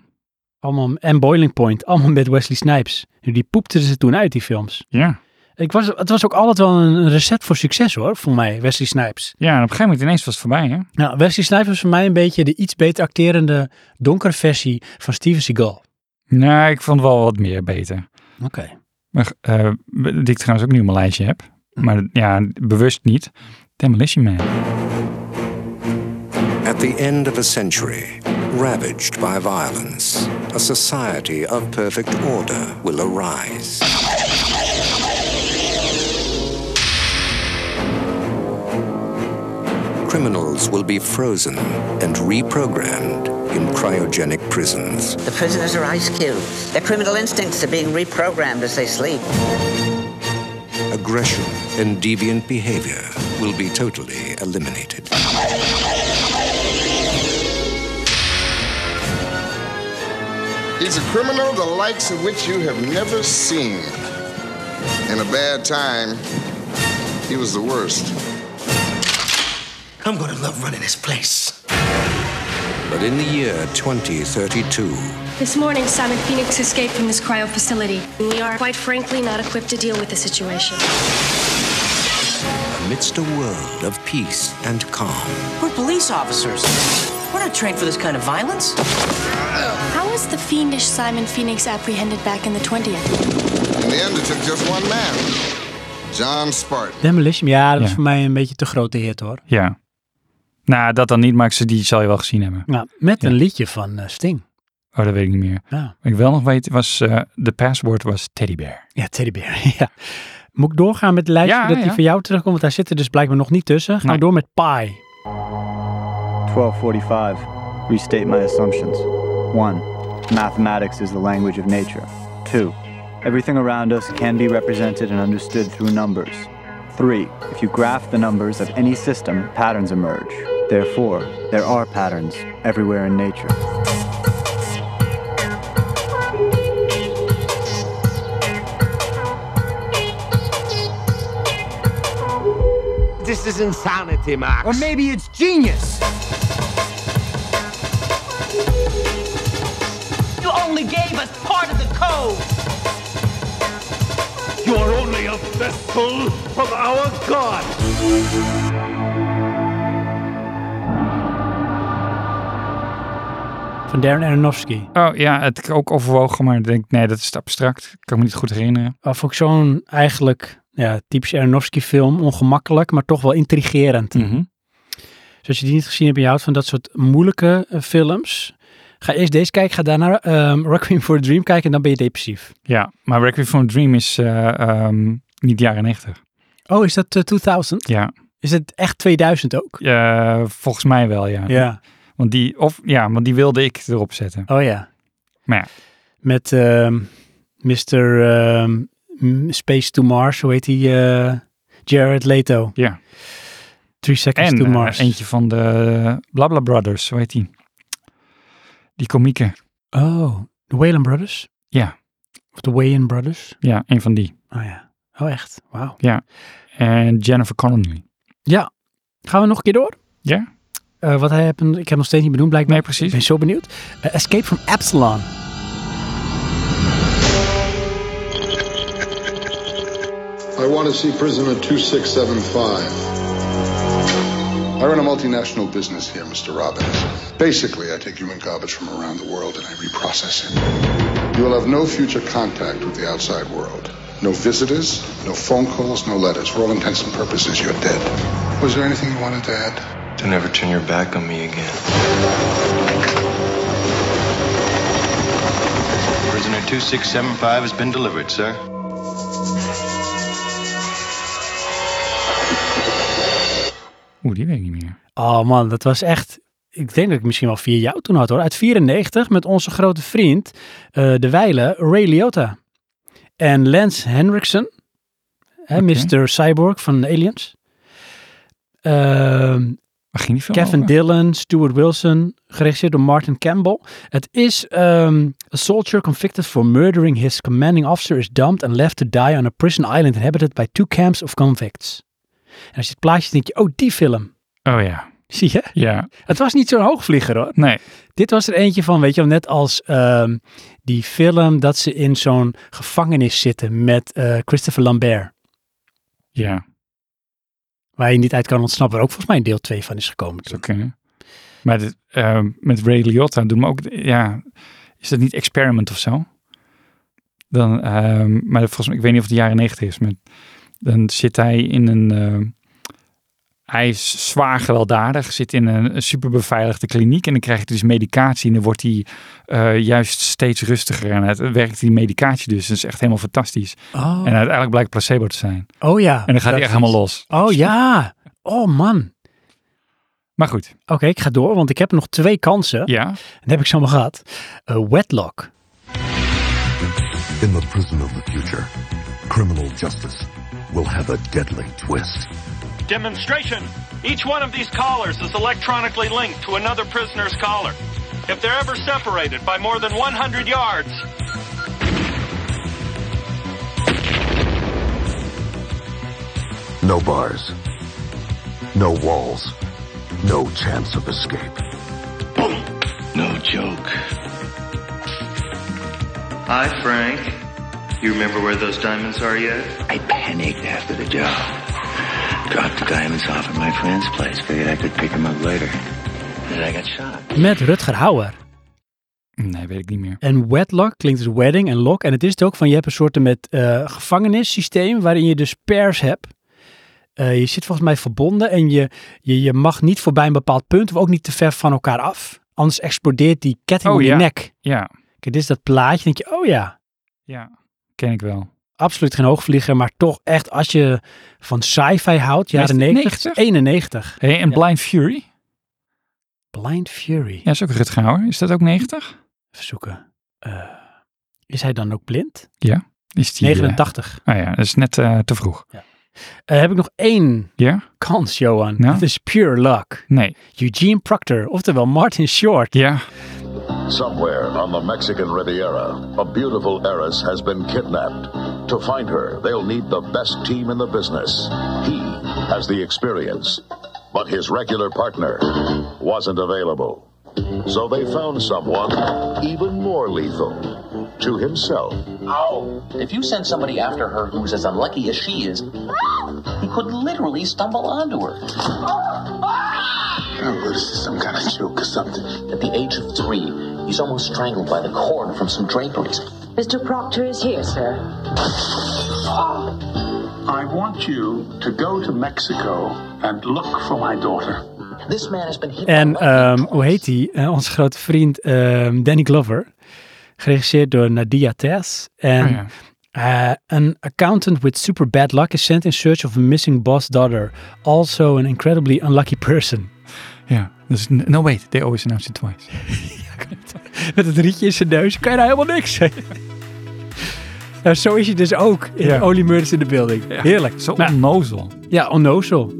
S1: Allemaal, en Boiling Point, allemaal met Wesley Snipes. Nu, die poepten ze toen uit, die films.
S2: Ja.
S1: Ik was, het was ook altijd wel een recept voor succes hoor, voor mij, Wesley Snipes.
S2: Ja, en op een gegeven moment ineens was het voorbij, hè?
S1: Nou, Wesley Snipes was voor mij een beetje de iets beter acterende donkere versie van Steven Seagal.
S2: Nee, ik vond wel wat meer beter.
S1: Oké.
S2: Maar, eh, die ik trouwens ook nu op mijn lijstje heb. Maar ja, bewust niet. Demolition Man.
S8: At the end of a century, ravaged by violence, a society of perfect order will arise. Criminals will be frozen and reprogrammed in cryogenic prisons.
S28: The prisoners are ice cubes. Their criminal instincts are being reprogrammed as they sleep.
S8: Aggression and deviant behavior will be totally eliminated.
S23: He's a criminal the likes of which you have never seen. In a bad time, he was the worst.
S4: I'm going to love running this place.
S8: But in the year 2032,
S45: This morning, Simon Phoenix escaped from this cryo facility. We are, quite frankly, not equipped to deal with the situation.
S8: amidst a world of peace and calm,
S28: We're police officers. We're not trained for this kind of violence.
S45: How was the fiendish Simon Phoenix apprehended back in the 20th?
S23: In the end, it took just one man, John Spartan.
S1: Demolition, ja, dat was
S2: Ja.
S1: voor mij een beetje te grote hit hoor.
S2: Ja. Nou, dat dan niet, maar ik zal- die zal je wel gezien hebben.
S1: Nou, met
S2: Ja.
S1: een liedje van eh, Sting.
S2: Oh, dat weet ik niet meer.
S1: Ja.
S2: Wat ik wel nog weet, was eh, de password was Teddy Bear.
S1: Ja, Teddy Bear. Ja. Moet ik doorgaan met het lijstje
S2: Ja,
S1: dat die
S2: ja.
S1: van jou terugkomt? Want daar zit er dus blijkbaar nog niet tussen. Gaan we door met Pie.
S46: 1245. Restate my assumptions. 1. Mathematics is the language of nature. 2. Everything around us can be represented and understood through numbers. 3. If you graph the numbers of any system, patterns emerge. Therefore, there are patterns everywhere in nature. This is insanity, Max. Or maybe it's genius.
S47: You only gave us part of the code.
S46: You are only a vessel of our God.
S1: Van Darren Aronofsky.
S2: Oh ja, het ik ook overwogen, maar ik denk, nee, dat is te abstract. Ik kan me niet goed herinneren.
S1: Uh, vond ik zo'n eigenlijk ja, typisch Aronofsky film. Ongemakkelijk, maar toch wel Hm. Mhm. intrigerend. Dus als je die niet gezien hebt en je houdt van dat soort moeilijke eh, films, Ga eerst deze kijken, ga daarna ehm Requiem for a Dream kijken en dan ben je depressief.
S2: Ja, maar Requiem for a Dream is eh, ehm, niet jaren 90.
S1: Oh, is dat eh, 2000?
S2: Ja.
S1: Is het echt 2000 ook?
S2: Eh, volgens mij wel, ja.
S1: Ja.
S2: Want die, of, ja, want die wilde ik erop zetten.
S1: Oh ja.
S2: Maar ja.
S1: Met ehm Mr. ehm, m- Space to Mars, hoe heet die? eh, Jared Leto.
S2: Ja.
S1: Three Seconds
S2: En
S1: to
S2: eh,
S1: Mars.
S2: eentje van de Blabla Brothers, hoe heet die? Die komieken.
S1: Oh, de Whalen Brothers?
S2: Ja.
S1: Of de Wayne Brothers?
S2: Ja, een van die.
S1: Oh ja. Oh echt? Wauw.
S2: Ja. En Jennifer Connelly.
S1: Ja. Gaan we nog een keer door?
S2: Ja?
S1: Eh, wat hij heb, ik heb nog steeds niet benoemd, blijkbaar.
S2: Nee, precies.
S1: Ik ben zo benieuwd. Eh, Escape from Epsilon.
S23: I want to see prisoner 2675. I run a multinational business here, Mr. Robbins. Basically, I take human garbage from around the world and I reprocess it. You will have no future contact with the outside world. No visitors, no phone calls, no letters. For all intents and purposes, you're dead. Was there anything you wanted to add?
S5: To never turn your back on me again. Prisoner 2675 has been delivered, sir.
S2: Oeh, die weet ik niet meer.
S1: Oh man, dat was echt. Ik denk dat ik misschien wel vier jaar toen had hoor. Uit 94 met onze grote vriend, eh, de Weile, Ray Liotta. En Lance Henriksen, hè, Mr. Cyborg van Aliens. Ehm,
S2: ging die film
S1: Kevin
S2: over?
S1: Dillon, Stuart Wilson, geregisseerd door Martin Campbell. Het is ehm, a soldier convicted for murdering his commanding officer is dumped and left to die on a prison island inhabited by two camps of convicts. En als je het plaatje ziet, denk je, oh die film.
S2: Oh ja.
S1: Zie je?
S2: Ja.
S1: Het was niet zo'n hoogvlieger hoor.
S2: Nee.
S1: Dit was er eentje van, weet je wel, net als ehm, die film dat ze in zo'n gevangenis zitten met eh, Christopher Lambert.
S2: Ja.
S1: Waar je niet uit kan ontsnappen, waar ook volgens mij een deel 2 van is gekomen.
S2: Zou kunnen. Maar dit, eh, met Ray Liotta doen we ook, ja, is dat niet experiment of zo? Dan, eh, maar volgens mij, ik weet niet of het de jaren negentig is, maar dan zit hij in een, eh, hij is zwaar gewelddadig, zit in een, een superbeveiligde kliniek en dan krijgt hij dus medicatie en dan wordt hij eh, juist steeds rustiger en het werkt die medicatie dus, dat is echt helemaal fantastisch.
S1: Oh.
S2: En uiteindelijk blijkt placebo te zijn.
S1: Oh ja.
S2: En dan gaat hij echt helemaal los.
S1: Oh ja. Oh man.
S2: Maar goed.
S1: Oké, ik ga door, want ik heb nog twee kansen.
S2: Ja.
S1: En heb ik ze allemaal gehad. Eh, Wedlock.
S48: In the prison of the future, criminal justice will have a deadly twist.
S7: Demonstration! Each one of these collars is electronically linked to another prisoner's collar. If they're ever separated by more than 100 yards,
S48: No bars, no walls, no chance of escape.
S5: No joke. Hi, Frank. You remember where those diamonds are yet? I panicked after the job. Dropped the diamonds off at my friend's place. Figured I could pick them up later. Then I got shot.
S1: Met Rutger Hauer.
S2: Nee, weet ik niet meer.
S1: En wedlock klinkt dus wedding en lock. En het is het ook van, je hebt een soort met eh, gevangenissysteem waarin je dus pairs hebt. Eh, je zit volgens mij verbonden en je, je, je mag niet voorbij een bepaald punt of ook niet te ver van elkaar af. Anders explodeert die ketting
S2: Oh,
S1: om
S2: ja.
S1: je nek.
S2: Ja.
S1: Kijk, dit is dat plaatje. denk je, oh ja,
S2: Ja, ken ik wel.
S1: absoluut geen hoogvlieger. Maar toch echt, als je van sci-fi houdt, jaren
S2: Is het
S1: 90, 91.
S2: Hey, en Blind Fury?
S1: Blind Fury.
S2: Ja, is ook Rutger Hauer. Is dat ook 90?
S1: Even zoeken. Eh, is hij dan ook blind?
S2: Ja. Is die, eh,
S1: 89.
S2: ah ja, dat is net eh, te vroeg. Ja?
S1: Eh, heb ik nog één kans, Johan. Dat is pure luck.
S2: Nee.
S1: Eugene Proctor, oftewel Martin Short.
S2: Ja.
S14: Somewhere on the Mexican Riviera, a beautiful heiress has been kidnapped. To find her, they'll need the best team in the business. He has the experience, but his regular partner wasn't available. So they found someone even more lethal to himself.
S3: Ow! If you send somebody after her who's as unlucky as she is, he could literally stumble onto her. Oh, this is some kind of joke or something. At the age of three, he's almost strangled by the cord from some draperies.
S18: Mr. Proctor is here, sir.
S14: I want you to go to Mexico and look for my daughter.
S29: This man has been hit by
S1: En ehm, hoe heet die? Eh, onze grote vriend ehm, Danny Glover. Geregisseerd door Nadia Tess. En
S2: Oh ja.
S1: eh, an accountant with super bad luck is sent in search of a missing boss daughter. Also an incredibly unlucky person.
S2: Ja, dus n- no wait, they always announce it twice.
S1: Met het rietje in zijn neus kan je nou helemaal niks zeggen. Nou, zo is hij dus ook in
S2: Ja.
S1: Only Murders in the Building.
S2: Ja,
S1: Heerlijk.
S2: Zo
S1: Nou,
S2: onnozel.
S1: ja, onnozel.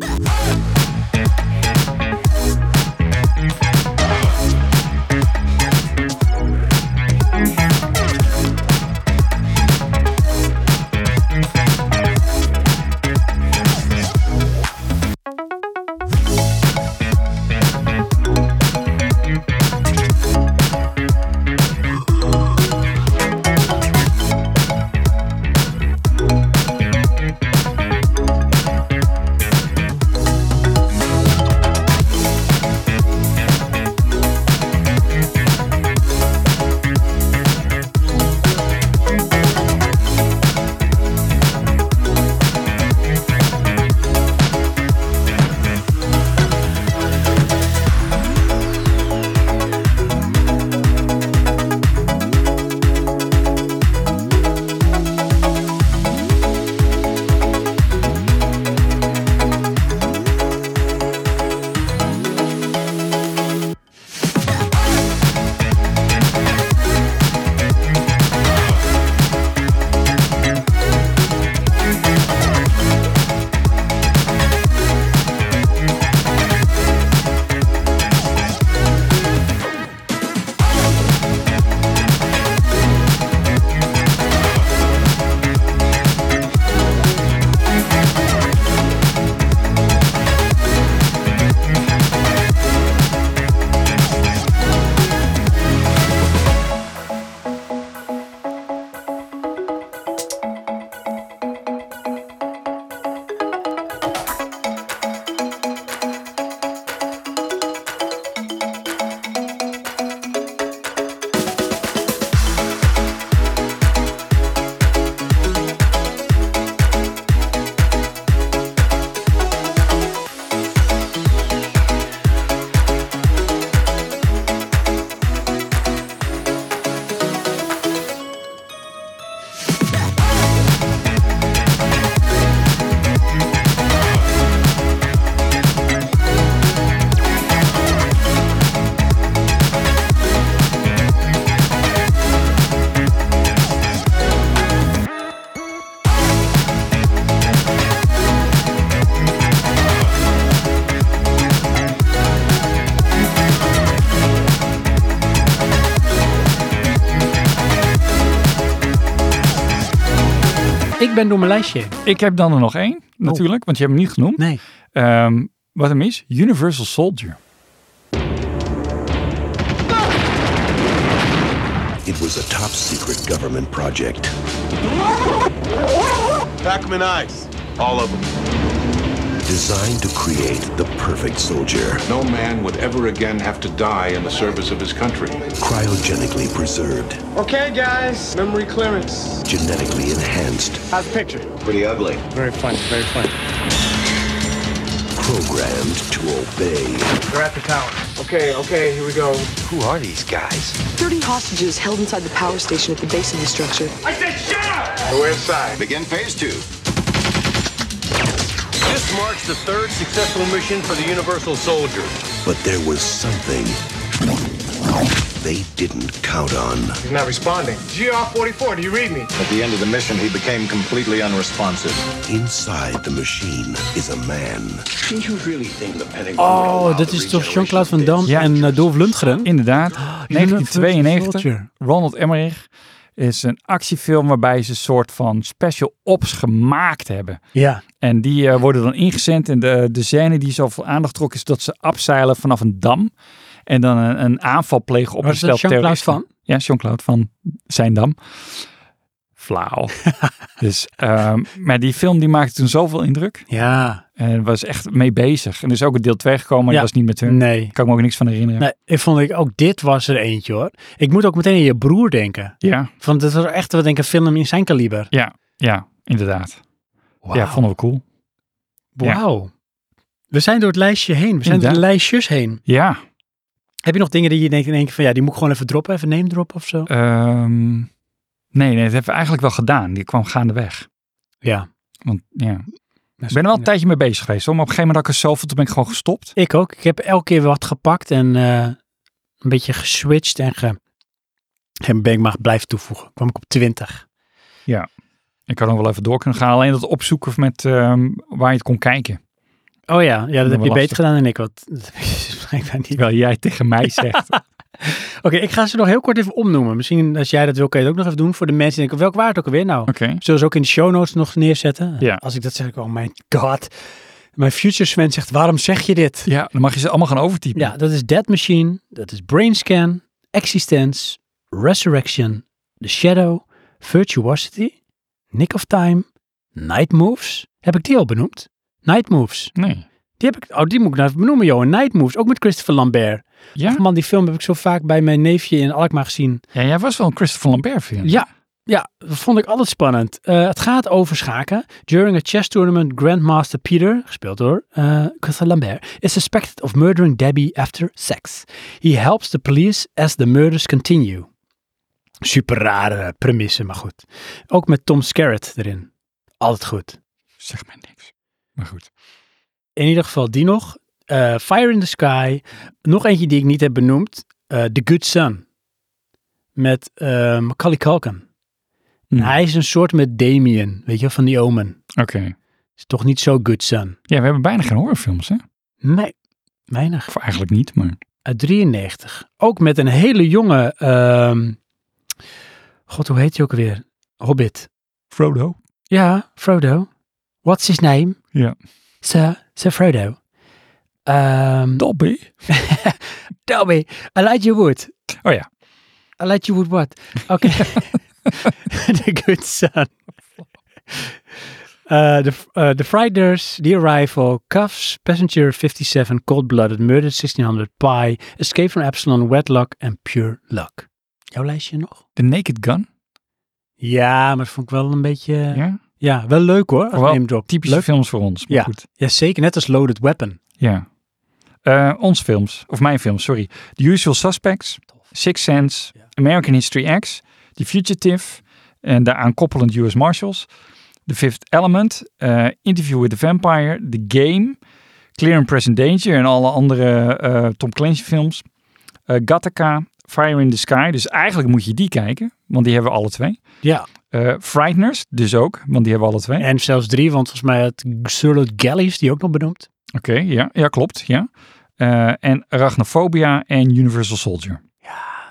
S1: Ik ben door mijn lijstje. heen.
S2: Ik heb dan er nog één, natuurlijk, want je hebt hem niet genoemd.
S1: Oh. Nee.
S2: Ehm, wat hem is, Universal Soldier.
S14: It was a top secret government project.
S4: Pack them in ice. All of them.
S14: designed to create the perfect soldier.
S9: No man would ever again have to die in the service of his country.
S14: Cryogenically preserved,
S4: Okay, guys. Memory clearance.
S14: genetically enhanced,
S4: How's the picture? Pretty ugly. Very funny. Very funny.
S14: programmed to obey.
S4: They're at the tower. Okay. Okay. Here we go. Who are these guys?
S9: 30 hostages held inside the power station at the base of the structure.
S4: I said, shut up. We're inside. Begin phase two. This marks the third successful mission for the Universal Soldier.
S14: But there was something they didn't count on.
S4: He's not responding. GR44, do you read me?
S9: At the end of the mission, he became completely unresponsive.
S14: Inside the machine is a man. Do you really think the Pentagon
S1: Oh, dat is toch Jean-Claude Van Damme en eh, Dolph Lundgren?
S2: Inderdaad,
S1: Universal
S2: 1992.
S1: Soldier.
S2: Ronald Emmerich is een actiefilm waarbij ze een soort van special ops gemaakt hebben.
S1: Ja.
S2: En die eh, worden dan ingezend. En de, de scène die zoveel aandacht trok is dat ze afzeilen vanaf een dam. En dan een, een aanval plegen op
S1: Was
S2: een
S1: dat
S2: stel
S1: Jean-Claude
S2: terroristen.
S1: Van?
S2: Ja, Jean-Claude van zijn dam. Flauw. dus, ehm, maar die film die maakte toen zoveel indruk.
S1: Ja.
S2: En was echt mee bezig. En er is ook een deel 2 gekomen, maar
S1: Ja.
S2: die was niet met hun.
S1: Nee.
S2: Kan ik me ook niks van herinneren.
S1: Nee, ik vond ik, ook dit was er eentje hoor. Ik moet ook meteen aan je broer denken.
S2: Ja,
S1: Want dat was echt wat denk ik, een film in zijn kaliber.
S2: ja, ja, inderdaad.
S1: Wauw.
S2: Ja, vonden we cool. Ja.
S1: Wauw. We zijn door het lijstje heen. We zijn door de
S2: Inderdaad.
S1: lijstjes heen.
S2: Ja.
S1: Heb je nog dingen die je denkt in één keer van ja, die moet ik gewoon even droppen, even name drop of zo?
S2: Ehm, nee, nee, dat hebben we eigenlijk wel gedaan. Die kwam gaandeweg.
S1: Ja.
S2: Want ja. Ik ben er wel een tijdje mee bezig geweest. Hoor. Maar op een gegeven moment had ik er zoveel, toen ben ik gewoon gestopt.
S1: Ik ook. Ik heb elke keer wat gepakt en eh, een beetje geswitcht en ge... En ben ik maar blijven toevoegen. Kwam ik op 20.
S2: Ja. Ik had nog wel even door kunnen gaan. Alleen dat opzoeken met ehm, waar je het kon kijken.
S1: Oh ja, ja dat
S2: wel
S1: heb je beter
S2: lastig.
S1: gedaan dan ik. Want dat heb je blijkbaar niet.
S2: Terwijl jij tegen mij zegt.
S1: Oké, ik ga ze nog heel kort even omnoemen. Misschien als jij dat wil, kan je het ook nog even doen voor de mensen die denken, welk waard ook alweer nou?
S2: Oké.
S1: Zullen ze ook in de show notes nog neerzetten?
S2: Hm. Ja.
S1: Als ik dat zeg, ik, oh mijn god. Mijn future Sven zegt, waarom zeg je dit?
S2: Ja, dan mag je ze allemaal gaan overtypen.
S1: Ja, dat is Dead Machine, dat is Brain Scan, Existence, Resurrection, The Shadow, Virtuosity, Nick of Time, Night Moves. Heb ik die al benoemd? Night Moves.
S2: Nee.
S1: Die heb ik, oh, die moet ik nou even benoemen, joh. Night Moves, ook met Christopher Lambert.
S2: Ja?
S1: Ach, man, die film heb ik zo vaak bij mijn neefje in Alkmaar gezien.
S2: Ja, jij was wel een Christopher Lambert film.
S1: Ja, ja dat vond ik altijd spannend. Eh, het gaat over schaken. During a chess tournament, Grandmaster Peter, gespeeld door eh Christopher Lambert, is suspected of murdering Debbie after sex. He helps the police as the murders continue. Super rare premisse, maar goed. Ook met Tom Skerritt erin. Altijd goed.
S2: Zeg mij niks. Maar goed.
S1: In ieder geval die nog. Eh, Fire in the Sky. Nog eentje die ik niet heb benoemd. eh, the Good Son. Met ehm Macaulay Culkin.
S2: Hmm.
S1: En Hij is een soort met Damien. Weet je, wel, van die Omen.
S2: Oké.
S1: Is toch niet zo Good Son.
S2: Ja, we hebben bijna geen horrorfilms, hè?
S1: Nee, weinig.
S2: Of eigenlijk niet, maar...
S1: Uit 93. Ook met een hele jonge... ehm, God, hoe heet hij ook weer? Hobbit.
S2: Frodo.
S1: Ja, Frodo. What's his name?
S2: Ja.
S1: Sir, Sir Frodo. Ehm
S2: Dobby.
S1: Dobby. Elijah Wood.
S2: Oh ja.
S1: Elijah Wood what? Oké. The Good Son. Uh, the, uh, the Frighteners, The Arrival, Cuffs, Passenger 57, Cold Blooded, Murdered 1600, Pie, Escape from Epsilon, Wedlock en Pure Luck. Jouw lijstje nog?
S2: The Naked Gun.
S1: Ja, maar dat vond ik wel een beetje...
S2: Ja?
S1: Ja, wel leuk hoor. als
S2: Wel
S1: name drop.
S2: typische
S1: Leuk.
S2: films voor ons. Maar
S1: Ja.
S2: goed.
S1: ja, zeker. Net als Loaded Weapon.
S2: Ja. Eh, ons films. Of mijn films, sorry. The Usual Suspects. Six Sense. American History X. The Fugitive. En daaraan koppelend US Marshals. The Fifth Element. eh, Interview with the Vampire. The Game. Clear and Present Danger. En alle andere eh, Tom Clancy films. Eh, Gattaca. Fire in the Sky. Dus eigenlijk moet je die kijken. Want die hebben we alle twee.
S1: Ja.
S2: Eh, Frighteners. Dus ook. Want die hebben we alle twee.
S1: En zelfs drie, want volgens mij had Charlotte Gallies die ook nog benoemd.
S2: Oké, ja, ja, klopt. Ja. Eh, en Arachnophobia en Universal Soldier.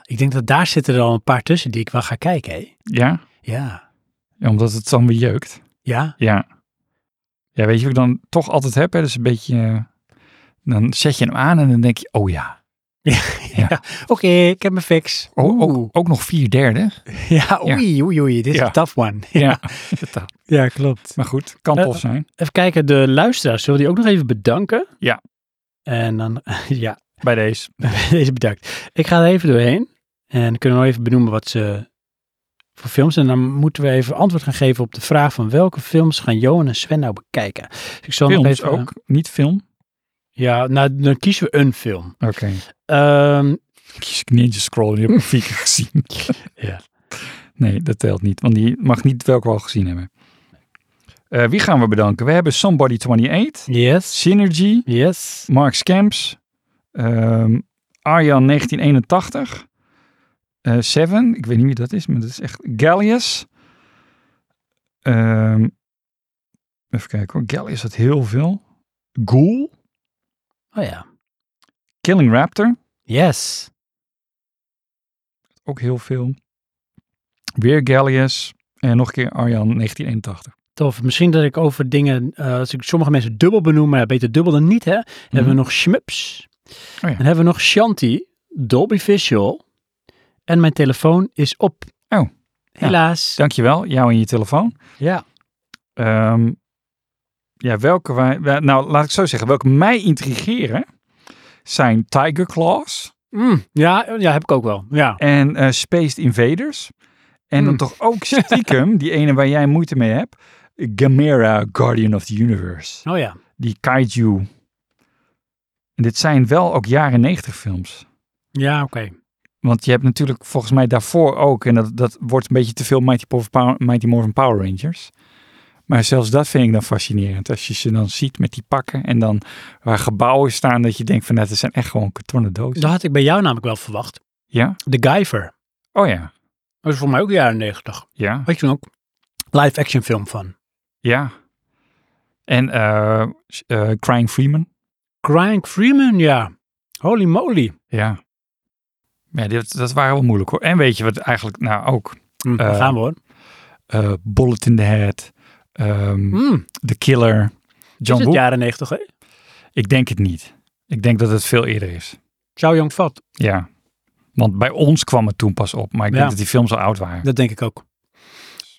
S1: Ik denk dat daar zitten er al een paar tussen die ik wel ga kijken. Hè?
S2: Ja?
S1: Ja.
S2: Ja, omdat het dan weer jeukt.
S1: Ja.
S2: Ja. Ja, weet je wat ik dan toch altijd heb? Hè? Dus een beetje... eh, dan zet je hem aan en dan denk je, oh ja.
S1: Oké, ik heb mijn fix.
S2: Oh, ook, ook nog vier derde.
S1: Ja, oei, oei, oei. Dit is
S2: Ja.
S1: een tough one.
S2: Ja.
S1: ja klopt.
S2: maar goed, kan
S1: Eh,
S2: tof zijn.
S1: Even kijken, de luisteraars, zullen we die ook nog even bedanken?
S2: Ja.
S1: En dan, ja,
S2: Bij deze.
S1: deze bedankt. Ik ga er even doorheen en dan kunnen we nog even benoemen wat ze voor films. En dan moeten we even antwoord gaan geven op de vraag van welke films gaan Johan en Sven nou bekijken. Dus ik zal nog
S2: Films
S1: even,
S2: ook, niet film.
S1: Ja, nou, dan kiezen we een film.
S2: Oké.
S1: Ehm,
S2: Kies ik Ninja Scroll, die heb ik vier keer gezien.
S1: ja.
S2: Nee, dat telt niet. Want die mag niet welke we al gezien hebben. Eh, wie gaan we bedanken? We hebben Somebody28,
S1: Yes.
S2: Synergy,
S1: Yes.
S2: Mark Scamps, ehm, Arjan 1981, eh, Seven, ik weet niet wie dat is, maar dat is echt Gallius. Ehm, even kijken hoor, Gallius had heel veel. Ghoul,
S1: Oh ja.
S2: Killing Raptor,
S1: Yes.
S2: ook heel veel. Weer Gallius en nog een keer Arjan 1981.
S1: Tof. Misschien dat ik over dingen, eh, als ik sommige mensen dubbel benoem, maar beter dubbel dan niet, hè. Hebben we nog Schmups.
S2: Mhm. Oh ja.
S1: Dan hebben we nog Shanti, Dolby Visual. En mijn telefoon is op.
S2: Oh,
S1: Helaas. Ja.
S2: Dankjewel, jou en je telefoon. Ehm, ja, welke wij, wij- nou laat ik zo zeggen, welke mij intrigeren zijn Tiger Claws.
S1: Mm, ja, ja, heb ik ook wel. Ja.
S2: En eh Spaced Invaders. En dan toch ook stiekem, die ene waar jij moeite mee hebt. Gamera, Guardian of the Universe.
S1: Oh ja.
S2: Die kaiju En dit zijn wel ook jaren 90 films.
S1: Ja, oké.
S2: Want je hebt natuurlijk volgens mij daarvoor ook, en dat, dat wordt een beetje te veel Mighty, Power- Power- Mighty Morphin Power Rangers. Maar zelfs dat vind ik dan fascinerend. Als je ze dan ziet met die pakken en dan waar gebouwen staan, dat je denkt van nou, dat zijn echt gewoon kartonnen dozen.
S1: Dat had ik bij jou namelijk wel verwacht.
S2: Ja?
S1: The Guyver.
S2: Oh ja.
S1: Dat is voor mij ook de jaren 90.
S2: Ja.
S1: Had je toen ook live action film van?
S2: Ja. En eh eh, Crying Freeman.
S1: Crying Freeman, ja. Holy moly.
S2: Ja. Ja, dit, dat waren wel moeilijk hoor. En weet je wat eigenlijk nou ook?
S1: Hm, daar
S2: Eh,
S1: gaan we hoor.
S2: eh, Bullet in the Head. ehm,
S1: Mm.
S2: The Killer. John
S1: is het
S2: Woo.
S1: jaren 90, hè?
S2: Ik denk het niet. Ik denk dat het veel eerder is.
S1: Chow Young Fat.
S2: Ja. Want bij ons kwam het toen pas op. Maar ik
S1: Ja.
S2: denk dat die films al oud waren.
S1: Dat denk ik ook.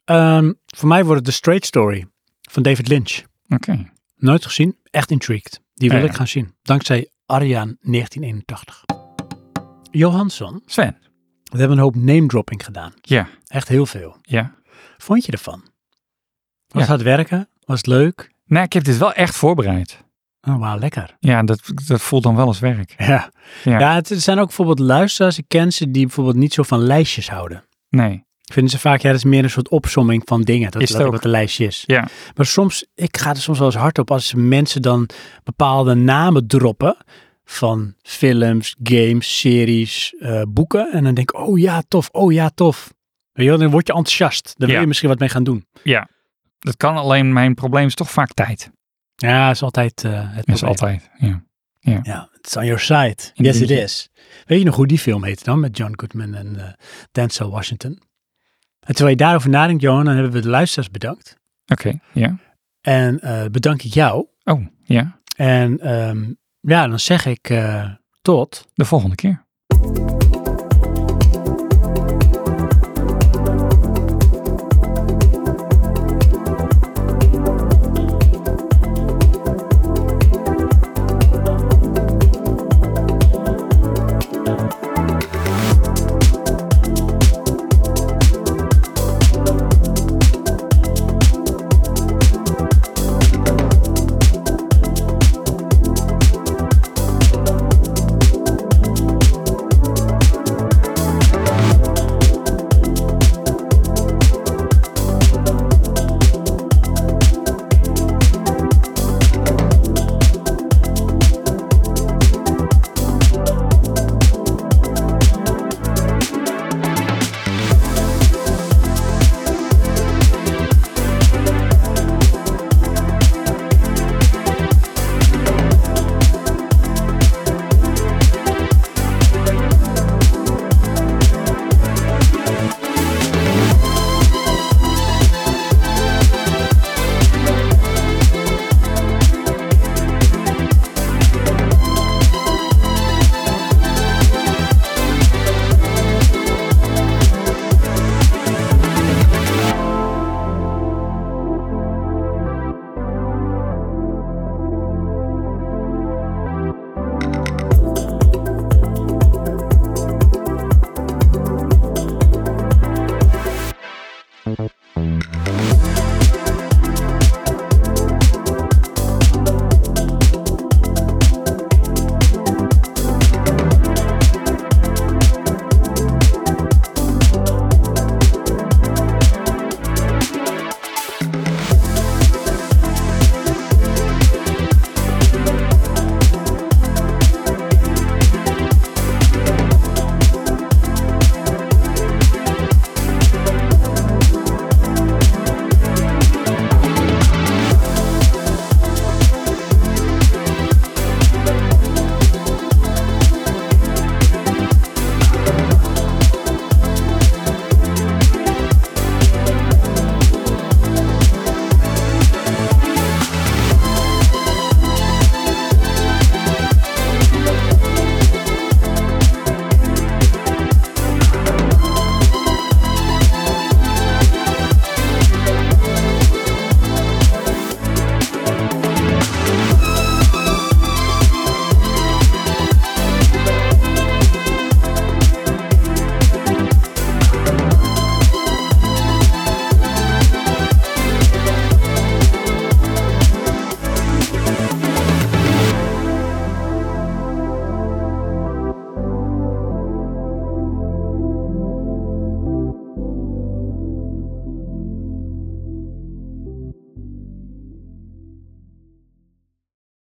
S1: Ehm, voor mij wordt het The Straight Story van David Lynch.
S2: Oké.
S1: Nooit gezien. Echt intrigued. Die wil
S2: Ja, ja.
S1: ik gaan zien. Dankzij Arjaan 1981. Johansson,
S2: Sven.
S1: we hebben een hoop name dropping gedaan.
S2: Ja.
S1: Echt heel veel.
S2: Ja.
S1: Vond je ervan? Was
S2: Ja.
S1: het hard werken? Was het leuk?
S2: Nee, ik heb dit wel echt voorbereid.
S1: Oh, wauw, lekker.
S2: Ja, dat, dat voelt dan wel als werk.
S1: Ja.
S2: Ja.
S1: Ja, het zijn ook bijvoorbeeld luisteraars, ik ken ze, die bijvoorbeeld niet zo van lijstjes houden.
S2: Nee.
S1: Vinden ze vaak, ja, dat is meer een soort opsomming van dingen. Dat
S2: Is
S1: is
S2: het
S1: dat
S2: ook.
S1: wat een lijstje is.
S2: Ja.
S1: Maar soms, ik ga er soms wel eens hard op als mensen dan bepaalde namen droppen van films, games, series, eh, boeken. En dan denk ik, oh ja, tof, oh ja, tof. Weet je wel, dan word je enthousiast. Dan
S2: Ja.
S1: wil je misschien wat mee gaan doen.
S2: Ja. Dat kan alleen, mijn probleem is toch vaak tijd.
S1: Ja, dat is altijd eh, het
S2: Dat is
S1: probleem.
S2: altijd. Ja. Ja.
S1: Ja, it's on your side. Yes,
S2: Indeed.
S1: it is. Weet je nog hoe die film heette dan? Met John Goodman en eh, Denzel Washington. En terwijl je daarover nadenkt, Johan, dan hebben we de luisteraars bedankt.
S2: Oké. Ja.
S1: En eh, bedank ik jou.
S2: Oh, ja.
S1: En ehm, ja, dan zeg ik eh, tot.
S2: De volgende keer.